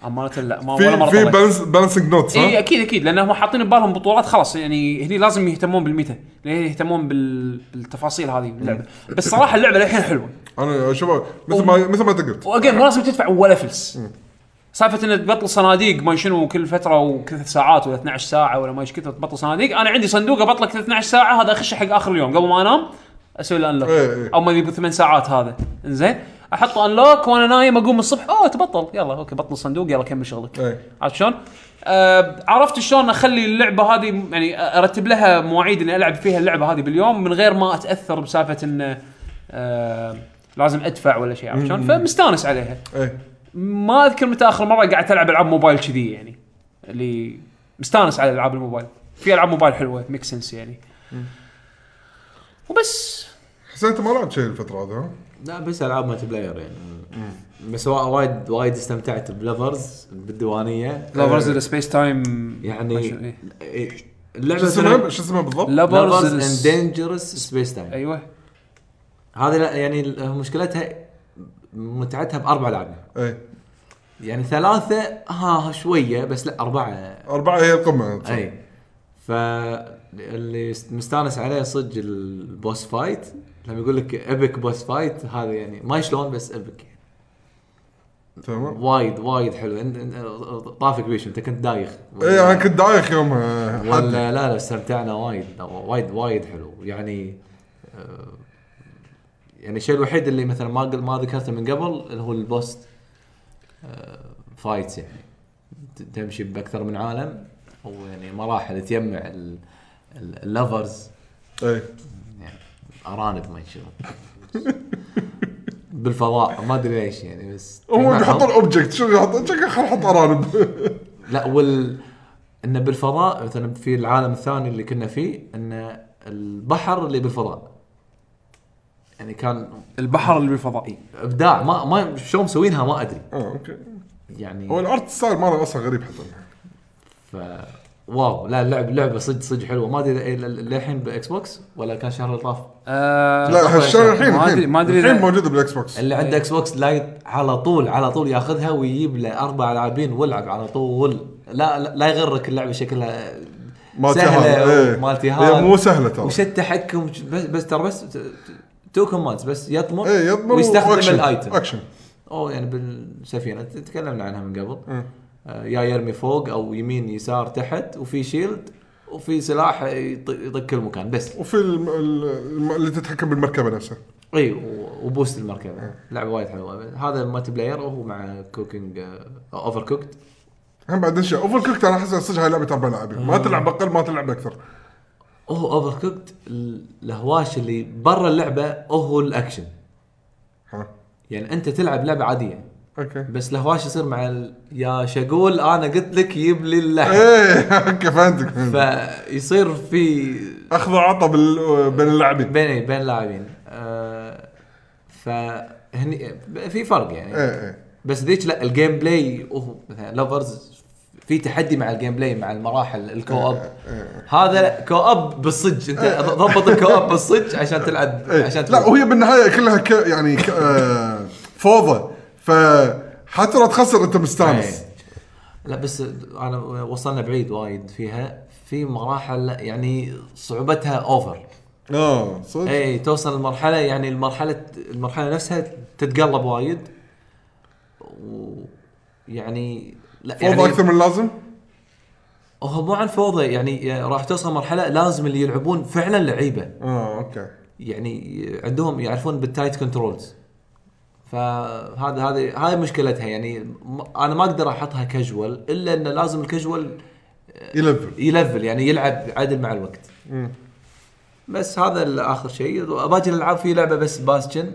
Speaker 2: امانه لا ما ولا إيه،
Speaker 3: في
Speaker 2: مره
Speaker 3: في
Speaker 2: طلعت.
Speaker 3: بالانس بالانسنج نوتس
Speaker 2: اي
Speaker 3: ها
Speaker 2: اكيد اكيد لانهم حاطين ببالهم بطولات خلاص يعني هني لازم يهتمون بالميتا لان يهتمون بال... بالتفاصيل هذه باللعبه
Speaker 3: إيه.
Speaker 2: بس صراحه اللعبه للحين حلوه
Speaker 3: انا شباب مثل ما مثل ما انت قلت
Speaker 2: واجين مو لازم تدفع ولا فلس سالفه انك تبطل صناديق ما شنو كل فتره وكل ساعات ولا 12 ساعه ولا ما ايش كثر تبطل صناديق انا عندي صندوق ابطله كل 12 ساعه هذا اخشه حق اخر اليوم قبل ما انام اسوي له انلوك
Speaker 3: إيه إيه.
Speaker 2: او ما يبي ثمان ساعات هذا انزين احطه انلوك وانا نايم اقوم الصبح اوه تبطل يلا اوكي بطل الصندوق يلا كمل شغلك
Speaker 3: إيه.
Speaker 2: عرفت شلون؟ آه عرفت شلون اخلي اللعبه هذه يعني ارتب لها مواعيد اني العب فيها اللعبه هذه باليوم من غير ما اتاثر بسالفه انه آه لازم ادفع ولا شيء عرفت شلون؟ فمستانس عليها.
Speaker 3: ايه
Speaker 2: ما اذكر متى اخر مره قعدت العب العاب موبايل كذي يعني اللي مستانس على العاب الموبايل. في العاب موبايل حلوه ميك سنس يعني. وبس
Speaker 3: حسين انت ما لعبت شيء الفتره هذه ها؟
Speaker 4: لا بس العاب مالتي بلاير يعني بس وا- وايد وايد استمتعت بلفرز بالديوانيه
Speaker 2: لافرز السبيس تايم
Speaker 4: يعني إيه، اللعبه
Speaker 3: شو اسمها
Speaker 4: مثلا
Speaker 3: شو اسمها بالضبط؟
Speaker 2: لافرز
Speaker 4: لفرز اند دينجرس سبيس تايم
Speaker 2: ايوه
Speaker 4: هذه لا- يعني ال- مشكلتها متعتها باربع لعبه
Speaker 3: ايه
Speaker 4: يعني ثلاثه ها شويه بس لا اربعه
Speaker 3: اربعه هي القمه صح.
Speaker 2: إيه.
Speaker 4: اي ف اللي مستانس عليه صدق البوس فايت لما يقول لك ابك بوس فايت هذا يعني ما شلون بس ابك
Speaker 3: تمام
Speaker 4: وايد وايد حلو إن- إن- طافك بيش انت كنت دايخ
Speaker 3: ايه انا كنت دايخ يومها حد.
Speaker 4: ولا لا لا استمتعنا وايد لا، وايد وايد حلو يعني آه، يعني الشيء الوحيد اللي مثلا ما قل ما ذكرته من قبل اللي هو البوست فايتس يعني ت- تمشي باكثر من عالم او يعني مراحل تجمع ال- ال- اللفرز
Speaker 3: ايه
Speaker 4: يعني ارانب ما شنو بالفضاء ما ادري ليش يعني بس
Speaker 3: هم
Speaker 4: تجمعهم.
Speaker 3: يحطون اوبجكت شو يحطون شكله خل نحط ارانب
Speaker 4: لا وال انه بالفضاء مثلا في العالم الثاني اللي كنا فيه انه البحر اللي بالفضاء يعني كان
Speaker 2: البحر اللي بالفضاء
Speaker 4: ابداع ما ما شلون مسوينها ما ادري
Speaker 3: اه اوكي هو
Speaker 4: يعني
Speaker 3: الارت ستايل ماله اصلا غريب حتى
Speaker 4: ف واو لا اللعب لعبه صدق صدق حلوه ما ادري إذا- إلى- للحين باكس بوكس ولا كان شهر اللي طاف
Speaker 2: آه،
Speaker 3: لا الشغل الحين
Speaker 2: ما أدري-
Speaker 3: الحين
Speaker 2: ما أدري
Speaker 3: الحين
Speaker 2: إذا-
Speaker 3: موجوده بالاكس بوكس
Speaker 4: اللي عنده اكس بوكس لايت على طول على طول ياخذها ويجيب له اربع لاعبين والعب على طول لا لا, لا يغرك اللعبه شكلها
Speaker 3: مالتي هذا،
Speaker 4: سهله
Speaker 3: إيه.
Speaker 4: مالتي
Speaker 3: هي مو سهله ترى
Speaker 4: وش التحكم بس, بس ترى بس تو كوماندز بس يطمر
Speaker 3: ايه يضمن
Speaker 4: ويستخدم
Speaker 3: وأكشن.
Speaker 4: الايتم
Speaker 3: اكشن
Speaker 4: او يعني بالسفينه ت- تكلمنا عنها من قبل
Speaker 3: مم.
Speaker 4: آه، يا يرمي فوق او يمين يسار تحت وفي شيلد وفي سلاح يط- يطق كل مكان بس
Speaker 3: وفي الم... الم... اللي تتحكم بالمركبه نفسها
Speaker 4: اي و- وبوست المركبه لعبه وايد حلوه هذا المالتي بلاير وهو مع آه، كوكينج اوفر كوكت آه.
Speaker 3: هم بعدين شيء اوفر كوكت انا احس صدق هاي لعبه اربع لاعبين ما تلعب اقل ما تلعب اكثر
Speaker 4: هو اوفر كوكت الهواش اللي برا اللعبه هو الاكشن
Speaker 3: ها
Speaker 4: يعني انت تلعب لعبه عاديه
Speaker 3: اوكي
Speaker 4: بس الهواش يصير مع ال... يا شقول انا قلت لك جيب لي اللحم
Speaker 3: ايه اوكي فهمتك فهمتك
Speaker 4: فيصير في
Speaker 3: اخذ وعطى بال- بين اللاعبين
Speaker 4: بين إيه، بين اللاعبين آه فهني في فرق يعني
Speaker 3: ايه ايه
Speaker 4: بس ذيك لا الجيم بلاي اوه مثلا لافرز في تحدي مع الجيم بلاي مع المراحل الكو
Speaker 3: إيه،
Speaker 4: اب هذا لا، كو اب بالصج انت ضبط الكو اب بالصج عشان تلعب
Speaker 3: إيه.
Speaker 4: عشان
Speaker 3: لا
Speaker 4: تفوز.
Speaker 3: وهي بالنهايه كلها ك... يعني ك... آه، فوضى ف حتى لو تخسر انت مستانس
Speaker 4: إيه. لا بس انا وصلنا بعيد وايد فيها في مراحل يعني صعوبتها اوفر
Speaker 3: اه صدق
Speaker 4: اي توصل المرحله يعني المرحله المرحله نفسها تتقلب وايد ويعني لا
Speaker 3: فوضى اكثر
Speaker 4: يعني
Speaker 3: من اللازم
Speaker 4: هو مو عن فوضى يعني راح توصل مرحله لازم اللي يلعبون فعلا لعيبه
Speaker 3: اه اوكي
Speaker 4: يعني عندهم يعرفون بالتايت كنترولز فهذا هذه هاي مشكلتها يعني م- انا ما اقدر احطها كاجوال الا انه لازم الكاجوال
Speaker 3: يلفل
Speaker 4: يلفل يعني يلعب عدل مع الوقت بس هذا ال- اخر شيء باقي الالعاب في لعبه بس باستشن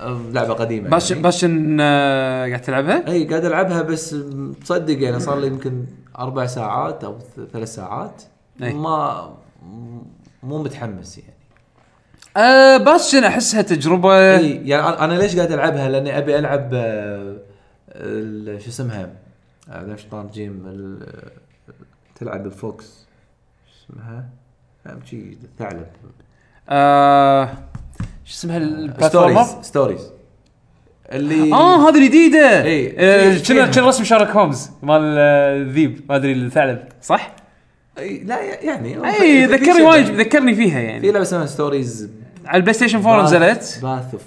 Speaker 4: أم، لعبه قديمه
Speaker 2: باش
Speaker 4: يعني.
Speaker 2: باش إن، آه، قاعد تلعبها
Speaker 4: اي قاعد العبها بس تصدق يعني صار لي يمكن اربع ساعات او ث- ثلاث ساعات
Speaker 2: أي.
Speaker 4: ما م- مو متحمس يعني
Speaker 2: أه باشن احسها تجربه
Speaker 4: اي يعني أنا- انا ليش قاعد العبها؟ لاني ابي العب آه، ال- شو اسمها؟ آه، ليش شيطان جيم ال- آه، تلعب الفوكس شو اسمها؟ نعم شي ثعلب
Speaker 2: آه، شو اسمها البلاتفورمر؟
Speaker 4: ستوريز ستوريز اللي
Speaker 2: اه هذه الجديده
Speaker 4: إي.
Speaker 2: آه،
Speaker 4: في-
Speaker 2: شنو
Speaker 4: فيها.
Speaker 2: شنو رسم شارك هومز مال آه، الذيب ما ادري الثعلب صح؟
Speaker 4: أي لا يعني
Speaker 2: اي ذكرني وايد ذكرني فيها
Speaker 4: إيه. في
Speaker 2: يعني
Speaker 4: لعبه اسمها ستوريز
Speaker 2: على البلاي ستيشن 4 نزلت
Speaker 4: باث اوف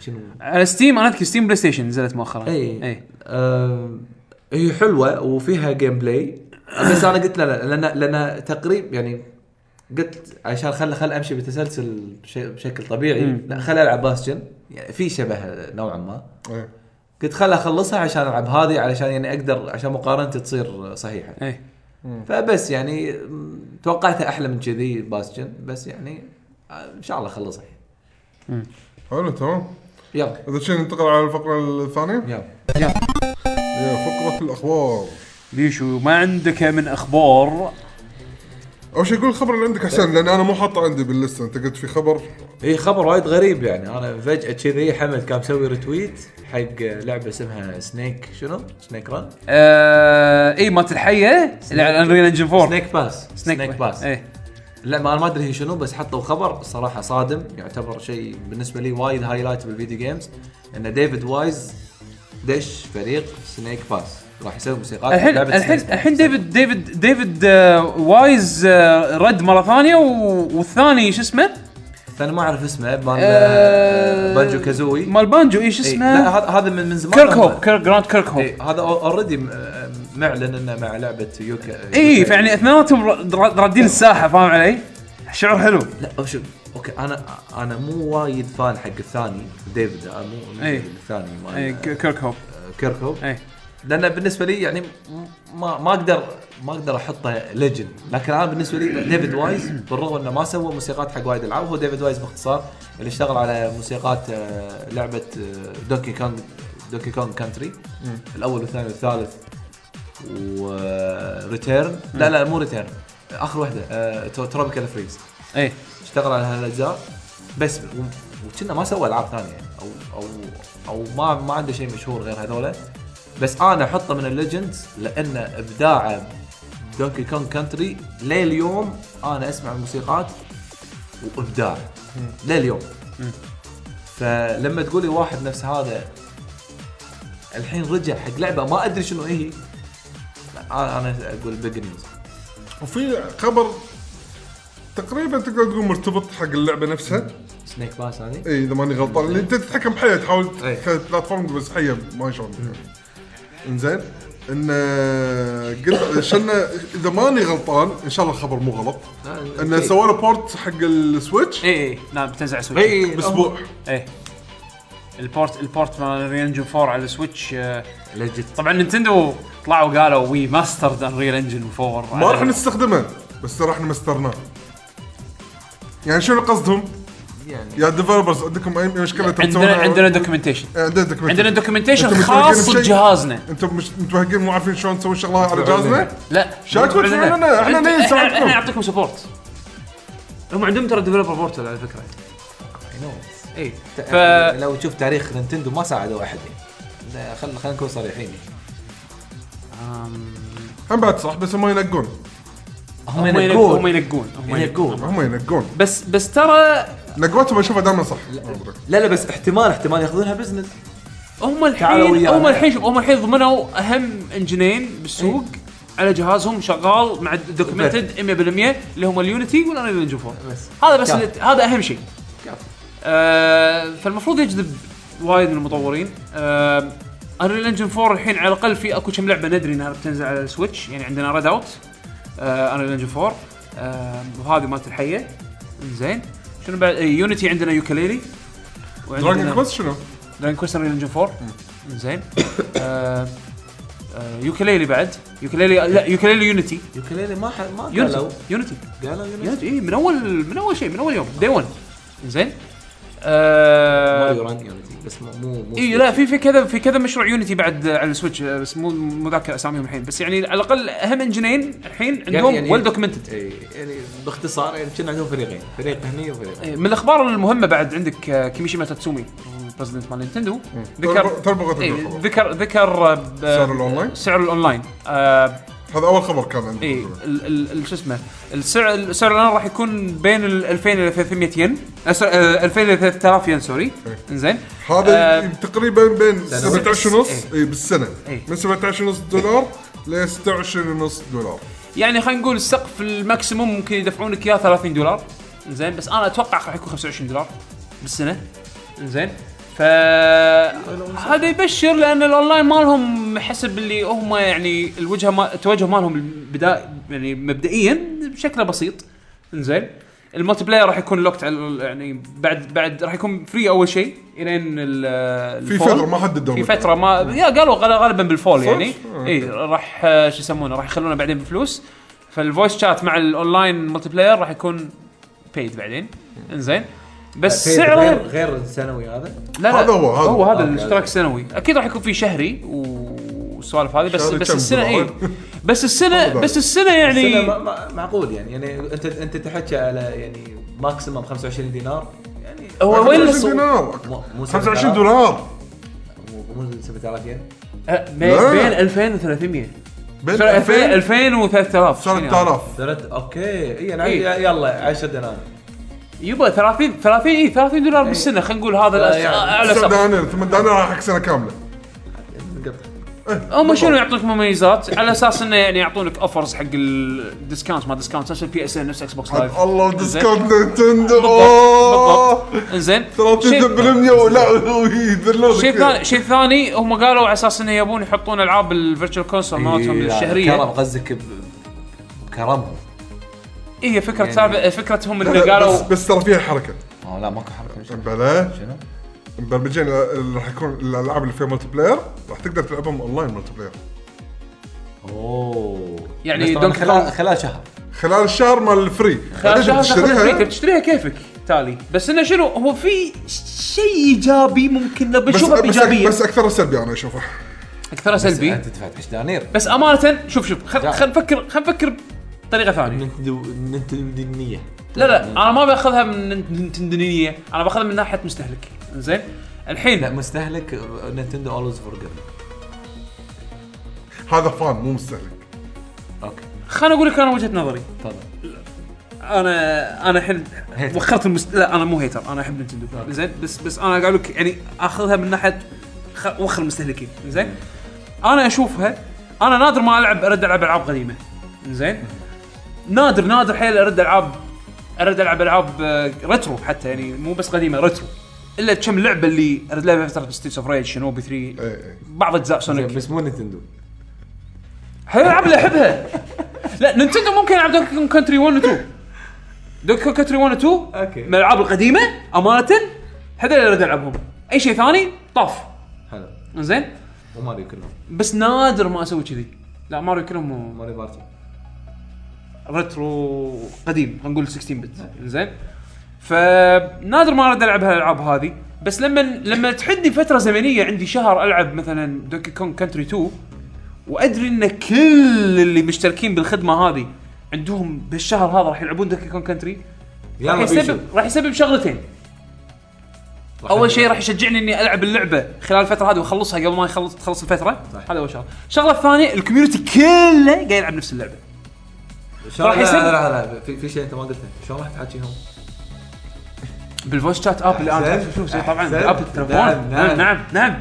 Speaker 4: شنو
Speaker 2: على ستيم انا اذكر ستيم بلاي ستيشن نزلت إيه. مؤخرا
Speaker 4: اي آم، هي حلوه وفيها جيم بلاي بس انا قلت لا لا لان لان تقريب يعني قلت عشان خل خل امشي بتسلسل بش- بشكل طبيعي
Speaker 2: مم.
Speaker 4: لا خل العب باستشن يعني في شبه نوعا ما
Speaker 3: إيه.
Speaker 4: قلت خل اخلصها عشان العب هذه علشان يعني اقدر عشان مقارنتي تصير صحيحه
Speaker 2: اي
Speaker 4: فبس يعني م، توقعتها احلى من كذي باستشن بس يعني آه، ان شاء الله اخلصها
Speaker 3: حلو تمام
Speaker 4: يلا
Speaker 3: اذا شيء ننتقل على الفقره الثانيه
Speaker 4: يلا
Speaker 3: هي فقره الاخبار
Speaker 2: بيشو ما عندك من اخبار
Speaker 3: اول شيء قول الخبر اللي عندك احسن لان انا مو حاطه عندي باللسته انت قلت في خبر
Speaker 4: اي إيه، خبر وايد غريب يعني انا فجاه كذي حمد كان مسوي ريتويت حق لعبه اسمها سنيك شنو؟ سنيك رن؟
Speaker 2: آه اي مالت الحيه اللي على انريل انجن 4
Speaker 4: سنيك باس
Speaker 2: اي
Speaker 4: لا ما انا ما ادري هي شنو بس حطوا خبر صراحه صادم يعتبر شيء بالنسبه لي وايد هايلايت بالفيديو جيمز ان ديفيد وايز دش فريق سنيك باس راح يسوي موسيقى
Speaker 2: الحين الحين الحين ديفيد ديفيد ديفيد آه، وايز آه، رد مره ثانيه و- والثاني شو اسمه؟
Speaker 4: انا ما اعرف اسمه مال
Speaker 2: آه،
Speaker 4: بانجو كازوي
Speaker 2: مال بانجو اي شو
Speaker 4: إي، إيه، لا
Speaker 2: اسمه؟
Speaker 4: هذا هذا من من زمان
Speaker 2: كيرك
Speaker 4: هم-
Speaker 2: هوب كيرك جراند كيرك هوب
Speaker 4: إيه هذا اوريدي معلن انه آه، مع لعبه يوكا
Speaker 2: اي
Speaker 4: يوكا-
Speaker 2: فيعني إيه، يعني اثنيناتهم ر- ر- رادين الساحه فاهم علي؟ شعور حلو
Speaker 4: لا أو شوف اوكي انا انا مو وايد فان حق الثاني ديفيد أنا مو مو
Speaker 2: إي.
Speaker 4: الثاني
Speaker 2: اي
Speaker 4: مال آه،
Speaker 2: كيرك هوب
Speaker 4: كيركوب
Speaker 2: اي
Speaker 4: لان بالنسبه لي يعني م- ما ما اقدر ما اقدر احطه ليجند لكن انا بالنسبه لي ديفيد وايز بالرغم انه ما سوى موسيقات حق وايد العاب هو ديفيد وايز باختصار اللي اشتغل على موسيقات آه، لعبه دوكي كونج دوكي كونج كانتري الاول والثاني والثالث وريتيرن لا لا مو ريتيرن اخر واحده تروبيكال فريز
Speaker 2: اي
Speaker 4: اشتغل على هالاجزاء بس و- وكنا ما سوى العاب ثانيه يعني او او او ما ما عنده شيء مشهور غير هذولا بس انا احطه من الليجندز لان ابداعه دونكي كونج كانتري لليوم انا اسمع الموسيقات وابداع لليوم فلما تقولي واحد نفس هذا الحين رجع حق لعبه ما ادري شنو هي أنا- انا اقول بيج نيوز
Speaker 3: وفي خبر تقريبا تقدر تقول مرتبط حق اللعبه نفسها
Speaker 4: سنيك باس هذه
Speaker 3: اي اذا ماني غلطان اللي انت تتحكم بحيه تحاول
Speaker 4: إي.
Speaker 3: تتحكم بلاتفورم بس حيه ما شلون انزين ان قلت شلنا اذا ماني غلطان ان شاء الله الخبر مو غلط
Speaker 4: آه،
Speaker 3: انه
Speaker 4: أكيد.
Speaker 3: سووا له بورت حق السويتش
Speaker 2: اي اي نعم بتنزع سويتش
Speaker 4: إي، إي،
Speaker 3: باسبوع
Speaker 2: اي البورت البورت مال رينجن 4 على السويتش آه،
Speaker 4: لجت
Speaker 2: طبعا نينتندو طلعوا قالوا وي ماسترد انريل انجن 4
Speaker 3: ما راح نستخدمه بس ترى احنا مسترناه يعني شنو قصدهم؟
Speaker 4: يعني
Speaker 3: يا ديفلوبرز عندكم اي مشكله
Speaker 2: عندنا عندنا دوكيومنتيشن
Speaker 3: إيه، عندنا
Speaker 2: عندنا دوكيومنتيشن
Speaker 3: أنتم
Speaker 2: خاص
Speaker 3: متوهقين بشيء؟
Speaker 2: بجهازنا
Speaker 3: انتم مش متوهقين مو عارفين شلون نسوي شغله على جهازنا؟
Speaker 2: لا
Speaker 3: شاكو
Speaker 2: عندنا-
Speaker 3: شو عندنا؟ احنا
Speaker 2: عندنا-
Speaker 3: ليه نساعدكم؟
Speaker 2: احنا نعطيكم سبورت هم عندهم ترى ديفلوبر بورتل على فكره اي ف
Speaker 4: ف... لو تشوف تاريخ نينتندو ما ساعدوا احد يعني خل خلينا نكون صريحين يعني.
Speaker 3: هم بعد صح بس هم ينقون
Speaker 4: هم
Speaker 2: هم ينقون هم ينقون هم
Speaker 4: ينقون
Speaker 3: هم ينقون
Speaker 2: بس بس ترى
Speaker 3: نقوتهم اشوفها دائما صح
Speaker 4: لا لا بس احتمال احتمال ياخذونها بزنس
Speaker 2: هم
Speaker 4: تعالوا
Speaker 2: الحين
Speaker 4: ويانا.
Speaker 2: هم الحين شوف هم الحين ضمنوا اهم انجنين بالسوق
Speaker 4: إيه.
Speaker 2: على جهازهم شغال مع دوكيومنتد 100% اللي هم اليونيتي والانريل انجن 4
Speaker 4: بس
Speaker 2: هذا بس
Speaker 4: كافي.
Speaker 2: اللي- هذا اهم شيء
Speaker 4: كافي.
Speaker 2: آه فالمفروض يجذب وايد من المطورين آه انريل انجن 4 الحين على الاقل في اكو كم لعبه ندري انها بتنزل على السويتش يعني عندنا ريد اوت انريل انجن 4 آه وهذه مالت الحيه زين شنو بعد يونيتي عندنا يوكليلي
Speaker 3: دراجون كوست شنو؟
Speaker 2: دراجون كويست انريل انجن 4 زين آه، آه، يوكليلي بعد يوكليلي لا يوكليلي يونيتي
Speaker 4: يوكليلي ما ح... ما قالوا
Speaker 2: يونيتي يونيتي
Speaker 4: قالوا يونيتي
Speaker 2: يونيتي إيه، من اول من اول شيء من اول يوم دي 1 زين آه،
Speaker 4: ماريو ران يونيتي بس مو مو مو
Speaker 2: اي لا في في كذا في كذا مشروع يونيتي بعد آه، على السويتش آه، بس مو مو ذاكر اساميهم الحين بس يعني على الاقل اهم انجنين الحين عندهم
Speaker 4: يعني-
Speaker 2: ويل دوكيومنتد
Speaker 4: إيه، يعني باختصار يعني كنا عندهم فريقين فريق هني وفريق هني.
Speaker 2: من الاخبار المهمه بعد عندك آه، كيميشيما تاتسومي بريزدنت مال نينتندو ذكر
Speaker 3: ترى بغيت
Speaker 2: إيه،
Speaker 3: أقول خبر.
Speaker 2: ذكر ذكر آه، ب-
Speaker 3: سعر الأونلاين؟
Speaker 2: سعر الاونلاين آه،
Speaker 3: هذا اول خبر كان عندي
Speaker 2: اي إيه، ال- ال- ال- شو اسمه السعر السعر الان راح يكون بين ال 2000 الى 300 ين أس- آه، 2000 الى 3000 ين سوري
Speaker 3: إيه.
Speaker 2: انزين
Speaker 3: هذا
Speaker 2: آه.
Speaker 3: تقريبا بين
Speaker 4: سنة.
Speaker 3: 17 ونص
Speaker 2: إيه.
Speaker 3: اي بالسنه
Speaker 2: إيه.
Speaker 3: من 17 ونص دولار ل 16 ونص دولار
Speaker 2: يعني خلينا نقول السقف الماكسيموم ممكن يدفعونك اياه 30 دولار انزين بس انا اتوقع راح يكون 25 دولار بالسنه انزين ف هذا يبشر لان الاونلاين مالهم حسب اللي هم يعني الوجهه ما التوجه مالهم البدايه يعني مبدئيا بشكله بسيط انزين الملتي بلاير راح يكون لوكت على ال- يعني بعد بعد راح يكون فري اول شيء الين ال-
Speaker 3: في
Speaker 2: الفول.
Speaker 3: فتره ما حددوا
Speaker 2: في فتره ما يا قالوا غل- غالبا بالفول
Speaker 3: صدق؟
Speaker 2: يعني
Speaker 3: آه،
Speaker 2: اي راح آه، شو يسمونه راح يخلونه بعدين بفلوس فالفويس شات مع الاونلاين ملتي بلاير راح يكون بيد بعدين انزين بس
Speaker 4: فريق غير
Speaker 2: سعره
Speaker 4: غير السنوي هذا
Speaker 2: لا لا
Speaker 3: هذا هو، آه، يعني. هذا.
Speaker 2: هو هذا
Speaker 4: أوكي،
Speaker 2: الاشتراك
Speaker 4: هذا.
Speaker 2: السنوي اكيد راح يكون في شهري والسوالف هذه بس
Speaker 3: شهري
Speaker 2: بس
Speaker 3: كم
Speaker 2: السنه اي
Speaker 3: دولار؟
Speaker 2: بس السنه
Speaker 3: والله.
Speaker 2: بس السنه يعني
Speaker 4: السنة ما- ما- معقول يعني يعني انت انت تحكي على يعني ماكسيمم 25 دينار يعني
Speaker 2: هو وين
Speaker 3: 25
Speaker 2: السوق؟
Speaker 3: دينار
Speaker 4: مو- مو
Speaker 3: 25
Speaker 4: 7000.
Speaker 3: دولار
Speaker 4: مو- مو 7000 ين
Speaker 2: آه، بين
Speaker 3: لا.
Speaker 2: بين 2000 و 300
Speaker 3: بين 2000
Speaker 2: 2000 و 3000
Speaker 3: 3000
Speaker 4: درت اوكي اي انا
Speaker 2: إيه.
Speaker 4: عندي يلا 10 دينار
Speaker 2: يبا 30 30 اي 30 دولار بالسنه خلينا نقول هذا
Speaker 4: لا،
Speaker 2: الأس-
Speaker 4: يعني
Speaker 2: اعلى
Speaker 3: تسع
Speaker 2: سقف
Speaker 3: دنانير ثمان دنانير راح حق سنه كامله
Speaker 4: انقطع.
Speaker 2: هم شنو يعطونك مميزات على اساس انه يعني يعطونك اوفرز حق الديسكاونت ما ديسكاونت نفس البي اس ان نفس اكس بوكس لايف
Speaker 3: الله ديسكاونت نينتندو
Speaker 2: بالضبط انزين
Speaker 3: 30% ولا ويذلونك
Speaker 2: شيء ثاني شيء ثاني هم قالوا على اساس انه يبون يحطون العاب الفيرتشوال كونسول مالتهم
Speaker 4: إيه، لا، كرم
Speaker 2: الشهريه
Speaker 4: غزك ب- بكرمهم
Speaker 2: إيه، هي فكره
Speaker 4: يعني-
Speaker 2: سالفه فكرتهم انه
Speaker 3: بس
Speaker 2: قالوا
Speaker 3: بس ترى فيها حركه
Speaker 4: اه لا ماكو حركه مش-
Speaker 3: بلا
Speaker 4: شنو؟
Speaker 3: مبرمجين اللي راح يكون الالعاب اللي فيها ملتي بلاير راح تقدر تلعبهم اونلاين ملتي بلاير
Speaker 4: اوه
Speaker 2: يعني
Speaker 4: بس طبعاً
Speaker 2: دونكي
Speaker 4: خلال
Speaker 2: كونغ.
Speaker 4: خلال شهر
Speaker 3: خلال الشهر مال الفري
Speaker 2: خلال شهر تاخذ
Speaker 3: تشتريها.
Speaker 2: الفري، تشتريها كيفك تالي بس انه شنو هو في شيء ايجابي ممكن لو
Speaker 3: بس
Speaker 2: بنشوفه
Speaker 3: بس,
Speaker 2: بايجابيه
Speaker 3: بس اكثر سلبي انا اشوفه
Speaker 2: اكثرها سلبي
Speaker 4: انت دفعت 10 دنانير
Speaker 2: بس امانه شوف شوف خل
Speaker 4: لا.
Speaker 2: خل نفكر خل نفكر بطريقه ثانيه
Speaker 4: ننتدو ننتدو
Speaker 2: لا لا انا ما باخذها من نتندنية انا باخذها من ناحيه مستهلك زين
Speaker 4: لا
Speaker 2: الحين
Speaker 4: مستهلك آه، نينتندو اولويز فور جيم
Speaker 3: هذا فان مو مستهلك
Speaker 4: اوكي
Speaker 2: خليني اقول لك انا وجهه نظري
Speaker 4: تفضل
Speaker 2: انا انا الحين
Speaker 4: هيتر.
Speaker 2: وخرت المست... لا انا مو هيتر انا احب نتندو زين بس بس انا قاعد اقول لك يعني اخذها من ناحيه خ... وخر المستهلكين زين انا اشوفها انا نادر ما العب ارد العب العاب قديمه زين نادر نادر حيل ارد العاب ارد العب العاب آه، ريترو حتى يعني مو بس قديمه ريترو الا كم لعبه اللي ارد لها فتره ستيتس اوف ريج شنوبي 3
Speaker 3: اي اي
Speaker 2: بعض اجزاء سونيك
Speaker 4: زين، بس مو نينتندو
Speaker 2: هاي الالعاب اللي احبها لا نينتندو ممكن العب دوكي كونج كونتري 1 و 2 دوكي كونج كونتري 1 و 2
Speaker 4: أوكي.
Speaker 2: من الالعاب القديمه امانه هذول اللي اريد العبهم اي شيء ثاني طاف
Speaker 4: حلو
Speaker 2: زين
Speaker 4: وماريو كلهم
Speaker 2: بس نادر ما اسوي كذي لا ماريو كلهم مو-
Speaker 4: ماريو بارتي
Speaker 2: ريترو قديم خلينا نقول 16 بت زين فنادر ما ارد العب هالالعاب هذه بس لما لما تحدني فتره زمنيه عندي شهر العب مثلا دونكي كونغ كانتري 2 وادري ان كل اللي مشتركين بالخدمه هذه عندهم بالشهر هذا راح يلعبون دونكي كونغ كانتري راح
Speaker 4: يلا بيشو.
Speaker 2: يسبب راح يسبب شغلتين اول شيء راح يشجعني اني العب اللعبه خلال الفتره هذه واخلصها قبل ما يخلص تخلص الفتره
Speaker 4: صح.
Speaker 2: هذا اول شغله الشغله الثانيه الكوميونتي كله قاعد يلعب نفس اللعبه
Speaker 4: شلون-
Speaker 2: راح
Speaker 4: لا-
Speaker 2: يسبب-
Speaker 4: لا لا لا في, في شيء انت ما قلته شلون راح تحاكيهم؟
Speaker 2: بالفويس شات آه، اب الان
Speaker 4: أحسن.
Speaker 2: تعرف شو شيء طبعا
Speaker 4: أحسن.
Speaker 2: اب التليفون
Speaker 4: نعم،
Speaker 2: نعم
Speaker 4: نعم.
Speaker 2: نعم نعم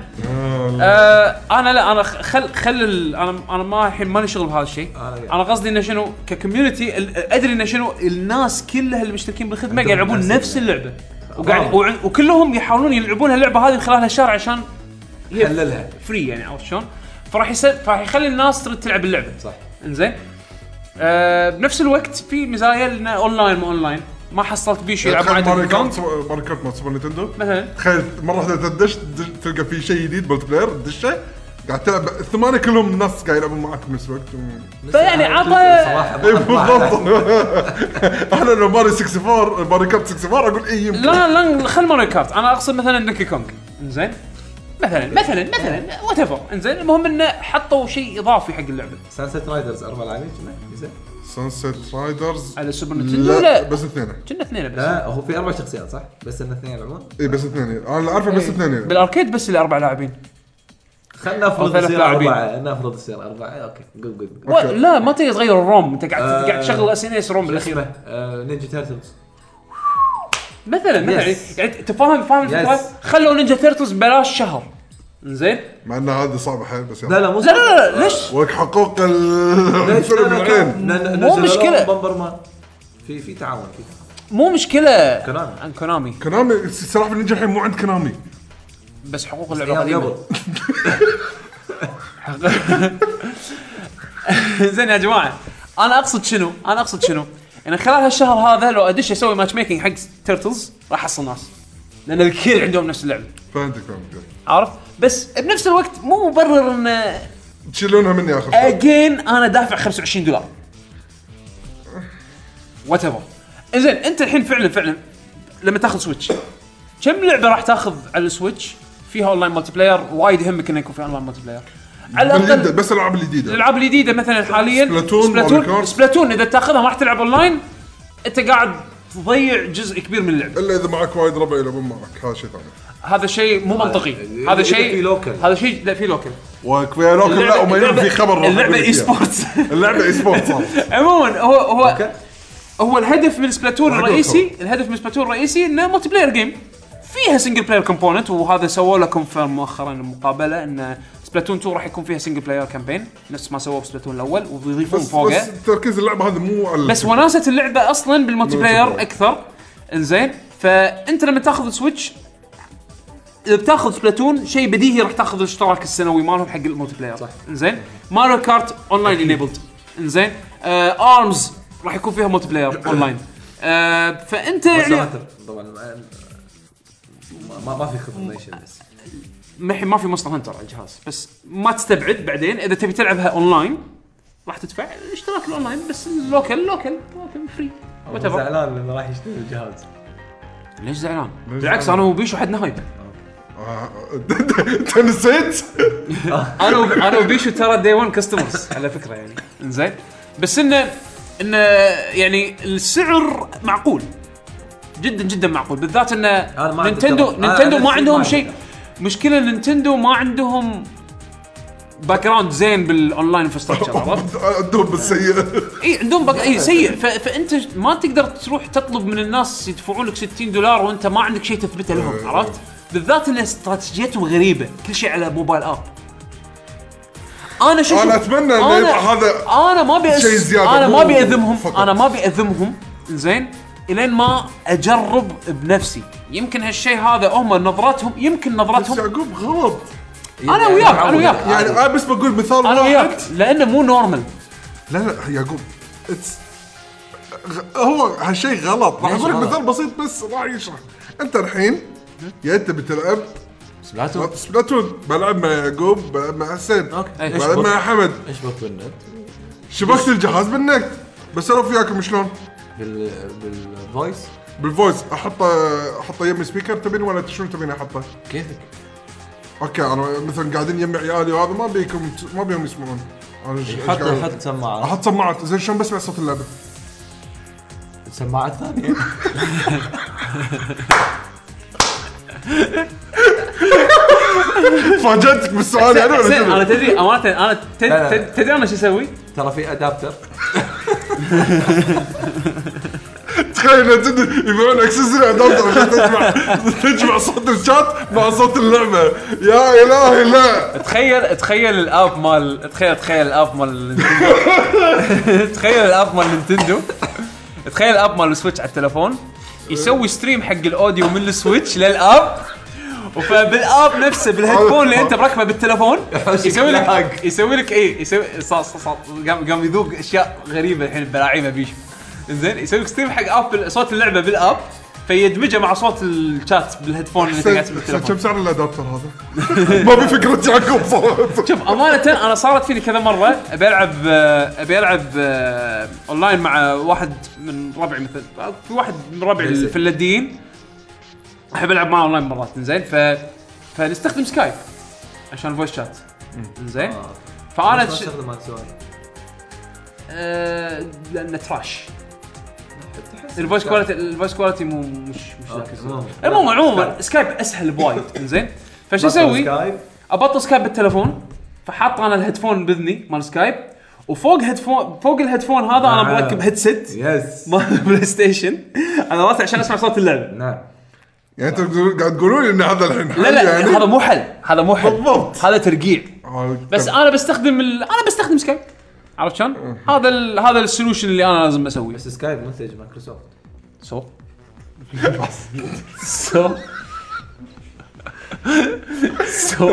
Speaker 3: آه،
Speaker 2: آه انا لا انا خ- خل خل ال- انا انا ما الحين ماني شغل بهذا الشيء
Speaker 4: أنا يعني.
Speaker 2: انا قصدي انه شنو ككوميونتي ال- ادري انه شنو الناس كلها اللي مشتركين بالخدمه قاعد
Speaker 4: عندهم
Speaker 2: يلعبون
Speaker 4: نفس
Speaker 2: نفس اللعبه وقاعد
Speaker 4: واو.
Speaker 2: وعن- وكلهم يحاولون يلعبون هاللعبه هذه خلال هالشهر عشان هي
Speaker 4: حللها.
Speaker 2: فري يعني عرفت شلون؟ فراح يسد فراح يخلي الناس ترد تلعب اللعبه
Speaker 4: صح
Speaker 2: انزين آه بنفس الوقت في مزايا لنا اونلاين ما اونلاين ما حصلت بيشو يلعب
Speaker 3: تخيل
Speaker 2: معي
Speaker 3: ماري
Speaker 2: تليفون.
Speaker 3: كارت ماري كارت مال سوبر نينتندو
Speaker 2: مثلا
Speaker 3: تخيل مره واحده تدش تدش- تلقى في شيء جديد ملتي بلاير تدشه قاعد تلعب الثمانيه كلهم ناس قاعد يلعبون معك بنفس الوقت و-
Speaker 2: فيعني يعني عطى-
Speaker 4: صراحه
Speaker 3: اي
Speaker 4: ما- ما-
Speaker 3: بالضبط انا لو ماري 64 ماري كارت 64 اقول اي إيه يمكن
Speaker 2: لا لا لا خل ماريو كارت انا اقصد مثلا دونكي كونج انزين مثلا مثلا مثلا وات ايفر انزين المهم انه حطوا شيء اضافي حق اللعبه
Speaker 4: سانست رايدرز اربع لاعبين كنا؟ زين.
Speaker 3: سانست رايدرز
Speaker 2: على السوبر نتندو لا
Speaker 3: بس اثنين
Speaker 2: كنا اثنين بس
Speaker 4: لا هو في اربع شخصيات صح؟ بس ان اثنين يلعبون
Speaker 3: اي إيه، بس اثنين انا اللي اعرفه بس
Speaker 4: إيه.
Speaker 3: اثنين يعني.
Speaker 2: بالاركيد بس اللي اربع لاعبين
Speaker 4: خلنا
Speaker 2: أو
Speaker 4: نفرض
Speaker 2: ثلاث
Speaker 4: يصير
Speaker 2: لاعبين.
Speaker 4: اربعه نفرض يصير اربعه اوكي قول قول قول
Speaker 2: و- لا ما تقدر تغير الروم انت قاعد
Speaker 4: آه.
Speaker 2: قاعد تشغل اس ان اس روم بالاخير
Speaker 4: آه، نينجا تيرتلز
Speaker 2: مثلا مثلا
Speaker 4: Yes.
Speaker 2: يعني أنت فاهم فاهم الفكره
Speaker 4: Yes.
Speaker 2: خلوا نينجا تيرتلز ببلاش شهر انزين
Speaker 3: مع ان هذا صعب حيل بس
Speaker 4: لا لا مو
Speaker 2: لا لا لا ليش
Speaker 3: ولك حقوق ال-
Speaker 4: ليش؟
Speaker 3: الفيلم
Speaker 4: لا، لا،
Speaker 3: العين
Speaker 4: لا،
Speaker 2: مو
Speaker 4: لا، نزلوا
Speaker 2: مشكلة.
Speaker 4: لهم بمبر مان في في تعاون في تعاون.
Speaker 2: مو مشكله
Speaker 4: كونامي.
Speaker 2: عن كونامي
Speaker 3: كنامي سلاحف النينجا الحين يعني مو عند كنامي
Speaker 2: بس حقوق اللعبه
Speaker 4: ايام
Speaker 2: قديمه
Speaker 4: قبل
Speaker 2: زين يا جماعه انا اقصد شنو؟ انا اقصد شنو؟ ان خلال هالشهر هذا لو ادش اسوي ماتش ميكنج حق تيرتلز راح احصل ناس لان الكل عندهم نفس اللعبه
Speaker 3: فهمتك فهمتك
Speaker 2: عرفت؟ بس بنفس الوقت مو مبرر ان
Speaker 3: تشيلونها مني اخر شيء
Speaker 2: اجين انا دافع 25 دولار وات ايفر زين انت الحين فعلا فعلا لما تاخذ سويتش كم لعبه راح تاخذ على السويتش فيها اونلاين مالتي بلاير وايد يهمك انه يكون في اونلاين مالتي بلاير على
Speaker 3: بالجد،
Speaker 2: الاقل
Speaker 3: بس الالعاب الجديده
Speaker 2: الالعاب الجديده مثلا حاليا
Speaker 3: سبلاتون، ماريو
Speaker 2: سبلاتون
Speaker 3: كارت.
Speaker 2: سبلاتون اذا تاخذها ما راح تلعب اونلاين انت قاعد تضيع جزء كبير من اللعبه
Speaker 3: الا اذا معك وايد ربع يلعبون معك هذا شيء ثاني
Speaker 2: هذا شيء مو منطقي
Speaker 4: إذا-
Speaker 2: هذا
Speaker 4: إذا في
Speaker 2: شيء
Speaker 4: لوكل.
Speaker 2: هذا شيء لا في لوكل
Speaker 3: وكفايه لوكل لا وما يلعب في خبر راح
Speaker 2: اللعبه
Speaker 3: أقول لك
Speaker 2: اي
Speaker 3: إياه.
Speaker 2: سبورتس
Speaker 3: اللعبه اي سبورت صار
Speaker 2: عموما هو هو
Speaker 4: اوكي
Speaker 2: هو الهدف من سبلاتون
Speaker 3: وعقول
Speaker 2: الرئيسي الهدف من سبلاتون الرئيسي انه ملتي بلاير جيم فيها سنجل بلاير كومبوننت وهذا سووا لكم في مؤخرا مقابله ان سبلاتون 2 راح يكون فيها سنجل بلاير كامبين نفس ما سووا بسبلاتون الاول وبيضيفون
Speaker 3: بس
Speaker 2: فوقه
Speaker 3: بس تركيز اللعبه هذا مو على
Speaker 2: بس وناسه اللعبه اصلا بالملتي
Speaker 3: الملتي
Speaker 2: بلاير
Speaker 3: بلاير.
Speaker 2: اكثر انزين فانت لما تاخذ سويتش اذا بتاخذ سبلاتون شيء بديهي راح تاخذ الاشتراك السنوي مالهم حق الملتي بلاير
Speaker 4: صح.
Speaker 2: انزين ماريو كارت اونلاين انيبلد انزين آه ارمز راح يكون فيها ملتي بلاير اونلاين آه فانت
Speaker 4: مونستر
Speaker 2: يعني
Speaker 4: هانتر طبعا ما- ما ما في خطط نيشن بس
Speaker 2: ما ما في مصدر هنتر على الجهاز بس ما تستبعد بعدين اذا تبي تلعبها اونلاين راح تدفع الاشتراك الاونلاين بس اللوكل لوكل لوكل فري
Speaker 4: أنا زعلان لانه راح يشتري الجهاز
Speaker 2: ليش زعلان؟
Speaker 3: ليش
Speaker 2: بالعكس
Speaker 3: زعلان؟
Speaker 2: انا وبيشو حدنا هايب
Speaker 3: آه، انت نسيت؟
Speaker 2: انا وب... انا وبيشو ترى دي 1 كاستمرز على فكره يعني زين بس انه انه يعني السعر معقول جدا جدا معقول بالذات انه
Speaker 4: أنا ما عندي
Speaker 2: نينتندو
Speaker 4: تمام. أنا-
Speaker 2: نينتندو
Speaker 4: أنا
Speaker 2: ما
Speaker 4: نفسي
Speaker 2: عندهم
Speaker 4: ما
Speaker 2: شيء
Speaker 4: عندي.
Speaker 2: مشكله نينتندو ما عندهم باك جراوند زين بالاونلاين انفراستراكشر عرفت؟
Speaker 3: عندهم بالسيئه
Speaker 2: اي عندهم باك اي سيء ف... فانت ما تقدر تروح تطلب من الناس يدفعون لك 60 دولار وانت ما عندك شيء تثبته لهم
Speaker 3: إيه.
Speaker 2: عرفت؟ بالذات ان استراتيجيتهم غريبه كل شيء على موبايل اب انا شوف
Speaker 3: أنا أتمنى إنه
Speaker 2: أنا-
Speaker 3: يطلع هذا
Speaker 2: انا ما بي
Speaker 3: شيء زيادة،
Speaker 2: انا
Speaker 3: مو
Speaker 2: ما بيأذمهم
Speaker 3: فقط.
Speaker 2: انا ما بيأذمهم زين الين ما اجرب بنفسي يمكن هالشيء هذا هم نظرتهم يمكن
Speaker 3: بس
Speaker 2: نظرتهم
Speaker 3: يعقوب غلط
Speaker 2: أنا وياك، أنا وياك.
Speaker 3: يعني انا بس بقول مثال
Speaker 2: انا وياك
Speaker 3: واحد
Speaker 2: لانه مو نورمال
Speaker 3: لا لا يعقوب اتس هو هالشيء غلط راح
Speaker 4: ليش
Speaker 3: اقول لك
Speaker 4: غلط؟
Speaker 3: مثال بسيط بس راح يشرح انت الحين يا انت بتلعب
Speaker 4: سبلاتون
Speaker 3: سبلاتون بلعب مع يعقوب بلعب مع حسين
Speaker 4: اوكي
Speaker 2: إيش
Speaker 3: بلعب مع حمد
Speaker 4: اشبك بالنت
Speaker 3: شبكت الجهاز بالنت بس الو وياكم شلون؟
Speaker 4: بال بالفويس
Speaker 3: بالفويس احطه احطه يمي سبيكر تبين ولا شنو تبين احطه؟
Speaker 4: كيفك
Speaker 3: اوكي انا مثلا قاعدين يمي عيالي وهذا ما بيكم ما بيهم يسمعون انا إيش- إيش
Speaker 4: حط
Speaker 3: قاعد-
Speaker 4: حط سماعه
Speaker 3: احط سماعات زين شلون بسمع صوت اللعبه؟
Speaker 4: سماعات ثانيه
Speaker 3: فاجأتك بالسؤال يعني ولا
Speaker 2: زين انا
Speaker 3: شنو؟
Speaker 2: تدري امانه انا تد-
Speaker 4: لا، لا.
Speaker 2: تد- تدري انا شو اسوي؟
Speaker 4: ترى في ادابتر
Speaker 3: تخيل لو جد يبيعون اكسسوري ادابتر عشان تجمع تجمع صوت الشات مع صوت اللعبه يا الهي لا
Speaker 2: تخيل تخيل الاب مال تخيل تخيل الاب مال نينتندو تخيل الاب مال نينتندو تخيل الاب مال السويتش على التلفون يسوي ستريم حق الاوديو من السويتش للاب فبالاب نفسه بالهيدفون اللي انت مركبه بالتلفون
Speaker 4: يحوشك
Speaker 2: يسوي لك
Speaker 4: لاج.
Speaker 2: يسوي لك ايه يسوي صا- صا- صا- قام قام يذوق اشياء غريبه الحين بلاعيبه بيشو زين يسوي لك ستريم حق اب صوت اللعبه بالاب فيدمجه مع صوت الشات بالهيدفون اللي انت قاعد تسمع
Speaker 3: حسين،
Speaker 2: بالتلفون
Speaker 3: كم سعر الادابتر هذا؟ ما ابي فكره يعقوب صراحه
Speaker 2: شوف امانه انا صارت فيني كذا مره ابي العب آه، ابي العب آه، اونلاين مع واحد من ربعي مثل في واحد من ربعي
Speaker 4: زين.
Speaker 2: في اللدين احب العب معه اونلاين مرات زين ف فنستخدم سكايب عشان الفويس شات زين
Speaker 4: آه.
Speaker 2: فانا
Speaker 4: انا
Speaker 2: تش...
Speaker 4: استخدم مال سوني
Speaker 2: آه... لانه تراش الفويس كواليتي الفويس كواليتي مو مش مش
Speaker 4: أوكي،
Speaker 2: ذاك
Speaker 4: المهم.
Speaker 2: المهم عموما
Speaker 4: سكايب.
Speaker 2: سكايب اسهل بوايد زين فشو اسوي؟
Speaker 4: سكايب
Speaker 2: ابطل سكايب بالتليفون فحاط انا الهيدفون باذني مال سكايب وفوق هيدفون فوق الهيدفون هذا انا
Speaker 4: نعم.
Speaker 3: آه.
Speaker 2: مركب هيدسيت
Speaker 4: يس
Speaker 2: مال بلاي ستيشن انا راسي عشان اسمع صوت اللعبه
Speaker 4: نعم
Speaker 3: يعني انت بتقول- قاعد تقولون لي ان هذا الحين حل
Speaker 2: لا لا
Speaker 3: يعني؟
Speaker 2: هذا مو حل هذا مو حل
Speaker 3: بالضبط.
Speaker 2: هذا ترقيع
Speaker 3: آه،
Speaker 2: بس انا بستخدم ال... انا بستخدم سكايب عرفت شلون؟
Speaker 3: أه.
Speaker 2: هذا ال... هذا السولوشن اللي انا لازم اسويه
Speaker 4: بس سكايب منتج مايكروسوفت
Speaker 2: سو سو سو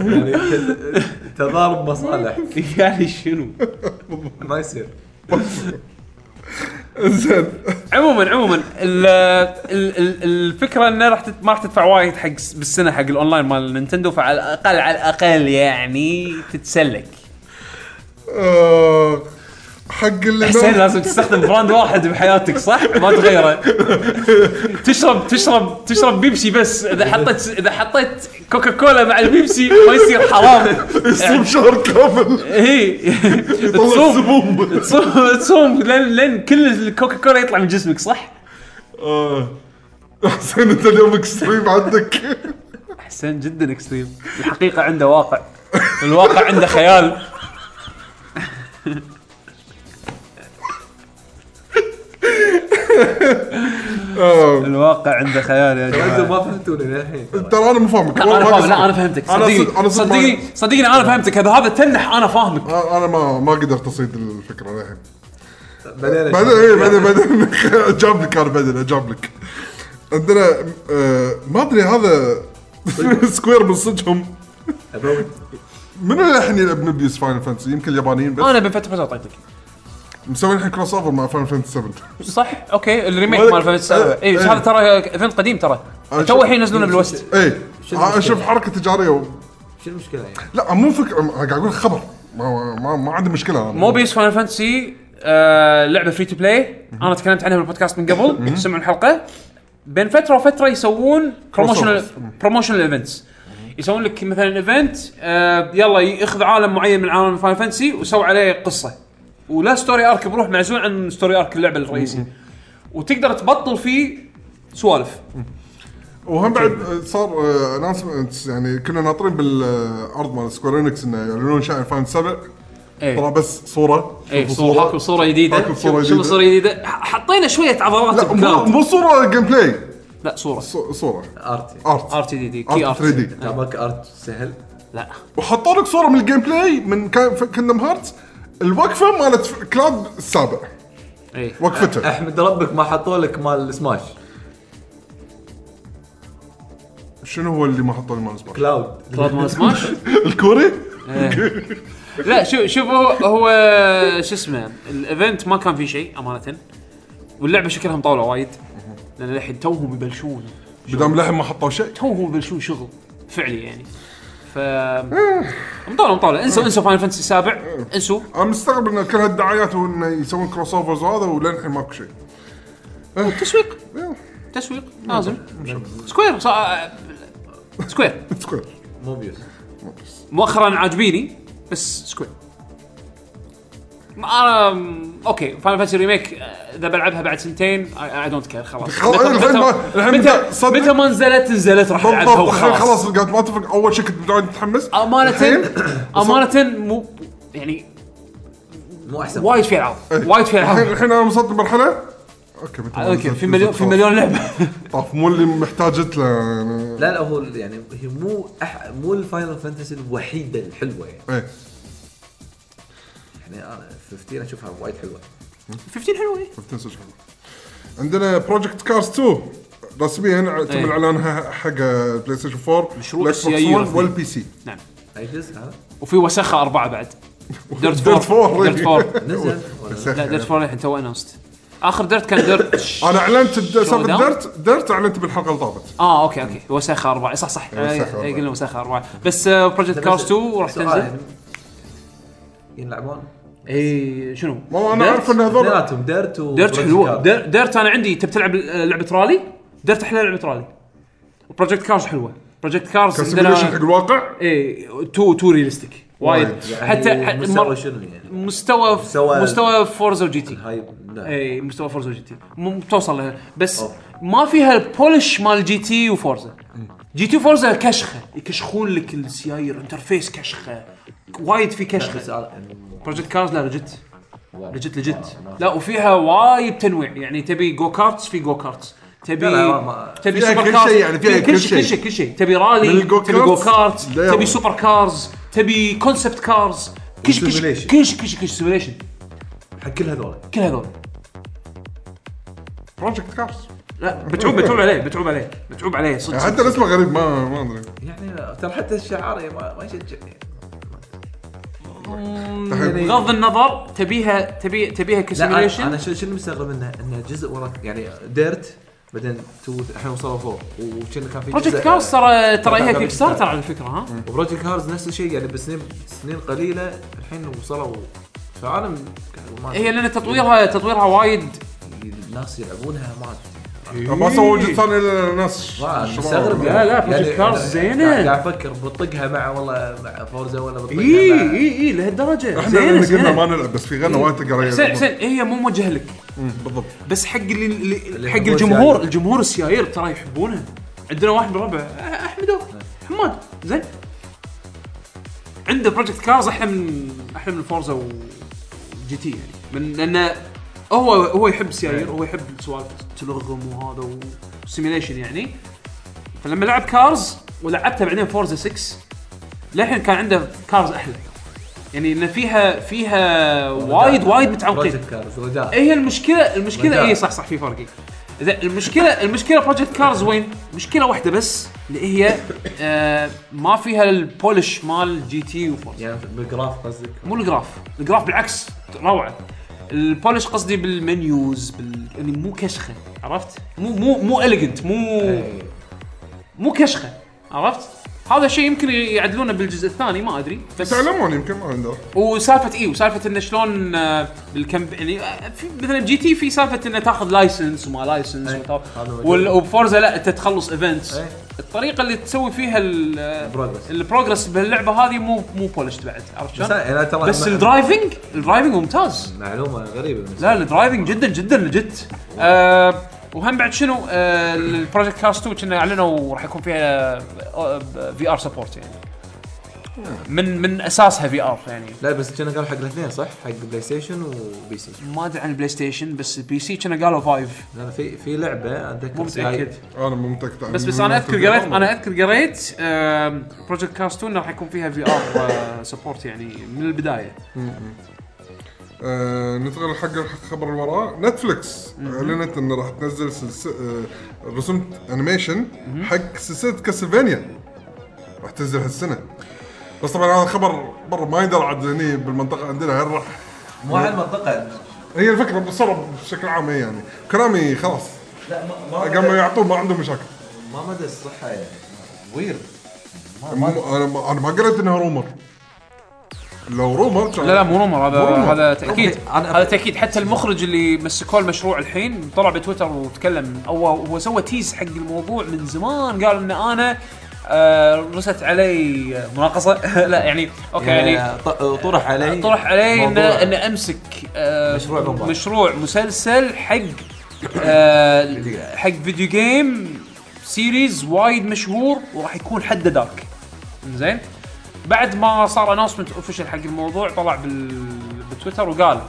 Speaker 4: يعني تل- تضارب مصالح
Speaker 2: يعني شنو؟
Speaker 4: ما يصير
Speaker 3: زين
Speaker 2: عموما عموما ال- ال- ال- الفكره انه راح تت- ما راح تدفع وايد حق س- بالسنه حق الاونلاين مال نينتندو فعلى الاقل على الاقل يعني تتسلك
Speaker 3: آه، حق اللي
Speaker 2: حسين لازم تستخدم براند واحد بحياتك صح؟ ما تغيره تشرب تشرب تشرب بيبسي بس اذا حطيت اذا حطيت كوكا كولا مع البيبسي ما يصير حرام
Speaker 3: يصوم شهر كامل
Speaker 2: هي
Speaker 3: يطلع
Speaker 2: تصوم
Speaker 3: سموم
Speaker 2: تصوم تصوم لين لين كل الكوكا كولا يطلع من جسمك صح؟
Speaker 3: آه. حسين انت اليوم اكستريم عندك
Speaker 2: حسين جدا اكستريم الحقيقه عنده واقع الواقع عنده خيال
Speaker 3: آه.
Speaker 2: الواقع عنده خيال يا
Speaker 4: انتم
Speaker 2: جماعه
Speaker 4: ما فهمتوني للحين ترى.
Speaker 3: ترى انا مو فاهمك
Speaker 2: لا انا فاهم لا انا فهمتك
Speaker 3: أنا صد-
Speaker 2: صدقني
Speaker 3: أنا صد-
Speaker 2: صدقني صدقني انا فهمتك هذا هذا تنح انا فاهمك
Speaker 3: آه، انا ما ما قدرت اصيد الفكره للحين
Speaker 4: بعدين
Speaker 3: بعدين ايه بعدين بعدين جاب لك انا بعدين اجاب لك عندنا آه، ما ادري هذا
Speaker 2: طيب.
Speaker 3: سكوير من صدقهم
Speaker 4: أبوي.
Speaker 3: من اللي الحين يلعب نبيوس فاينل فانتسي يمكن اليابانيين بس
Speaker 2: انا بفتح بس اعطيتك
Speaker 3: مسوين الحين كروس اوفر مع فاينل فانتسي 7
Speaker 2: صح اوكي الريميك
Speaker 3: ولك-
Speaker 2: مال فانتسي
Speaker 3: آه،
Speaker 2: اي بس
Speaker 3: إيه.
Speaker 2: هذا ترى ايفنت قديم ترى
Speaker 3: آه،
Speaker 2: تو
Speaker 3: شوف-
Speaker 2: الحين ينزلونه بالوست
Speaker 3: ايه
Speaker 4: شو المشكلة؟
Speaker 3: اشوف حركه تجاريه و...
Speaker 4: شو المشكله يعني؟
Speaker 3: لا مو فكره أنا قاعد اقول خبر ما ما, ما عندي مشكله انا
Speaker 2: موبيس فاينل فانتسي آه لعبه فري تو بلاي انا تكلمت عنها بالبودكاست من قبل تسمعون الحلقه بين فتره وفتره يسوون بروموشنال بروموشنال ايفنتس يسوون لك مثلا ايفنت آه يلا ياخذ عالم معين من عالم فاينل فانتسي وسوي عليه قصه ولا ستوري ارك بروح معزول عن ستوري ارك اللعبه الرئيسي وتقدر تبطل فيه سوالف
Speaker 3: وهم بعد آه، صار اناونسمنت يعني كنا ناطرين بالارض مال سكوير انكس انه يعلنون شان فاينل 7
Speaker 4: إيه.
Speaker 3: طلع
Speaker 2: ايه
Speaker 3: بس صوره
Speaker 2: ايه
Speaker 3: شوفوا
Speaker 2: صوره حاكوا صوره جديده
Speaker 3: حاكوا إيه، صورة
Speaker 2: شوف شوف
Speaker 3: جديدة.
Speaker 2: صوره جديده ح- حطينا شويه عضلات
Speaker 3: لا مو-
Speaker 2: بكلاود
Speaker 3: مو صوره جيم بلاي
Speaker 2: لا صوره
Speaker 3: ص- صوره
Speaker 4: ارت
Speaker 3: ارت
Speaker 2: ار تي دي دي كي
Speaker 3: ارت
Speaker 2: ار
Speaker 3: 3 دي
Speaker 4: تعبك ارت سهل
Speaker 2: لا
Speaker 3: وحطوا لك صوره من الجيم بلاي من كندم هارت الوقفه مالت ف- كلاود السابع
Speaker 2: ايه
Speaker 3: وقفته
Speaker 4: احمد ربك ما حطوا لك مال سماش
Speaker 3: شنو هو اللي ما حطوا لي مال سباش؟
Speaker 4: كلاود
Speaker 2: كلاود مال سماش
Speaker 3: الكوري؟
Speaker 2: لا شوف شوف هو هو شو اسمه الايفنت ما كان فيه شيء امانه واللعبه شكلها مطوله وايد لان الحين توهم يبلشون
Speaker 3: بدام لحم ما حطوا شيء
Speaker 2: توهم يبلشون شغل فعلي يعني ف مطوله مطوله انسوا انسوا فاينل فانتسي السابع انسوا
Speaker 3: انا مستغرب ان كل هالدعايات وانه يسوون كروس اوفرز وهذا وللحين ماكو شيء
Speaker 2: تسويق تسويق لازم آه، سكوير صا... سكوير
Speaker 3: سكوير
Speaker 4: موبيوس
Speaker 2: مؤخرا عاجبيني بس سكوير ما انا م- اوكي فاينل فانتسي ريميك آه، اذا بلعبها بعد سنتين اي دونت كير خلاص
Speaker 3: خلاص،
Speaker 2: متى-
Speaker 3: الحين ما- الحين
Speaker 2: متى
Speaker 3: صدق.
Speaker 2: متى ما نزلت نزلت راح العبها
Speaker 3: بالضبط خل-
Speaker 2: وخلاص
Speaker 3: خلاص قاعد ما تفرق اول شيء كنت متعود متحمس
Speaker 2: امانه
Speaker 3: الحين-
Speaker 2: امانه مو يعني
Speaker 4: مو احسن
Speaker 2: وايد في العاب وايد في
Speaker 3: إيه. الحين
Speaker 2: العاب
Speaker 3: الحين انا وصلت لمرحله اوكي متى ما
Speaker 2: اوكي
Speaker 3: نزلت-
Speaker 2: في مليون
Speaker 3: نزلت
Speaker 2: في
Speaker 3: خلاص.
Speaker 2: مليون لعبه
Speaker 3: طاف مو اللي محتاجت له يعني.
Speaker 4: لا لا هو يعني هي مو أح... مو الفاينل فانتسي الوحيده الحلوه يعني
Speaker 3: ايه
Speaker 4: يعني انا 15 اشوفها وايد حلوه
Speaker 2: 15 حلوه
Speaker 3: ما بتنسى شغله عندنا بروجكت كارز 2 رسميا تم
Speaker 2: إيه.
Speaker 3: اعلانها حق بلاي ستيشن 4
Speaker 2: مشروع
Speaker 3: الإكس بوكس
Speaker 2: السيايير
Speaker 3: 1 والبي سي
Speaker 2: نعم
Speaker 4: اي جزء هذا
Speaker 2: وفي وسخه اربعه بعد ديرت
Speaker 3: Dirt
Speaker 2: 4
Speaker 3: Four.
Speaker 2: ديرت 4
Speaker 4: نزل ولا
Speaker 2: لا ديرت 4 الحين تو انونست اخر ديرت كان ديرت
Speaker 3: انا اعلنت الد- سالفه
Speaker 2: Showdown؟
Speaker 3: ديرت ديرت اعلنت بالحلقه اللي طافت
Speaker 2: اه اوكي اوكي وساخه اربعه صح صح
Speaker 3: وساخة
Speaker 2: اي
Speaker 3: أربعة.
Speaker 2: أي، قلنا وساخه اربعه بس آه، بروجكت كارز 2 راح
Speaker 4: سؤال
Speaker 2: تنزل
Speaker 4: يعني. ينلعبون
Speaker 2: اي شنو
Speaker 3: والله انا اعرف ان هذول
Speaker 4: اثنيناتهم ديرت و
Speaker 2: ديرت حلوه دير- ديرت انا عندي تبي تلعب آه، لعبه رالي ديرت احلى لعبه رالي وبروجكت كارز حلوه بروجكت كارز
Speaker 3: كسيميليشن حق الواقع
Speaker 2: اي تو تو ريالستيك وايد
Speaker 3: وايد.
Speaker 4: يعني
Speaker 2: حتى حتى
Speaker 4: مستوى
Speaker 2: مر-
Speaker 4: شنو يعني
Speaker 2: مستوى
Speaker 4: مستوى-
Speaker 2: مستوى فورزا وجي تي
Speaker 4: هايب لا
Speaker 2: اي مستوى فورزا وجي تي م- توصل لها بس
Speaker 4: أوه.
Speaker 2: ما فيها البولش مال جي تي وفورزا جي تي وفورزا كشخه يكشخون لك السيايير انترفيس كشخه وايد في
Speaker 4: بس
Speaker 2: كشخه
Speaker 4: أنا-
Speaker 2: بروجكت كارز لا لجت لجت لجت
Speaker 4: ما- ما-
Speaker 2: لا وفيها وايد تنويع يعني تبي جو كارتس في جو كارتس تبي
Speaker 4: لا لا، ما-
Speaker 2: تبي
Speaker 3: فيها
Speaker 2: سوبر
Speaker 3: كل
Speaker 2: كارز
Speaker 3: شيء يعني، فيها
Speaker 2: كل
Speaker 3: كل
Speaker 2: شيء كل
Speaker 3: شيء.
Speaker 2: شيء كل شيء تبي رالي
Speaker 3: من الجو
Speaker 2: تبي جو
Speaker 3: كارتس
Speaker 2: كارتس
Speaker 3: لا يابا.
Speaker 2: تبي سوبر كارز تبي كونسبت كارز كش كش
Speaker 4: وsimulation.
Speaker 2: كش كش كش سيميليشن
Speaker 4: حق كل هذول
Speaker 2: كل هذول
Speaker 3: بروجكت كارز
Speaker 2: لا بتعوب بتعوب عليه بتعوب عليه بتعوب عليه صدق
Speaker 3: حتى
Speaker 2: صدق.
Speaker 3: الاسم غريب ما ما ادري
Speaker 4: يعني ترى حتى الشعار يعني ما ما يشجع يعني.
Speaker 3: يعني-
Speaker 2: بغض النظر تبيها تبي تبيها
Speaker 4: لا أنا-
Speaker 2: كسيميليشن
Speaker 4: انا شنو شنو مستغرب منه انه جزء ورا يعني ديرت بعدين تو الحين وصلوا فوق وكنا كان في
Speaker 2: بروجكت
Speaker 4: جزء-
Speaker 2: كارز ترى ترى هي
Speaker 4: Project
Speaker 2: كيك ستارتر على فكره ها
Speaker 4: وبروجكت كارز نفس الشيء يعني بسنين سنين قليله الحين وصلوا فانا م- قاعد ما-
Speaker 2: هي لان تطويرها تطويرها وايد
Speaker 4: الناس يلعبونها ما
Speaker 3: ما سووا جزء ثاني إلا للناس
Speaker 4: ما
Speaker 3: الشباب.
Speaker 4: مستغرب
Speaker 2: لا، يعني. لا، Project Cars زينة.
Speaker 4: يعني قاعد قاعد افكر بطقها مع والله مع فورزا ولا بطقها
Speaker 2: اي
Speaker 4: مع
Speaker 2: اي اي لهالدرجه
Speaker 3: احنا لأن
Speaker 2: زينة،
Speaker 3: قلنا
Speaker 2: زينة.
Speaker 3: ما نلعب بس في غنى وايد تقرا
Speaker 2: حسين حسين هي مو موجهه لك
Speaker 3: بالضبط
Speaker 2: بس حق اللي, اللي
Speaker 4: اللي
Speaker 2: حق
Speaker 4: يحبون
Speaker 2: الجمهور
Speaker 4: السيايير.
Speaker 2: الجمهور السيايير ترى يحبونها عندنا واحد بالربع أه، احمدو حماد زين عنده بروجكت كارز احلى من احلى من فورزا وجي تي يعني من لانه هو هو يحب
Speaker 4: إيه.
Speaker 2: السيايير هو يحب السوالف تلغم وهذا وسيميليشن يعني فلما لعب كارز ولعبتها بعدين فورزا 6 للحين كان عنده كارز احلى يعني ان فيها فيها وايد وايد متعمقين
Speaker 4: بروجكت كارز رجاء
Speaker 2: إيه، هي المشكله المشكله
Speaker 4: رجاء.
Speaker 2: اي صح صح في فرق زين المشكله المشكله بروجكت كارز وين؟ مشكله واحده بس اللي هي آه ما فيها البولش مال جي تي وفورس
Speaker 4: يعني بالجراف قصدك
Speaker 2: مو الجراف الجراف بالعكس روعه البولش قصدي بالمنيوز بال... يعني مو كشخه عرفت مو مو مو اليجنت مو
Speaker 4: إيه.
Speaker 2: مو كشخه عرفت هذا الشيء يمكن يعدلونه بالجزء الثاني ما ادري بس
Speaker 3: تعلمون يمكن ما عنده
Speaker 2: وسالفه اي وسالفه انه إيه، شلون آه، بالكم يعني آه، في مثلا جي تي في سالفه انه تاخذ لايسنس وما لايسنس
Speaker 4: أي،
Speaker 2: وطا-
Speaker 4: إيه، هذا موجود.
Speaker 2: وال- وبفورزا لا انت تخلص ايفنتس
Speaker 4: إيه.
Speaker 2: الطريقه اللي تسوي فيها ال- آه،
Speaker 4: Progress.
Speaker 2: البروجرس بهاللعبه هذه مو مو بولشت بعد عرفت
Speaker 4: بس
Speaker 2: شلون؟
Speaker 4: أنا- أنا ترى
Speaker 2: بس
Speaker 4: ما-
Speaker 2: الدرايفنج الدرايفنج ممتاز
Speaker 4: معلومه غريبه بالنسبة
Speaker 2: لا الدرايفنج جدا جدا لجت آه وهم بعد شنو آه البروجكت كاست 2 كنا اعلنوا راح يكون فيها آه، في ار سبورت يعني
Speaker 4: إيه.
Speaker 2: من من اساسها في ار يعني
Speaker 4: لي. لا بس كنا قالوا حق الاثنين صح؟ حق بلاي ستيشن وبي سي
Speaker 2: ما ادري عن البلاي ستيشن بس البي سي كنا قالوا فايف
Speaker 4: لا لا، في في لعبه اتذكر
Speaker 2: مو متاكد
Speaker 3: انا مو متاكد
Speaker 2: بس بس انا اذكر قريت انا اذكر قريت بروجكت كاست 2 راح يكون فيها في ار سبورت يعني من البدايه
Speaker 3: آه، ننتقل حق الخبر اللي وراه نتفلكس اعلنت ان راح تنزل سلس... آه، رسوم انيميشن حق سلسله كاسلفانيا راح تنزل هالسنه بس طبعا هذا الخبر برا ما يندرى عاد هني بالمنطقه عندنا هل راح
Speaker 4: مو على المنطقه
Speaker 3: هي الفكره بالصرف بشكل عام هي يعني كلامي خلاص
Speaker 4: لا ما
Speaker 3: قام يعطون ما عندهم مشاكل
Speaker 4: ما مدى الصحه يعني ويرد
Speaker 3: م- انا ما- انا ما قريت انها رومر لو رومر كان
Speaker 2: لا لا مو رومر هذا
Speaker 3: مو رومر.
Speaker 2: هذا تاكيد
Speaker 4: أوكي، أنا-
Speaker 2: هذا تاكيد حتى المخرج اللي مسكوه المشروع الحين طلع بتويتر وتكلم هو هو سوى تيز حق الموضوع من زمان قال ان انا آه، رست علي مناقصه لا يعني اوكي يعني
Speaker 4: يعني ط- طرح علي
Speaker 2: طرح علي ان
Speaker 4: موضوع-
Speaker 2: ان امسك آه،
Speaker 4: مشروع بمبارك.
Speaker 2: مشروع مسلسل حق آه، حق فيديو جيم سيريز وايد مشهور وراح يكون حده دارك زين بعد ما صار اناونسمنت اوفيشال حق الموضوع طلع بال... بتويتر وقال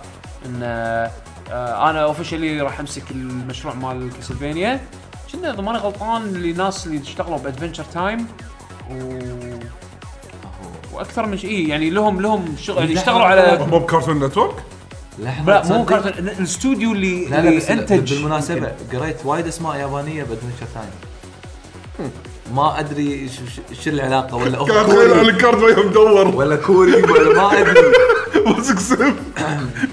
Speaker 2: ان آه، آه، انا اوفيشلي راح امسك المشروع مال كاسلفينيا كنا اذا ماني غلطان لناس اللي اشتغلوا بادفنشر تايم و... واكثر من شيء إيه، يعني لهم لهم شغل يعني
Speaker 4: لا،
Speaker 2: اشتغلوا
Speaker 4: لا،
Speaker 2: على
Speaker 4: لا.
Speaker 3: هم بكارتون نتورك
Speaker 4: لحظه
Speaker 2: لا مو
Speaker 4: تصدق؟
Speaker 2: كارتون الاستوديو اللي
Speaker 4: لا لا
Speaker 2: اللي
Speaker 4: بس
Speaker 2: انتج
Speaker 4: بالمناسبه قريت وايد اسماء يابانيه بادفنشر تايم ما ادري ايش إيش- إيش العلاقه ولا أوف
Speaker 3: كان تخيل على
Speaker 4: كوري
Speaker 3: الكارت وهي مدور
Speaker 4: ولا كوري ولا ما ادري
Speaker 3: ماسك سيف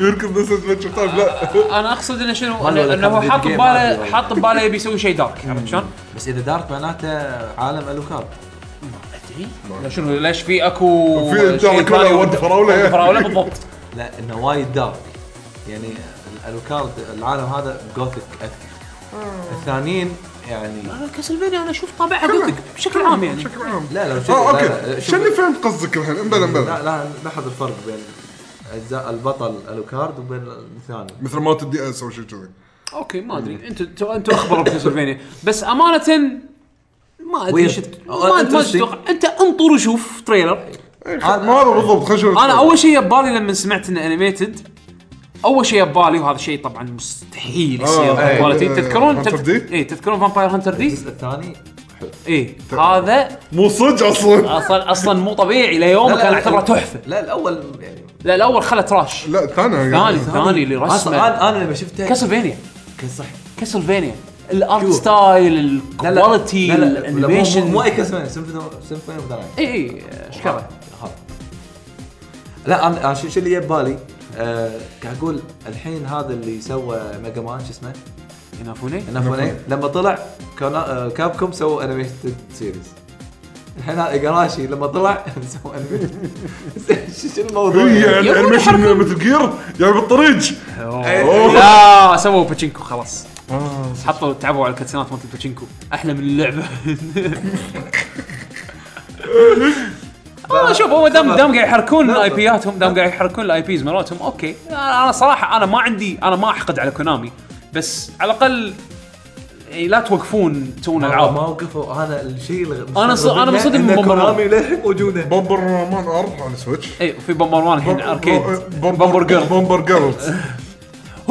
Speaker 3: يركض نفس ادفنشر تايم لا
Speaker 2: انا اقصد انه شنو
Speaker 4: والله ولا
Speaker 2: انه هو
Speaker 4: كان
Speaker 2: حاط
Speaker 4: فيديو جيم
Speaker 2: بباله
Speaker 4: عادي.
Speaker 2: حاط بباله يبي يسوي شيء دارك عرفت شلون؟
Speaker 4: بس اذا دارك معناته عالم الوكارد
Speaker 2: ادري لا شنو ليش في اكو
Speaker 3: في
Speaker 2: شيء
Speaker 3: دارك
Speaker 2: ثاني
Speaker 3: ولا
Speaker 2: ود-
Speaker 3: ود فراولة
Speaker 2: ود
Speaker 3: يعني.
Speaker 2: فراوله بالضبط
Speaker 4: لا انه وايد دارك يعني الوكارد العالم هذا جوثيك اكثر الثانيين يعني
Speaker 2: انا كاسلفينيا انا اشوف طابعها قلت لك بشكل عام يعني
Speaker 3: بشكل عام
Speaker 4: لا لا شوف-
Speaker 3: اه
Speaker 4: لا، لا،
Speaker 3: اوكي
Speaker 4: شوف-
Speaker 3: شنو فهمت قصدك الحين امبلا امبلا
Speaker 4: لا لا لاحظ الفرق بين اجزاء البطل الوكارد وبين الثاني
Speaker 3: مثل مالت الدي اس او شيء كذي
Speaker 2: اوكي ما ادري انت انت انت اخبر بكاسلفينيا بس امانه ما ادري
Speaker 4: Weird. Oh,
Speaker 2: شو ما ما
Speaker 4: Interesting.
Speaker 2: تتوقع انت انطر وشوف تريلر
Speaker 3: إيه،
Speaker 4: Ah,
Speaker 3: خ- ما هذا بالضبط خلينا نشوف
Speaker 2: انا اول شيء ببالي لما سمعت انه انيميتد اول شيء ببالي وهذا شيء طبعا مستحيل يصير
Speaker 4: إيه.
Speaker 3: آه،
Speaker 2: كواليتي
Speaker 3: آه،
Speaker 2: تذكرون
Speaker 3: Hunter D؟
Speaker 2: اي تذكرون فامباير هانتر دي
Speaker 4: الجزء الثاني حلو
Speaker 2: اي إيه. هذا
Speaker 3: مو صدق اصلا
Speaker 2: اصلا اصلا مو طبيعي ليوم
Speaker 4: لا، لا،
Speaker 2: كان
Speaker 4: لا،
Speaker 2: اعتبره
Speaker 4: لا.
Speaker 2: تحفه
Speaker 4: لا الاول يعني
Speaker 2: لا الاول خله تراش
Speaker 3: لا ثاني
Speaker 2: ثاني
Speaker 3: يعني.
Speaker 2: ثاني اللي
Speaker 4: اصلا
Speaker 2: رسمه
Speaker 4: انا انا لما شفته
Speaker 2: كاسلفينيا
Speaker 4: كان صح
Speaker 2: كاسلفينيا الارت
Speaker 4: شوف.
Speaker 2: ستايل
Speaker 4: لا، لا.
Speaker 2: الكواليتي
Speaker 4: لا، لا، لا، مو- مو- مو
Speaker 2: الانيميشن
Speaker 4: اي كاسلفينيا سيمفوني اوف ذا نايت
Speaker 2: اي اي اشكره
Speaker 4: هذا. لا انا أنا شو شو اللي جاب بالي آه، قاعد اقول الحين هذا اللي سوى ميجا مان شو اسمه
Speaker 2: ينافوني
Speaker 4: نفوني لما طلع آه، كاب كوم سووا انيميتد سيريز الحين هذا ايجاراشي لما طلع سوى انيميتد شو الموضوع
Speaker 3: إيه، يعني
Speaker 2: يبون
Speaker 3: الانيميشن
Speaker 2: يحركون.
Speaker 3: مثل جير يعني بالطريق أوه.
Speaker 2: لا سووا باتشينكو خلاص حطوا تعبوا على الكاتسينات مالت الباتشينكو احلى من اللعبه والله آه، شوف هو دام دام قاعد يحركون
Speaker 4: لا، لا.
Speaker 2: الاي بياتهم دام قاعد يحركون الاي بيز مالتهم اوكي انا أنا صراحه انا ما عندي انا ما احقد على كونامي بس على الاقل يعني لا توقفون تسوون
Speaker 4: ما
Speaker 2: العاب
Speaker 4: وقفوا انا الشيء اللي
Speaker 2: أنا ص- أنا مصدم من بومبر مان.
Speaker 4: كونامي للحين موجوده
Speaker 3: بومبر مان ارض على سويتش
Speaker 2: اي في بومبر مان الحين اركيد
Speaker 3: e,
Speaker 2: بومبر
Speaker 3: بومبر جيرل
Speaker 2: جيرل
Speaker 3: بومبر جيرل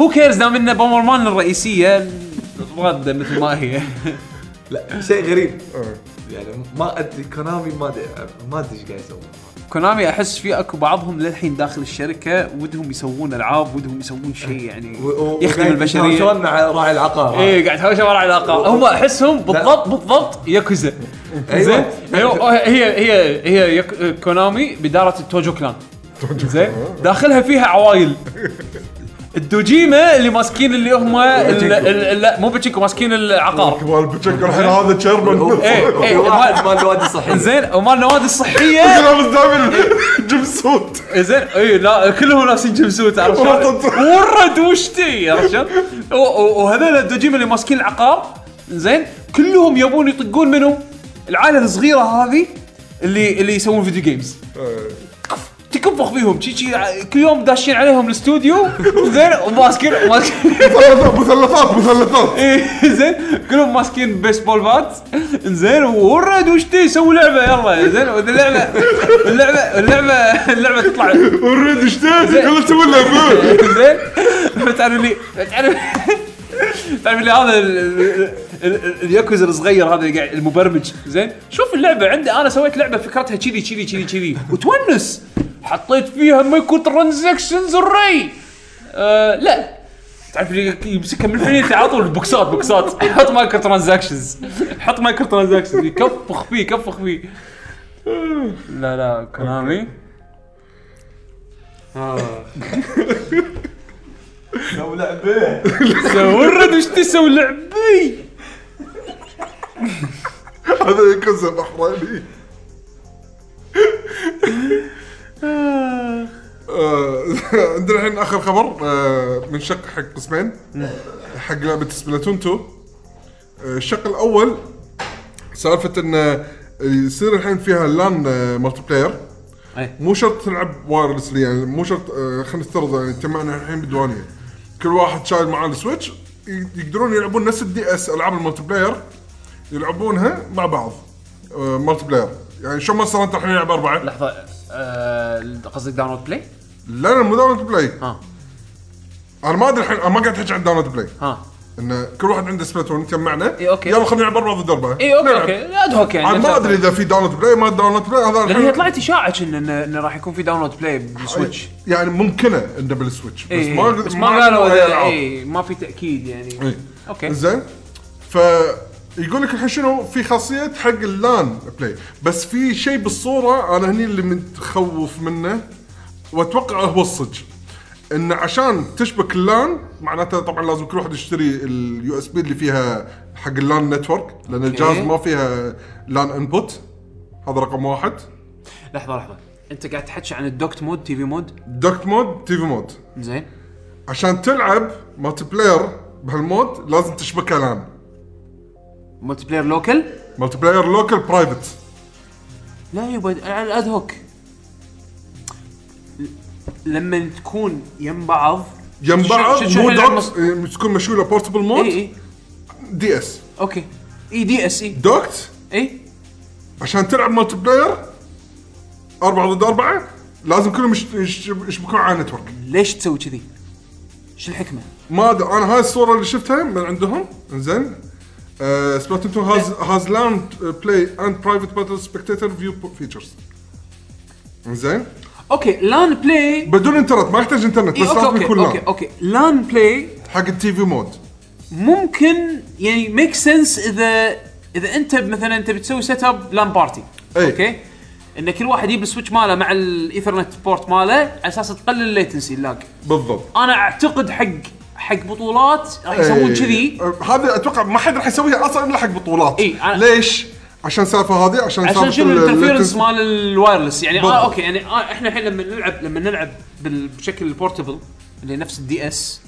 Speaker 2: هو كيرز دام ان بومبر مان الرئيسيه رده مثل ما هي
Speaker 4: لا شيء غريب
Speaker 3: E,
Speaker 4: يعني ما ادري كونامي ما ادري ما ادري ايش قاعد يسوي
Speaker 2: كونامي احس في اكو بعضهم للحين داخل الشركه ودهم يسوون العاب ودهم يسوون شيء يعني
Speaker 4: و- و-
Speaker 2: يخدم إيه.
Speaker 4: وقاعد
Speaker 2: البشريه
Speaker 4: يتهاوشون مع راعي العقار
Speaker 2: اي قاعد هاوشة ورا علاقه هم احسهم بالضبط بالضبط ياكوزا زين أيوة، هي هي هي يك- كونامي باداره التوجو كلان زين داخلها فيها عوايل الدوجيما اللي ماسكين اللي هم ال- ال- لا مو باتشيكو ماسكين العقار
Speaker 3: كبار بتشكر الحين هذا
Speaker 2: إيه.
Speaker 3: تشيرمان
Speaker 4: اي واحد مال الوادي الصحي
Speaker 2: زين ومال النوادي الصحيه
Speaker 3: لابس دائما جيم سوت
Speaker 2: زين اي لا كلهم لابسين جيم سوت عرفت شلون؟ ورد وشتي عرفت شلون؟ و- و- وهذول الدوجيم اللي ماسكين العقار زين كلهم يبون يطقون منهم العائله الصغيره هذه اللي اللي يسوون فيديو جيمز تكبخ فيهم شي شي ع- كل يوم داشين عليهم الاستوديو زين وماسكين ماسكين
Speaker 3: مثلثات مثلثات
Speaker 2: إيه، زين كلهم ماسكين بيسبول بات زين ورد وشتي سووا لعبه يلا زين اللعبه اللعبه اللعبه اللعبه تطلع
Speaker 3: وريد ايش تبي؟ قلت سوي له أبوه.
Speaker 2: زين تعرف لي تعرف تعرف لي هذا ال- ال- ال- الياكوزا الصغير هذا اللي قاعد المبرمج زين شوف اللعبه عندي انا سويت لعبه فكرتها كذي كذي كذي كذي وتونس حطيت فيها مايكرو ترانزكشنز الري آه لا تعرف اللي يمسكها من الحين على طول بوكسات بوكسات حط مايكرو ترانزكشنز حط مايكرو ترانزكشنز يكفخ فيه كفخ فيه لا لا كونامي
Speaker 4: سووا لعبه
Speaker 2: ورد وش تسوي لعبي
Speaker 3: هذا يكزن احراني آه، عندنا الحين اخر خبر آه، منشق حق قسمين حق لعبه سبلاتون 2 آه، الشق الاول سالفه ان آه، يصير الحين فيها آه، لان مالتي بلاير
Speaker 2: إيه.
Speaker 3: مو شرط تلعب وايرلسلي يعني مو شرط آه، خلينا نفترض يعني جمعنا الحين بالديوانيه كل واحد شايل معاه السويتش ي- يقدرون يلعبون نفس الدي اس العاب المالتي بلاير يلعبونها مع بعض آه، مالتي بلاير يعني شو مثلا انت الحين يلعب اربعه
Speaker 2: لحظه آه، قصدك داونلود بلاي؟
Speaker 3: لا لا مو داونلود بلاي
Speaker 2: ها
Speaker 3: انا ما ادري الحين انا ما قاعد احكي عن داونلود بلاي
Speaker 2: ها
Speaker 3: انه كل واحد عنده سبلاتون نجمعنا
Speaker 2: إي، أوكي.
Speaker 3: يلا خلينا نلعب اربعه ضد اربعه
Speaker 2: اي اوكي
Speaker 3: نلعب.
Speaker 2: اوكي لا اد هوك يعني
Speaker 3: انا ما ادري اذا في داونلود بلاي ما داونلود بلاي هذا
Speaker 2: لان هي
Speaker 3: الحين-
Speaker 2: طلعت اشاعه إن- إن- انه راح يكون في داونلود بلاي بالسويتش
Speaker 3: يعني ممكنه انه بالسويتش بس
Speaker 2: إيه،
Speaker 3: ما
Speaker 2: بس ما قالوا
Speaker 3: أي
Speaker 2: إذا-
Speaker 3: ألعاب.
Speaker 2: إيه، ما في تاكيد يعني
Speaker 3: إيه.
Speaker 2: اوكي
Speaker 3: زين ف يقول لك الحين شنو في خاصيه حق اللان بلاي بس في شيء بالصوره انا هني اللي متخوف منه واتوقع هو الصج ان عشان تشبك اللان معناته طبعا لازم كل واحد يشتري اليو اس بي اللي فيها حق اللان نتورك لان الجهاز ما فيها لان انبوت هذا رقم واحد
Speaker 2: لحظه لحظه انت قاعد تحكي عن الدوكت مود تي في مود
Speaker 3: دوكت مود تي في مود
Speaker 2: زين
Speaker 3: عشان تلعب مالتي بلاير بهالمود لازم تشبكها لان
Speaker 2: ملتي بلاير لوكل
Speaker 3: مالتي بلاير لوكال برايفت
Speaker 2: لا يبا على الاد هوك ل- لما تكون يم بعض
Speaker 3: جنب
Speaker 2: شو-
Speaker 3: بعض
Speaker 2: شو- شو
Speaker 3: مو
Speaker 2: الحين
Speaker 3: دوكت
Speaker 2: المص- إيه،
Speaker 3: إيه، تكون مشغوله بورتبل
Speaker 2: اي
Speaker 3: مود
Speaker 2: اي
Speaker 3: دي اس
Speaker 2: اوكي اي دي إيه؟ اس اي
Speaker 3: دوكت
Speaker 2: اي
Speaker 3: عشان تلعب مالتي بلاير أربعة ضد أربعة لازم كلهم يش- يش- يشبكون على نتورك
Speaker 2: ليش تسوي كذي؟ شو الحكمه؟
Speaker 3: ما أدري أنا هاي الصورة اللي شفتها من عندهم آه، انزين سبلاتون 2 هاز هاز لاند بلاي اند برايفت باتل سبكتيتر فيو فيتشرز انزين
Speaker 2: اوكي إيه، لان بلاي
Speaker 3: بدون انترنت ما يحتاج انترنت
Speaker 2: إي
Speaker 3: بس
Speaker 2: اوكي اوكي
Speaker 3: لازم يكون
Speaker 2: اوكي
Speaker 3: لان
Speaker 2: اوكي لان بلاي
Speaker 3: حق التي في مود
Speaker 2: ممكن يعني ميك سنس اذا اذا انت مثلا انت بتسوي سيت اب لان بارتي
Speaker 3: أي.
Speaker 2: اوكي ان كل واحد يجيب السويتش ماله مع الايثرنت بورت ماله على اساس تقلل الليتنسي اللاج
Speaker 3: بالضبط
Speaker 2: انا اعتقد حق حق بطولات راح يسوون
Speaker 3: يسوون
Speaker 2: كذي
Speaker 3: هذا اتوقع إيه، ما حد راح يسويها اصلا الا حق بطولات
Speaker 2: إي، أنا-
Speaker 3: ليش؟ عشان السالفه هذه عشان
Speaker 2: عشان
Speaker 3: سالفة
Speaker 2: شنو
Speaker 3: ال-
Speaker 2: الانترفيرنس
Speaker 3: ال-
Speaker 2: مال الوايرلس يعني
Speaker 3: بالضبط.
Speaker 2: آه اوكي يعني آه احنا الحين لما نلعب لما نلعب بال- بشكل البورتبل اللي نفس الدي اس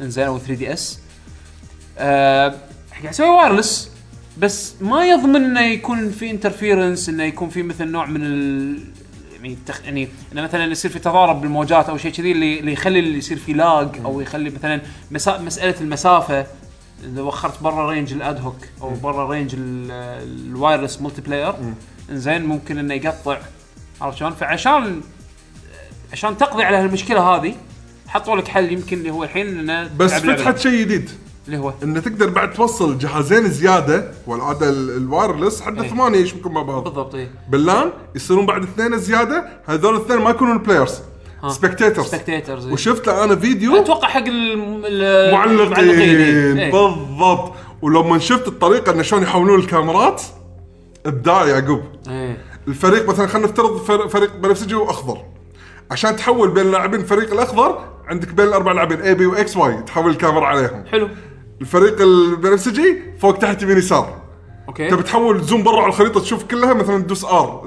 Speaker 2: انزين او 3 دي اس آه قاعد نسوي وايرلس بس ما يضمن انه يكون في انترفيرنس انه يكون في مثل نوع من ال يعني التخ... يعني انه مثلا يصير في تضارب بالموجات او شيء كذي اللي اللي يخلي اللي يصير في لاج او يخلي مثلا مسا... مساله المسافه اذا وخرت برا رينج الاد هوك او برا رينج ال- الوايرلس ملتي بلاير انزين ممكن انه يقطع عرفت شلون؟ فعشان عشان تقضي على هالمشكله هذه حطوا لك حل يمكن اللي هو الحين انه
Speaker 3: بس
Speaker 2: تلعب لعبة.
Speaker 3: فتحت شيء جديد
Speaker 2: اللي هو
Speaker 3: انه تقدر بعد توصل جهازين زياده والعاده ال- الوايرلس حد
Speaker 2: إي.
Speaker 3: ثمانيه يشبكون مع بعض
Speaker 2: إيه. بالضبط اي
Speaker 3: باللان يصيرون بعد اثنين زياده هذول الاثنين ما يكونون بلايرز
Speaker 2: ها. إيه.
Speaker 3: سبكتيترز
Speaker 2: سبكتيترز
Speaker 3: وشفت له انا فيديو
Speaker 2: اتوقع حق الم- ال-
Speaker 3: معلقين
Speaker 2: إيه.
Speaker 3: بالضبط ولما شفت الطريقه انه شلون يحولون الكاميرات ابداع يعقوب
Speaker 2: إيه.
Speaker 3: الفريق مثلا خلينا نفترض فر- فريق بنفسجي واخضر عشان تحول بين لاعبين الفريق الاخضر عندك بين الاربع لاعبين اي بي واكس واي تحول الكاميرا عليهم
Speaker 2: حلو
Speaker 3: الفريق البنفسجي فوق تحت يمين يسار
Speaker 2: اوكي
Speaker 3: تبي تحول زوم برا على الخريطه تشوف كلها مثلا تدوس ار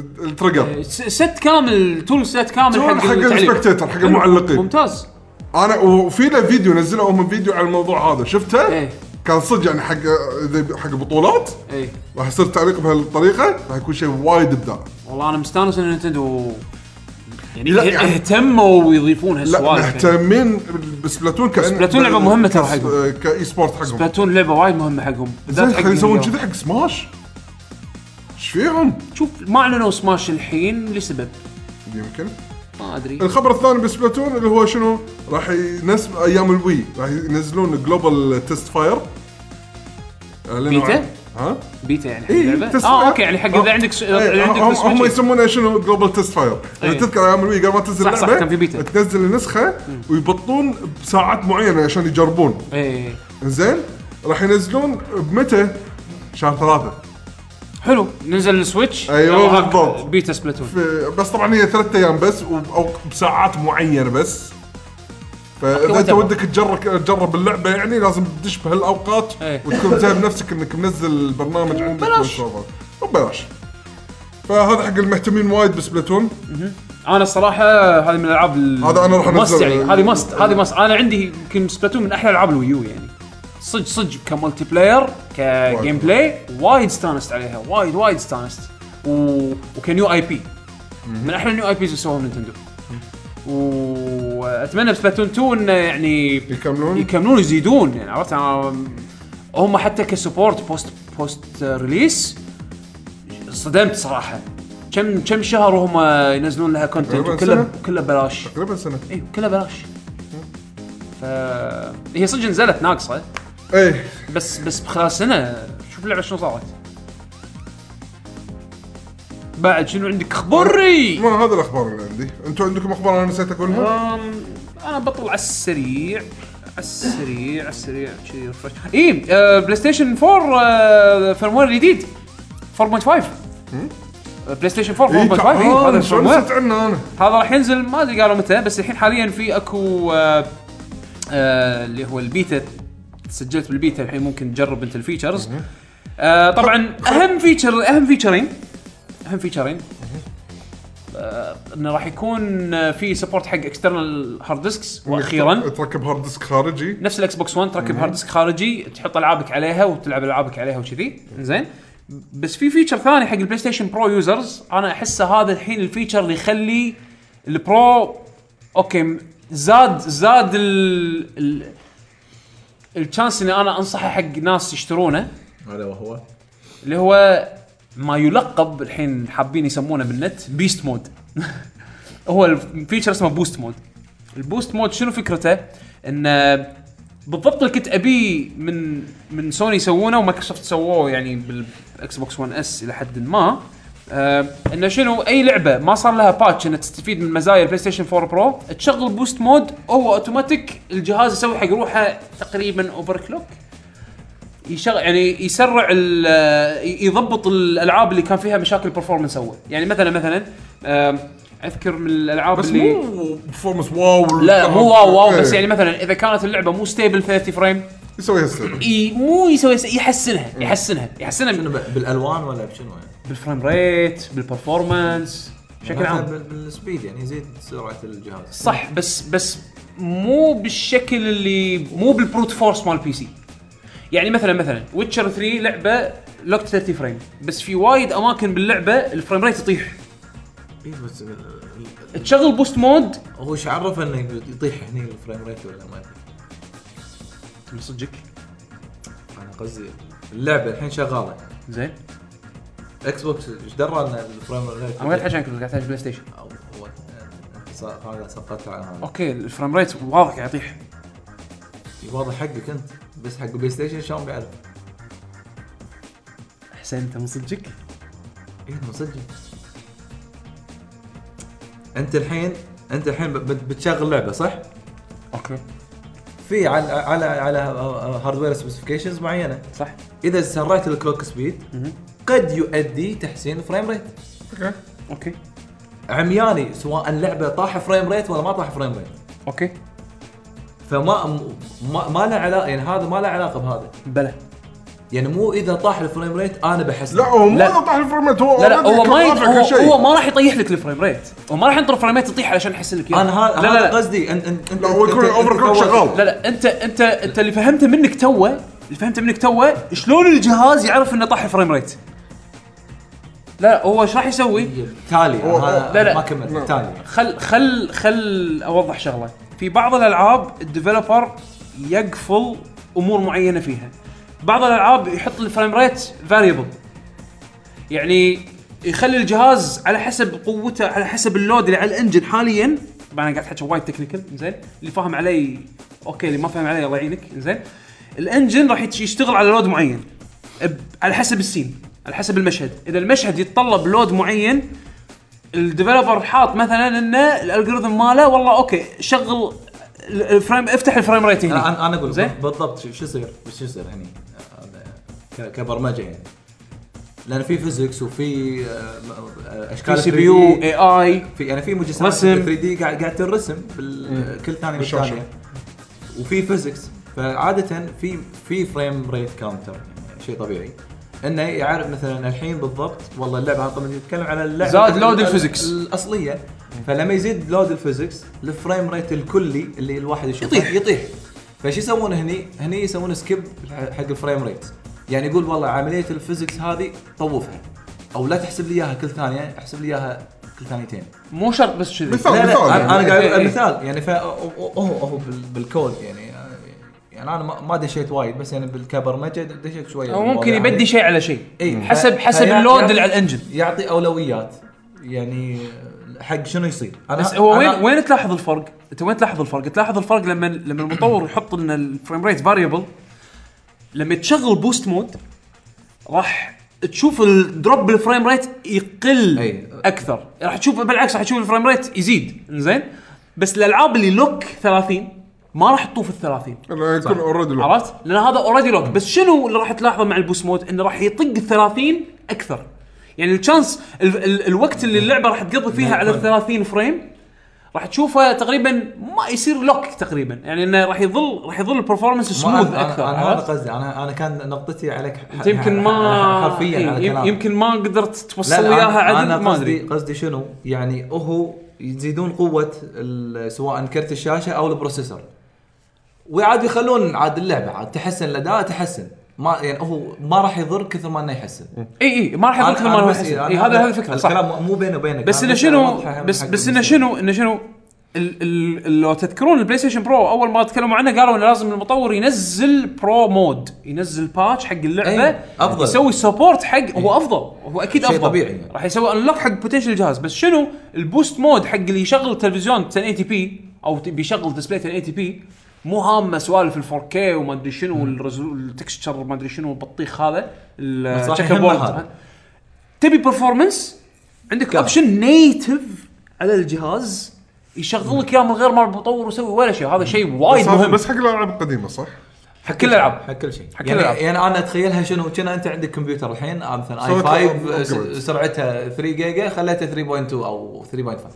Speaker 3: التريجر
Speaker 2: س- ست كامل تول ست كامل
Speaker 3: تول
Speaker 2: حق
Speaker 3: حق
Speaker 2: التعليق.
Speaker 3: السبكتيتر، حق
Speaker 2: حلو.
Speaker 3: المعلقين.
Speaker 2: ممتاز
Speaker 3: انا وفي له فيديو نزلوا هم فيديو على الموضوع هذا شفته
Speaker 2: إيه.
Speaker 3: كان صدق يعني حق إذا حق بطولات
Speaker 2: اي
Speaker 3: راح يصير تعليق بهالطريقه راح يكون شيء وايد ابداع
Speaker 2: والله انا مستانس ان نتندو يعني
Speaker 3: لا، يعني-
Speaker 2: اهتموا ويضيفون
Speaker 3: لا
Speaker 2: هالسوالف يعني.
Speaker 3: مهتمين بسبلاتون كأن
Speaker 2: سبلاتون لعبة مهمة ترى حقهم.
Speaker 3: كاي سبورت حقهم
Speaker 2: سبلاتون لعبه وايد مهمه حقهم
Speaker 3: زين
Speaker 2: حق
Speaker 3: خلينا يسوون
Speaker 2: نينجا.
Speaker 3: كذي حق سماش ايش فيهم؟
Speaker 2: شوف ما اعلنوا سماش الحين لسبب
Speaker 3: يمكن
Speaker 2: ما ادري
Speaker 3: الخبر الثاني بسبلاتون اللي هو شنو؟ راح ينزل ايام الوي راح ينزلون جلوبال تيست فاير
Speaker 2: بيتا؟
Speaker 3: ها؟
Speaker 2: بيتا يعني حق
Speaker 3: اي
Speaker 2: اللعبه اه اوكي يعني حق اذا عندك س- اذا عندك
Speaker 3: أه. إيه، هم,
Speaker 2: سويتش
Speaker 3: هم يسمونها شنو جلوبال تيست فاير اذا
Speaker 2: إيه.
Speaker 3: تذكر ايام الوي قبل ما تنزل
Speaker 2: صح، صح،
Speaker 3: اللعبة،
Speaker 2: كان في بيتا.
Speaker 3: تنزل النسخه ويبطون بساعات معينه عشان يجربون
Speaker 2: إيه.
Speaker 3: زين راح ينزلون بمتى؟ شهر ثلاثة
Speaker 2: حلو ننزل السويتش
Speaker 3: أيوة،
Speaker 2: يلا هاك
Speaker 3: بالضبط.
Speaker 2: بيتا سبلاتون
Speaker 3: ف- بس طبعا هي ثلاثة ايام بس وب- او بساعات معينة بس فاذا انت
Speaker 2: وتبع.
Speaker 3: ودك تجرب تجرب اللعبة يعني لازم تدش بهالاوقات
Speaker 2: إيه.
Speaker 3: وتكون جايب نفسك انك منزل البرنامج عندك
Speaker 2: وببلاش.
Speaker 3: وببلاش ببلاش فهذا حق المهتمين وايد بسبلاتون
Speaker 2: انا الصراحه هذه من الالعاب ال-
Speaker 3: هذا أنا راح
Speaker 2: ماست
Speaker 3: أنزل.
Speaker 2: يعني هذه ماست هذه ماست انا عندي يمكن سبلاتون من احلى العاب الويو يعني صدق صدق كمالتي بلاير كجيم بلاي وايد استانست عليها وايد وايد استانست و... وكنيو اي بي من احلى النيو اي بيز اللي سووها نينتندو واتمنى بسبلاتون 2 انه يعني
Speaker 3: يكملون؟
Speaker 2: يكملون يزيدون يعني عرفت أنا- هم حتى كسبورت بوست بوست ريليس صدمت صراحه كم كم شهر وهم ينزلون لها كونتنت
Speaker 3: تقريباً
Speaker 2: وكله
Speaker 3: سنة.
Speaker 2: كله ببلاش
Speaker 3: تقريبا سنه
Speaker 2: اي كله ببلاش إيه، ف هي صدق نزلت ناقصه
Speaker 3: اي
Speaker 2: بس بس خلال سنه شوف اللعبه شنو صارت بعد شنو عندك خبري
Speaker 3: ما هذا الاخبار اللي عندي انتم عندكم اخبار انا نسيت اقولها
Speaker 2: أم، انا بطل على السريع على السريع على السريع كذي رفرش اي آه، بلاي ستيشن 4 آه، فيرموير جديد 4.5 آه، بلاي ستيشن 4 4.5
Speaker 3: إي،
Speaker 2: إي،
Speaker 3: آه،
Speaker 2: إيه، هذا
Speaker 3: تعبان، إيه، شلون
Speaker 2: الفيرموير
Speaker 3: نسيت عنه انا
Speaker 2: هذا راح ينزل ما ادري قالوا متى بس الحين حاليا في اكو آه، آه، اللي هو البيتا سجلت بالبيتا الحين ممكن تجرب انت الفيتشرز آه، طبعا اهم فيتشر اهم فيتشرين اهم فيتشرين آه، انه راح يكون آه، في سبورت حق اكسترنال هارد ديسكس واخيرا
Speaker 3: تركب هارد ديسك خارجي
Speaker 2: نفس الاكس بوكس 1 تركب هارد ديسك خارجي تحط العابك عليها وتلعب العابك عليها وكذي زين بس في فيتشر ثاني حق البلاي ستيشن برو يوزرز انا احسه هذا الحين الفيتشر اللي يخلي البرو اوكي م- زاد زاد ال ال الشانس اني انا انصحه حق ناس يشترونه
Speaker 4: هذا وهو
Speaker 2: اللي هو ما يلقب الحين حابين يسمونه بالنت بيست مود هو الفيتشر اسمه بوست مود البوست مود شنو فكرته ان بالضبط اللي كنت ابيه من من سوني يسوونه ومايكروسوفت سووه يعني بالاكس بوكس 1 اس الى حد ما آه انه شنو اي لعبه ما صار لها باتش انها تستفيد من مزايا البلاي ستيشن 4 برو تشغل بوست مود هو اوتوماتيك الجهاز يسوي حق روحه تقريبا اوفر كلوك يشغل يعني يسرع ال- يضبط الالعاب اللي كان فيها مشاكل برفورمانس اول يعني مثلا مثلا آم، اذكر من الالعاب
Speaker 3: بس
Speaker 2: اللي
Speaker 3: مو إيه. برفورمس واو
Speaker 2: لا مو واو واو بس يعني مثلا اذا كانت اللعبه مو ستيبل 30 فريم
Speaker 3: يسوي هالسنه
Speaker 2: ي- مو يسوي يحسنها يحسنها يحسنها
Speaker 4: شنو
Speaker 2: من-
Speaker 4: ب- بالالوان ولا بشنو يعني؟
Speaker 2: بالفريم ريت بالبرفورمانس بشكل
Speaker 4: يعني
Speaker 2: عام
Speaker 4: بال- بالسبيد يعني يزيد سرعه الجهاز
Speaker 2: صح بس بس مو بالشكل اللي مو بالبروت فورس مال بي سي يعني مثلا مثلا ويتشر 3 لعبه لوك 30 فريم بس في وايد اماكن باللعبه الفريم ريت يطيح
Speaker 4: إيه بس ال- ال-
Speaker 2: تشغل بوست مود
Speaker 4: هو ايش عرف انه يطيح هني الفريم ريت ولا ما يطيح؟
Speaker 2: صدقك
Speaker 4: انا قصدي اللعبه الحين شغاله
Speaker 2: زين
Speaker 4: اكس بوكس ايش درى ان الفريم ريت
Speaker 2: انا قاعد احتاج عنك قاعد احتاج بلاي ستيشن
Speaker 4: أو- هو- أنت ص- هذا سقطت على هذا
Speaker 2: اوكي الفريم ريت واضح قاعد يطيح
Speaker 4: واضح حقك انت بس حق البلاي ستيشن شلون بيعرف؟
Speaker 2: حسين انت من صدقك
Speaker 4: ايه مو صدق انت الحين انت الحين ب- بت- بتشغل لعبه صح؟
Speaker 2: اوكي
Speaker 4: في على على على هاردوير سبيسيفيكيشنز معينه
Speaker 2: صح
Speaker 4: اذا سرعت الكلوك سبيد
Speaker 2: مهم.
Speaker 4: قد يؤدي تحسين فريم ريت
Speaker 2: اوكي
Speaker 4: عمياني سواء اللعبه طاح فريم ريت ولا ما طاح فريم ريت
Speaker 2: اوكي
Speaker 4: فما م- ما, ما له علاقه يعني هذا ما له علاقه بهذا
Speaker 2: بلا
Speaker 4: يعني مو اذا طاح الفريم ريت انا بحسن
Speaker 3: لا هو مو
Speaker 2: لا.
Speaker 3: قطع الفورمات هو
Speaker 2: لا لا
Speaker 3: already
Speaker 2: هو ما يط...
Speaker 3: كان رافع كل
Speaker 2: هو,
Speaker 3: شيء.
Speaker 2: هو ما راح يطيح لك الفريم ريت هو ما راح ينطر الفريم ريت يطيح علشان يحسن لك إياه.
Speaker 4: انا هذا
Speaker 2: لا لا
Speaker 4: هذا
Speaker 2: لا.
Speaker 4: قصدي انت انت
Speaker 3: لا هو يكون اوفر كلوك شغال
Speaker 2: لا لا انت انت انت اللي فهمته منك توه اللي فهمته منك توه شلون الجهاز يعرف انه طاح الفريم ريت لا لا هو ايش راح يسوي؟
Speaker 4: طيب، تالي
Speaker 3: هو-
Speaker 2: لا، لا. نعم.
Speaker 4: هذا ما كملت تالي
Speaker 2: خل خل خل اوضح شغله في بعض الالعاب الديفلوبر يقفل امور معينه فيها بعض الالعاب يحط الفريم ريت فاريبل يعني يخلي الجهاز على حسب قوته على حسب اللود اللي على الانجن حاليا طبعا انا قاعد احكي وايد تكنيكال زين اللي فاهم علي اوكي اللي ما فاهم علي الله يعينك زين الانجن راح يتش- يشتغل على لود معين ب- على حسب السين على حسب المشهد اذا المشهد يتطلب لود معين الديفلوبر حاط مثلا انه الالجوريثم ماله والله اوكي شغل ال- الفريم افتح الفريم ريت هنا
Speaker 4: انا انا اقول
Speaker 2: زين.
Speaker 4: لك بالضبط شو شو يصير شو يصير يعني ك- كبرمجه يعني لان في فيزكس وفي آه، آه، اشكال
Speaker 2: في سي
Speaker 4: 3D
Speaker 2: بي يو اي اي
Speaker 4: في يعني في مجسمات
Speaker 2: رسم. إيه.
Speaker 4: 3 دي قاعد قاعد تنرسم بال- كل ثانيه
Speaker 3: بالشاشة.
Speaker 4: بالثانيه وفي فيزكس فعاده في في فريم ريت كاونتر يعني شيء طبيعي انه يعرف مثلا الحين بالضبط والله اللعبه هذا طبعا يتكلم على اللعبه
Speaker 2: زاد load
Speaker 4: ال-
Speaker 2: الفيزكس.
Speaker 4: الاصليه فلما يزيد لود الفيزكس الفريم ريت الكلي اللي الواحد يشوفه
Speaker 2: يطيح.
Speaker 4: يطيح فشو يسوون هني؟ هني يسوون سكيب حق الفريم ريت يعني يقول والله عمليه الفيزكس هذه طوفها او لا تحسب لي اياها كل ثانيه احسب لي اياها كل ثانيتين
Speaker 2: مو شرط بس كذي
Speaker 3: مثال
Speaker 4: لا لا
Speaker 3: مثال
Speaker 4: انا
Speaker 3: يعني.
Speaker 4: أنا قاعد
Speaker 2: إيه، إيه.
Speaker 4: اقول مثال يعني فا هو هو بال- بالكود يعني يعني انا ما- ما دشيت وايد بس يعني بالكبرمجه دشيت شويه
Speaker 2: او ممكن
Speaker 4: بالمواضيع
Speaker 2: يبدي
Speaker 4: هذه.
Speaker 2: شيء على شيء
Speaker 4: إيه.
Speaker 2: حسب
Speaker 4: ف-
Speaker 2: حسب
Speaker 4: فيا-
Speaker 2: اللود
Speaker 4: يا-
Speaker 2: اللي على الانجن
Speaker 4: يعطي اولويات يعني حق شنو يصير انا
Speaker 2: بس هو وين
Speaker 4: أنا-
Speaker 2: وين تلاحظ الفرق؟ انت وين تلاحظ الفرق؟ تلاحظ الفرق لما لما المطور يحط ان الفريم ريت فاريبل لما تشغل بوست مود راح تشوف الدروب بالفريم ريت يقل
Speaker 4: أي.
Speaker 2: اكثر راح تشوف بالعكس راح تشوف الفريم ريت يزيد زين بس الالعاب اللي لوك 30 ما راح تطوف ال 30
Speaker 3: أنا يكون
Speaker 4: نعم.
Speaker 3: اوريدي
Speaker 2: عرفت؟ لان هذا اوريدي لوك بس شنو اللي راح تلاحظه مع البوست مود؟ انه راح يطق ال 30 اكثر. يعني الشانس ال ال الوقت اللي اللعبه راح تقضي فيها
Speaker 4: نعم.
Speaker 2: على ال 30 فريم راح تشوفه تقريبا ما يصير لوك تقريبا، يعني انه راح يظل راح يظل البرفورمانس
Speaker 4: ما
Speaker 2: سموث
Speaker 4: أنا- أنا-
Speaker 2: اكثر
Speaker 4: انا هذا
Speaker 2: عرفت؟
Speaker 4: قصدي انا انا كان نقطتي عليك ح-
Speaker 2: انت يمكن
Speaker 4: ح-
Speaker 2: ما إيه،
Speaker 4: ح- حرفيا على
Speaker 2: يم-
Speaker 4: كلامك.
Speaker 2: يمكن ما قدرت
Speaker 4: لا
Speaker 2: توصل
Speaker 4: لا
Speaker 2: وياها
Speaker 4: أنا-
Speaker 2: عدل
Speaker 4: انا
Speaker 2: ما
Speaker 4: قصدي
Speaker 2: ادري.
Speaker 4: قصدي شنو يعني هو يزيدون قوه ال- سواء كرت الشاشه او البروسيسور وعاد يخلون عاد اللعبه عاد تحسن الاداء تحسن ما يعني هو ما راح يضر كثر ما انه يحسن
Speaker 2: اي اي ما راح يضل
Speaker 4: أنا-
Speaker 2: كل ما
Speaker 4: أنا
Speaker 2: راح
Speaker 4: بس-
Speaker 2: يحسن.
Speaker 4: أنا-
Speaker 2: إي، هذا هذا الفكره صح
Speaker 4: الكلام مو بيني وبينك
Speaker 2: بس
Speaker 4: أنا
Speaker 2: انه
Speaker 4: أنا
Speaker 2: شنو
Speaker 4: واضحة
Speaker 2: بس
Speaker 4: حق
Speaker 2: بس انه
Speaker 4: المستمع.
Speaker 2: شنو انه شنو ال- ال- ال- لو تذكرون البلاي ستيشن برو اول ما تكلموا عنه قالوا انه لازم المطور ينزل برو مود ينزل باتش حق اللعبه
Speaker 4: أي، إيه، أفضل. إيه.
Speaker 2: يسوي سبورت حق هو افضل هو اكيد
Speaker 4: شيء
Speaker 2: افضل
Speaker 4: طبيعي يعني.
Speaker 2: راح يسوي انلوك حق بوتنشل الجهاز بس شنو البوست مود حق اللي يشغل تلفزيون 1080 تي بي او ت- بيشغل ديسبلاي 1080 تي بي مو هامه سوالف ال 4K وما ادري شنو والرزو- التكستشر وما ادري شنو البطيخ هذا
Speaker 4: بس راح
Speaker 2: التشيكر
Speaker 4: يهمه
Speaker 2: بورد
Speaker 4: هذا.
Speaker 2: تبي برفورمنس عندك
Speaker 4: كام.
Speaker 2: اوبشن نيتف على الجهاز يشغل لك اياه من غير ما المطور يسوي ولا شيء هذا شيء وايد
Speaker 3: بس هذا
Speaker 2: مهم
Speaker 3: بس حق الالعاب القديمه صح؟
Speaker 2: حق كل الالعاب
Speaker 4: حق كل شيء
Speaker 2: حق كل
Speaker 4: يعني,
Speaker 2: الألعاب.
Speaker 4: يعني انا اتخيلها شنو كنا انت عندك كمبيوتر الحين آه، مثلا اي
Speaker 3: سويت
Speaker 4: 5
Speaker 3: upgrade.
Speaker 4: س- سرعتها 3 جيجا خليتها 3.2 او 3.5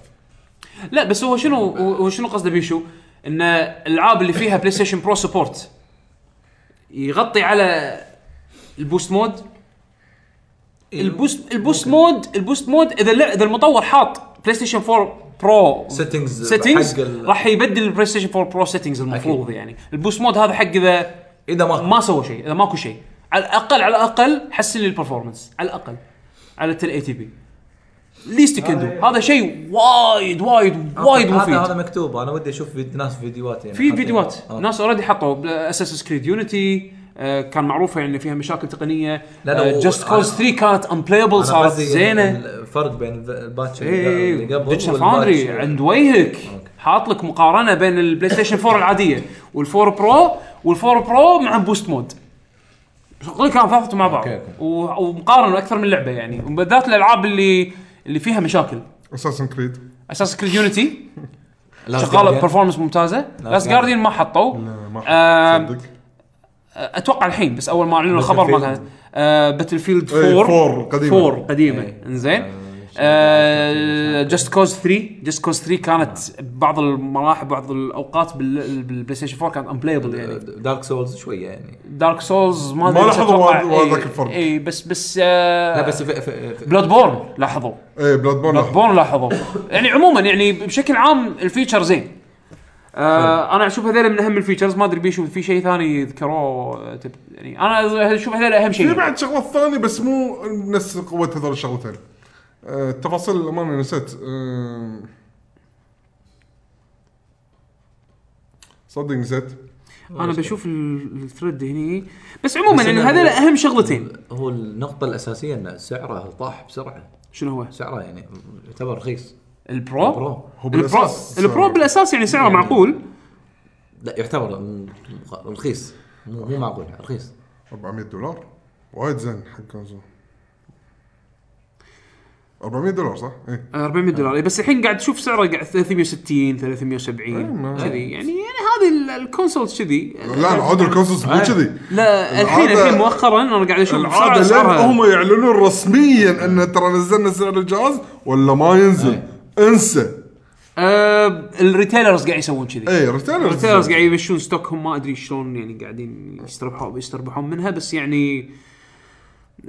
Speaker 2: لا بس هو شنو هو شنو قصده بيشو ان الالعاب اللي فيها بلاي ستيشن برو سبورت يغطي على البوست مود البوست البوست مود البوست مود اذا لا اذا المطور حاط بلاي ستيشن 4 برو
Speaker 4: Settings
Speaker 2: settings
Speaker 4: حق ال-
Speaker 2: راح يبدل البلاي ستيشن 4 برو settings المفروض يعني البوست مود هذا حق اذا
Speaker 4: اذا ما
Speaker 2: ما سووا شيء اذا ماكو شيء على الاقل على الاقل حسن لي البرفورمانس على الاقل على التل اي تي بي ليست كندو هذا شيء وايد وايد وايد
Speaker 4: هذا هذا
Speaker 2: مفيد
Speaker 4: مكتوب انا ودي اشوف فيد- ناس فيديوهات يعني
Speaker 2: في
Speaker 4: حاطين-
Speaker 2: فيديوهات
Speaker 4: آه.
Speaker 2: ناس اوريدي حطوا اساس كريد يونيتي كان معروفه يعني فيها مشاكل آه، تقنيه
Speaker 4: لا، لا، هو-
Speaker 2: جاست كوز
Speaker 4: أنا-
Speaker 2: 3 كانت امبلايبل
Speaker 4: أنا
Speaker 2: صارت إيه،
Speaker 4: قصدي
Speaker 2: زينه
Speaker 4: الفرق بين الب- الباتش
Speaker 2: اي
Speaker 4: اللي قبل
Speaker 2: ديجيتال
Speaker 4: والباتش-
Speaker 2: فاوندري عند وجهك حاط لك مقارنه بين البلاي ستيشن 4 العاديه والفور برو والفور برو مع بوست مود كل كان ضغط مع بعض
Speaker 4: أوكي، أوكي.
Speaker 2: و- ومقارنه اكثر من لعبه يعني وبالذات الالعاب اللي اللي فيها مشاكل
Speaker 3: اساسن كريد
Speaker 2: اساس كريد يونيتي
Speaker 4: Last
Speaker 2: شغاله
Speaker 4: Guardian.
Speaker 2: ببرفورمانس ممتازه لاست
Speaker 4: Guardian. نعم.
Speaker 2: جارديان ما حطوا آم،
Speaker 3: صدق
Speaker 2: اتوقع الحين بس اول ما اعلنوا الخبر آه، ما كان باتل فيلد
Speaker 3: إيه،
Speaker 2: 4
Speaker 3: 4 قديمة.
Speaker 2: 4 قديمه
Speaker 4: إيه.
Speaker 2: انزين
Speaker 4: آه.
Speaker 2: جاست كوز 3 جاست كوز 3 كانت بعض المراحل بعض الاوقات بال- بالبلاي ستيشن 4 كانت امبلايبل يعني
Speaker 4: دارك سولز شويه يعني
Speaker 2: دارك سولز ما
Speaker 3: ما
Speaker 2: أدري بس
Speaker 3: لاحظوا
Speaker 2: أتوقع-
Speaker 3: وايد- وايد
Speaker 2: إيه،
Speaker 3: ذاك الفرق.
Speaker 2: اي بس بس
Speaker 4: لا بس في في في
Speaker 2: بلاد بورن لاحظوا
Speaker 3: ايه بلاد
Speaker 2: بلاد
Speaker 3: بورن
Speaker 2: بورن لاحظوا يعني عموما يعني بشكل عام الفيتشر زين آه انا اشوف هذول من اهم الفيتشرز ما ادري بيشوف في شيء ثاني ذكروه آه، تب- يعني انا اشوف هذول اهم شيء
Speaker 3: في بعد شغلات ثانيه بس مو نفس قوه هذول الشغلتين آه، التفاصيل الامانه نسيت آم، صدق نسيت
Speaker 2: انا بشوف ال- الثريد هني بس عموما
Speaker 4: بس
Speaker 2: يعني
Speaker 4: إنه-
Speaker 2: هذول اهم شغلتين
Speaker 4: هو النقطه الاساسيه ان سعره طاح بسرعه
Speaker 2: شنو هو؟
Speaker 4: سعره يعني يعتبر رخيص
Speaker 2: البرو
Speaker 4: برو
Speaker 3: هو
Speaker 2: البرو
Speaker 3: بالاساس
Speaker 2: البرو بالاساس يعني سعره
Speaker 4: يعني-
Speaker 2: معقول
Speaker 4: لا يعتبر م- رخيص مو مو معقول رخيص
Speaker 3: 400 دولار وايد زين حق كونسول 400 دولار صح؟ ايه
Speaker 2: آه، 400 دولار إيه، بس الحين قاعد تشوف سعره قاعد 360 370
Speaker 3: ما-
Speaker 2: كذي يعني يعني هذه ال- الكونسولز كذي
Speaker 3: لا العود الكونسولز مو كذي
Speaker 2: لا الحين
Speaker 3: العادة-
Speaker 2: الحين مؤخرا انا قاعد اشوف سعره
Speaker 3: العاده لين هم
Speaker 2: سعرها
Speaker 3: يعلنون رسميا ان ترى نزلنا سعر الجهاز ولا ما ينزل
Speaker 2: إيه.
Speaker 3: انسى
Speaker 2: آه، الريتيلرز قاعد يسوون كذي
Speaker 3: اي ريتيلرز
Speaker 2: الريتيلرز قاعد يمشون ستوكهم ما ادري شلون يعني قاعدين يستربحون يستربحون منها بس يعني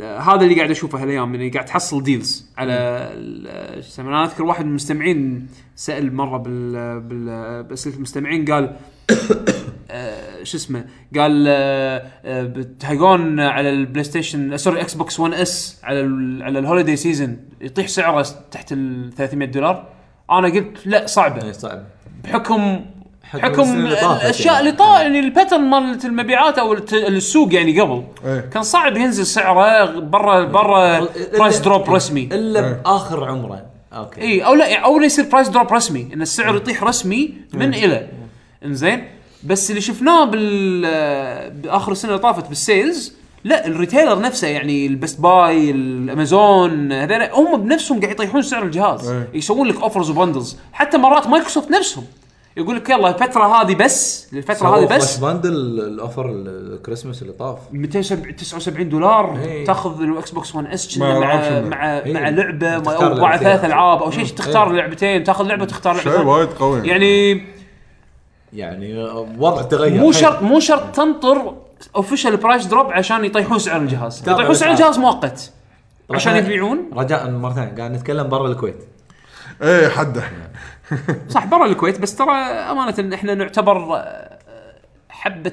Speaker 2: آه، هذا اللي قاعد اشوفه هالايام يعني قاعد تحصل ديلز على ال- شو يسمونه انا اذكر واحد من المستمعين سال مره بال بال باسئله المستمعين قال آه، شو اسمه قال آه، آه، بتهقون على البلاي ستيشن آه، سوري اكس بوكس 1 اس على ال على الهوليدي سيزون يطيح سعره تحت ال 300 دولار انا قلت لا صعبه
Speaker 4: يعني صعب
Speaker 2: Uh, بحكم
Speaker 4: حكم
Speaker 2: حكم
Speaker 4: السنة اللي طافت
Speaker 2: الاشياء
Speaker 4: يعني.
Speaker 2: اللي طا يعني الباترن مالت المبيعات او الت- السوق يعني قبل
Speaker 3: إيه.
Speaker 2: كان صعب ينزل سعره برا برا
Speaker 4: إلا-
Speaker 2: برايس دروب رسمي إيه،
Speaker 4: الا
Speaker 3: إيه.
Speaker 4: باخر عمره اوكي
Speaker 2: اي او لا او إنه يصير برايس دروب رسمي ان السعر يطيح رسمي من الى انزين بس اللي شفناه بال باخر السنه اللي طافت بالسيلز لا الريتيلر نفسه يعني البست باي الامازون هذول هم بنفسهم قاعد يطيحون سعر الجهاز
Speaker 3: إيه.
Speaker 2: يسوون لك اوفرز وبندلز حتى مرات مايكروسوفت نفسهم يقول لك يلا الفتره هذه بس الفتره هذه
Speaker 4: فلاش
Speaker 2: بس
Speaker 4: باندل الاوفر الكريسماس اللي طاف
Speaker 2: 279 دولار
Speaker 4: إيه.
Speaker 2: تاخذ الاكس بوكس 1 اس
Speaker 3: مع
Speaker 2: مع
Speaker 3: ألعاب شنو؟
Speaker 2: مع مع
Speaker 4: إيه.
Speaker 2: لعبه مع-
Speaker 4: تختار
Speaker 2: أو مع
Speaker 4: لعبتين.
Speaker 2: ثلاث العاب او شيء تختار
Speaker 4: إيه.
Speaker 2: لعبتين تاخذ لعبه تختار لعبه
Speaker 3: شيء
Speaker 2: ثانية.
Speaker 3: وايد قوي
Speaker 2: يعني
Speaker 4: يعني وضع تغير
Speaker 2: مو
Speaker 4: حيل.
Speaker 2: شرط مو شرط تنطر اوفيشال برايس دروب عشان يطيحون سعر الجهاز
Speaker 4: تابع
Speaker 2: يطيحون سعر
Speaker 4: الأسعار.
Speaker 2: الجهاز مؤقت
Speaker 4: طبعاً
Speaker 2: عشان
Speaker 4: إحنا
Speaker 2: يبيعون
Speaker 4: رجاء مره ثانيه قاعد نتكلم برا الكويت
Speaker 3: ايه حده
Speaker 2: صح برا الكويت بس ترى امانه احنا نعتبر آه، حبه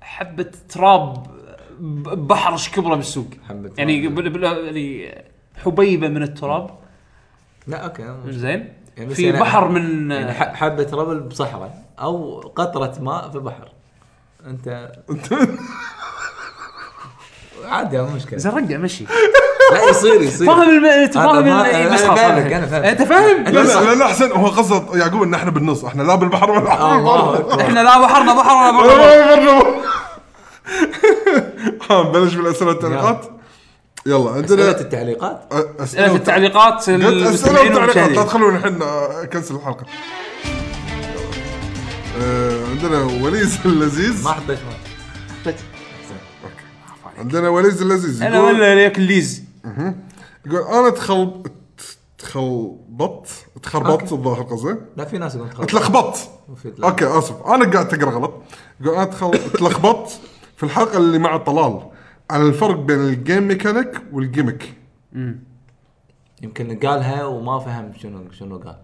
Speaker 2: حبه تراب ب- بحر ايش كبره بالسوق
Speaker 4: حبة
Speaker 2: يعني
Speaker 4: تراب.
Speaker 2: بال- بال- يعني حبيبه من التراب
Speaker 4: لا اوكي
Speaker 2: زين
Speaker 4: يعني بس
Speaker 2: في
Speaker 4: يعني-
Speaker 2: بحر من
Speaker 4: يعني ح- حبه رمل بصحراء او قطره ماء في بحر انت عادي مو مشكله
Speaker 2: زين رجع مشي
Speaker 4: لا يصير يصير
Speaker 2: فاهم الم... أنت
Speaker 4: أنا
Speaker 2: فاهم
Speaker 4: ما-
Speaker 2: ال-
Speaker 4: أنا
Speaker 2: بس خلاص
Speaker 4: فاهمك،
Speaker 2: أنا-
Speaker 4: أنا فاهمك.
Speaker 2: انت فاهم
Speaker 3: لا لا لا, لا احسن هو قصد يعقوب ان احنا بالنص احنا لا بالبحر ولا
Speaker 2: آه.
Speaker 4: الله
Speaker 3: على
Speaker 4: أكبر.
Speaker 2: احنا لا بحرنا بحر ولا برا بحر
Speaker 3: البحر ها آه، نبلش بالاسئله والتعليقات يلا
Speaker 4: اسئله
Speaker 3: عندنا
Speaker 4: التعليقات
Speaker 3: أ-
Speaker 2: اسئله إيه، التعليقات
Speaker 3: قلت اسئله
Speaker 2: المستمعين
Speaker 3: والتعليقات لا
Speaker 2: والمشاهدين.
Speaker 3: تخلونا الحين آه، كنسل الحلقه آه، عندنا وليز اللذيذ
Speaker 4: ما حطيت ماء
Speaker 3: عندنا وليز اللذيذ
Speaker 2: انا
Speaker 3: يقول
Speaker 2: ولا ليك الليز
Speaker 3: يقول انا تخل تخلبط تخربط الظاهر قصدي
Speaker 4: لا في ناس يقولون تخرب.
Speaker 3: تلخبط
Speaker 4: مفيد لا.
Speaker 3: اوكي اسف انا قاعد تقرا غلط يقول انا تخل- تلخبط في الحلقه اللي مع طلال على الفرق بين الجيم ميكانيك والجيمك
Speaker 4: يمكن قالها وما فهم شنو شنو قال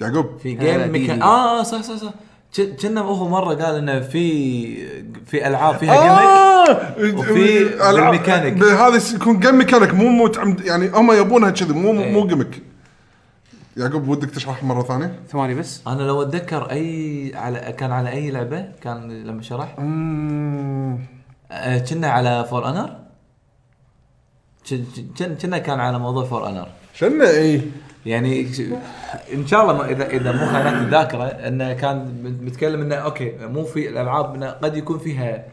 Speaker 3: يعقوب
Speaker 4: في
Speaker 2: هذا
Speaker 4: جيم ميكا...
Speaker 2: دي-
Speaker 4: اه صح صح صح ك- كنا هو مره قال انه في في العاب فيها جيمك
Speaker 3: آه!
Speaker 4: يعني وفي
Speaker 3: ألعاب-
Speaker 4: ميكانيك.
Speaker 3: هذا يكون جيم ميكانيك مو مو تعمد- يعني هم يبونها كذي مو
Speaker 4: إيه.
Speaker 3: مو جيمك يعقوب ودك تشرح مره ثانيه؟
Speaker 2: ثواني بس
Speaker 4: انا لو اتذكر اي على كان على اي لعبه كان لما شرح آه، كنا على فور انر كنا كان على موضوع فور انر
Speaker 3: شنو اي
Speaker 4: يعني ش- ان شاء الله ما اذا اذا مو خانتني الذاكره انه كان متكلم انه اوكي مو في الالعاب انه قد يكون فيها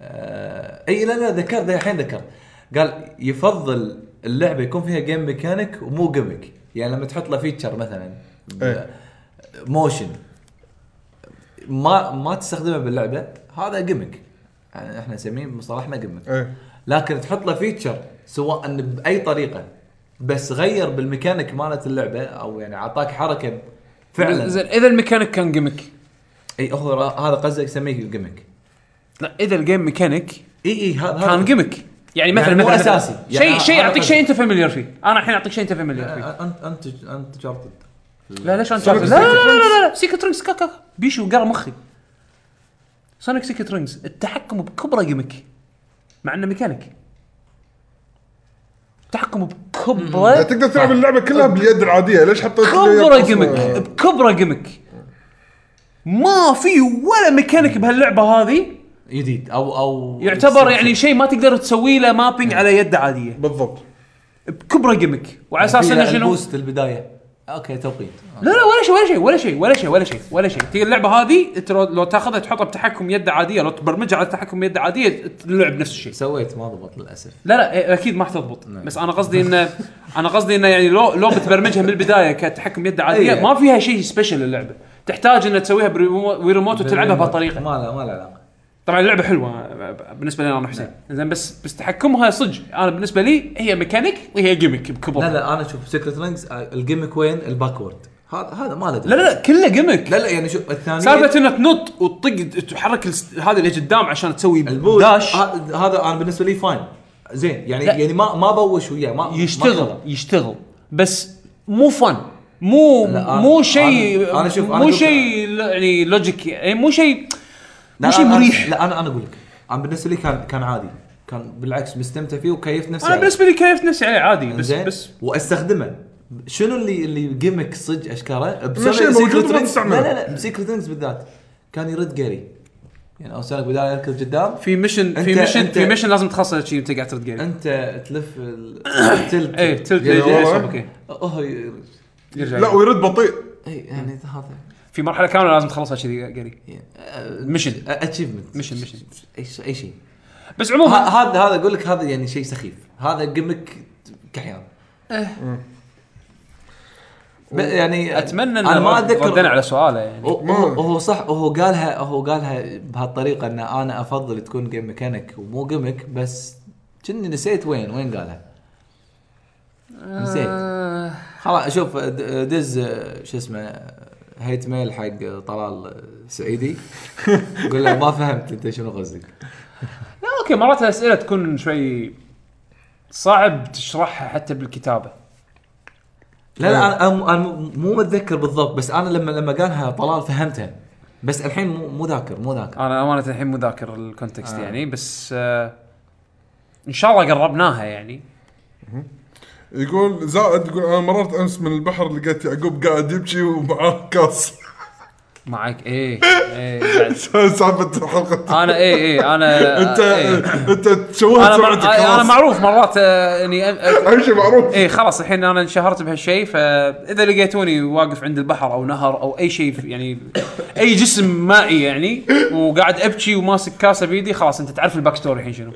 Speaker 4: آه اي لا لا ذكرت ذا الحين ذكر قال يفضل اللعبه يكون فيها جيم ميكانيك ومو جيمك يعني لما تحط له فيتشر مثلا ب-
Speaker 3: إيه.
Speaker 4: موشن ما ما تستخدمه باللعبه هذا جيمك يعني احنا نسميه بمصطلحنا جيمك
Speaker 3: ايه
Speaker 4: لكن تحط له فيتشر سواء باي طريقه بس غير بالميكانيك مالت اللعبه او يعني اعطاك حركه فعلا
Speaker 2: زين اذا الميكانيك كان جيمك
Speaker 4: اي هو را- هذا قصدك يسميه جيمك
Speaker 2: لا اذا الجيم ميكانيك
Speaker 4: اي اي هذا
Speaker 2: كان
Speaker 4: هذا-
Speaker 2: جيمك يعني مثلا
Speaker 4: يعني مو
Speaker 2: مثلا
Speaker 4: أساسي. يعني
Speaker 2: شيء
Speaker 4: أنا-
Speaker 2: شيء
Speaker 4: أنا
Speaker 2: اعطيك
Speaker 4: قصدي.
Speaker 2: شيء انت فاميليار فيه انا الحين اعطيك شيء انت فاميليار فيه
Speaker 4: أ- انت انت انت شارتد
Speaker 2: لا ليش انت لا لا لا لا, لا, لا. سيكت رينجز كاكا بيشو قرا مخي سونيك سيكت رينجز التحكم بكبره جيمك مع انه ميكانيك التحكم
Speaker 3: يعني
Speaker 2: بكبره
Speaker 3: تقدر
Speaker 4: آه.
Speaker 3: تلعب اللعبه كلها باليد العاديه ليش حطيت
Speaker 2: كبره
Speaker 3: يد
Speaker 2: جيمك
Speaker 3: أصلاً؟
Speaker 2: بكبره جيمك ما في ولا ميكانيك بهاللعبه هذه
Speaker 4: جديد او او
Speaker 2: يعتبر يعني شيء ما تقدر تسوي له مابينج على يد عاديه
Speaker 3: بالضبط
Speaker 2: بكبره جيمك وعلى اساس انه شنو
Speaker 4: البوست البدايه اوكي توقيت
Speaker 2: لا لا ولا شيء ولا شيء ولا شيء ولا شيء ولا شيء ولا شيء تي اللعبه هذه انت لو, لو تاخذها تحطها بتحكم يد عاديه لو تبرمجها على تحكم يد عاديه اللعب نفس الشيء
Speaker 4: سويت ما ضبط للاسف
Speaker 2: لا لا إيه، اكيد ما حتضبط بس انا قصدي انه انا قصدي انه يعني لو لو بتبرمجها من البدايه كتحكم يد عاديه
Speaker 4: إيه.
Speaker 2: ما فيها شيء سبيشل اللعبه تحتاج انها تسويها بريمو- بريموت وتلعبها بهالطريقه
Speaker 4: ما لا ما له علاقه
Speaker 2: طبعا اللعبه حلوه بالنسبه لي انا وحسين زين بس بس تحكمها صدق انا بالنسبه لي هي ميكانيك وهي جيمك بكبر
Speaker 4: لا لا انا اشوف سيكرت رينجز الجيمك آه، وين الباكورد هذا هذا ما له
Speaker 2: لا
Speaker 4: داعي.
Speaker 2: لا لا كله جيمك
Speaker 4: لا لا يعني شوف الثانيه
Speaker 2: سالفه انك تنط وتطق تحرك الس- هذا اللي قدام عشان تسوي
Speaker 4: البوت
Speaker 2: داش
Speaker 4: ه- آه، هذا انا بالنسبه لي فاين زين يعني
Speaker 2: لا.
Speaker 4: يعني ما ما بوش وياه ما
Speaker 2: يشتغل يشتغل بس مو فن مو
Speaker 4: لا، أنا-
Speaker 2: مو شيء
Speaker 4: أنا- أنا شوف، أنا
Speaker 2: مو
Speaker 4: أقول-
Speaker 2: شيء ل- يعني لوجيك يعني مو شيء مو
Speaker 4: لا،
Speaker 2: شيء
Speaker 4: أنا-
Speaker 2: مريح
Speaker 4: لا انا انا اقول لك انا بالنسبه لي كان كان عادي كان بالعكس مستمتع فيه وكيفت نفسي
Speaker 2: انا
Speaker 4: عليه.
Speaker 2: بالنسبه لي كيفت نفسي عليه عادي بس
Speaker 4: زين
Speaker 2: بس
Speaker 4: واستخدمه شنو اللي اللي جيمك صدق اشكاره
Speaker 3: شيء موجود
Speaker 4: Secret
Speaker 3: ما
Speaker 4: Rings-
Speaker 3: تستعمله.
Speaker 4: لا لا لا بسيكرت رينجز بالذات كان يرد قري يعني اوسانك بدال يركض قدام
Speaker 2: في ميشن في
Speaker 4: أنت-
Speaker 2: ميشن في
Speaker 4: أنت-
Speaker 2: ميشن لازم تخلصه شيء وانت قاعد ترد جيم
Speaker 4: انت تلف ال-
Speaker 2: ايه
Speaker 4: التلت
Speaker 2: تلت
Speaker 3: يلا
Speaker 2: إيه،
Speaker 3: والله.
Speaker 2: يسحب، اوكي
Speaker 4: اوه ي-
Speaker 2: يرجع
Speaker 3: لا
Speaker 2: لا
Speaker 3: ويرد بطيء
Speaker 4: اي يعني
Speaker 2: إيه.
Speaker 4: هذا
Speaker 2: في مرحله كامله لازم تخلصها كذي قري ميشن
Speaker 4: اتشيفمنت
Speaker 2: ميشن ميشن
Speaker 4: اي شيء اي شيء
Speaker 2: بس
Speaker 4: ه-
Speaker 2: عموما
Speaker 4: هذا هذا اقول لك هذا يعني شيء سخيف هذا جيمك كحيان
Speaker 2: إيه.
Speaker 4: ب- يعني
Speaker 2: اتمنى
Speaker 4: انا ما
Speaker 2: ردنا
Speaker 4: اتذكر
Speaker 2: على سؤاله يعني
Speaker 4: هو- هو هو صح هو قالها هو قالها بهالطريقه ان انا افضل تكون جيم ميكانيك ومو جيمك بس كني نسيت وين وين قالها نسيت
Speaker 2: آه،
Speaker 4: خلاص شوف د- دز آه، شو اسمه آه، هيت ميل حق آه، طلال آه، سعيدي قول له ما فهمت انت شنو قصدك
Speaker 2: لا اوكي مرات الاسئله تكون شوي صعب تشرحها حتى بالكتابه
Speaker 4: لا
Speaker 2: طيب.
Speaker 4: لا انا انا أنا مو- مو متذكر بالضبط بس انا لما لما قالها طلال فهمتها بس الحين مو مو ذاكر مو ذاكر
Speaker 2: انا امانه الحين مو ذاكر الكونتكست
Speaker 4: آه.
Speaker 2: آه. يعني بس آه ان شاء الله قربناها يعني
Speaker 3: يقول زائد يقول انا مررت امس من البحر لقيت يعقوب قاعد يبكي ومعاه كاس
Speaker 2: معك ايه ايه بعد.
Speaker 3: سالفه الحلقه
Speaker 4: آه،
Speaker 2: انا ايه ايه انا
Speaker 3: انت
Speaker 2: إيه.
Speaker 3: انت تشوهت
Speaker 2: انا مع...
Speaker 3: سمعتك
Speaker 2: انا
Speaker 3: خلاص
Speaker 2: معروف مرات آه، يعني أ- أ-
Speaker 3: اي شيء معروف
Speaker 2: ايه خلاص الحين انا انشهرت بهالشيء فاذا لقيتوني واقف عند البحر او نهر او اي شيء في- يعني اي جسم مائي يعني وقاعد ابكي وماسك كاسه بيدي خلاص انت تعرف الباك ستوري الحين شنو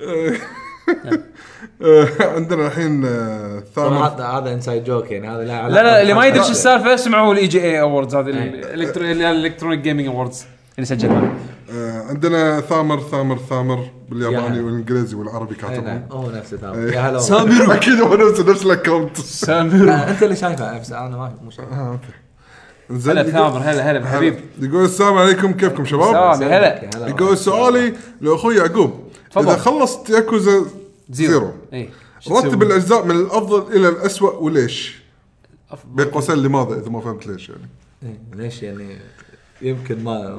Speaker 3: آه، عندنا الحين آه،
Speaker 4: طبعاً
Speaker 3: الثامن
Speaker 4: هذا هذا انسايد جوك يعني هذا لا
Speaker 2: لا لا اللي ما يدري شو السالفه اسمعوا الاي جي اي اووردز هذه الالكترونيك جيمنج اووردز اللي سجلناها
Speaker 3: آه، عندنا ثامر ثامر ثامر بالياباني
Speaker 4: يا.
Speaker 3: والانجليزي والعربي كاتبهم
Speaker 4: هو نفسه ترى يا هلا والله.
Speaker 3: سامر اكيد هو نفس نفس الاكونت
Speaker 2: سامر
Speaker 4: لا، انت اللي شايفه نفسه انا ما مو شايف
Speaker 3: آه، اوكي
Speaker 2: هلا
Speaker 3: زين
Speaker 2: ثامر هلا هلا حبيبي
Speaker 3: يقول السلام عليكم كيفكم شباب؟
Speaker 2: سلام، هلا.
Speaker 3: يقول سؤالي لاخوي يعقوب
Speaker 2: تفضل.
Speaker 3: اذا خلصت ياكوزا زيرو
Speaker 2: اي
Speaker 3: رتب الاجزاء من الافضل الى الاسوء وليش؟ بين قوسين لماذا اذا ما فهمت ليش يعني؟
Speaker 4: إيه، ليش يعني يمكن ما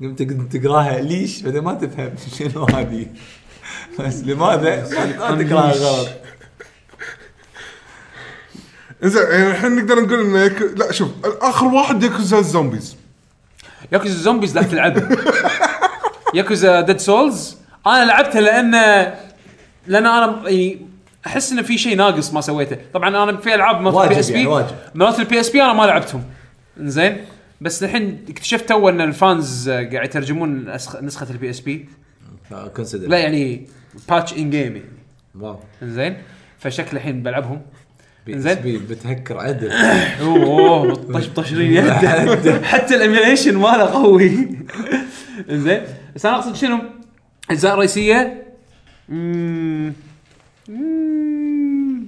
Speaker 4: يمكن تق- تقراها ليش بعدين ما تفهم شنو هذه بس لماذا ما ما تقراها غلط
Speaker 3: زين يعني الحين نقدر نقول ان يكو... لا شوف اخر واحد ياكوزا الزومبيز
Speaker 2: ياكوزا زومبيز لا تلعب ياكوزا ديد سولز انا لعبتها لان لان انا يعني احس انه في شيء ناقص ما سويته طبعا انا في العاب مرات
Speaker 4: واجب
Speaker 2: البي اس
Speaker 4: يعني،
Speaker 2: بي
Speaker 4: واجب.
Speaker 2: مرات البي اس بي انا ما لعبتهم زين بس الحين اكتشفت تو ان الفانز قاعد يترجمون أسخ- نسخه البي اس بي
Speaker 4: كونسيدر
Speaker 2: لا يعني باتش ان جيم يعني
Speaker 4: واو
Speaker 2: زين فشكل الحين بلعبهم
Speaker 4: بي
Speaker 2: إنزين.
Speaker 4: اس بي بتهكر عدل
Speaker 2: اوه طش طشرين يده حتى الايميليشن ماله قوي زين بس انا اقصد شنو؟ اجزاء رئيسيه مم. مم.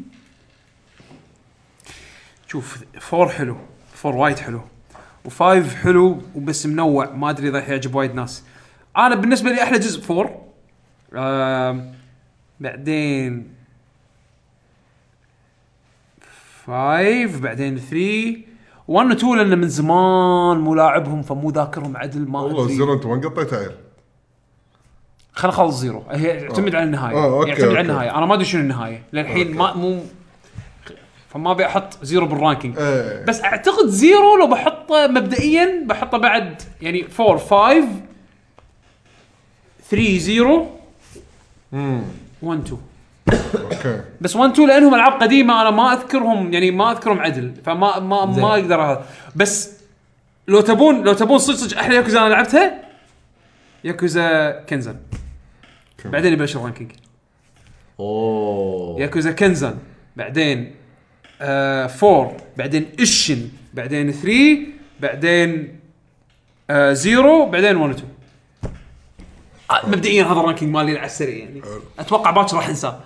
Speaker 2: شوف فور حلو فور وايد حلو وفايف حلو وبس منوع ما ادري اذا يعجب وايد ناس انا بالنسبه لي احلى جزء فور آم، بعدين فايف بعدين ثري 1 و 2 لان من زمان مو لاعبهم فمو ذاكرهم عدل ما
Speaker 3: والله
Speaker 2: ادري
Speaker 3: الزيرو انت ما قطيت عيل
Speaker 2: خلينا نخلص زيرو هي يعتمد على النهايه
Speaker 3: آه، أوكي،
Speaker 2: يعتمد على
Speaker 3: أوكي.
Speaker 2: النهايه انا ما ادري شنو النهايه للحين ما مو فما ابي احط زيرو بالرانكينج
Speaker 3: ايه
Speaker 2: بس اعتقد زيرو لو بحطه مبدئيا بحطه بعد يعني 4 5 3 0 1 2
Speaker 3: اوكي
Speaker 2: بس 1 2 لانهم العاب قديمه انا ما اذكرهم يعني ما اذكرهم عدل فما ما
Speaker 4: زين.
Speaker 2: ما اقدر هذا بس لو تبون لو تبون صدق صدق احلى ياكوزا انا لعبتها ياكوزا كنزن بعدين يبلش الرانكينج
Speaker 4: اوه
Speaker 2: ياكوزا كنزن بعدين 4 فور بعدين اشن بعدين 3 بعدين آه زيرو بعدين آه، 1 2 مبدئيا هذا الرانكينج مالي على السريع يعني اتوقع باكر راح انساه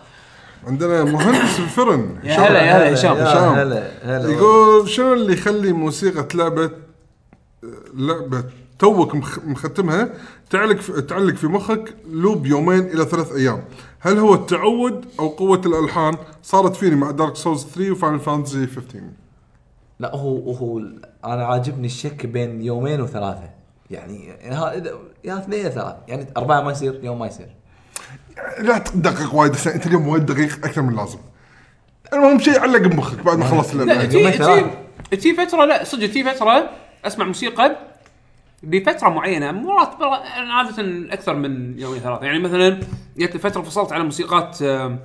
Speaker 3: عندنا مهندس الفرن
Speaker 2: يا هلا يا هلا هشام
Speaker 4: يا
Speaker 3: هشام.
Speaker 4: هلا هلا
Speaker 3: يقول شنو اللي يخلي موسيقى لعبة لعبة توك مخ- مختمها تعلق في تعلق في مخك لوب يومين الى ثلاث ايام هل هو التعود او قوة الالحان صارت فيني مع دارك سولز 3 وفاينل فانتسي 15
Speaker 4: لا هو هو انا عاجبني الشك بين يومين وثلاثه يعني ها- إذا- يا اثنين يا ثلاث يعني اربعه ما يصير يوم ما يصير
Speaker 3: لا تدقق وايد عشان انت اليوم وايد دقيق اكثر من اللازم المهم شيء علق بمخك بعد ما خلصت
Speaker 2: لا
Speaker 3: اللعبة
Speaker 2: تجي
Speaker 4: يومين
Speaker 2: تجي
Speaker 4: ثلاثة.
Speaker 2: تجي فتره لا صدق تجي فتره اسمع موسيقى بفتره معينه مرات برا- عاده اكثر من يومين ثلاثه يعني مثلا جت فتره فصلت على موسيقات آه، آم،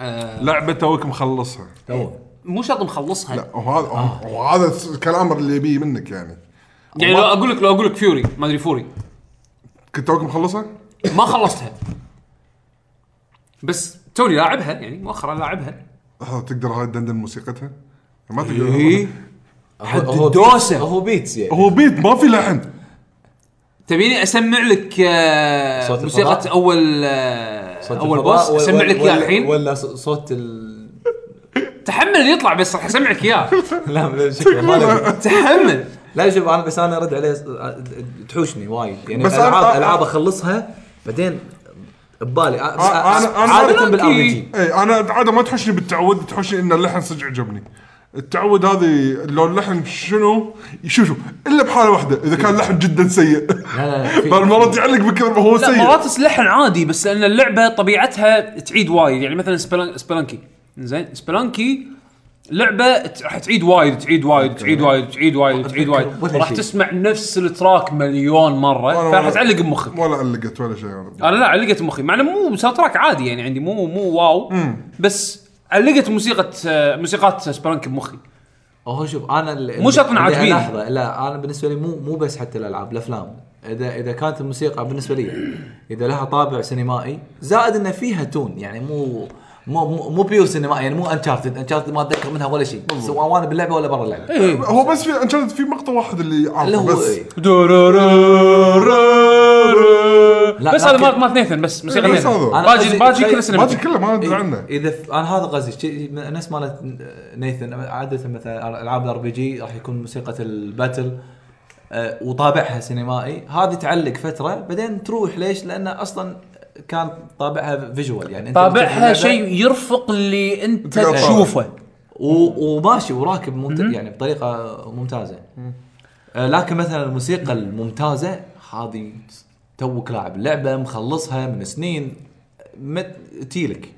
Speaker 2: آم،
Speaker 3: لعبة توك مخلصها
Speaker 4: تو
Speaker 2: مو شرط مخلصها
Speaker 3: لا وهذا وهذا الكلام اللي يبيه منك يعني
Speaker 2: يعني لو اقول لك لو اقول لك فيوري ما ادري فوري
Speaker 3: كنت توك مخلصها؟
Speaker 2: ما خلصتها بس توني لاعبها يعني مؤخرا لاعبها
Speaker 3: آه، تقدر هاي دندن موسيقتها؟ ما تقدر
Speaker 4: إيه.
Speaker 2: حد الدوسة.
Speaker 4: هو بيتس يعني
Speaker 3: هو بيت ما في لحن
Speaker 2: تبيني اسمع لك آه،
Speaker 4: صوت
Speaker 2: موسيقى
Speaker 4: الفضاء؟
Speaker 2: اول آه،
Speaker 4: صوت
Speaker 2: اول
Speaker 4: الفضاء
Speaker 2: بوس
Speaker 4: ولا-
Speaker 2: اسمع لك
Speaker 4: ولا-
Speaker 2: اياه الحين
Speaker 4: ولا ص- صوت ال
Speaker 2: تحمل اللي يطلع بس راح اسمعك اياه
Speaker 4: لا لا، شكله ما له-
Speaker 2: تحمل
Speaker 4: لا شوف انا بس انا ارد عليه س- تحوشني وايد يعني
Speaker 3: بس
Speaker 4: بس
Speaker 3: أنا-
Speaker 4: العاب
Speaker 3: أنا-
Speaker 4: العاب اخلصها بعدين ببالي أ- بس
Speaker 3: أنا-
Speaker 4: أ-
Speaker 3: أنا-
Speaker 4: عاده بالار
Speaker 2: أوكي.
Speaker 4: بي جي
Speaker 3: اي انا عاده إيه، ما تحشني بالتعود تحشني ان اللحن صدق عجبني التعود هذه لو اللحن شنو شوف شوف الا بحاله واحده اذا كان لحن جدا سيء
Speaker 4: لا، لا، في-
Speaker 3: مرات يعلق بكثر ما هو
Speaker 2: لا
Speaker 3: سيء
Speaker 2: مرات لحن عادي بس لان اللعبه طبيعتها تعيد وايد يعني مثلا سبلان- سبلانكي زين سبلانكي لعبه ت- راح تعيد وايد تعيد وايد تعيد وايد تعيد وايد تعيد وايد
Speaker 4: ولا
Speaker 2: راح
Speaker 4: شيء.
Speaker 2: تسمع نفس التراك مليون مره
Speaker 3: ولا-
Speaker 2: فراح
Speaker 3: ولا-
Speaker 2: تعلق بمخك
Speaker 3: ولا علقت ولا شيء أنا.
Speaker 2: انا لا علقت مخي مع انه مو ساوند تراك عادي يعني عندي مو مو واو بس علقت موسيقى آه، موسيقات سبلانكي بمخي
Speaker 4: هو شوف انا ال-
Speaker 2: مو شرط
Speaker 4: اللي
Speaker 2: عاجبين.
Speaker 4: لحظه لا انا بالنسبه لي مو مو بس حتى الالعاب الافلام اذا اذا كانت الموسيقى بالنسبه لي اذا لها طابع سينمائي زائد ان فيها تون يعني مو مو مو, مو بيور سينمائي يعني مو انشارتد انشارتد ما اتذكر منها ولا شيء سواء وانا باللعبه ولا برا اللعبه
Speaker 2: إيه،
Speaker 3: هو بس في انشلت في مقطع واحد اللي
Speaker 4: اللي هو
Speaker 3: عارفه بس
Speaker 4: إيه. لا،
Speaker 2: بس هذا
Speaker 4: لكن-
Speaker 2: ما ما اثنين بس موسيقى
Speaker 3: إيه، بس
Speaker 2: نيثن.
Speaker 3: هذا.
Speaker 4: أنا
Speaker 2: باجي
Speaker 4: قصدي-
Speaker 2: باجي
Speaker 4: باجي
Speaker 2: كل سنه
Speaker 3: باجي كله ما
Speaker 4: إيه.
Speaker 3: ادري عنه
Speaker 4: اذا ف- انا هذا قصدي شي- نفس مالت نيثن عاده مثلا العاب الار بي جي راح يكون موسيقى الباتل آه، وطابعها سينمائي هذه تعلق فتره بعدين تروح ليش؟ لان اصلا كان طابعها فيجوال يعني انت بتشوف
Speaker 2: طابعها
Speaker 4: اللعبة
Speaker 2: شيء يرفق اللي انت
Speaker 3: تقدر تطالع.
Speaker 2: تشوفه
Speaker 4: و- وماشي وراكب ممت... يعني بطريقه ممتازه آه، لكن مثلا الموسيقى الممتازه هذه توك لاعب اللعبه مخلصها من سنين مت... تيلك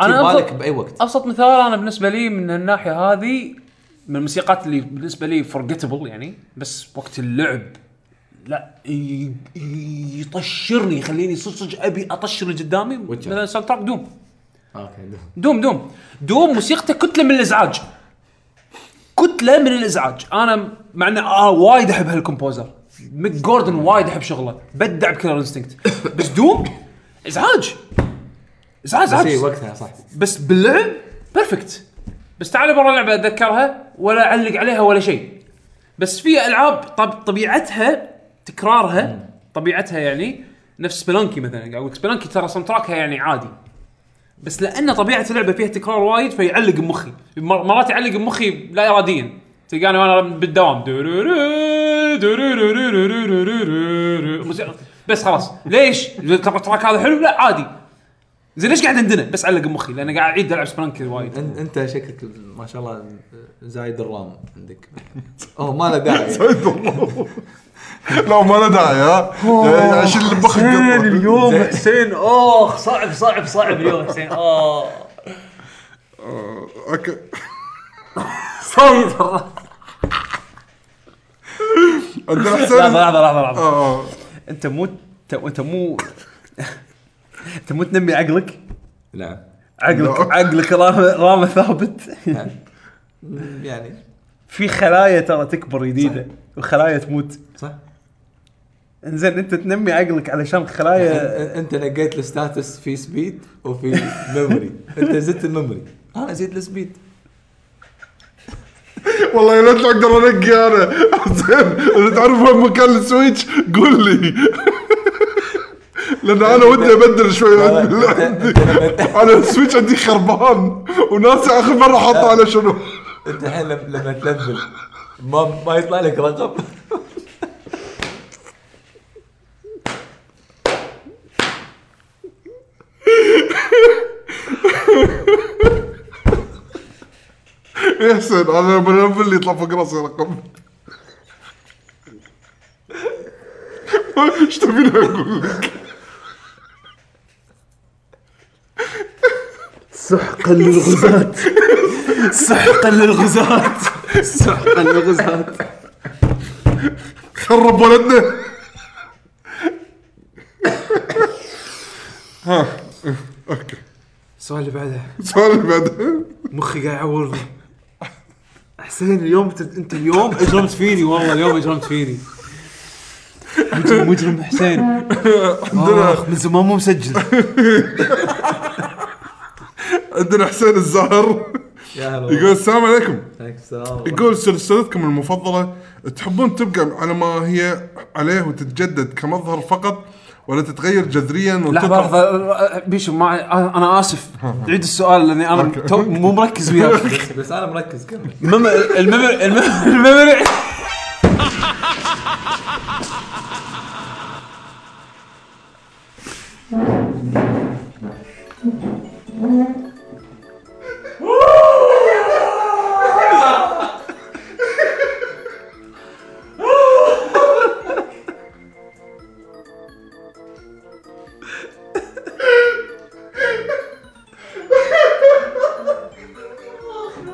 Speaker 2: انا
Speaker 4: تجي بالك
Speaker 2: أبسط-
Speaker 4: بأي وقت.
Speaker 2: ابسط مثال انا بالنسبه لي من الناحيه هذه من الموسيقات اللي بالنسبه لي فورجيتبل يعني بس وقت اللعب لا ي- ي- يطشرني يخليني صدق صدق ابي اطشر اللي قدامي
Speaker 4: وجهه.
Speaker 2: مثلا ساوند تراك دوم
Speaker 4: اوكي
Speaker 2: دوم دوم دوم موسيقته كتله من الازعاج كتله من الازعاج انا مع انه آه وايد احب هالكومبوزر ميك جوردن وايد احب شغله بدع بكلر انستنكت بس دوم ازعاج ازعاج
Speaker 4: بس إيه،
Speaker 2: ازعاج
Speaker 4: وقتها صح
Speaker 2: بس باللعب بيرفكت بس تعال برا لعبه اتذكرها ولا اعلق عليها ولا شيء بس في العاب طب طبيعتها تكرارها طبيعتها يعني نفس سبلانكي مثلا قاعد اقول سبلانكي ترى ساوند تراكها يعني عادي بس لان طبيعه اللعبه فيها تكرار وايد فيعلق بمخي مر- مرات يعلق بمخي لا اراديا تلقاني وانا بالدوام درورو- درورو- درورو- موسيقى. بس خلاص ليش؟ ترى التراك هذا حلو لا عادي زين ليش قاعد عندنا بس علق بمخي لان قاعد اعيد العب سبلانكي وايد
Speaker 4: أن- انت شكلك ما شاء الله زايد الرام عندك اوه ما له داعي
Speaker 3: سيد الله لا ما له داعي ها يعني عشان اللي بخك قطة.
Speaker 2: اليوم حسين اخ صعب صعب صعب اليوم حسين اخ
Speaker 3: اوكي
Speaker 2: صعب
Speaker 3: عندنا
Speaker 2: لحظه
Speaker 3: حسين
Speaker 2: لحظه لحظه لحظه
Speaker 3: آه.
Speaker 2: انت مو انت أنت مو انت مو تنمي عقلك
Speaker 4: نعم
Speaker 2: عقلك عقلك رامه رامه ثابت
Speaker 1: آه.
Speaker 4: يعني
Speaker 2: في خلايا ترى تكبر جديده وخلايا تموت
Speaker 4: صح
Speaker 2: انزين انت تنمي عقلك علشان خلايا
Speaker 4: أن- انت نقيت الستاتس في سبيد وفي ميموري انت زدت الميموري انا زدت السبيد
Speaker 3: والله يا ليت اقدر انقي انا زين اذا تعرف وين مكان السويتش قول لي لان انا ودي ابدل شوي
Speaker 4: لا،
Speaker 3: عندي
Speaker 4: أنت-
Speaker 3: عندي-
Speaker 4: أنت-
Speaker 3: انا السويتش عندي خربان وناسي اخر مره حاطه على شنو
Speaker 4: انت الحين لما- لما تلفل ما ما يطلع لك رقم
Speaker 3: يحسن انا لما انفل يطلع فوق راسي رقم ايش تبيني اقول لك؟
Speaker 1: سحقا للغزاة سحقا للغزاة سحقا للغزاة
Speaker 3: خرب ولدنا ها اوكي
Speaker 1: السؤال اللي بعده
Speaker 3: السؤال اللي بعده
Speaker 1: مخي قاعد يعورني حسين اليوم تد... انت اليوم اجرمت فيني والله اليوم اجرمت فيني مجرم مجرم حسين
Speaker 2: آه،
Speaker 1: آخ من زمان مو مسجل
Speaker 3: عندنا حسين الزهر
Speaker 4: يا هلا
Speaker 3: يقول
Speaker 4: والله.
Speaker 3: السلام عليكم
Speaker 4: عليك السلام
Speaker 3: يقول سلسلتكم المفضلة تحبون تبقى على ما هي عليه وتتجدد كمظهر فقط ولا تتغير جذريا
Speaker 2: لحظه
Speaker 3: وتطلع-
Speaker 2: لحظه آه، بيشو ما انا اسف عيد السؤال لاني انا تو مو مركز وياك
Speaker 4: بس بس انا مركز كمل
Speaker 2: المم- المم- المم- الممرع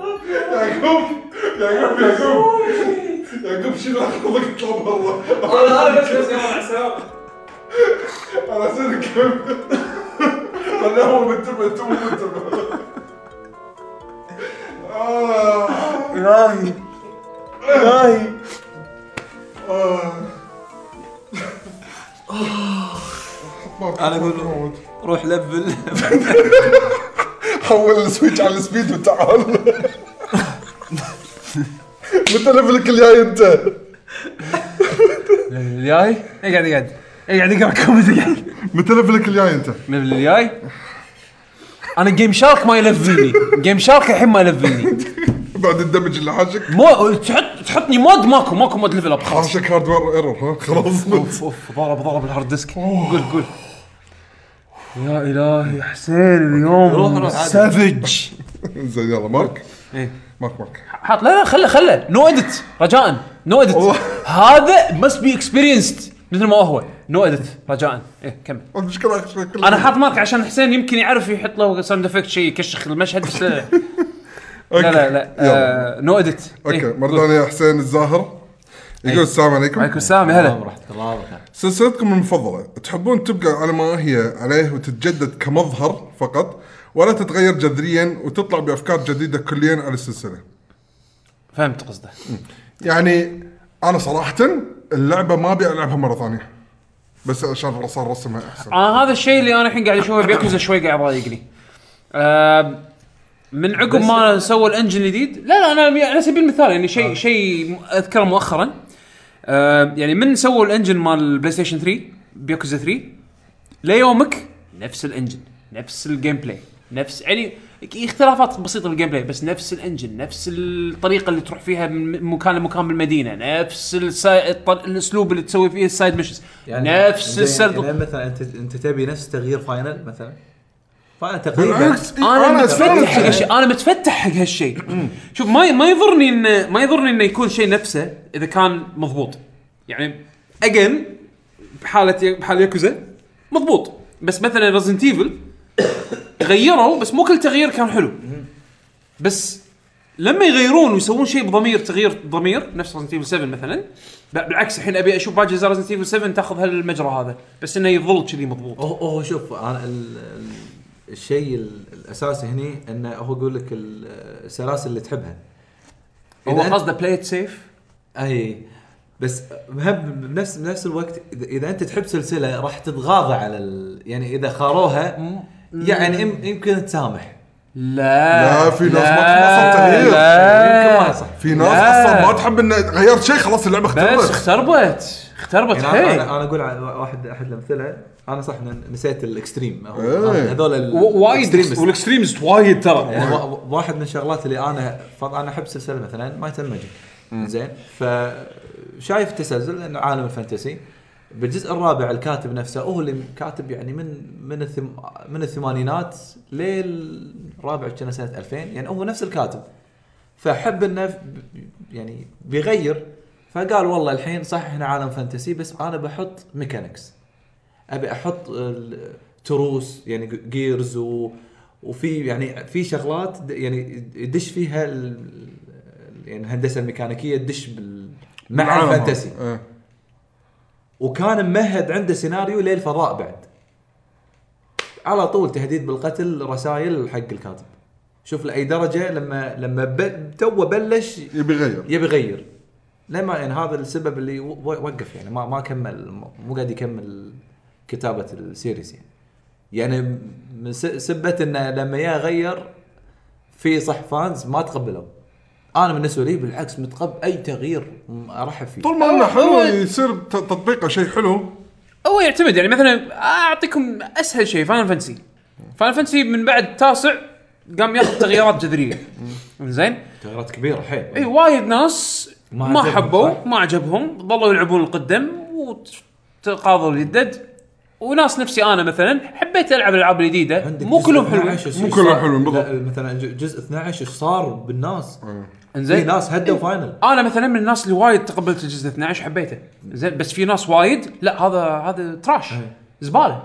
Speaker 3: يعقوب يعقوب يعقوب يعقوب شيل اخذك اطلع برا انا اصير كمل انا هو منتبه تو منتبه آه.
Speaker 1: الهي الهي
Speaker 3: آه.
Speaker 4: انا
Speaker 3: آه.
Speaker 4: اقول روح لفل
Speaker 3: حول السويتش على السبيد وتعال متى ليفلك الجاي انت؟
Speaker 2: من الجاي اقعد اقعد اقعد اقرا إيه كوميدي قاعد.
Speaker 3: متى ليفلك الجاي انت؟
Speaker 2: من الجاي انا جيم شارك ما يلفلني جيم شارك الحين ما يلفلني
Speaker 3: بعد الدمج اللي حاشك
Speaker 2: مو تحط تحطني مود ماكو ماكو مود ليفل اب خلاص
Speaker 3: حاشك هاردوير ايرور ها خلاص
Speaker 2: اوف اوف ضرب ضرب الهارد ديسك قول قول يا الهي حسين
Speaker 4: روح
Speaker 2: اليوم
Speaker 4: روح عادي.
Speaker 2: سافج
Speaker 3: زين يلا مارك
Speaker 2: إيه.
Speaker 3: مارك مارك
Speaker 2: حاط لا لا خله خله نو اديت رجاء نو اديت
Speaker 3: والله.
Speaker 2: هذا مست بي اكسبيرينسد مثل ما هو نو اديت رجاء ايه كمل
Speaker 3: المشكلة أخشى كل-
Speaker 2: انا حاط مارك عشان حسين يمكن يعرف يحط له ساوند افكت شيء يكشخ المشهد بس لا
Speaker 3: أوكي.
Speaker 2: لا آه، إيه، لا نو اديت
Speaker 3: اوكي مرة ثانية يا حسين الزاهر يقول السلام
Speaker 2: عليكم
Speaker 3: عليكم
Speaker 2: إيه. السلام يا هلا
Speaker 3: سلسلتكم المفضلة تحبون تبقى على ما هي عليه وتتجدد كمظهر فقط ولا تتغير جذريا وتطلع بأفكار جديدة كليا على السلسلة
Speaker 2: فهمت قصده
Speaker 3: يعني أنا صراحة اللعبة ما أبي ألعبها مرة ثانية بس عشان صار رسمها أحسن
Speaker 2: انا آه، هذا الشيء اللي انا الحين قاعد اشوفه بيكوزا شوي قاعد يضايقني آم، من عقب ما سووا الانجن الجديد لا لا انا يعني على سبيل المثال يعني شيء شيء م- اذكره مؤخرا آم، يعني من سووا الانجن مال البلاي ستيشن 3 بيكوزا 3 ليومك نفس الانجن نفس الجيم بلاي نفس يعني اختلافات بسيطه بالجيم بلاي بس نفس الانجن نفس الطريقه اللي تروح فيها من مكان لمكان بالمدينه نفس السا... الط- الاسلوب اللي تسوي فيه السايد ميشنز نفس السرد
Speaker 4: يعني مثلا انت انت تبي نفس تغيير فاينل مثلا فاينل تقريبا
Speaker 3: بالعكس إيه،
Speaker 2: انا متفتح
Speaker 3: أستانس.
Speaker 2: حق هالشيء انا متفتح حق هالشيء شوف ما ما يضرني انه ما يضرني انه يكون شيء نفسه اذا كان مضبوط يعني اجن بحاله بحال ياكوزا مضبوط بس مثلا ريزنت ايفل غيروا بس مو كل تغيير كان حلو بس لما يغيرون ويسوون شيء بضمير تغيير ضمير نفس ريزنت ايفل 7 مثلا ب- بالعكس الحين ابي اشوف باقي اجزاء ريزنت ايفل 7 تاخذ هالمجرى هذا بس انه يظل كذي مضبوط
Speaker 4: هو هو شوف انا ال- ال- الشيء ال- الاساسي هني انه هو يقول لك ال- السلاسل اللي تحبها
Speaker 2: هو
Speaker 4: أنت-
Speaker 2: قصده بلاي سيف
Speaker 4: اي بس مهم بنفس بنفس الوقت اذا إذا انت تحب سلسله راح تتغاضى على ال... يعني اذا خاروها يعني يم- يمكن تسامح
Speaker 2: لا
Speaker 3: لا، في ناس ما تنصب تغيير.
Speaker 2: لا
Speaker 4: يمكن ما يصح
Speaker 3: في ناس
Speaker 2: لا.
Speaker 3: اصلا ما تحب انه غيرت شيء خلاص اللعبه
Speaker 2: بس
Speaker 3: اختلفت
Speaker 2: اختربت اختربت
Speaker 4: يعني انا
Speaker 2: حيل
Speaker 4: انا أنا اقول على واحد احد الامثله انا صح إن نسيت الاكستريم هو-
Speaker 3: إيه.
Speaker 4: هذول ال-
Speaker 1: و- وايد
Speaker 4: extremists.
Speaker 1: والاكستريمز وايد ترى
Speaker 4: يعني وا- واحد من الشغلات اللي انا فض انا احب سلسله مثلا مايت اند ماجيك زين فشايف تسلسل انه عالم الفانتسي بالجزء الرابع الكاتب نفسه هو اللي كاتب يعني من من الثم من الثمانينات للرابع كان سنه 2000 يعني هو نفس الكاتب فحب انه ب- يعني بيغير فقال والله الحين صح احنا عالم فانتسي بس انا بحط ميكانكس ابي احط ال- تروس يعني جيرز و وفي يعني في شغلات د- يعني يدش فيها ال- ال- يعني الهندسه الميكانيكيه تدش بال مع
Speaker 3: بالعالم.
Speaker 4: الفانتسي
Speaker 3: إيه.
Speaker 4: وكان ممهد عنده سيناريو للفضاء بعد على طول تهديد بالقتل رسائل حق الكاتب شوف لاي درجه لما لما ب- تو بلش
Speaker 3: يبي يغير
Speaker 4: يبي يغير لما يعني هذا السبب اللي و- وقف يعني ما ما كمل مو قاعد يكمل كتابه السيريز يعني يعني من س- سبت انه لما يا غير في صح فانز ما تقبلوا انا بالنسبه لي بالعكس متقبل اي تغيير م- ارحب فيه
Speaker 3: طول ما انه حلو
Speaker 2: هو-
Speaker 3: يصير ت- تطبيقه شيء حلو
Speaker 2: هو يعتمد يعني مثلا اعطيكم اسهل شيء فاينل فانتسي فاينل فانتسي من بعد تاسع قام ياخذ تغييرات جذريه زين
Speaker 4: تغييرات كبيره حيل
Speaker 3: إيه،
Speaker 2: اي وايد ناس
Speaker 4: ما
Speaker 2: ما,
Speaker 4: عجبهم،
Speaker 2: حبوا
Speaker 4: صح؟
Speaker 2: ما عجبهم ظلوا يلعبون القدم وتقاضوا الجدد وناس نفسي انا مثلا حبيت العب الالعاب الجديده مو
Speaker 4: جزء
Speaker 2: كلهم حلوين
Speaker 4: 12
Speaker 3: مو كلهم
Speaker 4: صار-
Speaker 3: حلوين، بالضبط. إيه.
Speaker 4: لا، مثلا ج- جزء 12 ايش صار بالناس؟ في
Speaker 2: انزين
Speaker 4: إيه، ناس هدوا فاينل
Speaker 2: انا مثلا من الناس اللي وايد تقبلت الجزء 12 حبيته زين بس في ناس وايد لا هذا هذا تراش
Speaker 3: إيه.
Speaker 2: زباله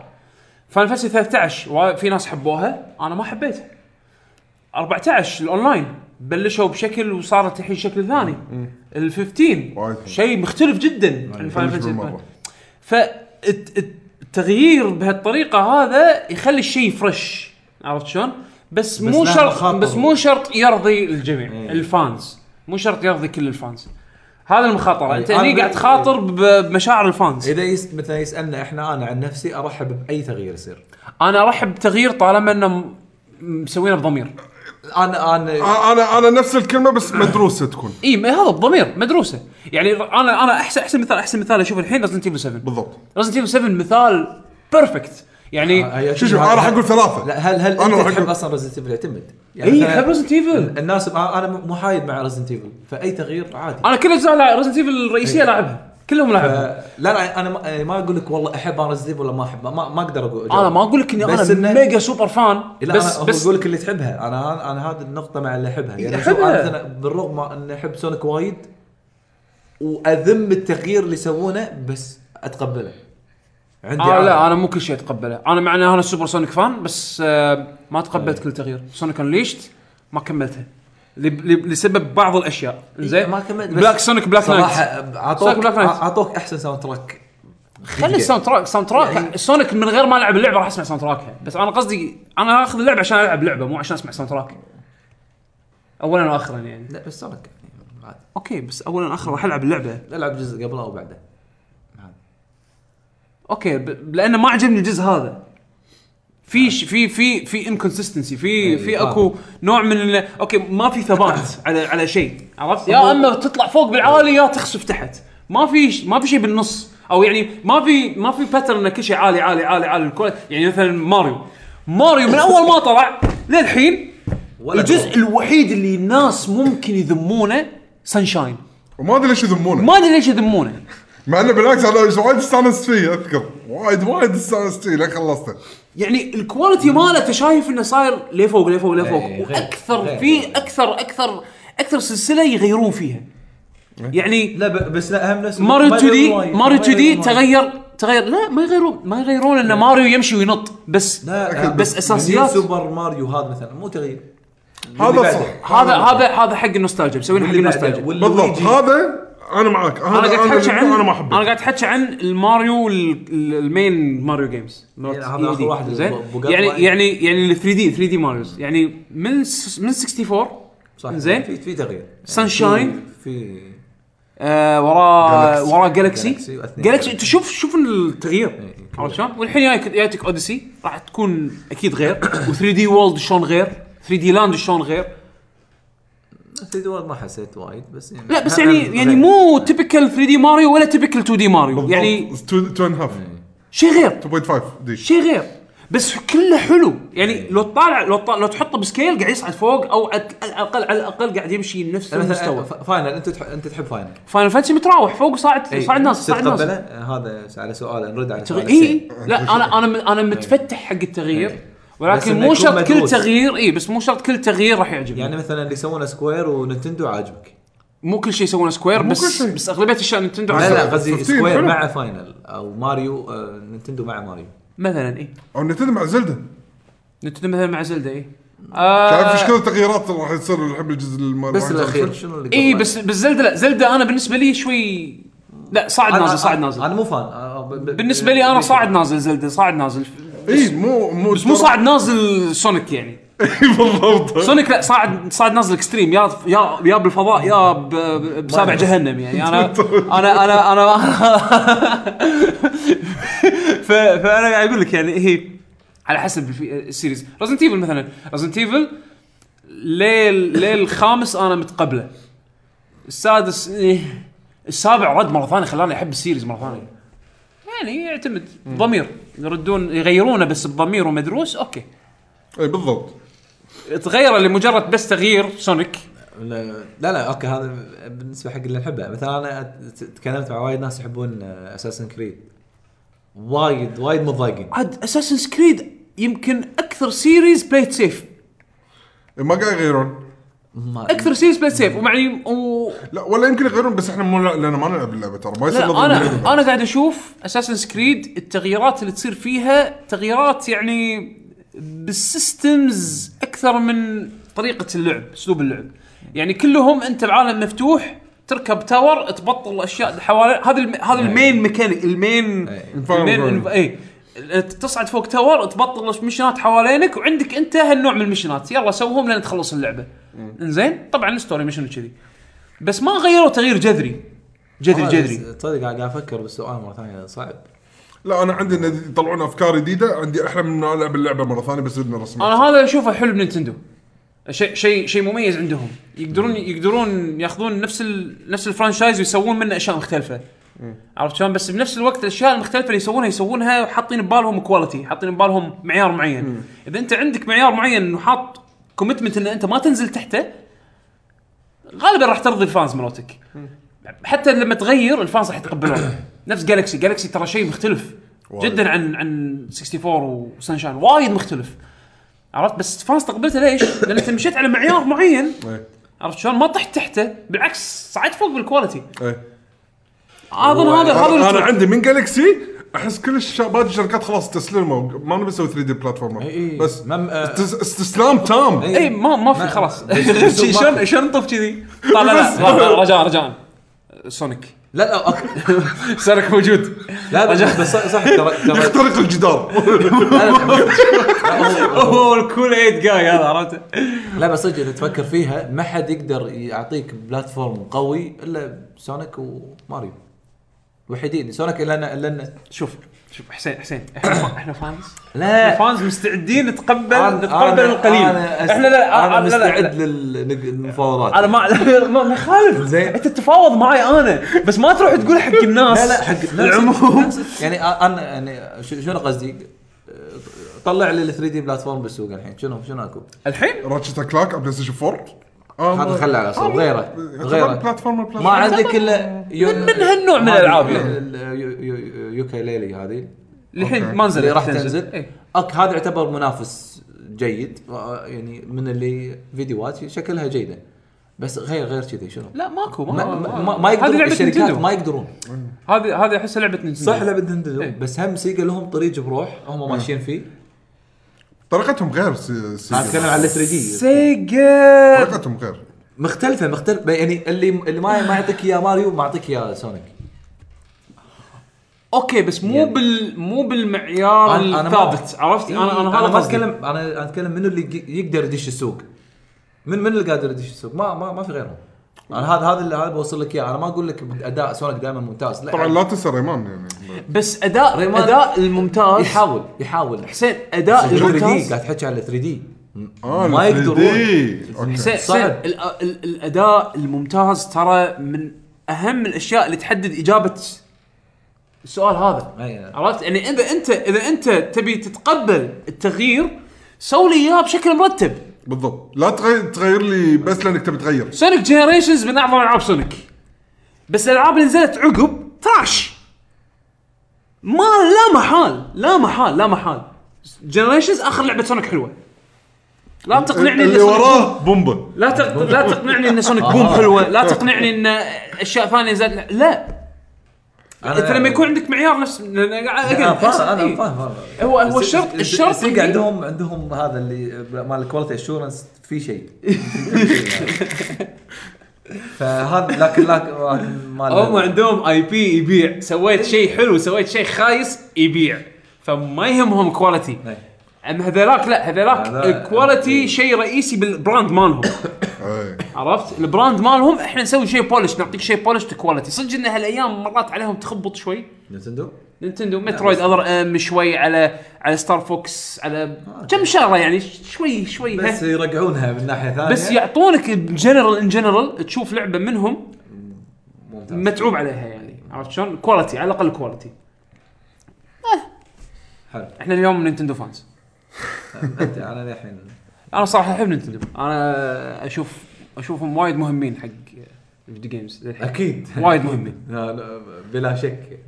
Speaker 2: فاينل فانتسي 13 وا- في ناس حبوها انا ما حبيتها 14 الاونلاين بلشوا بشكل وصارت الحين شكل ثاني ال 15
Speaker 3: إيه. وايد حلو. يعني
Speaker 2: شيء مختلف جدا عن فاينل
Speaker 3: مش
Speaker 2: فانتسي
Speaker 3: بالمرة.
Speaker 2: فالتغيير بهالطريقه هذا يخلي الشيء فريش عرفت شلون؟ بس,
Speaker 4: بس
Speaker 2: مو
Speaker 4: له
Speaker 2: شرط
Speaker 4: مخاطر.
Speaker 2: بس مو شرط يرضي الجميع
Speaker 4: إيه.
Speaker 2: الفانز مو شرط يرضي كل الفانز هذا المخاطره انت هني
Speaker 4: إيه. أنا- إيه.
Speaker 2: قاعد تخاطر ب- بمشاعر الفانز
Speaker 4: اذا يس مثلا يسالنا احنا انا عن نفسي ارحب باي تغيير يصير
Speaker 2: انا ارحب بتغيير طالما انه م- مسوينه بضمير
Speaker 4: انا انا
Speaker 3: أ- انا انا نفس الكلمه بس مدروسه تكون
Speaker 2: اي ما هذا بضمير مدروسه يعني انا انا احسن احسن مثال احسن مثال اشوف الحين رزنت ايفل 7
Speaker 3: بالضبط
Speaker 2: رزنت ايفل 7 مثال بيرفكت يعني
Speaker 4: هي-
Speaker 3: شو شو انا راح اقول ثلاثه
Speaker 4: لا آه، هل هل
Speaker 3: أنا راح
Speaker 4: انت
Speaker 3: أقول-
Speaker 4: تحب اصلا ريزنت ايفل يعتمد؟ يعني
Speaker 2: اي
Speaker 4: مثلاً
Speaker 2: خل رزنت ايفل
Speaker 4: الناس انا أنا مو حايد مع ريزنت ايفل فاي تغيير عادي
Speaker 2: انا كل اجزاء رزنت ايفل
Speaker 4: إيه.
Speaker 2: الرئيسيه لاعبها كلهم لاعبها
Speaker 4: آه، لا لا انا ما- ما اقول لك والله احب ريزنت ايفل ولا ما احب ما, ما اقدر اقول
Speaker 2: انا ما اقول لك اني
Speaker 4: بس
Speaker 2: انا
Speaker 4: إنه-
Speaker 2: ميجا سوبر فان
Speaker 4: لا
Speaker 2: بس
Speaker 4: بس انا
Speaker 2: بس إيه،
Speaker 4: بس اقول لك اللي تحبها انا انا هذه النقطه مع اللي احبها يعني شوف
Speaker 2: أحبها.
Speaker 4: انا مثلا بالرغم ان احب سونيك وايد واذم التغيير اللي يسوونه بس اتقبله عندي
Speaker 2: آه
Speaker 4: عادة.
Speaker 2: لا انا مو كل شيء اتقبله انا مع إن انا سوبر سونيك فان بس آه ما
Speaker 4: إيه.
Speaker 2: تقبلت كل تغيير سونيك انليشت ما كملتها لب- لب- لسبب بعض الاشياء زين
Speaker 4: إيه، ما كملت بس
Speaker 2: بلاك سونيك بلاك
Speaker 4: صراحه
Speaker 2: نايت
Speaker 4: اعطوك
Speaker 2: سونيك بلاك نايت.
Speaker 4: اعطوك احسن ساوند تراك
Speaker 2: خلي الساوند تراك ساوند تراك
Speaker 4: يعني-
Speaker 2: سونيك من غير ما العب اللعبه راح اسمع ساوند تراكها بس انا قصدي انا اخذ اللعبه عشان العب لعبه مو عشان اسمع ساوند تراك اولا واخرا يعني
Speaker 4: لا بس سونيك يعني عادي.
Speaker 2: اوكي بس اولا واخرا راح العب اللعبه
Speaker 4: العب جزء قبله او بعده عادي.
Speaker 2: اوكي ب... لانه ما عجبني الجزء هذا في ش... في في في انكونسستنسي في في
Speaker 4: فاهم.
Speaker 2: اكو نوع من ال... اوكي ما في ثبات على على شيء عرفت يا اما تطلع فوق بالعالي يا تخسف تحت ما في ش... ما في شيء بالنص او يعني ما في ما في باترن ان كل شيء عالي عالي عالي عالي الكل يعني مثلا ماريو ماريو من اول ما طلع للحين
Speaker 4: ولا
Speaker 2: الجزء
Speaker 4: قبل.
Speaker 2: الوحيد اللي الناس ممكن يذمونه سانشاين
Speaker 3: وما ادري ليش يذمونه
Speaker 2: ما ادري ليش يذمونه
Speaker 3: مع انه بالعكس انا وايد استانست فيه اذكر وايد وايد استانست فيه لين خلصته
Speaker 2: يعني الكواليتي ماله انت شايف انه صاير لفوق لفوق لفوق
Speaker 4: إيه، غير-
Speaker 2: واكثر
Speaker 4: غير.
Speaker 2: في اكثر اكثر اكثر سلسله يغيرون فيها يعني
Speaker 4: لا ب- بس لا اهم نفس
Speaker 2: ماريو 2 دي
Speaker 4: إيه. وايد.
Speaker 2: ماريو 2 دي
Speaker 4: وايد. إيه.
Speaker 2: تغير تغير لا ما يغيرون ما يغيرون ان ماريو يمشي وينط بس
Speaker 4: لا آه،
Speaker 2: بس
Speaker 4: من
Speaker 2: أساسيات.
Speaker 4: سوبر ماريو هذا مثلا مو تغيير اللي
Speaker 3: هذا
Speaker 4: بعده.
Speaker 3: صح
Speaker 2: هذا هذا هذا حق النوستالجيا مسوين حق
Speaker 4: واللي بعده،
Speaker 2: النوستالجيا
Speaker 4: واللويجي.
Speaker 3: بالضبط هذا انا معاك
Speaker 2: انا قاعد احكي عن
Speaker 3: انا ما
Speaker 2: انا
Speaker 3: احبه
Speaker 2: قاعد احكي عن الماريو ال- ال- المين ماريو جيمز
Speaker 4: يعني هذا آخر واحد
Speaker 2: زين
Speaker 4: اللي بقطع
Speaker 2: يعني
Speaker 4: واحد.
Speaker 2: يعني يعني ال 3 دي 3 دي ماريوز يعني من س- من 64
Speaker 4: صح
Speaker 2: زين.
Speaker 4: في في تغيير
Speaker 2: Sunshine.
Speaker 4: في- في
Speaker 2: آه، وراه
Speaker 3: Galaxy.
Speaker 2: وراه جالكسي
Speaker 4: Galaxy وأثنين
Speaker 2: جالكسي
Speaker 4: Galaxy.
Speaker 2: انت شوف شوف التغيير
Speaker 4: إيه،
Speaker 2: عرفت شلون؟ والحين جايك جايتك اوديسي راح تكون اكيد غير و3 دي وولد شلون غير 3 دي لاند شلون غير
Speaker 4: 3 دول ما حسيت وايد بس يعني
Speaker 2: لا بس يعني يعني مو تيبكال 3 دي ماريو ولا تيبكال 2 دي ماريو يعني
Speaker 3: 2 اند هاف
Speaker 2: شيء غير
Speaker 3: 2.5 دي
Speaker 2: شيء غير بس كله حلو يعني
Speaker 4: إيه.
Speaker 2: لو تطالع لو تطالع لو تحطه بسكيل قاعد يصعد فوق او على الاقل على الاقل قاعد يمشي نفس المستوى
Speaker 4: المستوى فاينل انت تح- انت تحب فاينل
Speaker 2: فاينل فانتسي متراوح فوق صعد
Speaker 4: إي،
Speaker 2: صعد ناس صعد
Speaker 4: تتقبله؟
Speaker 2: ناس
Speaker 4: آه، هذا على سؤال نرد على سؤال
Speaker 2: اي لا انا انا انا متفتح حق التغيير
Speaker 4: إي. إيه. بس
Speaker 2: ولكن
Speaker 4: إنه
Speaker 2: مو
Speaker 4: يكون
Speaker 2: شرط كل
Speaker 4: مدروس.
Speaker 2: تغيير اي بس مو شرط كل تغيير راح يعجبني
Speaker 4: يعني مثلا اللي يسوونه سكوير ونتندو عاجبك
Speaker 2: مو كل شيء يسوونه سكوير
Speaker 3: مو كل
Speaker 2: بس
Speaker 3: شيء.
Speaker 2: بس اغلبيه اشياء نتندو
Speaker 4: لا لا
Speaker 2: عارفة.
Speaker 4: قصدي
Speaker 3: 15
Speaker 4: سكوير
Speaker 3: حلو.
Speaker 4: مع فاينل او ماريو آه، نينتندو مع ماريو
Speaker 2: مثلا اي
Speaker 3: او نتندو مع زلده
Speaker 2: إيه. نتندو مثلا مع إيه. زلدا اي آه.
Speaker 3: تعرف ايش كثر التغييرات راح تصير الحين الجزء المال
Speaker 4: بس الاخير شنو اللي
Speaker 2: اي
Speaker 4: قبل؟
Speaker 2: آه، إيه، بس بس زلدا لا زلدا انا بالنسبه لي شوي لا صعد
Speaker 4: أنا-
Speaker 2: نازل صعد
Speaker 4: أنا-
Speaker 2: نازل
Speaker 4: انا مو فان آه، ب- ب-
Speaker 2: بالنسبه لي انا صاعد نازل زلدة صاعد نازل
Speaker 3: اي إيه، مو مو إيه،
Speaker 2: بس مو صاعد نازل سونيك يعني
Speaker 3: بالضبط
Speaker 2: سونيك لا صاعد صاعد نازل اكستريم يا يا يا بالفضاء يا ب- ب- بسابع جهنم يعني انا انا انا انا ف- فانا قاعد اقول لك يعني هي على حسب الفي- السيريز رزنت ايفل مثلا رزنت ايفل ليل ليل الخامس انا متقبله السادس إيه. السابع رد مره ثانيه خلاني احب السيريز مره ثانيه يعني يعتمد ضمير يردون يغيرونه بس بضمير ومدروس اوكي
Speaker 3: اي إيه، بالضبط
Speaker 2: تغيره لمجرد بس تغيير سونيك
Speaker 4: لا لا لا، اوكي هذا بالنسبه حق اللي نحبه مثلا انا ت- تكلمت مع وايد ناس يحبون اساسن كريد وايد وايد متضايقين
Speaker 2: عاد اساسن كريد يمكن اكثر سيريز بلايت سيف
Speaker 3: إيه، ما قاعد يغيرون
Speaker 4: ما-
Speaker 2: اكثر سيريز بلايت سيف ومعني و...
Speaker 3: لا ولا يمكن يغيرون بس احنا مو لان ما نلعب اللعبه ترى ما يصير
Speaker 2: لا
Speaker 3: نظلم
Speaker 2: انا
Speaker 3: اللعبة.
Speaker 2: انا قاعد اشوف اساسن كريد التغييرات اللي تصير فيها تغييرات يعني بالسيستمز اكثر من طريقه اللعب اسلوب اللعب يعني كلهم انت بعالم مفتوح تركب تاور تبطل اشياء حوالي هذا الم... هذا المين ميكانيك المين
Speaker 4: إيه.
Speaker 2: المين اي تصعد فوق تاور تبطل مشنات حوالينك وعندك انت هالنوع من المشنات يلا سوهم لين تخلص اللعبه انزين طبعا الستوري مشن كذي بس ما غيروا تغيير جذري جذري
Speaker 4: والله
Speaker 2: جذري
Speaker 4: بس- تصدق قاعد قاعد افكر بالسؤال مره ثانيه صعب
Speaker 3: لا انا عندي ان يطلعون افكار جديده عندي احلى من ان العب اللعبه مره ثانيه بس بدون رسمات
Speaker 2: انا هذا اشوفه حلو بنينتندو شيء شيء شيء مميز عندهم يقدرون يقدرون ياخذون نفس ال... نفس الفرانشايز ويسوون منه اشياء مختلفه عرفت شلون بس بنفس الوقت الاشياء المختلفه اللي يسوونها يسوونها وحاطين ببالهم كواليتي حاطين ببالهم معيار معين اذا انت عندك معيار معين وحاط كوميتمنت ان انت ما تنزل تحته غالبا راح ترضي الفانز مالتك حتى لما تغير الفانز راح يتقبلونه نفس جالكسي جالكسي ترى شيء مختلف
Speaker 3: وايد.
Speaker 2: جدا عن عن 64 وسانشاين وايد مختلف عرفت بس فانز تقبلته ليش؟ لان انت مشيت على معيار معين
Speaker 3: إيه.
Speaker 2: عرفت شلون؟ ما طحت تحته بالعكس صعدت فوق بالكواليتي
Speaker 3: إيه.
Speaker 2: اظن هذا هذا
Speaker 3: انا
Speaker 2: اللي
Speaker 3: أنا
Speaker 2: تروح.
Speaker 3: عندي من جالكسي احس كل الشباب الشركات خلاص استسلموا ما نبي نسوي 3 دي بلاتفورمر
Speaker 4: إي.
Speaker 2: إيه.
Speaker 3: بس
Speaker 4: مم- آه. إيه.
Speaker 3: استس- استسلام تام
Speaker 4: إي.
Speaker 2: اي إيه، ما ما في
Speaker 4: ما-
Speaker 2: خلاص
Speaker 4: بس- بس-
Speaker 2: شي- شلون شلون نطف كذي؟ لا لا لا لا، رجاء رجاء سونيك
Speaker 4: لا لا أوكي.
Speaker 2: سونيك موجود
Speaker 4: لا بس بس صح ترى ترى
Speaker 3: يخترق الجدار
Speaker 4: لا، لا، لا، هو-
Speaker 2: هو الكول ايد جاي هذا عرفته
Speaker 4: لا بس صدق اذا تفكر فيها ما حد يقدر يعطيك بلاتفورم قوي الا سونيك وماريو الوحيدين سونيك الا انا الا أنا-
Speaker 2: شوف شوف حسين حسين احنا احنا فانز
Speaker 4: لا
Speaker 2: الفانز مستعدين نتقبل
Speaker 4: أنا-
Speaker 2: نتقبل
Speaker 4: أنا-
Speaker 2: القليل
Speaker 4: أنا أس-
Speaker 2: احنا لا
Speaker 4: انا
Speaker 2: أنا- لا لا
Speaker 4: مستعد
Speaker 2: لا.
Speaker 4: للمفاوضات
Speaker 2: انا ما ما ما يخالف
Speaker 4: زين.
Speaker 2: انت تتفاوض معي انا بس ما تروح تقول حق الناس
Speaker 4: لا لا حق نفس-
Speaker 2: العموم
Speaker 4: نفس- يعني أ- انا يعني شو- شنو قصدي؟ طلع لي ال 3 دي بلاتفورم بالسوق الحين شنو شنو اكو؟
Speaker 2: الحين
Speaker 3: راتشت كلاك على بلاي ستيشن 4 آه،
Speaker 4: هذا خله على صوب غيره
Speaker 3: يعتبر
Speaker 4: غيره
Speaker 3: بلاتفورمر
Speaker 4: ما
Speaker 3: بلاتفورمر
Speaker 4: عندك الا يو-
Speaker 2: من- من هالنوع من الألعاب
Speaker 4: هذه
Speaker 2: يعني.
Speaker 4: ال- يو- يو- يوكيليلي هذه
Speaker 2: الحين ما نزلت
Speaker 4: اللي راح
Speaker 2: تنزل.
Speaker 4: تنزل
Speaker 2: إيه.
Speaker 4: اوكي هذا يعتبر منافس جيد آه، يعني من اللي فيديوهات شكلها جيده بس غير غير كذي شنو؟
Speaker 2: لا ماكو
Speaker 4: ما,
Speaker 2: ما
Speaker 4: ما, ما
Speaker 2: آه، هذه
Speaker 4: يقدرون
Speaker 2: لعبه
Speaker 4: الشركات
Speaker 2: نينتندو
Speaker 4: ما يقدرون
Speaker 2: هذه هذه احسها لعبه نينتندو
Speaker 4: صح لعبه نينتندو
Speaker 2: إيه.
Speaker 4: بس هم سيجا لهم طريق بروح هم ماشيين فيه
Speaker 3: طريقتهم غير سي-
Speaker 4: انا
Speaker 3: سيجا
Speaker 4: اتكلم على 3 دي
Speaker 2: سيجا
Speaker 3: طريقتهم غير
Speaker 4: مختلفه مختلفه يعني اللي اللي ما ما يعطيك اياه ماريو ما يعطيك اياه سونيك
Speaker 2: اوكي بس مو
Speaker 4: يعني.
Speaker 2: بال مو بالمعيار
Speaker 4: أنا- أنا ما- إيه،
Speaker 2: الثابت عرفت انا انا هذا
Speaker 4: ما
Speaker 2: قصدي.
Speaker 4: اتكلم انا أنا اتكلم منو اللي يق- يقدر يدش السوق من من اللي قادر يدش السوق ما ما, ما في غيرهم انا هذا هذا اللي هذا بوصل لك اياه انا ما اقول لك اداء سونيك دائما ممتاز لا
Speaker 3: طبعا لا تنسى ريمان يعني
Speaker 2: بس اداء
Speaker 4: ريمان-
Speaker 2: اداء الممتاز
Speaker 4: يحاول يحاول
Speaker 2: حسين اداء
Speaker 4: 3 دي
Speaker 2: الممتاز
Speaker 4: قاعد تحكي على 3 دي
Speaker 3: اه
Speaker 4: ما
Speaker 3: ال 3D.
Speaker 4: يقدرون.
Speaker 3: اوكي
Speaker 2: حسين حسين،
Speaker 4: صعب.
Speaker 2: ال- ال- الاداء الممتاز ترى من اهم الاشياء اللي تحدد اجابه السؤال هذا
Speaker 4: أي.
Speaker 2: عرفت يعني اذا انت اذا انت تبي تتقبل التغيير سوي لي اياه بشكل مرتب
Speaker 3: بالضبط لا تغير تغير لي بس لانك تبي تغير
Speaker 2: سونيك جنريشنز من اعظم العاب سونيك بس الالعاب اللي نزلت عقب تراش ما لا محال لا محال لا محال جنريشنز اخر لعبه سونيك حلوه لا تقنعني إن
Speaker 3: اللي
Speaker 2: سونيك
Speaker 3: وراه بومبا
Speaker 2: لا تق... لا تقنعني ان سونيك بوم حلوه لا تقنعني ان اشياء ثانيه زاد لا انت لما يكون عندك معيار نفس
Speaker 4: انا فاهم
Speaker 2: إيه.
Speaker 4: انا فاهم
Speaker 2: هو هو الشرط الشرط
Speaker 4: السيجا
Speaker 2: اللي-
Speaker 4: عندهم عندهم هذا اللي مال الكواليتي اشورنس في شيء فهذا لكن لكن لكن مال
Speaker 2: هم عندهم اي بي يبيع سويت شيء حلو سويت شيء خايس يبيع فما يهمهم كواليتي
Speaker 4: إيه.
Speaker 2: اما هذولاك لا هذولاك
Speaker 4: هذا-
Speaker 2: الكواليتي شيء رئيسي بالبراند مالهم
Speaker 3: إيه.
Speaker 2: عرفت البراند مالهم احنا نسوي شيء بولش نعطيك شيء بولش كواليتي صدق ان هالايام مرات عليهم تخبط شوي
Speaker 4: نينتندو
Speaker 2: نينتندو مترويد اذر ام شوي على على ستار فوكس على كم شغله يعني شوي شوي ها.
Speaker 4: بس يعني يرجعونها من ناحيه ثانيه
Speaker 2: إيه. بس يعطونك جنرال ان جنرال تشوف لعبه منهم
Speaker 4: ممتاز
Speaker 2: متعوب عليها يعني عرفت شلون؟ كواليتي على الاقل كواليتي
Speaker 4: حلو
Speaker 2: احنا اليوم نينتندو فانز
Speaker 4: انت انا للحين
Speaker 2: انا صراحه احب نينتندو انا اشوف اشوفهم وايد مهمين حق الفيديو جيمز للحين.
Speaker 4: اكيد
Speaker 2: وايد مهمين
Speaker 4: لا لا بلا شك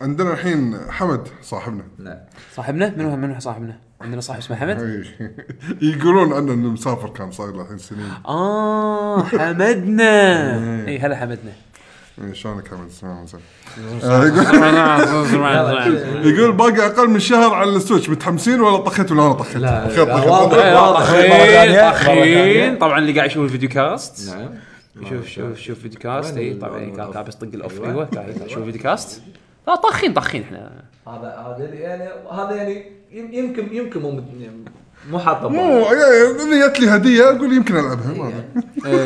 Speaker 3: عندنا الحين حمد صاحبنا
Speaker 4: نعم
Speaker 2: صاحبنا منو منو صاحبنا؟ عندنا صاحب اسمه حمد؟
Speaker 3: إيه. يقولون عنه انه مسافر كان صاير له الحين سنين
Speaker 2: اه حمدنا اي هلا حمدنا
Speaker 3: إيه، شلونك حمد سلام عليكم. آه، يقول- يقول باقي اقل من شهر على السويتش متحمسين ولا طخيت ولا انا طخيت؟
Speaker 4: لا،
Speaker 3: خير،
Speaker 4: لا،
Speaker 3: خير.
Speaker 4: واضح. واضح. مرة ثانية.
Speaker 2: طخين طبعا اللي قاعد يشوف الفيديو كاست
Speaker 4: نعم
Speaker 2: شوف شوف شوف فيديو كاست
Speaker 4: وين
Speaker 2: اي
Speaker 4: ال-
Speaker 2: طبعا
Speaker 4: ال-
Speaker 2: قاعد قاعد بس طق الاوف
Speaker 4: أيوة.
Speaker 2: ايوه قاعد شوف فيديو كاست لا طاخين طاخين احنا
Speaker 4: هذا هذا اللي- يعني هذا يعني يم- يمكن يمكن مو مت- مو حاطه
Speaker 3: مو
Speaker 4: ببالي.
Speaker 3: يعني إذا جت لي هديه اقول يمكن العبها ما أدري.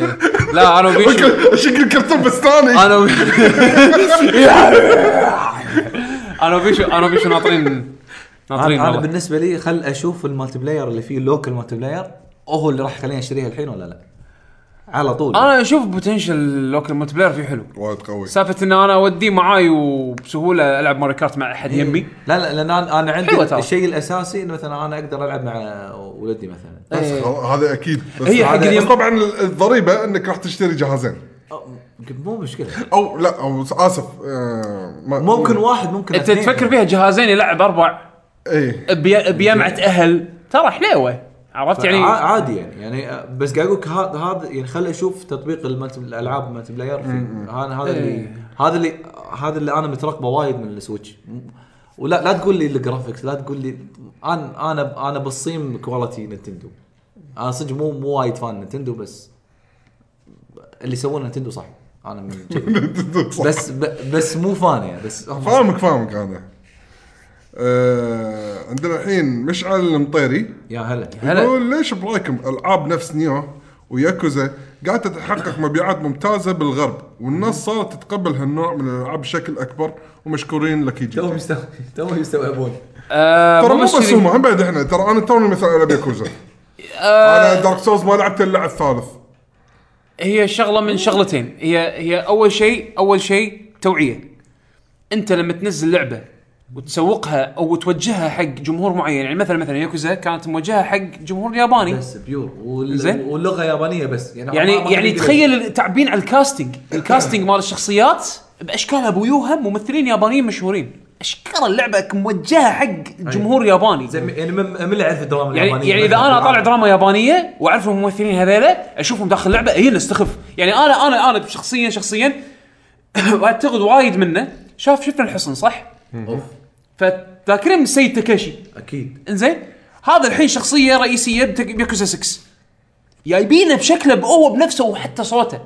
Speaker 2: لا انا وبيشو
Speaker 3: شكل الكرتون بس ثاني
Speaker 2: انا و... انا وبيشو انا وبيشو ناطرين ناطرين
Speaker 4: انا أنا
Speaker 2: والله.
Speaker 4: بالنسبه لي خل اشوف المالتي بلاير اللي فيه لوكال مالتي بلاير هو اللي راح يخليني اشتريها الحين ولا لا على طول
Speaker 2: انا اشوف بوتنشل لوكال ملتي بلاير فيه حلو
Speaker 3: وايد قوي
Speaker 2: سالفه ان انا اوديه معاي وبسهوله العب ماري كارت مع احد يمي
Speaker 4: لا لا لان انا أنا
Speaker 2: حلوة أيوة ترى.
Speaker 4: عندي الشيء الاساسي إنه مثلا انا اقدر العب مع ولدي مثلا
Speaker 3: بس
Speaker 2: إيه.
Speaker 3: خلاص، هذا اكيد بس
Speaker 2: هي حق
Speaker 3: هذا-
Speaker 2: اليم-
Speaker 3: بس طبعا الضريبه انك راح تشتري جهازين
Speaker 4: أو- أه، مو مشكله
Speaker 3: او لا او اسف آه، ما-
Speaker 4: ممكن واحد ممكن
Speaker 2: انت
Speaker 4: اثنين.
Speaker 2: تفكر فيها جهازين يلعب اربع
Speaker 3: ايه
Speaker 2: بي- بيمعه اهل ترى حليوه عرفت يعني
Speaker 4: طيب، ع- عادي يعني يعني آه، بس قاعد اقول هذا هذا يعني خل اشوف تطبيق الملتي- الالعاب الملتي بلاير في هذا هذا اللي هذا اللي هذا اللي انا مترقبه وايد من السويتش م- ولا لا تقول لي الجرافكس لا تقول لي انا انا انا بصيم كواليتي نتندو انا صدق مو مو وايد فان نتندو بس اللي يسوونه نتندو صح انا من بس ب- بس مو فان يعني بس هم-
Speaker 3: فاهمك فاهمك انا آه، عندنا الحين مشعل المطيري
Speaker 4: يا هلا
Speaker 2: هلا.
Speaker 3: يقول ليش برايكم العاب نفس نيو وياكوزا قاعده تحقق مبيعات ممتازه بالغرب والناس صارت تتقبل هالنوع من الالعاب بشكل اكبر ومشكورين لك جي
Speaker 4: توهم يستوعب- توهم يستوعبون
Speaker 2: آه،
Speaker 3: ترى مو بس
Speaker 2: كذي.
Speaker 3: هم هم بعد احنا ترى انا توني مثلا العب ياكوزا
Speaker 2: آه،
Speaker 3: انا دارك سولز ما لعبت الا الثالث
Speaker 2: هي شغله من شغلتين هي هي اول شيء اول شيء توعيه انت لما تنزل لعبه وتسوقها او توجهها حق جمهور معين يعني مثلا مثلا ياكوزا كانت موجهه حق جمهور ياباني
Speaker 4: بس بيور وال...
Speaker 2: زين.
Speaker 4: واللغه يابانيه بس يعني ما- ما
Speaker 2: يعني يعني
Speaker 4: تقدر-
Speaker 2: تخيل تعبين على الكاستنج الكاستنج مال الشخصيات باشكالها بويوها ممثلين يابانيين مشهورين اشكال اللعبه موجهه حق جمهور ياباني
Speaker 4: زي ما- يعني من من اللي يعرف الدراما
Speaker 2: يعني
Speaker 4: اليابانية
Speaker 2: يعني اذا
Speaker 4: مثلاً؟
Speaker 2: انا اطالع دراما يابانيه واعرف الممثلين هذيلا اشوفهم داخل اللعبه اي نستخف يعني انا انا انا شخصيا شخصيا واعتقد وايد منه شاف شفنا الحصن صح؟
Speaker 4: أوف،
Speaker 2: فذاكرين من سيد تاكاشي
Speaker 4: اكيد
Speaker 2: انزين هذا الحين شخصيه رئيسيه بتك- بياكوزا 6 جايبينه بشكله بقوه بنفسه وحتى صوته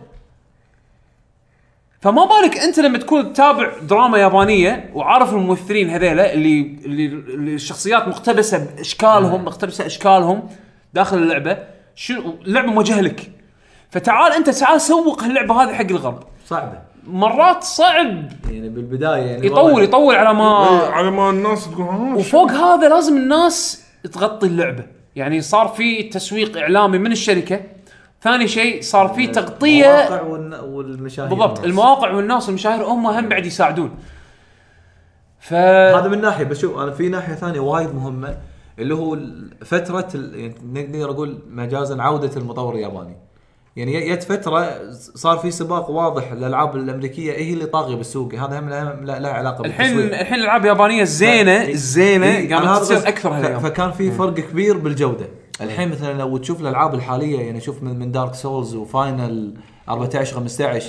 Speaker 2: فما بالك انت لما تكون تتابع دراما يابانيه وعارف الممثلين هذيلا اللي اللي اللي الشخصيات مقتبسه باشكالهم مقتبسه اشكالهم داخل اللعبه شنو اللعبه موجهه لك فتعال انت تعال سوق هاللعبه هذه حق الغرب
Speaker 4: صعبه
Speaker 2: مرات صعب
Speaker 4: يعني بالبدايه يعني
Speaker 2: يطول يطول على ما
Speaker 3: على ما إيه، الناس تقول "آه، ها
Speaker 2: وفوق هذا لازم الناس تغطي اللعبه يعني صار في تسويق اعلامي من الشركه ثاني شيء صار في تغطيه
Speaker 4: المواقع والن- والمشاهير
Speaker 2: بالضبط
Speaker 4: والناس.
Speaker 2: المواقع والناس المشاهير هم هم بعد يساعدون ف
Speaker 4: هذا من ناحيه بس شوف انا في ناحيه ثانيه وايد مهمه اللي هو ال- فتره ال- يعني نقدر اقول مجازا عوده المطور الياباني. يعني ي- جت فتره صار في سباق واضح للالعاب الامريكيه هي اللي طاغيه بالسوق هذا هم لها هم لها علاقه
Speaker 2: الحين
Speaker 4: بالتسويق.
Speaker 2: الحين الالعاب اليابانيه الزينه
Speaker 4: إي. إي.
Speaker 2: الزينه
Speaker 4: إيه. أنا
Speaker 2: قامت
Speaker 4: هذا
Speaker 2: تصير
Speaker 4: بس-
Speaker 2: اكثر
Speaker 4: ف-
Speaker 2: هالايام
Speaker 4: فكان في فرق كبير بالجوده
Speaker 2: إيه.
Speaker 4: الحين مثلا لو تشوف الالعاب الحاليه يعني شوف من, من دارك سولز وفاينل 14 15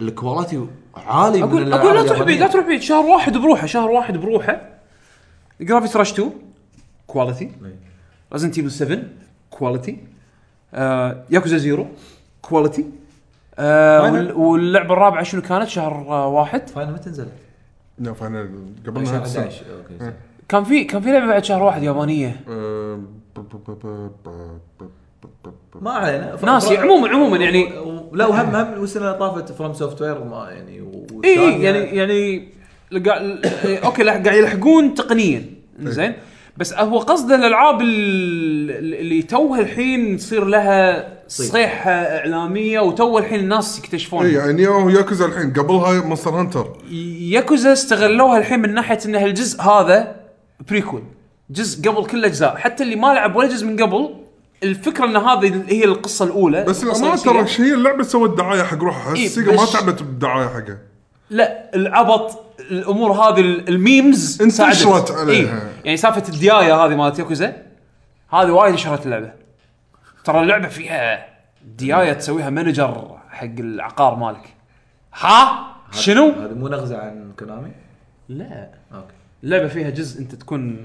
Speaker 4: الكواليتي عالي من
Speaker 2: اقول
Speaker 4: الألعاب
Speaker 2: اقول لا تروح
Speaker 4: اليابانية.
Speaker 2: بعيد لا تروح بعيد شهر واحد بروحه شهر واحد بروحه جرافيت راش 2 كواليتي ريزنت ايفل 7 كواليتي آه ياكوزا زيرو كواليتي آه
Speaker 4: Final.
Speaker 2: وال- واللعبه الرابعه شنو كانت شهر آه واحد
Speaker 4: فاينل متى نزلت؟
Speaker 3: لا فانا قبل
Speaker 4: شهر
Speaker 3: ما أنسى.
Speaker 4: 11 اوكي
Speaker 2: كان في كان في لعبه بعد شهر واحد يابانيه
Speaker 3: آه، ب- ب- ب- ب- ب- ب- ب- ب-
Speaker 4: ما علينا ف-
Speaker 2: ناسي
Speaker 4: ف-
Speaker 2: عموما عموما يعني
Speaker 4: و- لا وهم هم السنه اللي طافت فروم سوفت وير ما يعني و-
Speaker 2: اي
Speaker 4: والثانية-
Speaker 2: إي، يعني يعني لقا- ل- اوكي لح- قاعد يلحقون تقنيا زين بس هو قصده الالعاب ال- اللي توها الحين يصير لها صيحه اعلاميه وتو الحين الناس
Speaker 3: اي
Speaker 2: يكتشفون
Speaker 3: يعني ياهو ياكوزا الحين قبلها مونستر هانتر
Speaker 2: ياكوزا استغلوها الحين من ناحيه ان هالجزء هذا بريكول جزء قبل كل اجزاء حتى اللي ما لعب ولا جزء من قبل الفكره ان هذه هي القصه الاولى
Speaker 3: بس
Speaker 2: القصة
Speaker 3: الامانه
Speaker 2: الأساسية.
Speaker 3: ترى هي اللعبه سوت دعايه حق روحها
Speaker 2: إي،
Speaker 3: السيجا ما
Speaker 2: إيه، بس-
Speaker 3: تعبت بالدعايه حقها
Speaker 2: لا العبط الامور هذه ال- الميمز
Speaker 3: انتشرت
Speaker 2: ساعدت.
Speaker 3: عليها.
Speaker 2: إيه. يعني سالفه الديايه هذه مالت ياكوزا هذه وايد نشرت اللعبه ترى اللعبه فيها ديايه تسويها مانجر حق العقار مالك ها شنو؟
Speaker 4: هذه مو نغزه عن كونامي
Speaker 2: لا
Speaker 4: اوكي
Speaker 2: اللعبه فيها جزء انت تكون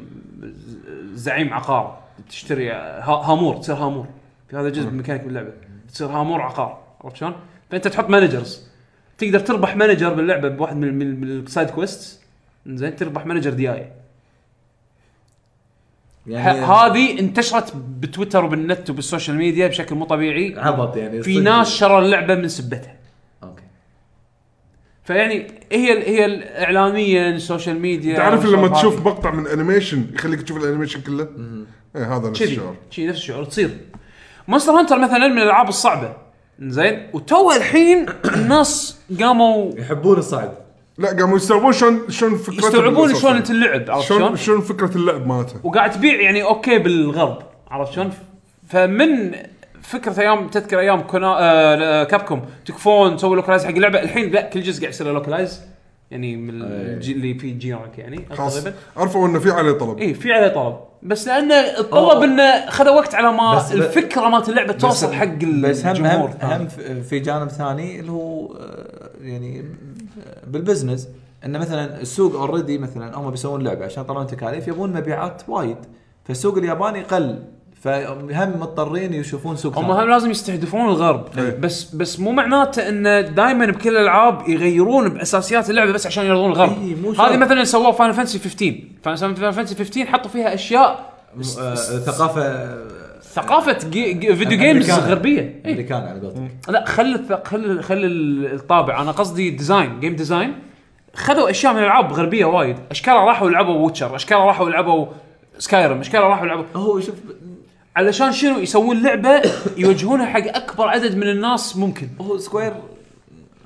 Speaker 2: ز- زعيم عقار تشتري ها- هامور تصير هامور في هذا جزء من ميكانيك باللعبه تصير هامور عقار عرفت شلون؟ فانت تحط مانجرز تقدر تربح مانجر باللعبه بواحد من من, من السايد كويست زين تربح مانجر دياي
Speaker 4: يعني
Speaker 2: هذه انتشرت بتويتر وبالنت وبالسوشيال ميديا بشكل مو طبيعي
Speaker 4: عبط يعني
Speaker 2: في
Speaker 4: صدق.
Speaker 2: ناس شروا اللعبه من سبتها
Speaker 4: اوكي
Speaker 2: فيعني هي ال- هي يعني الاعلاميا السوشيال ميديا
Speaker 3: تعرف
Speaker 2: والشغلات
Speaker 3: لما
Speaker 2: هذه.
Speaker 3: تشوف مقطع من انيميشن يخليك تشوف الانيميشن كله ايه هذا نفس
Speaker 2: كذي
Speaker 3: الشعور
Speaker 2: كذي نفس الشعور تصير مونستر هانتر مثلا من الالعاب الصعبه زين وتو الحين الناس قاموا
Speaker 4: يحبون الصعد
Speaker 3: لا قاموا يستوعبون شلون شلون فكرة
Speaker 2: يستوعبون
Speaker 3: الأساسية.
Speaker 2: شلون انت اللعب عرفت
Speaker 3: شلون
Speaker 2: شلون؟
Speaker 3: شلون فكره اللعب مالته
Speaker 2: وقاعد تبيع يعني اوكي بالغرب عرفت شلون؟ فمن فكره ايام تذكر ايام كونا آه كابكم تكفون تسوي لوكلايز حق اللعبه الحين لا كل جزء قاعد يصير له لوكلايز يعني من الجيل اللي فيه جيرانك يعني
Speaker 3: خلاص
Speaker 2: تقريبا
Speaker 3: عرفوا انه في عليه طلب
Speaker 2: اي إيه، في عليه طلب بس لانه الطلب
Speaker 4: أوه.
Speaker 2: انه خذ وقت على ما
Speaker 4: بس-
Speaker 2: الفكره مالت اللعبه توصل حق
Speaker 4: بس هم هم,
Speaker 2: الجمهور آه.
Speaker 4: هم في في جانب ثاني اللي هو آه، يعني آه، بالبزنس انه مثلا السوق اوريدي مثلا هم بيسوون لعبه عشان يطلعون تكاليف يبون مبيعات وايد فالسوق الياباني قل فهم مضطرين يشوفون سوق
Speaker 2: هم
Speaker 4: ثاني.
Speaker 2: هم لازم يستهدفون الغرب
Speaker 3: إيه.
Speaker 2: بس بس مو معناته انه دائما بكل الالعاب يغيرون باساسيات اللعبه بس عشان يرضون الغرب
Speaker 4: إيه، مو شرط.
Speaker 2: هذه مثلا سووها فاينل فانسي 15 فاينل فانسي 15 حطوا فيها اشياء
Speaker 4: م- آه، ثقافه
Speaker 2: إيه.
Speaker 4: آه،
Speaker 2: ثقافه جي جي فيديو جيمز
Speaker 4: أمريكان.
Speaker 2: غربيه إيه.
Speaker 4: امريكان على قولتك
Speaker 2: لا خلي الث- خلي خلي ال- الطابع انا قصدي ديزاين جيم ديزاين خذوا اشياء من العاب غربيه وايد اشكالها راحوا لعبوا ويتشر اشكالها راحوا لعبوا سكايرم اشكالها راحوا لعبوا
Speaker 4: هو شوف
Speaker 2: علشان شنو يسوون لعبه يوجهونها حق اكبر عدد من الناس ممكن
Speaker 4: هو سكوير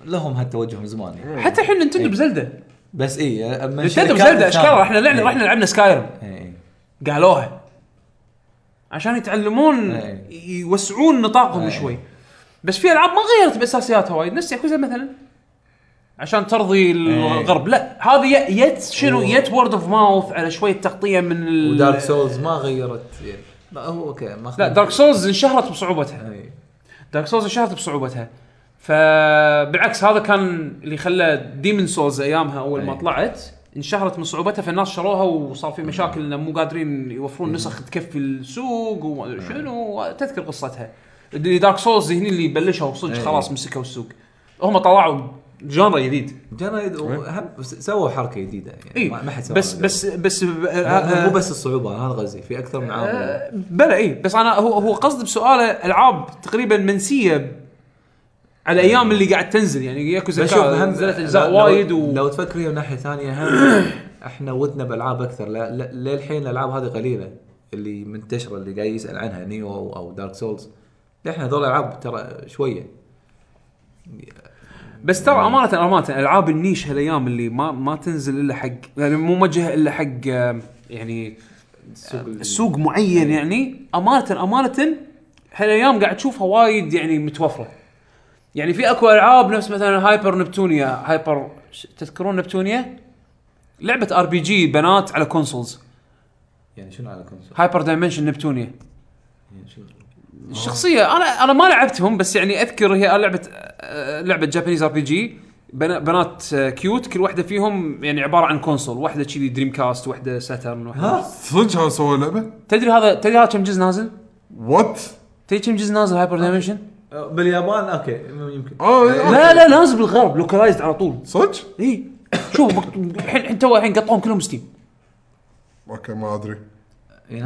Speaker 4: لهم هالتوجه من زمان يعني.
Speaker 2: حتى الحين نتندو بزلده
Speaker 4: بس اي اما
Speaker 2: نتندو
Speaker 4: الشركات
Speaker 2: بزلده اشكالها
Speaker 4: الثانية.
Speaker 2: احنا لعنا
Speaker 4: إيه.
Speaker 2: رحنا لعبنا سكايرم
Speaker 4: إيه، إيه.
Speaker 2: قالوها عشان يتعلمون
Speaker 4: إيه.
Speaker 2: يوسعون نطاقهم
Speaker 4: إيه.
Speaker 2: شوي بس في العاب ما غيرت باساسياتها وايد نفس ياكوزا مثلا عشان
Speaker 4: إيه.
Speaker 2: ترضي الغرب لا هذه ي- يت شنو يت وورد اوف ماوث على شويه تغطيه من ال-
Speaker 4: إيه. ودارك سولز ما غيرت يعني لا هو اوكي ما
Speaker 2: لا دارك سولز انشهرت بصعوبتها
Speaker 4: إيه.
Speaker 2: دارك سولز انشهرت بصعوبتها فبالعكس هذا كان اللي خلى ديمن سولز ايامها اول ما
Speaker 4: أي.
Speaker 2: طلعت انشهرت من صعوبتها فالناس شروها وصار
Speaker 4: إيه.
Speaker 2: في مشاكل انه مو قادرين يوفرون نسخ تكفي السوق
Speaker 4: إيه.
Speaker 2: وشنو تذكر قصتها اللي دارك سولز هني اللي بلشوا صدق
Speaker 4: أي.
Speaker 2: خلاص مسكوا السوق هم طلعوا جانرا جديد
Speaker 4: جنايد وهم س- سووا حركه جديده يعني
Speaker 2: اي
Speaker 4: ما ما حد
Speaker 2: إيه،
Speaker 4: سواها
Speaker 2: بس
Speaker 4: قبل.
Speaker 2: بس بس
Speaker 4: ه-
Speaker 2: آه،
Speaker 4: مو بس الصعوبه انا غزي في اكثر من عامل
Speaker 2: آه، بلا اي بس انا هو هو قصد بسؤاله العاب تقريبا منسيه على ايام اللي قاعد تنزل يعني ياكوزا
Speaker 4: بس شوف
Speaker 2: كا-
Speaker 4: هم
Speaker 2: نزلت اجزاء
Speaker 4: لو-
Speaker 2: وايد
Speaker 4: لو,
Speaker 2: و
Speaker 4: لو تفكر هي من ناحيه ثانيه هم احنا ودنا بالعاب اكثر لا- لا- للحين الالعاب هذه قليله اللي منتشره اللي قاعد يسال عنها نيو او دارك سولز لحن هذول العاب ترى شويه
Speaker 2: بس ترى امانه امانه العاب النيش هالايام اللي ما ما تنزل الا حق يعني مو موجهه الا حق آم، يعني سوق معين يعني امانه امانه هالايام قاعد تشوفها وايد يعني متوفره يعني في اكو العاب نفس مثلا هايبر نبتونيا هايبر ش- تذكرون نبتونيا لعبه ار بي جي بنات على كونسولز
Speaker 4: يعني شنو على كونسول؟
Speaker 2: هايبر دايمنشن نبتونيا
Speaker 4: يعني شنو؟
Speaker 2: الشخصيه انا انا ما لعبتهم بس يعني اذكر هي لعبه آه، لعبه جابانيز ار بي جي بنا- بنات آه، كيوت كل واحده فيهم يعني عباره عن كونسول واحده كذي دريم كاست واحده ساترن واحده
Speaker 3: صدق هذا سوى لعبه؟
Speaker 2: تدري هذا تدري هذا كم جزء نازل؟
Speaker 3: وات؟
Speaker 2: تدري كم جزء نازل هايبر دايمنشن؟
Speaker 4: آه، باليابان اوكي يمكن
Speaker 2: آه،
Speaker 3: اه إيه،
Speaker 2: لا لا نازل بالغرب لوكلايزد على طول
Speaker 3: صدق؟
Speaker 2: اي شوف مكتوب- الحين الحين تو الحين قطعوهم كلهم ستيم
Speaker 3: اوكي ما ادري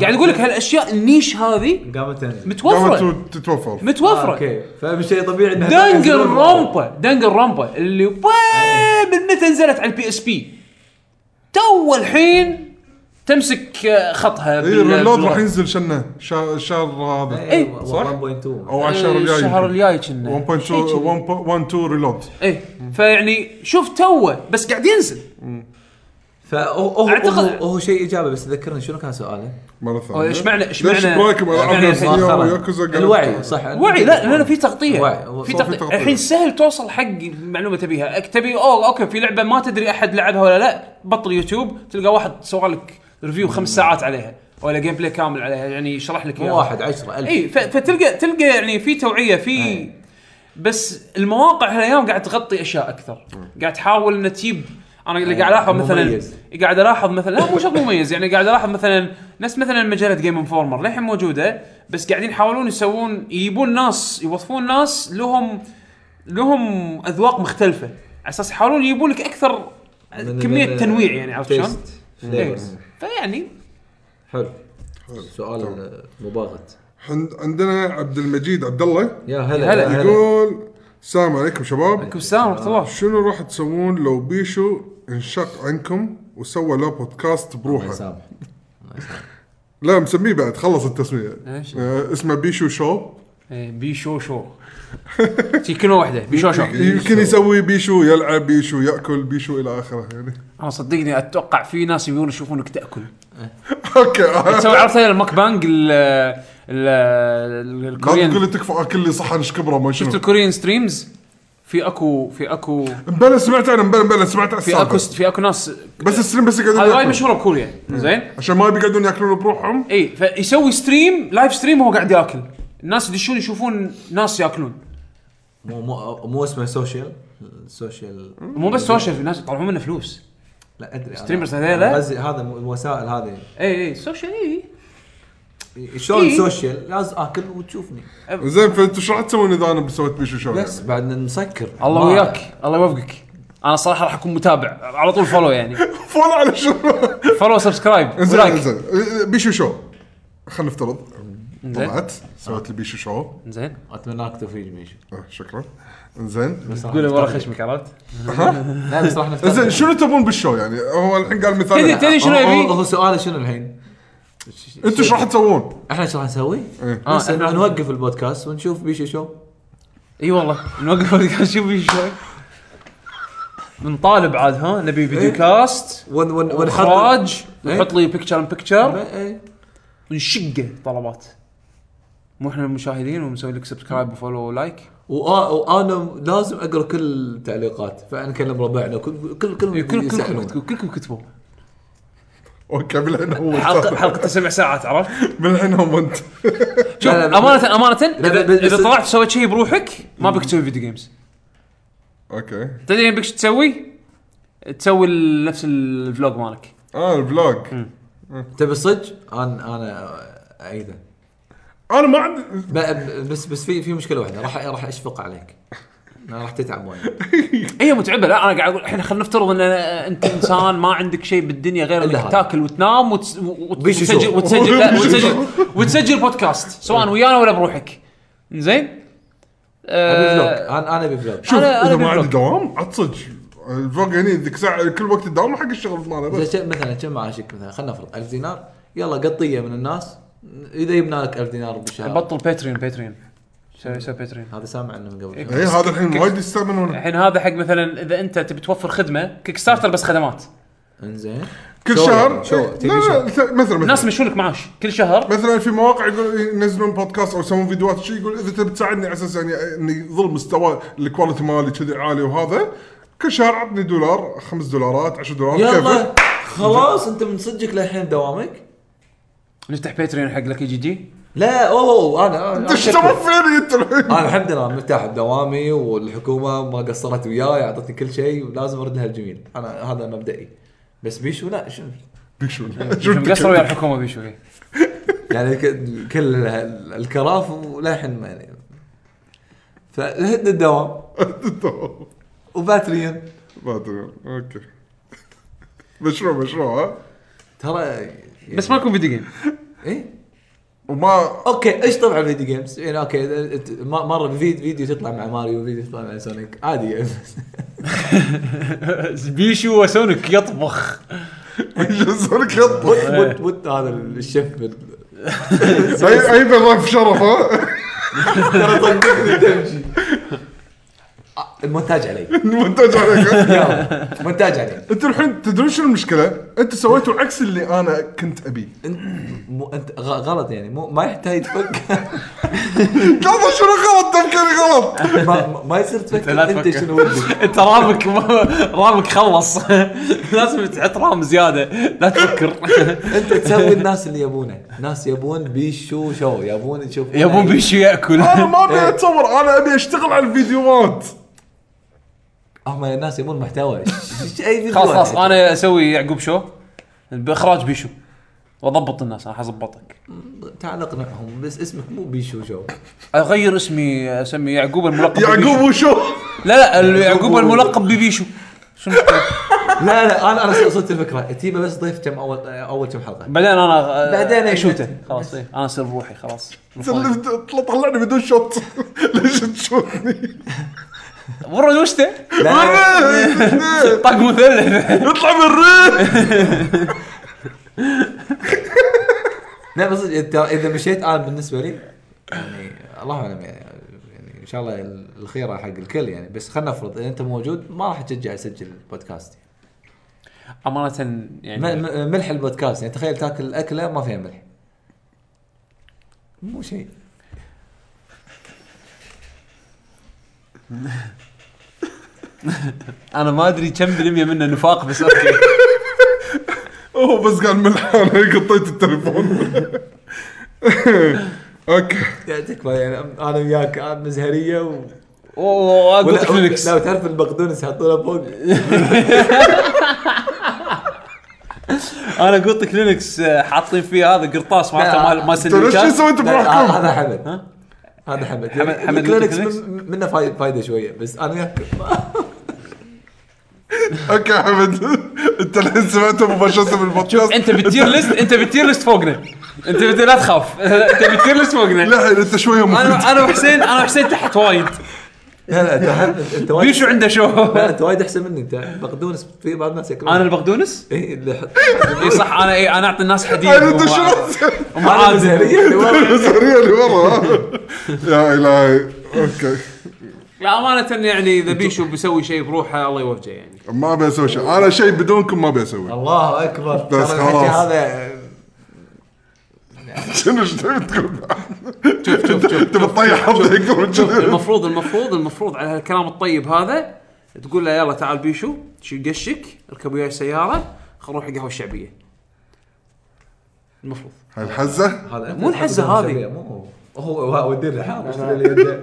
Speaker 2: قاعد اقول لك هالاشياء النيش هذه
Speaker 4: يعني قامت تنزل
Speaker 2: متوفره
Speaker 3: قامت تتوفر
Speaker 4: آه،
Speaker 2: متوفره
Speaker 4: اوكي فمش شيء طبيعي انها
Speaker 2: دنجل
Speaker 4: تنزل.
Speaker 2: رومبا دنجل رومبا اللي وين من متى نزلت على البي اس بي تو الحين تمسك آه، خطها
Speaker 3: اي
Speaker 2: بال-
Speaker 3: الريلود
Speaker 2: بالروح.
Speaker 3: إيه، راح ينزل شنه شا- الشهر هذا
Speaker 2: إيه،
Speaker 4: و-
Speaker 2: صح؟
Speaker 4: 1.2
Speaker 3: او على الشهر
Speaker 2: آه،
Speaker 3: الجاي
Speaker 2: الشهر الجاي كنا
Speaker 3: 1.2
Speaker 2: شي كنا.
Speaker 3: 1.2 ريلود
Speaker 2: ايه فيعني شوف توه بس قاعد ينزل
Speaker 4: فهو هو
Speaker 2: أعتقد-
Speaker 4: هو- هو شيء اجابه بس ذكرني شنو كان سؤاله؟
Speaker 3: مره
Speaker 2: أو
Speaker 3: ثانيه
Speaker 2: ايش معنى ايش
Speaker 3: ليش
Speaker 2: معنى
Speaker 3: برايكم ألعاب
Speaker 2: يعني
Speaker 3: ناس
Speaker 2: الحين-
Speaker 3: يا
Speaker 4: مؤخراً.
Speaker 3: وياكوزا قالوا-
Speaker 4: الوعي صح
Speaker 2: وعي لا لا لا في تغطيه
Speaker 4: وعي، هو-
Speaker 2: في
Speaker 4: هو
Speaker 3: في
Speaker 2: تغطيه
Speaker 3: تغطية.
Speaker 2: الحين سهل توصل حق المعلومه تبيها اكتبي اوه اوكي في لعبه ما تدري احد لعبها ولا لا بطل يوتيوب تلقى واحد سوى لك ريفيو خمس ساعات عليها ولا جيم بلاي كامل عليها يعني يشرح لك
Speaker 4: مو واحد 10 1000
Speaker 2: اي إيه، ف- فتلقى تلقى يعني في توعيه في بس المواقع هالايام قاعد تغطي اشياء اكثر قاعد تحاول انها تجيب انا اللي قاعد الاحظ مثلا
Speaker 4: مميز.
Speaker 2: قاعد الاحظ مثلا لا مو شرط مميز يعني قاعد الاحظ مثلا نفس مثلا مجله جيم انفورمر للحين موجوده بس قاعدين يحاولون يسوون يجيبون ناس يوظفون ناس لهم لهم اذواق مختلفه على اساس يحاولون يجيبون لك اكثر
Speaker 4: من-
Speaker 2: كميه
Speaker 4: من-
Speaker 2: تنويع يعني عرفت شلون؟
Speaker 4: taste
Speaker 2: إيه.
Speaker 4: flavors.
Speaker 2: فيعني
Speaker 4: حلو
Speaker 3: حلو. تمام.
Speaker 4: سؤال مباغت
Speaker 3: عند- عندنا عبد المجيد عبد الله
Speaker 4: يا هلا
Speaker 2: هلا.
Speaker 4: يا
Speaker 3: يقول السلام عليكم شباب
Speaker 2: عليكم السلام ورحمه الله
Speaker 3: شنو راح تسوون لو بيشو انشق عنكم وسوى له بودكاست
Speaker 4: الله
Speaker 3: بروحه
Speaker 4: يسامح.
Speaker 3: لا مسميه بعد خلص التسميه
Speaker 2: إيش؟
Speaker 3: آه، اسمه بيشو شو
Speaker 2: إيه، بيشو شو شي كلمه واحده بيشو شو
Speaker 3: يمكن يسوي بيشو يلعب بيشو ياكل بيشو الى اخره يعني
Speaker 2: انا صدقني اتوقع في ناس يبون يشوفونك تاكل
Speaker 3: اوكي
Speaker 2: تسوي عرفت هاي المك بانج ال ال
Speaker 3: لا تقول لي
Speaker 2: الكوريين
Speaker 3: تكفى اكل لي صحن ايش كبره ما
Speaker 2: شفت
Speaker 3: شفت
Speaker 2: الكوريين ستريمز في اكو في اكو
Speaker 3: مبلا سمعت انا مبلا مبلا سمعت على
Speaker 2: في اكو
Speaker 3: السالفه
Speaker 2: في اكو ناس
Speaker 3: بس الستريم بس يقعدون
Speaker 2: هذه وايد
Speaker 3: ياكلون.
Speaker 2: مشهوره بكوريا زين
Speaker 3: عشان ما يبي يقعدون ياكلون بروحهم
Speaker 2: اي فيسوي ستريم لايف ستريم وهو قاعد ياكل الناس يدشون يشوفون ناس ياكلون
Speaker 4: مو مو مو اسمه سوشيال سوشيال
Speaker 2: مو بس سوشيال في ناس يطلعون منه فلوس
Speaker 4: لا ادري أنا-
Speaker 2: ستريمرز هذيلا؟
Speaker 4: غزي- هذا مو- الوسائل هذه
Speaker 2: اي اي سوشيال اي
Speaker 4: شلون
Speaker 2: إيه.
Speaker 4: سوشيال لازم اكل وتشوفني
Speaker 3: زين فانتم شو راح تسوون اذا انا سويت بيشو شو يعني؟
Speaker 4: بس بعد نسكر
Speaker 2: الله
Speaker 4: ما-
Speaker 2: وياك الله يوفقك انا صراحه راح اكون متابع على طول فولو يعني
Speaker 3: فول على شو
Speaker 2: فولو سبسكرايب
Speaker 3: زين
Speaker 2: ولايك
Speaker 3: زين بيشو شو خلينا نفترض
Speaker 2: زين
Speaker 3: طلعت سويت لي بيشو شو
Speaker 2: زين
Speaker 4: اتمناك تفريج ميشو
Speaker 3: آه، شكرا زين
Speaker 4: بس راح
Speaker 2: قول ورا
Speaker 4: نفترض.
Speaker 2: خشمك عرفت؟
Speaker 4: لا بس راح نفترض
Speaker 3: زين شنو تبون بالشو يعني هو الحين قال
Speaker 2: تدري
Speaker 3: مثال
Speaker 2: تدري شنو
Speaker 4: هو- هو-
Speaker 2: يبي؟
Speaker 4: هو سؤاله شنو الحين؟
Speaker 3: انتم شو راح تسوون؟
Speaker 4: احنا ايش راح نسوي؟
Speaker 2: آه،
Speaker 4: إيه. بس
Speaker 2: إحنا-
Speaker 4: نوقف البودكاست ونشوف بيشو شو
Speaker 2: اي والله نوقف البودكاست شوف ايش شوي بنطالب عاد ها نبي فيديو
Speaker 4: إيه.
Speaker 2: كاست
Speaker 4: ون ون ونحط
Speaker 2: اخراج ونحط لي بيكتشر ان بيكتشر
Speaker 4: إيه.
Speaker 2: ونشقه طلبات مو احنا المشاهدين ومسوي لك سبسكرايب وفولو ولايك
Speaker 4: وأ- وانا لازم اقرا كل التعليقات فانا اكلم ربعنا كل كل إيه، كل
Speaker 2: كل- كلكم كتبوا- كلكم كتبوا
Speaker 3: اوكي من الحين هو
Speaker 2: حلقه حلقه سبع ساعات عرفت؟
Speaker 3: من الحين هو انت
Speaker 2: شوف
Speaker 4: لا، لا، بس-
Speaker 2: امانه امانه
Speaker 4: لا،
Speaker 2: إذا-
Speaker 4: بس-
Speaker 2: اذا
Speaker 4: بس-
Speaker 2: طلعت سويت شيء بروحك ما بك تسوي فيديو جيمز
Speaker 3: اوكي
Speaker 2: تدري ايش بك تسوي؟ تسوي ال- نفس الفلوج مالك
Speaker 3: اه الفلوج
Speaker 4: تبي صدق انا انا اعيده
Speaker 3: انا ما عندي
Speaker 4: ب- بس بس في في مشكله واحده راح راح اشفق عليك أنا راح تتعب وايد
Speaker 2: هي متعبه لا انا قاعد اقول احنا خلينا نفترض ان انت انسان ما عندك شيء بالدنيا غير
Speaker 4: إلا
Speaker 2: انك
Speaker 4: هذا.
Speaker 2: تاكل وتنام وتس- وت-
Speaker 4: بيشو شو.
Speaker 2: وتسجل وتسجل لا،
Speaker 3: بيشو شو.
Speaker 2: وتسجل وتسجل بودكاست سواء ويانا ولا بروحك زين
Speaker 4: ابي فلوج
Speaker 2: آه
Speaker 4: انا انا ابي فلوج
Speaker 3: شوف
Speaker 2: أنا- أنا
Speaker 3: اذا ما
Speaker 2: بالفلوج.
Speaker 3: عندي دوام عاد صدق الفلوج هني ذيك ساعه كل وقت الدوام حق الشغل ماله بس
Speaker 4: زي كم- مثلا كم معاشك مثلا خلينا نفرض 1000 دينار يلا قطيه من الناس اذا جبنا لك 1000 دينار بالشهر
Speaker 2: بطل باتريون باتريون سوي سوي باتريون
Speaker 4: هذا سامع عنه من قبل
Speaker 2: إيه.
Speaker 3: اي هذا الحين وايد يستعملونه
Speaker 2: الحين هذا حق مثلا اذا انت تبي توفر خدمه كيك ستارتر بس خدمات
Speaker 4: انزين
Speaker 3: كل
Speaker 4: شو
Speaker 3: شهر
Speaker 4: شو-
Speaker 3: إيه،
Speaker 4: تي في
Speaker 3: لا،
Speaker 4: شو.
Speaker 3: لا، مثلا مثلا
Speaker 2: الناس يمشون لك معاش كل شهر
Speaker 3: مثلا في مواقع يقول ينزلون بودكاست او يسوون فيديوهات شيء يقول اذا تبي تساعدني على اساس يعني اني يظل مستوى الكواليتي مالي كذي عالي وهذا كل شهر عطني دولار خمس دولارات 10 دولارات
Speaker 4: يلا خلاص انت من صدقك للحين دوامك
Speaker 2: نفتح باتريون حق لك جي جي
Speaker 4: لا اوه انا
Speaker 3: انت ايش تسوي فيني انت الحين؟
Speaker 4: انا الحمد لله مرتاح بدوامي والحكومه ما قصرت وياي اعطتني كل شيء ولازم ارد لها الجميل انا هذا مبدئي بس بيشو لا شنو
Speaker 3: بيشو
Speaker 2: شوف مقصر ويا الحكومه بيشو إيه.
Speaker 4: يعني ك- كل ال- الكراف وللحين ما يعني فهد الدوام وباتريون
Speaker 3: ما ادري اوكي مشروع مشروع ها
Speaker 4: ترى يعني
Speaker 2: بس ما يكون فيديو جيم
Speaker 4: ايه
Speaker 3: وما
Speaker 4: اوكي ايش طبعا الفيديو جيمز يعني اوكي أنت- أنت- م- مره فيديو, فيديو تطلع مع ماريو وفيديو تطلع مع سونيك عادي يعني.
Speaker 2: بيشو وسونيك يطبخ
Speaker 3: يجلسونك يطبخ
Speaker 4: بوت
Speaker 2: إيه.
Speaker 4: بوت بوت هذا الشيف بال-
Speaker 3: اي اي ضيف شرف ها
Speaker 4: ترى صدقني تمشي آه، المونتاج علي
Speaker 3: المونتاج عليك ها؟
Speaker 4: يلا مونتاج علي
Speaker 3: انت الحين تدرون شنو المشكله؟ انت سويتوا عكس اللي انا كنت ابيه
Speaker 4: انت مو انت غ- غلط يعني مو ما يحتاج تفكر
Speaker 3: لحظه شنو غلط تفكيري غلط
Speaker 4: ما, ما يصير
Speaker 2: لا
Speaker 4: تفكر
Speaker 2: تفكر.
Speaker 4: انت شنو ودك
Speaker 2: انت رامك رامك خلص لازم تحط رام زياده لا تفكر
Speaker 4: انت تسوي الناس اللي يبونه ناس يبون بيشو شو يبون يشوف
Speaker 2: يبون بيشو ياكل
Speaker 3: انا ما ابي اتصور انا ابي اشتغل على الفيديوهات
Speaker 4: هم الناس يبون محتوى ش- اي فيديو
Speaker 2: خلاص خلاص
Speaker 4: واحد.
Speaker 2: انا اسوي يعقوب شو باخراج بيشو واضبط الناس انا حظبطك
Speaker 4: تعال اقنعهم بس اسمك مو بيشو شو
Speaker 2: اغير اسمي اسمي يعقوب الملقب
Speaker 3: يعقوب
Speaker 2: ببيشو.
Speaker 3: وشو
Speaker 2: لا لا ال- يعقوب الملقب ببيشو شنو المشكلة؟
Speaker 4: لا لا انا انا وصلت الفكره تجيبه بس ضيف كم اول اول كم حلقه
Speaker 2: بعدين انا
Speaker 4: بعدين
Speaker 2: بعدين
Speaker 4: أي-
Speaker 2: اشوته خلاص إيه. انا اصير بروحي خلاص
Speaker 3: طلع- طلعني بدون شوت ليش تشوتني؟
Speaker 2: مره وشته
Speaker 4: لا، لا
Speaker 2: طق مثلث
Speaker 3: اطلع من الريح
Speaker 4: لا بس ترى اذا مشيت انا بالنسبه لي يعني الله اعلم يعني يعني ان شاء الله الخيره حق الكل يعني بس خلينا نفرض اذا انت موجود ما راح ترجع اسجل البودكاست
Speaker 2: امانه يعني
Speaker 4: م- م- ملح البودكاست يعني تخيل تاكل اكله ما فيها ملح مو شيء
Speaker 2: انا ما ادري كم بالمية منه نفاق بس اوكي
Speaker 3: اوه بس قال ملح انا قطيت التليفون اوكي
Speaker 4: يعني تكفى يعني انا وياك مزهريه و...
Speaker 2: واقول لك فينيكس
Speaker 4: لو تعرف البقدونس يحطونه فوق
Speaker 2: انا قلت كلينكس آه، حاطين فيه هذا قرطاس مالته مال مال
Speaker 3: انتوا ليش شو
Speaker 2: سندوتشات
Speaker 3: سويتوا
Speaker 4: لا،
Speaker 3: بروحكم؟
Speaker 4: هذا حمد هذا حمد
Speaker 2: حمد-
Speaker 4: يعني
Speaker 2: حمد
Speaker 4: الكلينكس
Speaker 2: الكلينكس؟
Speaker 4: من- منه فايده فايده شويه بس انا وياك
Speaker 3: اوكي يا حمد انت الحين سمعته مباشره من البودكاست
Speaker 2: انت بتير ليست انت بتير ليست فوقنا انت بت- لا تخاف انت بتير ليست فوقنا
Speaker 3: لا الحين انت شويه مفيد
Speaker 2: انا انا وحسين انا وحسين تحت وايد
Speaker 4: لا لا انت حمد انت وايد
Speaker 2: بيشو عنده شو
Speaker 4: لا انت وايد احسن مني انت بقدونس في بعض الناس ياكلون
Speaker 2: انا البقدونس
Speaker 4: ايه اللي يحط
Speaker 2: اي صح انا اي انا اعطي الناس حديد
Speaker 3: الحين انت
Speaker 2: وما-
Speaker 3: شو
Speaker 2: وما
Speaker 4: انا
Speaker 2: عادل.
Speaker 4: مزهريه اللي ورا.
Speaker 3: السريه اللي ورا ها؟ يا الهي اوكي
Speaker 2: لا امانه يعني اذا بيشو بيسوي شيء بروحه الله يوفقه يعني
Speaker 3: ما ابي اسوي شيء انا شيء بدونكم ما ابي اسوي
Speaker 4: الله اكبر ترى
Speaker 3: بس
Speaker 4: الحكي
Speaker 3: خلاص.
Speaker 4: هذا
Speaker 3: شنو ايش تبي تقول؟
Speaker 2: شوف شوف شوف
Speaker 3: تبي تطيح حظي يقول كذا
Speaker 2: المفروض المفروض المفروض على هالكلام الطيب هذا تقول له يلا تعال بيشو شيل قشك اركب وياي سياره خل نروح القهوه الشعبيه المفروض
Speaker 3: هاي الحزه
Speaker 4: هذا
Speaker 2: مو الحزة هذه.
Speaker 4: مو هو هو ودير لحاله اشتري لي يده.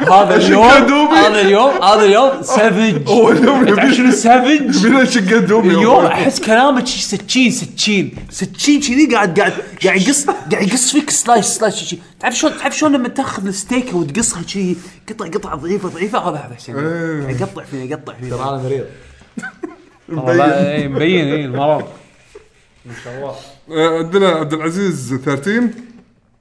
Speaker 2: هذا اليوم
Speaker 3: دوبي.
Speaker 2: هذا اليوم هذا اليوم سافج
Speaker 3: هو اليوم
Speaker 2: تعرف شنو سافج
Speaker 3: بينا شقة دوبي
Speaker 2: اليوم احس كلامك شي سكين سكين سكين كذي قاعد قاعد قاعد يقص قاعد يقص فيك سلايس سلايس شي تعرف شلون تعرف شلون لما تاخذ الستيكه وتقصها شي قطع قطع ضعيفه ضعيفه هذا هذا حسين قاعد يقطع فيني يقطع فيني
Speaker 4: ترى انا مريض
Speaker 2: والله اي مبين اي المرض
Speaker 3: آه، عندنا عبد العزيز 13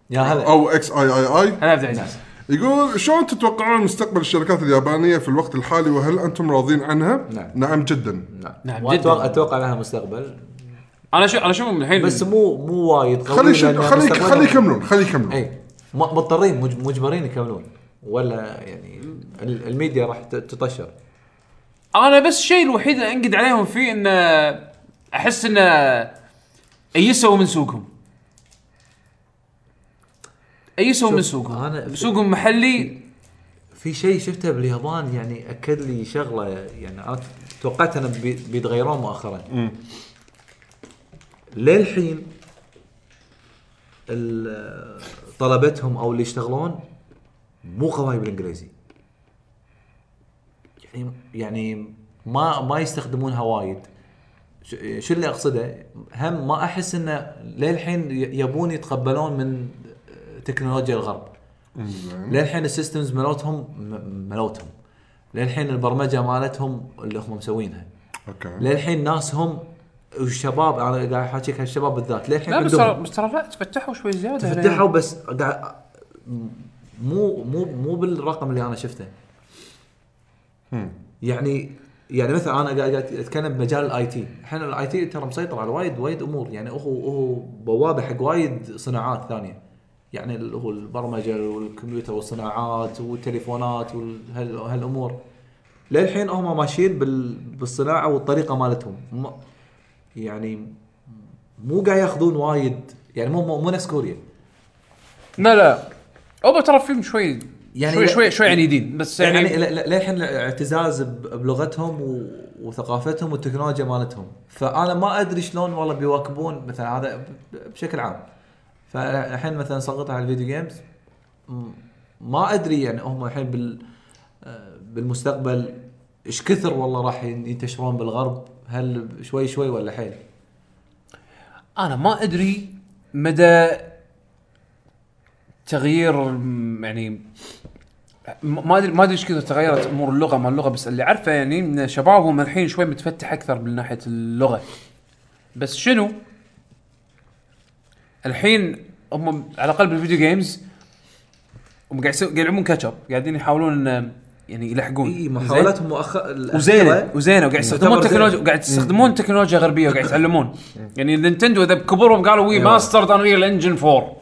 Speaker 4: يا هلا
Speaker 3: او اكس اي اي اي
Speaker 2: هلا عبد العزيز
Speaker 3: يقول شلون تتوقعون مستقبل الشركات اليابانيه في الوقت الحالي وهل انتم راضين عنها؟
Speaker 4: نعم.
Speaker 3: نعم جدا
Speaker 2: نعم،
Speaker 4: نعم
Speaker 2: جداً.
Speaker 4: اتوقع اتوقع لها مستقبل
Speaker 2: انا شو انا اشوف الحين
Speaker 4: بس مو مو وايد
Speaker 3: خلي
Speaker 4: قوي
Speaker 2: يعني
Speaker 3: شو-
Speaker 4: لأن
Speaker 3: خلي
Speaker 4: مستقبلهم-
Speaker 3: خلي يكملون خلي يكملون
Speaker 2: إيه.
Speaker 4: اي م- مضطرين مج- مجبرين يكملون ولا يعني ال- الميديا راح ت- تطشر
Speaker 2: انا بس الشيء الوحيد اللي انقد عليهم فيه آه، انه احس انه ايسوا آه، من سوقهم ايسوا من
Speaker 4: أنا
Speaker 2: سوقهم
Speaker 4: في-
Speaker 2: سوقهم محلي
Speaker 4: في شيء شفته باليابان يعني اكد لي شغله يعني انا توقعت انه بي- بيتغيرون مؤخرا للحين ال- طلبتهم او اللي يشتغلون مو قوي بالانجليزي يعني يعني ما ما يستخدمونها وايد ش- شو اللي اقصده هم ما احس انه للحين ي- يبون يتقبلون من تكنولوجيا الغرب للحين السيستمز مالتهم م- مالتهم للحين البرمجه مالتهم اللي هم مسوينها
Speaker 3: اوكي
Speaker 4: للحين ناسهم والشباب انا قاعد احاكيك هالشباب بالذات للحين
Speaker 2: لا بس
Speaker 4: عندهم-
Speaker 2: ترى بس ترى لا تفتحوا شوي زياده
Speaker 4: فتحوا بس قاعد مو مو مو بالرقم اللي انا شفته يعني يعني مثلا انا قاعد قاعد اتكلم بمجال الاي تي الحين الاي تي ترى مسيطر على وايد وايد امور يعني هو هو بوابه حق وايد صناعات ثانيه يعني ال- هو البرمجه والكمبيوتر والصناعات والتليفونات وهالامور للحين هم ماشيين بال- بالصناعه والطريقه مالتهم ما- يعني مو قاعد ياخذون وايد يعني مو مو, مو نفس كوريا
Speaker 2: لا لا اوبا ترى فيهم شوي يعني
Speaker 4: يعني
Speaker 2: شوي
Speaker 4: لا-
Speaker 2: شوي شوي عنيدين بس
Speaker 4: يعني,
Speaker 2: يعني
Speaker 4: ل- ل- للحين اعتزاز ب- بلغتهم و... وثقافتهم والتكنولوجيا مالتهم فانا ما ادري شلون والله بيواكبون مثلا هذا ب- بشكل عام فالحين مثلا سقطوا على الفيديو جيمز م- ما ادري يعني هم الحين بال آه، بالمستقبل ايش كثر والله راح ين- ينتشرون بالغرب هل شوي شوي ولا حيل؟
Speaker 2: انا ما ادري مدى تغيير م- يعني م- ما ادري ما ادري ايش كثر تغيرت امور اللغه ما اللغه بس اللي اعرفه يعني ان شبابهم الحين شوي متفتح اكثر من ناحيه اللغه بس شنو؟ الحين هم على الاقل بالفيديو جيمز هم قاعد يسو- قاعد يلعبون كاتشب قاعدين يحاولون إن- يعني يلحقون
Speaker 4: اي
Speaker 2: زين؟
Speaker 4: محاولاتهم مؤخرا
Speaker 2: وزينه وزينه وقاعد طيب. يستخدمون
Speaker 4: يعتبر زينة.
Speaker 2: تكنولوجيا وقاعد يستخدمون تكنولوجيا غربيه وقاعد يتعلمون يعني نينتندو اذا بكبرهم قالوا وي
Speaker 4: أيوة.
Speaker 2: ماسترد انريل انجن 4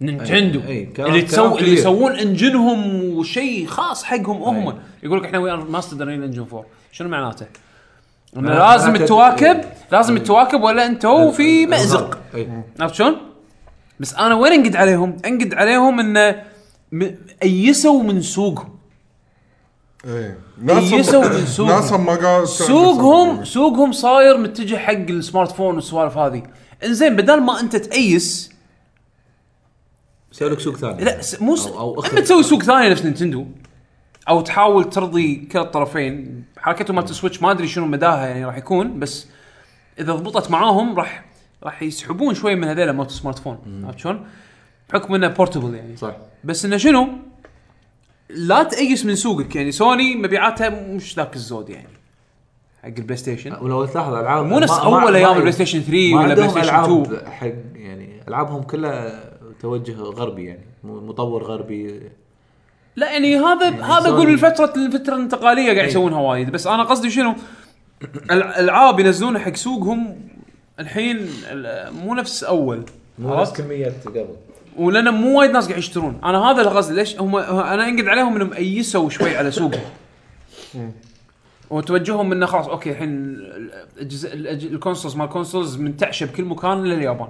Speaker 2: نينتندو
Speaker 4: أيوة. أي- أي، كلام-
Speaker 2: اللي
Speaker 4: كلام
Speaker 2: تسو اللي
Speaker 4: كبير.
Speaker 2: يسوون انجنهم وشيء خاص حقهم هم
Speaker 4: أي.
Speaker 2: يقول لك احنا وي ماسترد انريل انجن 4 شنو معناته؟ انه
Speaker 4: معناته
Speaker 2: لازم
Speaker 4: معناته-
Speaker 2: تواكب
Speaker 4: أي.
Speaker 2: لازم تواكب ولا انت هو
Speaker 4: إيه.
Speaker 2: في مازق
Speaker 4: اي
Speaker 2: عرفت شلون؟ بس انا وين انقد عليهم؟ انقد عليهم انه م- ايسوا من سوقهم
Speaker 3: ايه
Speaker 2: إيه، يسوي من سوقهم.
Speaker 3: ناسهم ما قال
Speaker 2: سوقهم سوقهم صاير متجه حق السمارت فون والسوالف هذه انزين بدل ما انت تأيس
Speaker 4: سوي لك سوق ثاني
Speaker 2: لا س- مو س-
Speaker 4: أو- أو
Speaker 2: اما تسوي سوق ثاني نفس نينتندو او تحاول ترضي كلا الطرفين حركتهم مالت السويتش ما ادري شنو مداها يعني راح يكون بس اذا ضبطت معاهم راح راح يسحبون شوي من هذيلا مالت السمارت فون عرفت شلون؟ بحكم انه بورتبل يعني
Speaker 4: صح
Speaker 2: بس انه شنو؟ لا تأيس من سوقك يعني سوني مبيعاتها مش ذاك الزود يعني حق البلاي ستيشن
Speaker 4: ولو تلاحظ العاب
Speaker 2: مو نفس أول أيام البلاي ستيشن 3 ولا بلاي ستيشن 2.
Speaker 4: حق يعني العابهم كلها توجه غربي يعني م- مطور غربي
Speaker 2: لا يعني هذا هذا
Speaker 4: سوني.
Speaker 2: اقول الفتره الفتره الانتقاليه قاعد يسوونها وايد بس انا قصدي شنو؟ الالعاب ينزلونها حق سوقهم الحين ال- مو نفس اول عرفت؟
Speaker 4: كميات قبل
Speaker 2: ولان مو وايد ناس قاعد يشترون انا هذا اللي قصدي ليش هم انا انقد عليهم انهم ايسوا شوي على سوقهم وتوجههم انه خلاص اوكي الحين ال- الأجهزة- الأج- الكونسولز مال الكونسولز منتعشه بكل مكان الا اليابان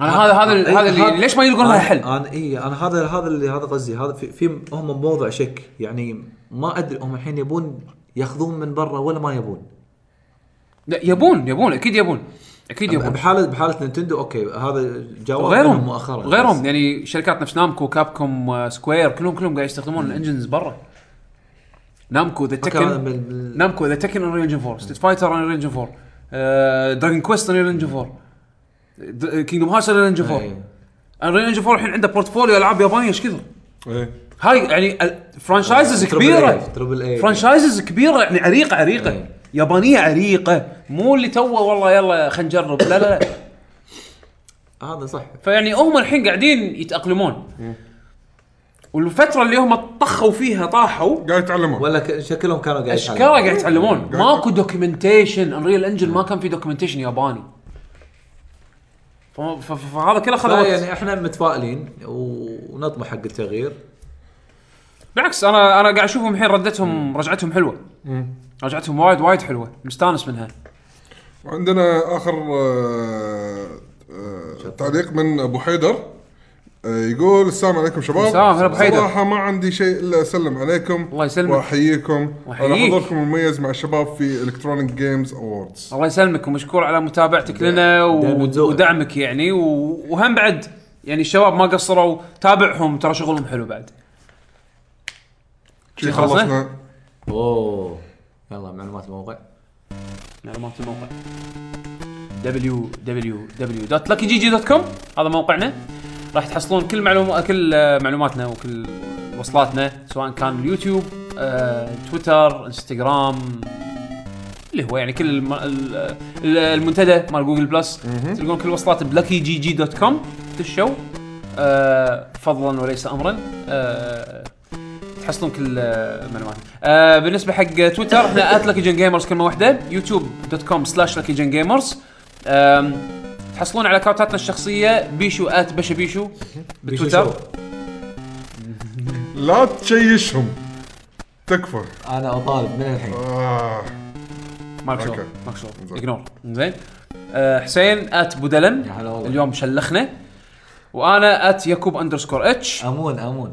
Speaker 2: انا هذا هذا
Speaker 4: آه،
Speaker 2: ال- هذا اللي ليش ما يلقون لها حل
Speaker 4: انا اي انا هذا هذا اللي هذا قصدي هذا في, في هم بوضع شك يعني ما ادري هم الحين يبون ياخذون من برا ولا ما يبون
Speaker 2: لا يبون يبون اكيد يبون اكيد يبون
Speaker 4: بحاله بحاله نينتندو اوكي هذا جواب
Speaker 2: وغيرهم
Speaker 4: منهم مؤخرا
Speaker 2: غيرهم يعني شركات نفس نامكو كابكوم آه، سكوير كلهم كلهم قاعد يستخدمون الانجنز برا نامكو ذا
Speaker 4: هذا
Speaker 2: تكن
Speaker 4: بال- بال-
Speaker 2: نامكو ذا تكن انريل انجن 4 ستيت فايتر انريل انجن 4 آه، دراجون كويست انريل انجن 4 د- آه، كينجدوم هارتس انريل انجن 4
Speaker 4: أي.
Speaker 2: انريل انجن 4 الحين عنده بورتفوليو العاب يابانيه ايش كثر
Speaker 3: ايه
Speaker 2: هاي يعني ال- فرانشايزز
Speaker 4: تربل
Speaker 2: كبيره
Speaker 4: A، تربل A.
Speaker 2: فرانشايزز كبيره يعني عريقه عريقه
Speaker 4: إيه.
Speaker 2: يابانيه عريقه مو اللي توه والله يلا خلينا نجرب لا لا لا
Speaker 4: هذا صح
Speaker 2: فيعني هم الحين قاعدين يتاقلمون والفتره اللي هم طخوا فيها طاحوا
Speaker 3: قاعد يتعلمون
Speaker 4: ولا ك... شكلهم كانوا قاعد
Speaker 2: اشكره قاعد يتعلمون ماكو دوكيومنتيشن انريل انجن ما كان في دوكيومنتيشن ياباني ف- ف- ف- فهذا كله خذ
Speaker 4: لا،
Speaker 2: وقت
Speaker 4: يعني احنا متفائلين و- ونطمح حق التغيير
Speaker 2: بالعكس انا انا قاعد اشوفهم الحين ردتهم رجعتهم حلوه رجعتهم وايد وايد حلوه مستانس منها
Speaker 3: وعندنا اخر آه، آه، تعليق من ابو حيدر آه، يقول السلام عليكم شباب
Speaker 2: السلام، هلا أبو حيدر.
Speaker 3: صراحه ما عندي شيء الا اسلم عليكم
Speaker 2: الله يسلمك.
Speaker 3: واحييكم على
Speaker 2: وأحييك.
Speaker 3: حضوركم المميز مع الشباب في الكترونيك جيمز اووردز
Speaker 2: الله يسلمك ومشكور على متابعتك لنا
Speaker 4: دايماً
Speaker 2: و-
Speaker 4: ذوقك.
Speaker 2: ودعمك يعني و- وهم بعد يعني الشباب ما قصروا تابعهم ترى شغلهم حلو بعد شي خلصنا؟
Speaker 4: اوه يلا معلومات الموقع
Speaker 2: معلومات الموقع www.luckygg.com هذا موقعنا راح تحصلون كل معلومة كل آه، معلوماتنا وكل وصلاتنا سواء كان اليوتيوب آه، تويتر انستغرام اللي هو يعني كل الم... ال- ال- المنتدى مال جوجل بلس تلقون كل وصلات بلاكي جي جي دوت كوم دشوا آه، فضلا وليس امرا آه، تحصلون كل آه، المعلومات آه، بالنسبه حق تويتر احنا ات لكي جن جيمرز كلمه واحده يوتيوب دوت كوم سلاش لكي جن جيمرز تحصلون على كاونتاتنا الشخصيه بيشو ات بشا بيشو بالتويتر
Speaker 4: بيشو شو؟
Speaker 3: لا تشيشهم تكفى
Speaker 4: انا اطالب من الحين
Speaker 3: آه.
Speaker 2: ماك شغل
Speaker 3: أوكي.
Speaker 2: ماك شغل
Speaker 3: زين.
Speaker 2: اجنور زين آه، حسين ات بودلم
Speaker 4: يا هلا والله.
Speaker 2: اليوم شلخنا وانا ات يكوب اندرسكور اتش
Speaker 4: امون امون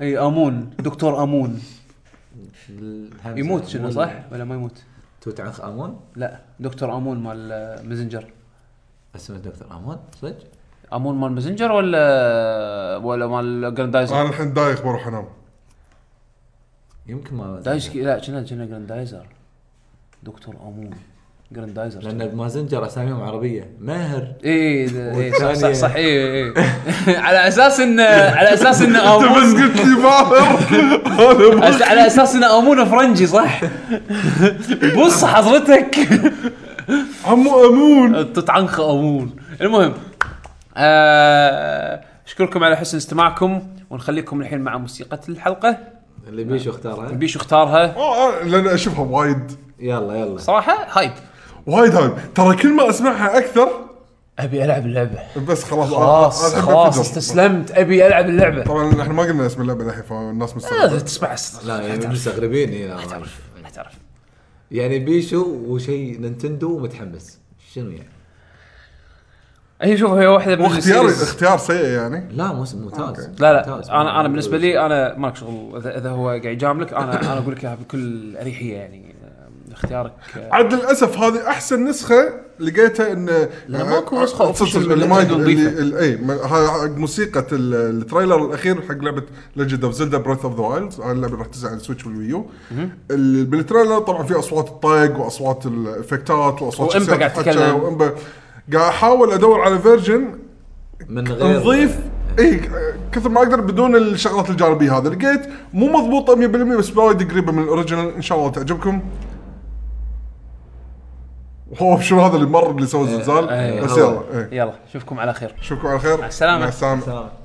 Speaker 2: اي امون دكتور امون
Speaker 4: الهمزة.
Speaker 2: يموت شنو
Speaker 4: أمون.
Speaker 2: صح ولا ما يموت؟
Speaker 4: توت عنخ امون
Speaker 2: لا دكتور امون مال آه، مازنجر
Speaker 4: اسمه الدكتور امون صدق
Speaker 2: امون مال مازنجر ولا ولا مال جراندايزر؟
Speaker 3: انا الحين دايخ بروح انام
Speaker 4: يمكن ما
Speaker 2: دايش لا كنا كنا جراندايزر دكتور امون جراندايزر
Speaker 4: لان بمازنجر اساميهم عربيه ماهر
Speaker 2: اي اي إيه، صح صح
Speaker 4: والثانية-
Speaker 2: صح اي اي على اساس ان على اساس ان
Speaker 3: انت
Speaker 2: امون
Speaker 3: بس قلت لي باهر انا ما-
Speaker 2: أس- على اساس انه امون فرنجي صح؟ بص حضرتك
Speaker 3: عمو امون
Speaker 2: تتعنخ امون المهم آه، اشكركم على حسن استماعكم ونخليكم الحين مع موسيقى الحلقه
Speaker 4: اللي بيشو اختارها
Speaker 2: بيشو اختارها
Speaker 3: آه، لان اشوفها وايد
Speaker 4: يلا يلا
Speaker 2: صراحه هايب
Speaker 3: وايد هايب ترى كل ما اسمعها اكثر
Speaker 2: ابي العب اللعبه
Speaker 3: بس خلاص
Speaker 2: خلاص
Speaker 3: أنا- أنا
Speaker 2: خلاص
Speaker 3: أنفجر.
Speaker 2: استسلمت ابي العب اللعبه
Speaker 3: طبعا احنا ما قلنا اسم اللعبه الحين فالناس
Speaker 2: آه،
Speaker 3: مستغربه
Speaker 2: تسمع
Speaker 4: لا
Speaker 2: لا
Speaker 4: يعني
Speaker 2: تعرف
Speaker 4: مستغربين إيه، لا، ما
Speaker 2: تعرف.
Speaker 4: أعرف.
Speaker 2: لا تعرف
Speaker 4: يعني بيشو وشيء نينتندو ومتحمس شنو يعني
Speaker 2: هي شوف هي واحده من
Speaker 3: واختيار
Speaker 2: السيريز.
Speaker 3: اختيار سيء يعني
Speaker 4: لا موسم ممتاز
Speaker 2: لا لا
Speaker 4: ممتاز.
Speaker 2: انا انا بالنسبه لي انا مالك شغل اذا إذا هو قاعد يجاملك انا انا اقول لك اياها بكل اريحيه يعني آه، اختيارك آه،
Speaker 3: عاد للاسف هذه احسن نسخه لقيتها ان
Speaker 2: لا، ماكو نسخة
Speaker 3: صدق- صدق،
Speaker 2: official
Speaker 3: اللي ما
Speaker 2: Nintendo
Speaker 3: اللي-
Speaker 2: نظيفة.
Speaker 3: اللي- اي ما- ها- حق موسيقى ال- التريلر الاخير حق لعبه ليجند اوف زلدا بريث اوف ذا وايلد هاي اللعبه راح تنزل على السويتش والويو ال- بالتريلر طبعا في اصوات الطق واصوات الافكتات واصوات
Speaker 2: وإمبا
Speaker 3: شخصيات
Speaker 2: قاعد
Speaker 3: الحكة
Speaker 2: تتكلم.
Speaker 3: وإمبا قاعد احاول ادور على فيرجن
Speaker 4: من غير
Speaker 3: نظيف اي إيه، كثر ما اقدر بدون الشغلات الجانبيه هذا لقيت مو مضبوطه 100% بس وايد قريبه من الاوريجنال ان شاء الله تعجبكم واو شنو هذا اللي مر اللي سوى الزلزال
Speaker 2: إيه،
Speaker 3: بس
Speaker 4: هو.
Speaker 3: يلا إيه.
Speaker 2: يلا اشوفكم على خير
Speaker 3: اشوفكم على خير
Speaker 2: السلامة.
Speaker 3: مع السلامه
Speaker 4: سلام